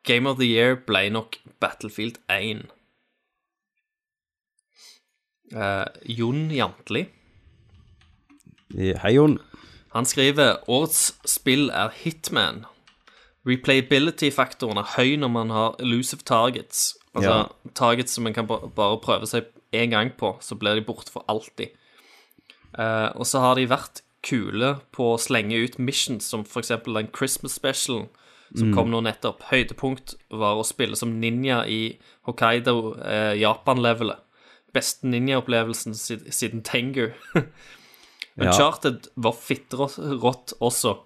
S4: Game of the Year ble nok Battlefield 1. Eh, Jon Jantli.
S1: Hei, Jon.
S4: Han skriver Årets spill er Hitman. Replayability-faktoren er høy når man har elusive targets. Altså targets som man kan ba- bare prøve seg én gang på, så blir de borte for alltid. Eh, og så har de vært kule på å slenge ut missions, som for eksempel den Christmas specialen som kom nå nettopp. Høydepunkt var å spille som ninja i Hokkaido, eh, Japan-levelet. Beste ninja-opplevelsen sid- siden Tengu.
S1: Ja.
S4: Uncharted var fitterått også,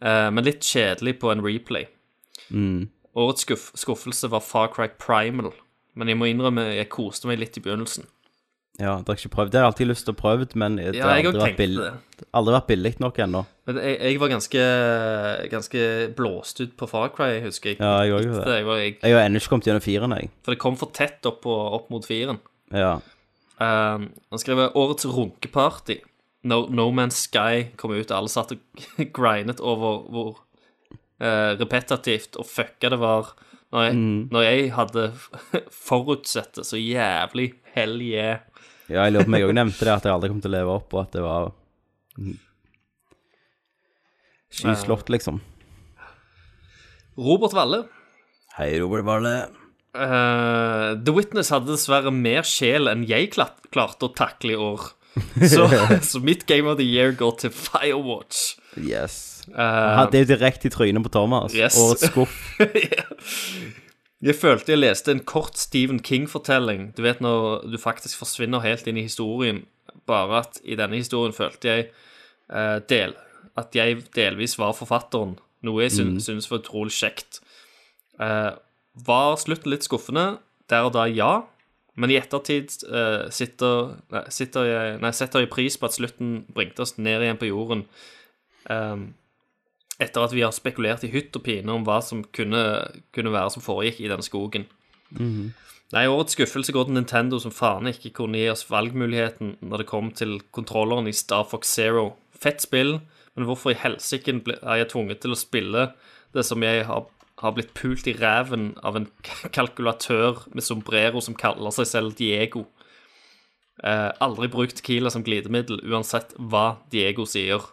S4: eh, men litt kjedelig på en replay.
S1: Mm.
S4: Årets skuff skuffelse var Far Cry Primal, men jeg må innrømme jeg koste meg litt i begynnelsen.
S1: Ja, det har jeg ikke prøvd. Det har jeg alltid lyst til å prøve, men det
S4: Ja,
S1: har
S4: jeg
S1: aldri
S4: også
S1: vært,
S4: tenkte
S1: bill... aldri vært billig nok ennå.
S4: Men jeg, jeg var ganske, ganske blåst ut på Far Cry, husker jeg.
S1: Ja, jeg òg gjør
S4: Det-
S1: det.
S4: Jeg var, jeg,
S1: Jeg har ennå ikke kommet gjennom firen, jeg.
S4: for det kom for tett opp, på, opp mot firen.
S1: Ja.
S4: Um, han skriver årets runkeparty. No, no Man's Sky kom ut, alle satt og grindet over hvor eh, repetitivt og fucka det var når jeg, når jeg hadde forutsett det så jævlig hell yeah.
S1: ja, jeg lurer på om jeg òg nevnte det, at jeg aldri kom til å leve opp, og at det var Mm. Skyslått, liksom.
S4: Robert Valle.
S1: Hei, Robert Valle.
S4: Eh, The Witness hadde dessverre mer sjel enn jeg klart, klarte å takle i år. Så, så mitt Game of the Year går til Firewatch.
S1: Yes.
S4: Eh,
S1: Han- Det er jo direkte i trynet på Thomas.
S4: Yes.
S1: Årets skuff.
S4: Jeg følte jeg leste en kort Stephen King-fortelling. Du vet når du faktisk forsvinner helt inn i historien. Bare at i denne historien følte jeg eh, del, at jeg delvis var forfatteren, noe jeg syn, synes var utrolig kjekt. Eh, var slutten litt skuffende? Der og da ja, men i ettertid eh, sitter, nei, sitter jeg, nei, setter jeg pris på at slutten bringte oss ned igjen på jorden. Ehm, etter at vi har spekulert i hytt og pine om hva som kunne, kunne være som foregikk i denne skogen. Nei, årets skuffelse går til Nintendo, som faen ikke kunne gi oss valgmuligheten når det kom til kontrolleren i Star Fox Zero. Fett spill, men hvorfor i helsiken ble- er jeg tvunget til å spille det som jeg har, har blitt pult i ræven av en k- kalkulatør med sombrero som kaller seg selv Diego? Eh, aldri brukt Kila som glidemiddel, uansett hva Diego sier.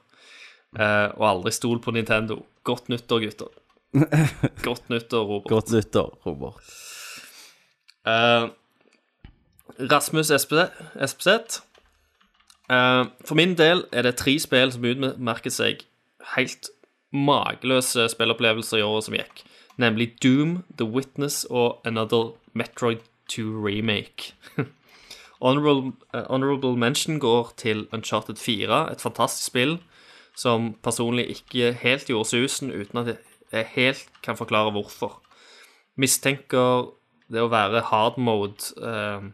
S4: Eh, og aldri stol på Nintendo. Godt nyttår, gutter. Godt nyttår, Robert.
S1: Godt nyttår, Robert.
S4: Eh, Rasmus Espe- Espeseth. Eh, for min del er det tre spill som utmerket seg helt mageløse spillopplevelser i året som gikk. Nemlig Doom, The Witness og Another Metroid 2 Remake. honorable, eh, honorable mention går til Uncharted 4, et fantastisk spill som personlig ikke helt gjorde susen, uten at jeg helt kan forklare hvorfor mistenker det å være hard mode eh,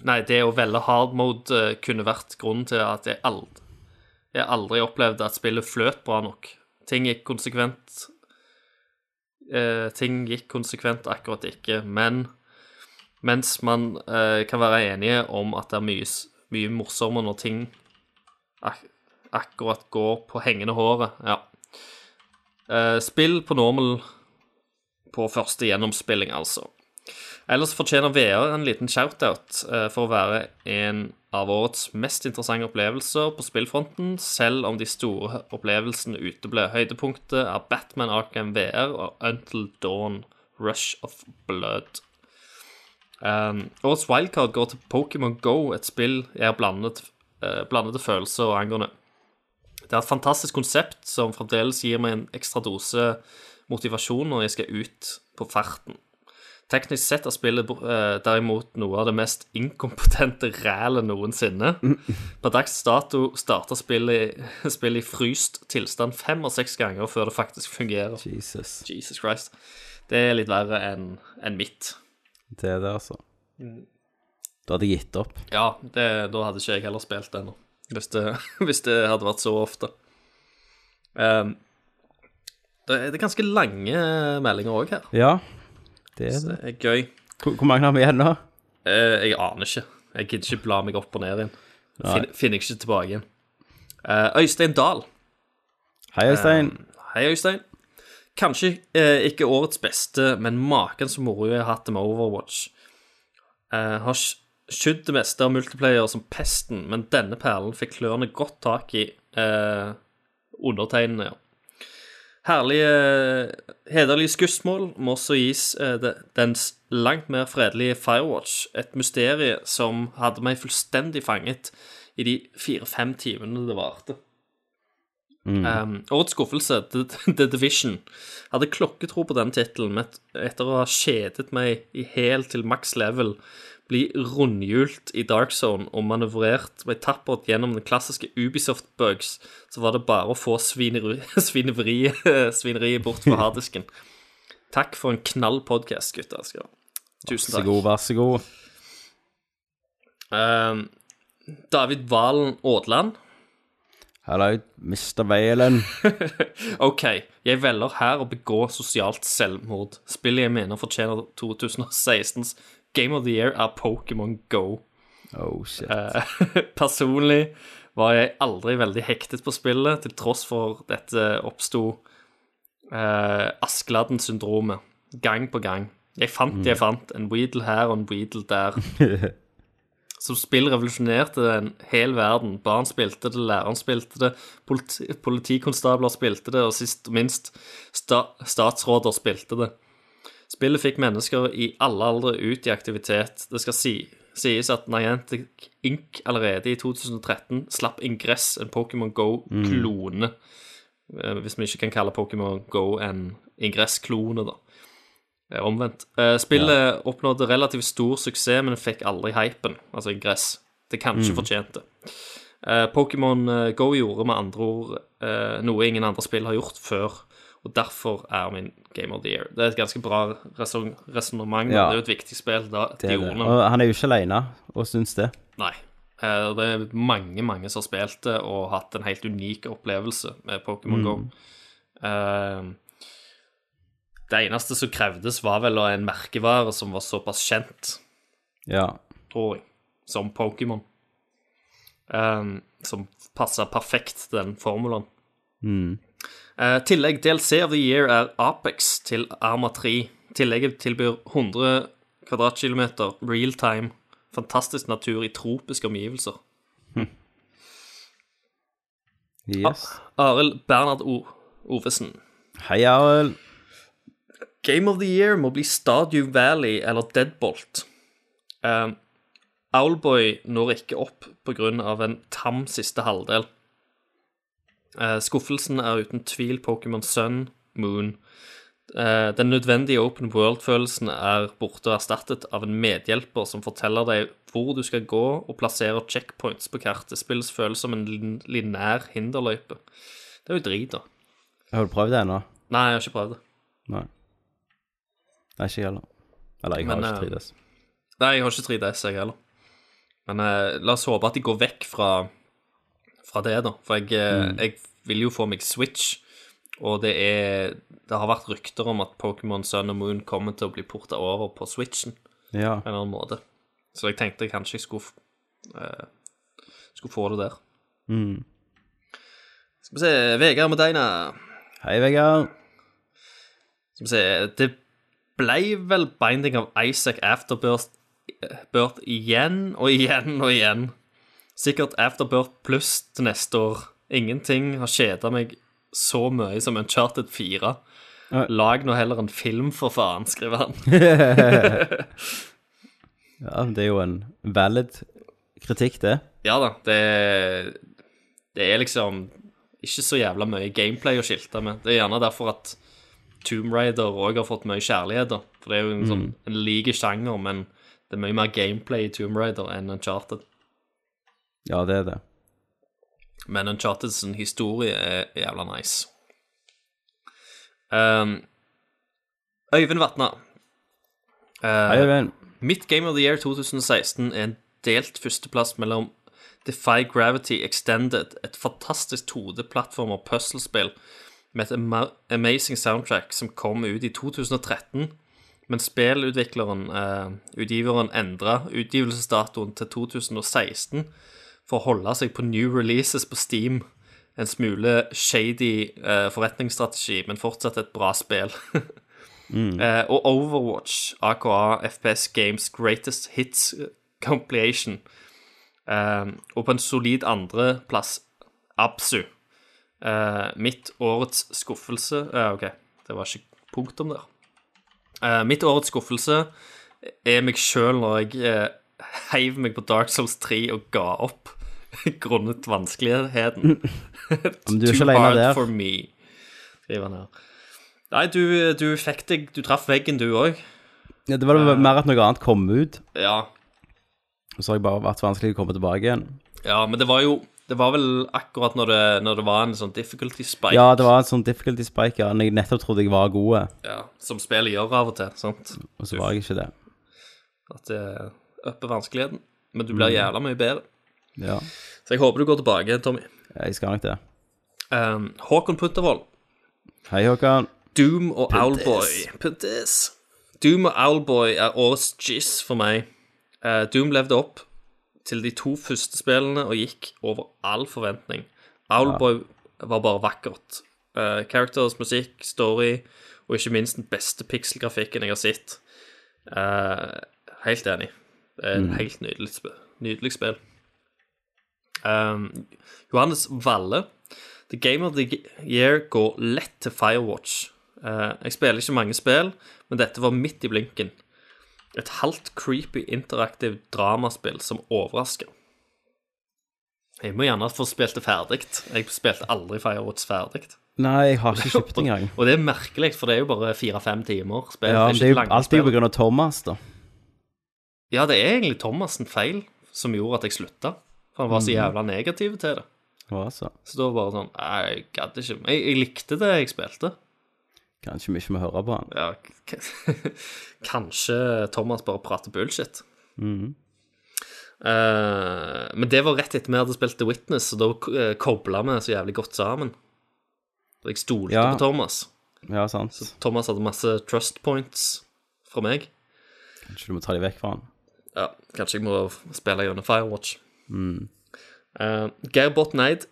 S4: Nei, det å velge hard mode eh, kunne vært grunnen til at jeg aldri, jeg aldri opplevde at spillet fløt bra nok. Ting gikk konsekvent eh, Ting gikk konsekvent akkurat ikke, men mens man eh, kan være enige om at det er mye, s- mye morsommere når ting ak akkurat går på hengende håret, ja. Eh, spill på normal på første gjennomspilling, altså. Ellers fortjener VR en liten shoutout eh, for å være en av årets mest interessante opplevelser på spillfronten, selv om de store opplevelsene uteble. Høydepunktet er Batman Arkham VR og Until Dawn Rush of Blood. Um, årets wildcard går til Pokémon Go, et spill jeg har blandet, eh, blandede følelser angående. Det er et fantastisk konsept som fremdeles gir meg en ekstra dose motivasjon når jeg skal ut på farten. Teknisk sett er spillet eh, derimot noe av det mest inkompetente rælet noensinne. På dags dato starter spillet, i- spillet i fryst tilstand fem og seks ganger før det faktisk fungerer.
S1: Jesus.
S4: Jesus Christ. Det er litt verre enn enn mitt.
S1: Det er det, altså. Da hadde jeg gitt opp.
S4: Ja, det, da hadde ikke jeg heller spilt ennå. Hvis, det- hvis det hadde vært så ofte. Ehm, det, er, det er ganske lange meldinger òg her.
S1: Ja, det er
S4: Så
S1: det.
S4: det er gøy.
S1: Hvor, hvor mange har vi igjen nå?
S4: Eh, jeg aner ikke. Jeg gidder ikke bla meg opp og ned igjen. Fin, finner jeg ikke tilbake igjen. Eh, Øystein Dahl.
S1: Hei,
S4: Eh,
S1: Øystein.
S4: Hei, Øystein. Kanskje eh, ikke årets beste, men maken så moro jeg har hatt det med Overwatch. Eh, har sk- skydd det meste av multiplayer som pesten, men denne perlen fikk klørne godt tak i eh, undertegnene, ja. Herlige, hederlige skussmål må også gis eh, de- dens langt mer fredelige Firewatch, et mysterie som hadde meg fullstendig fanget i de fire-fem timene det varte.
S1: Mm.
S4: Um, årets skuffelse, The, The Division. Hadde klokketro på den tittelen, men et- etter å ha kjedet meg i hæl til maks level, bli rundhjult i Dark Zone og manøvrert meg tappert gjennom den klassiske Ubisoft-bugs, så var det bare å få svineri, svineriet, svineriet bort fra harddisken. Takk for en knall podkast, gutter. Skal. Tusen
S1: Vær så
S4: takk.
S1: god, vær så god.
S4: Um, David Valen Aadland.
S1: Hello, Mr. Valen.
S4: Ok, jeg velger her å begå sosialt selvmord. Spillet jeg mener fortjener 2016s Game of the Year er Pokémon Go.
S1: Oh, shit.
S4: Eh, Personlig var jeg aldri veldig hektet på spillet, til tross for dette oppsto eh, Askeladden-syndromet gang på gang. Jeg fant det jeg fant, en Weedle her og en Weedle der. Som spill revolusjonerte det en hel verden. Barn spilte det, læreren spilte det, politi politikonstabler spilte det, og sist og minst sta statsråder spilte det. Spillet fikk mennesker i alle aldre ut i aktivitet. Det skal si, sies at Niantic Inc. allerede i 2013 slapp Ingress, en Pokémon Go-klone. Eh, Hvis vi ikke kan kalle Pokémon Go en Ingress-klone, da. Det er omvendt. Eh, Spillet oppnådde
S1: Mm.
S4: relativt stor suksess, men fikk aldri hypen, altså Ingress. Det kanskje fortjente. Eh, Pokémon eh, Go gjorde med andre ord eh, noe ingen andre spill har gjort før. Og derfor er min Game of the Year. Det er et ganske bra resonnement.
S1: Ja.
S4: Det er jo et viktig spill. Da,
S1: Det
S4: de
S1: er det.
S4: ordene.
S1: Og han er jo ikke aleine og syns det.
S4: Nei. Eh, og Det er mange, mange som har spilt det og hatt en helt unik opplevelse med Pokémon Go. Eh, det eneste som krevdes, var vel å ha en merkevare som var såpass kjent,
S1: Ja.
S4: tror jeg, som Pokémon. Eh, som passer perfekt til den formelen. Eh, tillegg DLC of the year er Apex til Arma 3. Tillegget tilbyr 100 kvadratkilometer real time, fantastisk natur i tropiske omgivelser.
S1: Yes.
S4: Ah. Arild Bernhard o Ovesen.
S1: Hei, Arild.
S4: Game of the year må bli Stadio Valley eller Deadbolt. Um, Owlboy når ikke opp pga. en tam siste halvdel. Eh, skuffelsen er uten tvil Pokémon Sun, Moon. Eh, den nødvendige open world-følelsen er borte og erstattet av en medhjelper som forteller deg hvor du skal gå, og plasserer checkpoints på kartet. Spillet føles som en lin linær hinderløype. Det er jo drit, da.
S1: Har du prøvd det ennå?
S4: Nei, jeg har ikke prøvd det.
S1: Nei. Nei, ikke jeg heller. Eller jeg har
S4: Men,
S1: ikke
S4: eh,
S1: 3DS.
S4: Nei, jeg har ikke 3DS, jeg heller. Men eh, la oss håpe at de går vekk fra, fra det, da. For jeg, eh, jeg vil jo få meg Switch, og det er Det har vært rykter om at Pokémon Sun og Moon kommer til å bli porta over på Switchen på
S1: Ja.
S4: en eller annen måte. Så jeg tenkte jeg kanskje jeg skulle, f- eh, skulle få det der.
S1: Mm.
S4: Skal vi se Vegard Medeina.
S1: Hei, Vegard.
S4: Skal vi se Det blei vel Binding of Isaac Afterbirth Birth igjen og igjen og igjen. Sikkert Afterbirth pluss til neste år. Ingenting har kjeda meg så mye som Uncharted 4.
S1: Ja.
S4: Lag nå heller en film, for faen, skriver han.
S1: Ja, men det er jo en valid kritikk, det.
S4: Ja da, det, det er liksom ikke så jævla mye gameplay å skilte med. Det er gjerne derfor at Tomb Raider òg har fått mye kjærlighet. da. For det er jo en sånn en like sjanger, men det er mye mer gameplay i Tomb Raider enn Uncharted.
S1: Ja, det er det.
S4: Men Uncharted sin historie er jævla nice. Um, Øyvind Vatna.
S1: Hei,
S4: Uh,
S1: Øyvind.
S4: Mitt Game of the Year 2016 er en delt førsteplass mellom Defy Gravity Extended, et fantastisk 2D-plattform- og puzzlespill med et ama- amazing soundtrack som kom ut i 2013, men spillutvikleren, eh, utgiveren, endra utgivelsesdatoen til 2016 for å holde seg på new releases på Steam. En smule shady eh, forretningsstrategi, men fortsatt et bra spill. Eh, og Overwatch, aka FPS Games Greatest Hits Compilation. Eh, og på en solid andreplass Absu. Eh, mitt årets skuffelse eh, OK, det var ikke punktum der. Eh, mitt årets skuffelse er meg sjøl når jeg eh, heiv meg på Dark Souls 3 og ga opp grunnet vanskeligheten.
S1: Men du er ikke
S4: Too
S1: alene
S4: hard
S1: der.
S4: for me, skriver han her. Nei, du, du fikk deg Du traff veggen, du òg.
S1: Ja, det var vel mer at noe annet kom ut,
S4: Ja,
S1: og så har jeg bare vært vanskelig å komme tilbake igjen.
S4: ja, men det var jo Det var vel akkurat når det, når det var en sånn difficulty spike,
S1: Ja, det var en sånn difficulty spike, ja, når jeg nettopp trodde jeg var god,
S4: ja, som spillet gjør av og til, sant?
S1: og så var jeg ikke det.
S4: At det øpper vanskeligheten. Men du
S1: Mm.
S4: blir jævla mye bedre.
S1: Ja,
S4: Så jeg håper du går tilbake, Tommy.
S1: jeg skal nok det.
S4: Um, Håkon Puntervold.
S1: Hei, Håkan.
S4: Doom og Owlboy. Puntis. Doom og Owlboy er årets jizz for meg. Eh, Doom levde opp til de to første spillene og gikk over all forventning. Owlboy var bare vakkert. Eh, characters, musikk, story og ikke minst den beste pikselgrafikken jeg har sett. Eh, helt enig. Det er et helt nydelig, sp nydelig spill. Um, Johannes Valle The Game of the Year går lett til Firewatch. Eh, jeg spiller ikke mange spill, men dette var midt i blinken. Et halvt creepy interaktivt dramaspill som overrasker. Jeg må gjerne få spilt det ferdig. Jeg spilte aldri Firewatch ferdig.
S1: Nei, jeg har ikke kjøpt engang.
S4: Og det er merkelig, for det er jo bare fire-fem timer spill.
S1: Ja, men det er jo
S4: lange
S1: alltid
S4: spill.
S1: på grunn av Thomas, da.
S4: Ja, det er egentlig Thomassen feil som gjorde at jeg slutta. For han var
S1: Mhm.
S4: så jævla negativ til det.
S1: Hva så?
S4: Så da var bare sånn Nei, jeg gadd ikke. Jeg, jeg likte det jeg spilte.
S1: Kanskje vi ikke må høre på han.
S4: Ja, k- kanskje Thomas bare prater bullshit. Eh, men det var rett etter vi hadde spilt The Witness, så da uh, kobla vi så jævlig godt sammen. Og jeg stolte
S1: Ja.
S4: på Thomas.
S1: Ja, sant.
S4: Thomas hadde masse trust points fra meg.
S1: Kanskje du må ta de vekk fra han.
S4: Ja, kanskje jeg må spille gjennom Firewatch. Eh, Geir Botten Eid,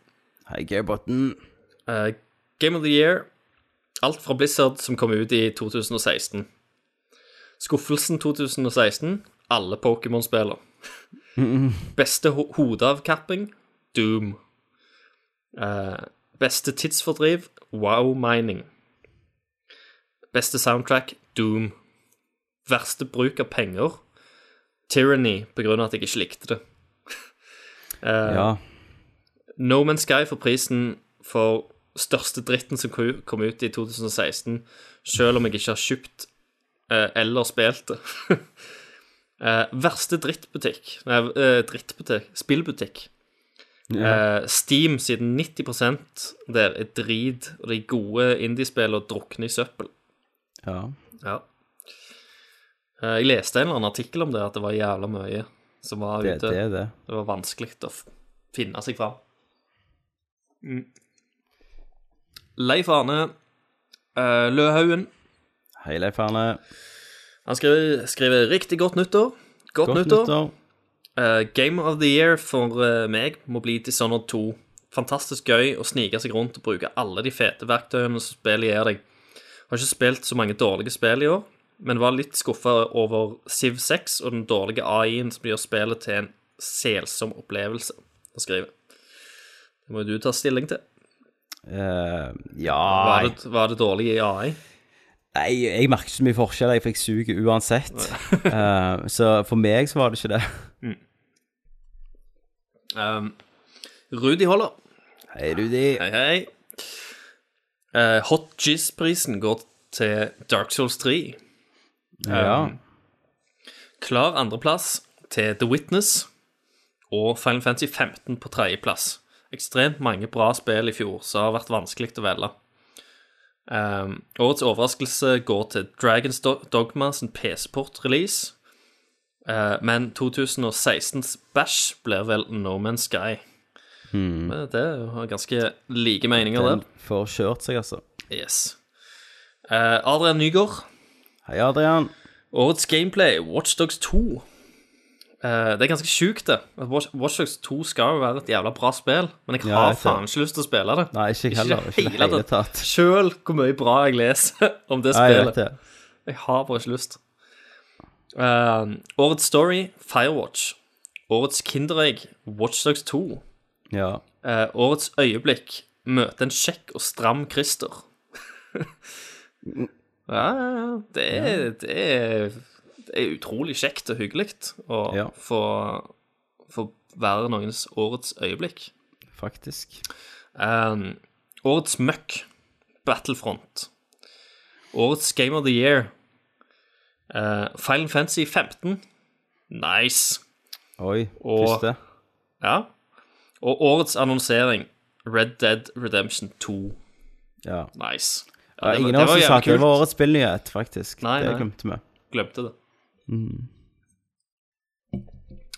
S1: Hei, Gearbotn.
S4: eh, Game of the Year. Alt fra Blizzard som kom ut i 2016. Skuffelsen 2016. Alle Pokémon-spiller. Beste ho hodeavkapping. Doom. Eh, beste tidsfordriv. Wow Mining. Beste soundtrack. Doom. Verste bruk av penger. Tyranny, på grunn av at jeg ikke likte det. Eh,
S1: Ja.
S4: No Man's Sky for prisen for største dritten som ku- kom ut i 2016, selv om jeg ikke har kjøpt eh, eller spilt det. Eh, verste drittbutikk Nei, eh, drittbutikk Spillbutikk. Eh, Steam, siden 90 der er drit, og de gode indiespillene drukner i søppel.
S1: ja.
S4: Ja. Eh, jeg leste en eller annen artikkel om det, at det var jævla mye som var
S1: Det,
S4: ute.
S1: det er det.
S4: Det var vanskelig å f- finne seg fram. Mm. Leif Arne eh, Løhaugen.
S1: Hei, Leif Arne.
S4: Han skriver, skriver 'Riktig godt nyttår'. Godt,
S1: Godt
S4: nyttår.
S1: nyttår.
S4: Eh, Game of the year for eh, meg må bli Dishonored 2. Fantastisk gøy å snike seg rundt og bruke alle de fete verktøyene som spillet gir deg. Har ikke spilt så mange dårlige spill i år, men var litt skuffa over Civ 6 og den dårlige AI-en som gjør spillet til en selsom opplevelse. Han skriver. Det må jo du ta stilling til.
S1: Eh,
S4: Var
S1: ja
S4: det, var det dårlig i AI?
S1: Nei, jeg merket ikke så mye forskjell, jeg, for jeg suger uansett. Eh, så for meg så var det ikke det.
S4: Um, Rudi Holler.
S1: Hei, Rudi.
S4: Hei, hei. Eh, Hot Jizz-prisen går til Dark Souls 3.
S1: Ja.
S4: um, Klar andreplass til The Witness og Final Fantasy 15 på tredjeplass. Ekstremt mange bra spill i fjor, så det har vært vanskelig å velge. Ehm, årets overraskelse går til Dragons Do- Dogma sin PC-port-release. Eh, men 2016s bæsj blir vel No Man's Sky. Men Det har ganske like meninger,
S1: Den
S4: det.
S1: får kjørt seg, altså.
S4: Yes. Eh, Adrian Nygaard
S1: Hei, Adrian.
S4: Årets gameplay, Watchdogs 2. Eh, det er ganske sjukt, det. At Watch, Watchdogs 2 skal jo være et jævla bra spill, men jeg
S1: Ja,
S4: har
S1: jeg ser.
S4: faen ikke lyst til å spille det.
S1: Nei, ikke jeg heller. Ikke i det hele tatt.
S4: Sjøl hvor mye bra jeg leser om det
S1: Ja, jeg vet
S4: spillet.
S1: det.
S4: Jeg har bare ikke lyst. Eh, årets story, Firewatch. Årets Kinderegg, Watchdogs 2.
S1: Ja.
S4: Eh, årets øyeblikk, møte en kjekk og stram Christer. ja, ja, ja. Det er, det, er, det er utrolig kjekt og hyggelig å
S1: Ja.
S4: få, få være noens årets øyeblikk.
S1: Faktisk.
S4: Um, årets møkk, Battlefront. Årets Game of the Year, uh, Final Fantasy 15. Nice.
S1: Oi,
S4: Og-
S1: første.
S4: Ja. Og årets annonsering, Red Dead Redemption 2.
S1: Ja.
S4: Nice.
S1: Ja,
S4: det var-
S1: ingen
S4: det
S1: av
S4: var
S1: oss som
S4: jævlig
S1: sa at det
S4: kult.
S1: var årets spillnyhet, faktisk.
S4: Nei,
S1: det
S4: nei.
S1: glemte vi.
S4: Glemte det.
S1: Mm.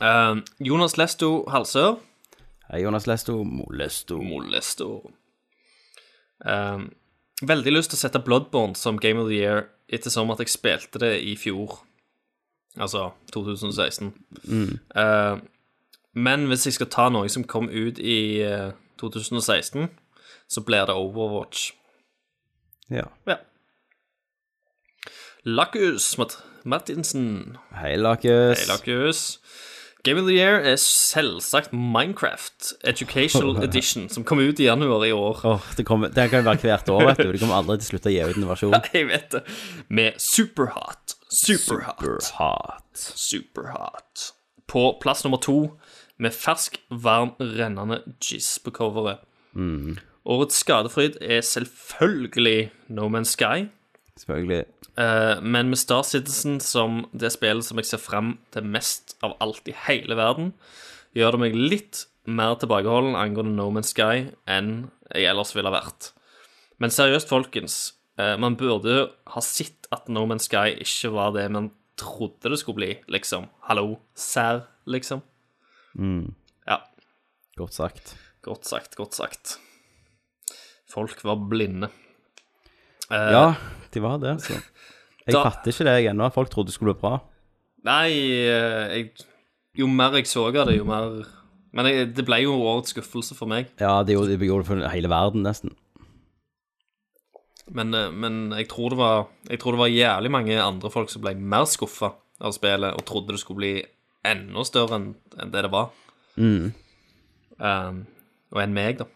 S4: Eh, Jonas Lesto Halsør.
S1: Hei, Jonas Lesto. Molesto.
S4: Molesto. Eh, veldig lyst til å sette Bloodborne som Game of the Year, ettersom at jeg spilte det i fjor. Altså 2016.
S1: Mm.
S4: Eh, men hvis jeg skal ta noe som kom ut i eh, 2016, så blir det Overwatch.
S1: Ja.
S4: Ja. Lakkus Mart Martinsen.
S1: Hei, Lakes.
S4: Hei, Lakkus. Game of the Year er selvsagt Minecraft Educational Edition, som kom ut i januar i år.
S1: Åh, det, kommer, det kan være hvert år, vet du. Det kommer aldri til å slutte å gi ut en versjon.
S4: Jeg vet det. Med Superhot. Superhot.
S1: Superhot.
S4: Superhot. På plass nummer to, med fersk, varm, rennende jizz på coveret. Årets skadefryd er selvfølgelig No Man's Sky.
S1: Selvfølgelig.
S4: Eh, men med Star Citizen som det spillet som jeg ser frem til mest av alt i hele verden, gjør det meg litt mer tilbakeholden angående No Man's Sky enn jeg ellers ville ha vært. Men seriøst, folkens, eh, man burde ha sett at No Man's Sky ikke var det man trodde det skulle bli, liksom. Hallo, sær, liksom. Ja,
S1: Godt sagt.
S4: godt sagt, godt sagt. Folk var blinde. Eh,
S1: Ja, de var det, altså. Jeg
S4: Da-
S1: fatter ikke det jeg ennå. Folk trodde det skulle bli bra.
S4: Nei, eh, jeg, jo mer jeg så av det, jo mer Men jeg, det ble jo årets skuffelse for meg.
S1: Ja, de gjorde de gjorde det for hele verden, nesten.
S4: Men, eh, men jeg, tror det var, jeg tror det var jævlig mange andre folk som ble mer skuffa av spillet og trodde det skulle bli enda større enn enn det det var. Um, og enn meg, da.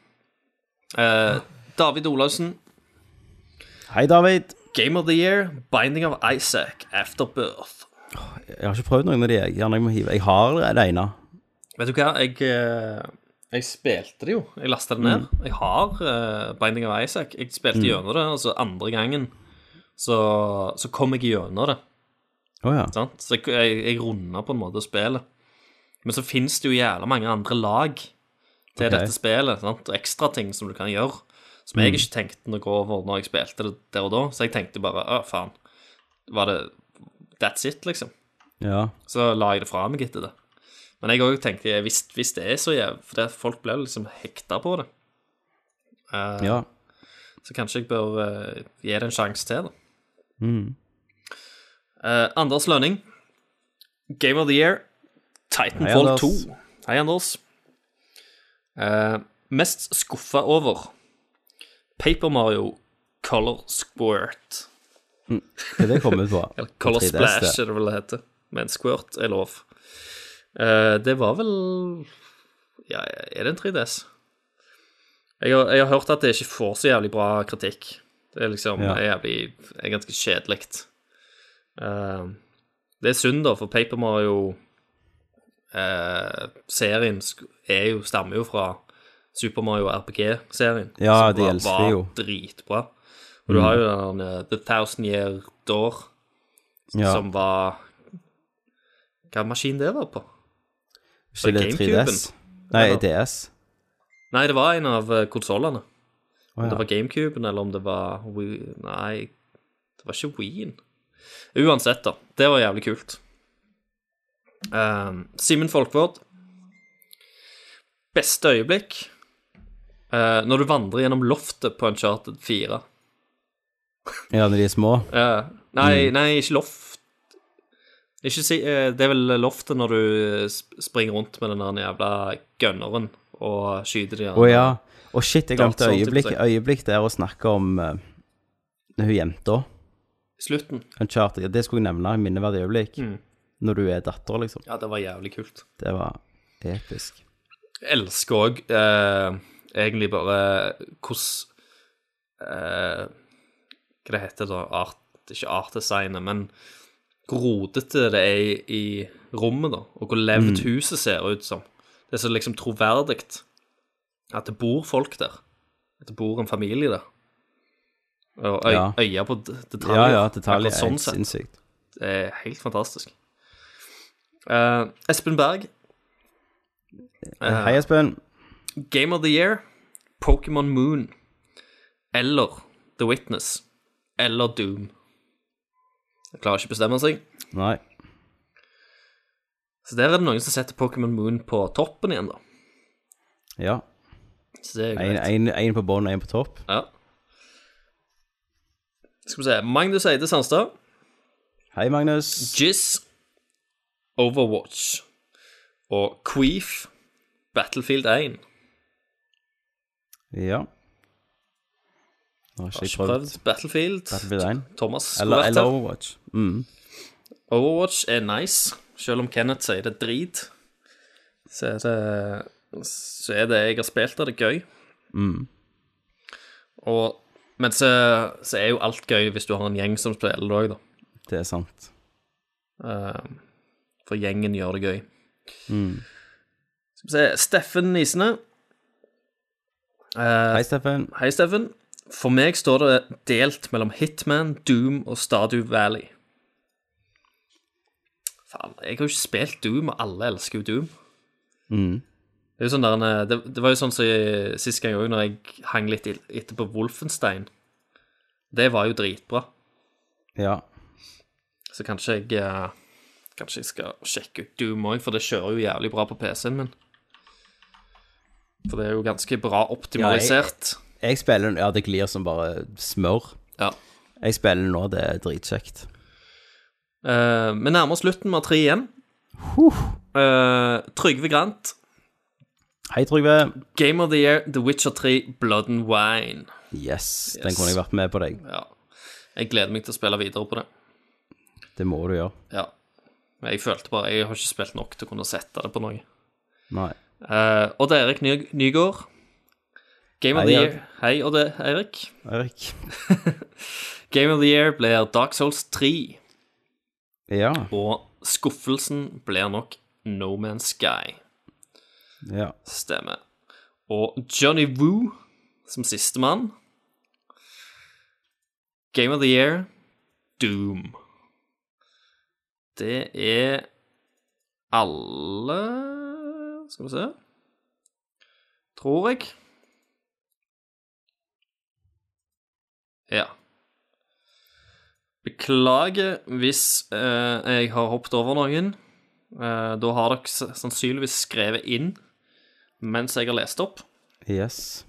S4: Eh, David Olavsen,
S1: Hei, David.
S4: Game of the Year, Binding of Isaac, Afterbirth.
S1: Jeg har ikke prøvd noen av de jeg gjerne jeg må hive. Jeg har det ene.
S4: Vet du hva, jeg, eh, jeg spilte det jo. Jeg lasta det ned. Jeg har eh, Binding of Isaac. Jeg spilte gjennom det, altså andre gangen så, så kom jeg gjennom det.
S1: Å ja.
S4: Sant? Så jeg, jeg, jeg runder på en måte spillet. Men så fins det jo jævla mange andre lag til
S1: Ok.
S4: dette spillet, sant? og ekstra ting som du kan gjøre, som jeg ikke tenkte noe over når jeg spilte det der og da. Så jeg tenkte bare å, faen, var det That's it, liksom.
S1: Ja.
S4: Så la jeg det fra meg etter det. Men jeg òg tenkte jeg, hvis, hvis det er så jævlig For det, folk blir liksom hekta på det. Eh,
S1: ja.
S4: så kanskje jeg bør eh, gi det en sjanse til, da.
S1: Mm.
S4: Eh, Anders Lønning, Game of the Year,
S1: Hei,
S4: Titanfall
S1: Anders.
S4: 2. Hei, Anders. Eh, mest skuffa over Paper Mario Color Squirt.
S1: Det er det jeg kom ut på.
S4: Eller Color
S1: 3DS,
S4: Splash,
S1: det.
S4: er det vel det heter. Men Squirt er lov. Eh, det var vel Ja, er det en 3DS? Jeg har, jeg har hørt at det ikke får så jævlig bra kritikk. Det er liksom
S1: Ja.
S4: er jævlig er ganske kjedelig. Eh, det er synd, da, for Paper Mario-serien er jo, stammer jo fra Super Mario RPG-serien.
S1: Ja,
S4: som
S1: de
S4: var-
S1: elsker
S4: var
S1: jo. Mm.
S4: dritbra. Og du har jo den eh, The Thousand Year Door
S1: Ja.
S4: som var Hva maskin det var på?
S1: Ikke det
S4: GameCuben.
S1: 3DS? Nei,
S4: Eller?
S1: DS.
S4: Nei, det var en av konsollene. Om
S1: Å
S4: det
S1: ja.
S4: var GameCuben, eller om det var Wii Nei, det var ikke Wien. Uansett, da. Det var jævlig kult. Ehm, Simen Folkvord. Beste øyeblikk Eh, når du vandrer gjennom loftet på Uncharted 4.
S1: ja, når de er små.
S4: Eh,
S1: Mm.
S4: nei, nei, ikke loft. Ikke si, eh, det er vel loftet når du eh, sp- springer rundt med den der jævla gunneren og skyter de der.
S1: Å ja. Å shit, jeg glemte
S4: Dark Souls,
S1: øyeblikk,
S4: typ seg.
S1: øyeblikk der å snakke om eh, hun jenta.
S4: Slutten.
S1: Uncharted. Ja, det skulle jeg nevne. Minneverdig øyeblikk.
S4: Mm.
S1: Når du er datter, liksom.
S4: Ja, det var jævlig kult.
S1: Det var episk.
S4: Jeg elsker òg eh, egentlig bare hvordan eh, Hva det heter da? Art, ikke artdesignet, men hvor rodete det er i, i rommet, da. Og hvor levd
S1: Mm.
S4: huset ser ut som. Det er så liksom troverdig at det bor folk der. At det bor en familie der. Og øy,
S1: Ja.
S4: øya på d-
S1: Ja,
S4: detaljer.
S1: ja, detaljer
S4: Akkurat
S1: er
S4: sånn
S1: helt
S4: sett.
S1: sinnssykt.
S4: Det er helt fantastisk. Eh, Espen Berg,
S1: Eh,
S4: Eh,
S1: Hei, Espen.
S4: Game of the Year, Pokémon Moon eller The Witness eller Doom. Jeg klarer ikke å bestemme seg.
S1: Nei.
S4: Så der er det noen som setter Pokémon Moon på toppen igjen, da.
S1: Ja.
S4: Så det er
S1: En,
S4: greit.
S1: en, en på bånn og en på topp.
S4: Ja. Skal vi se Magnus Eide Sandstad.
S1: Hei, Magnus.
S4: Jizz, Overwatch og Queef, Battlefield 1.
S1: Ja. Nå har ikke jeg
S4: Ikke
S1: prøvd
S4: prøvd Battlefield.
S1: Battlefield 1.
S4: Thomas skulle
S1: Eller,
S4: vært
S1: eller
S4: her.
S1: Overwatch. Mm.
S4: Overwatch er nice, selv om Kenneth sier det er drit. Så er det, så er det jeg har spilt, og det er gøy. Og, men så, så er jo alt gøy hvis du har en gjeng som spiller det òg, da.
S1: Det er sant.
S4: Eh, For gjengen gjør det gøy. Skal vi se Steffen Nisene. Eh,
S1: Hei, Steffen.
S4: Hei, Steffen. For meg står det delt mellom Hitman, Doom og Stardew Valley. Faen, jeg har jo ikke spilt Doom, og alle elsker jo Doom. Det, er jo sånn der, en, eh, det, det var jo sånn som i- sist gang òg, når jeg hang litt i- etter på Wolfenstein. Det var jo dritbra.
S1: Ja.
S4: Så kanskje jeg eh, Kanskje jeg skal sjekke ut Doom òg, for det kjører jo jævlig bra på PC-en min. For det er jo ganske bra optimalisert.
S1: Jeg spiller Ja, det glir som bare smør.
S4: Ja.
S1: Jeg spiller nå, det er dritkjekt.
S4: Eh, Vi nærmer oss slutten, vi har tre igjen. Eh, Trygve Grant,
S1: Hei, Trygve.
S4: Game of the Year, The Witcher 3, Blood and Wine.
S1: Yes, den
S4: Yes.
S1: kunne jeg vært med på deg.
S4: Ja. Jeg gleder meg til å spille videre på det.
S1: Det må du gjøre.
S4: Ja. Men Jeg følte bare Jeg har ikke spilt nok til å kunne sette det på noe.
S1: Nei.
S4: Eh, Odd Erik Ny Nygaard. Game of
S1: Hei,
S4: the
S1: Erik.
S4: Year. Hei, Odd Erik.
S1: Erik.
S4: Game of the Year blir Dark Souls 3.
S1: Ja.
S4: Og skuffelsen blir nok No Man's Sky.
S1: ja.
S4: Stemmer. Og Johnny Woo som sistemann. Game of the Year, Doom. Det er alle Skal vi se Tror jeg. Ja. Beklager hvis eh, jeg har hoppet over noen. Eh, da har dere s- sannsynligvis skrevet inn mens jeg har lest opp.
S1: Yes.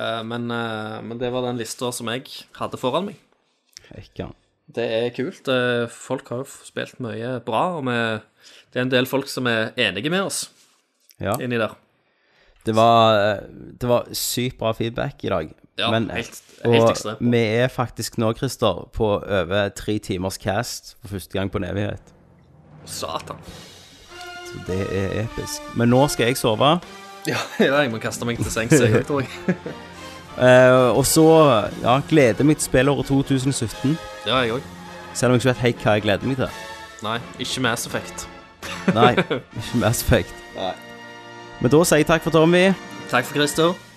S4: Eh, men, eh, men det var den lista som jeg hadde foran meg.
S1: Ikke han.
S4: Det er kult. Eh, folk har jo f- spilt mye bra, og vi, det er en del folk som er enige med oss
S1: Ja.
S4: inni der.
S1: Det var, eh, det var sykt bra feedback i dag.
S4: Ja,
S1: Men- eh,
S4: helt, helt
S1: Og
S4: ekstremt.
S1: vi er faktisk nå, Christer, på over tre timers cast for første gang på en evighet.
S4: Satan.
S1: Så det er episk. Men nå skal jeg sove.
S4: Ja, ja, jeg må kaste meg til sengs, jeg òg, tror jeg.
S1: Eh, og så ja, gleder jeg meg til spillåret 2017.
S4: Ja, jeg òg.
S1: Selv om jeg ikke vet helt hva jeg gleder meg til.
S4: Nei, ikke Mass Effect.
S1: Nei, ikke Mass Effect. Men da sier jeg takk for Tommy.
S4: Takk for Christer.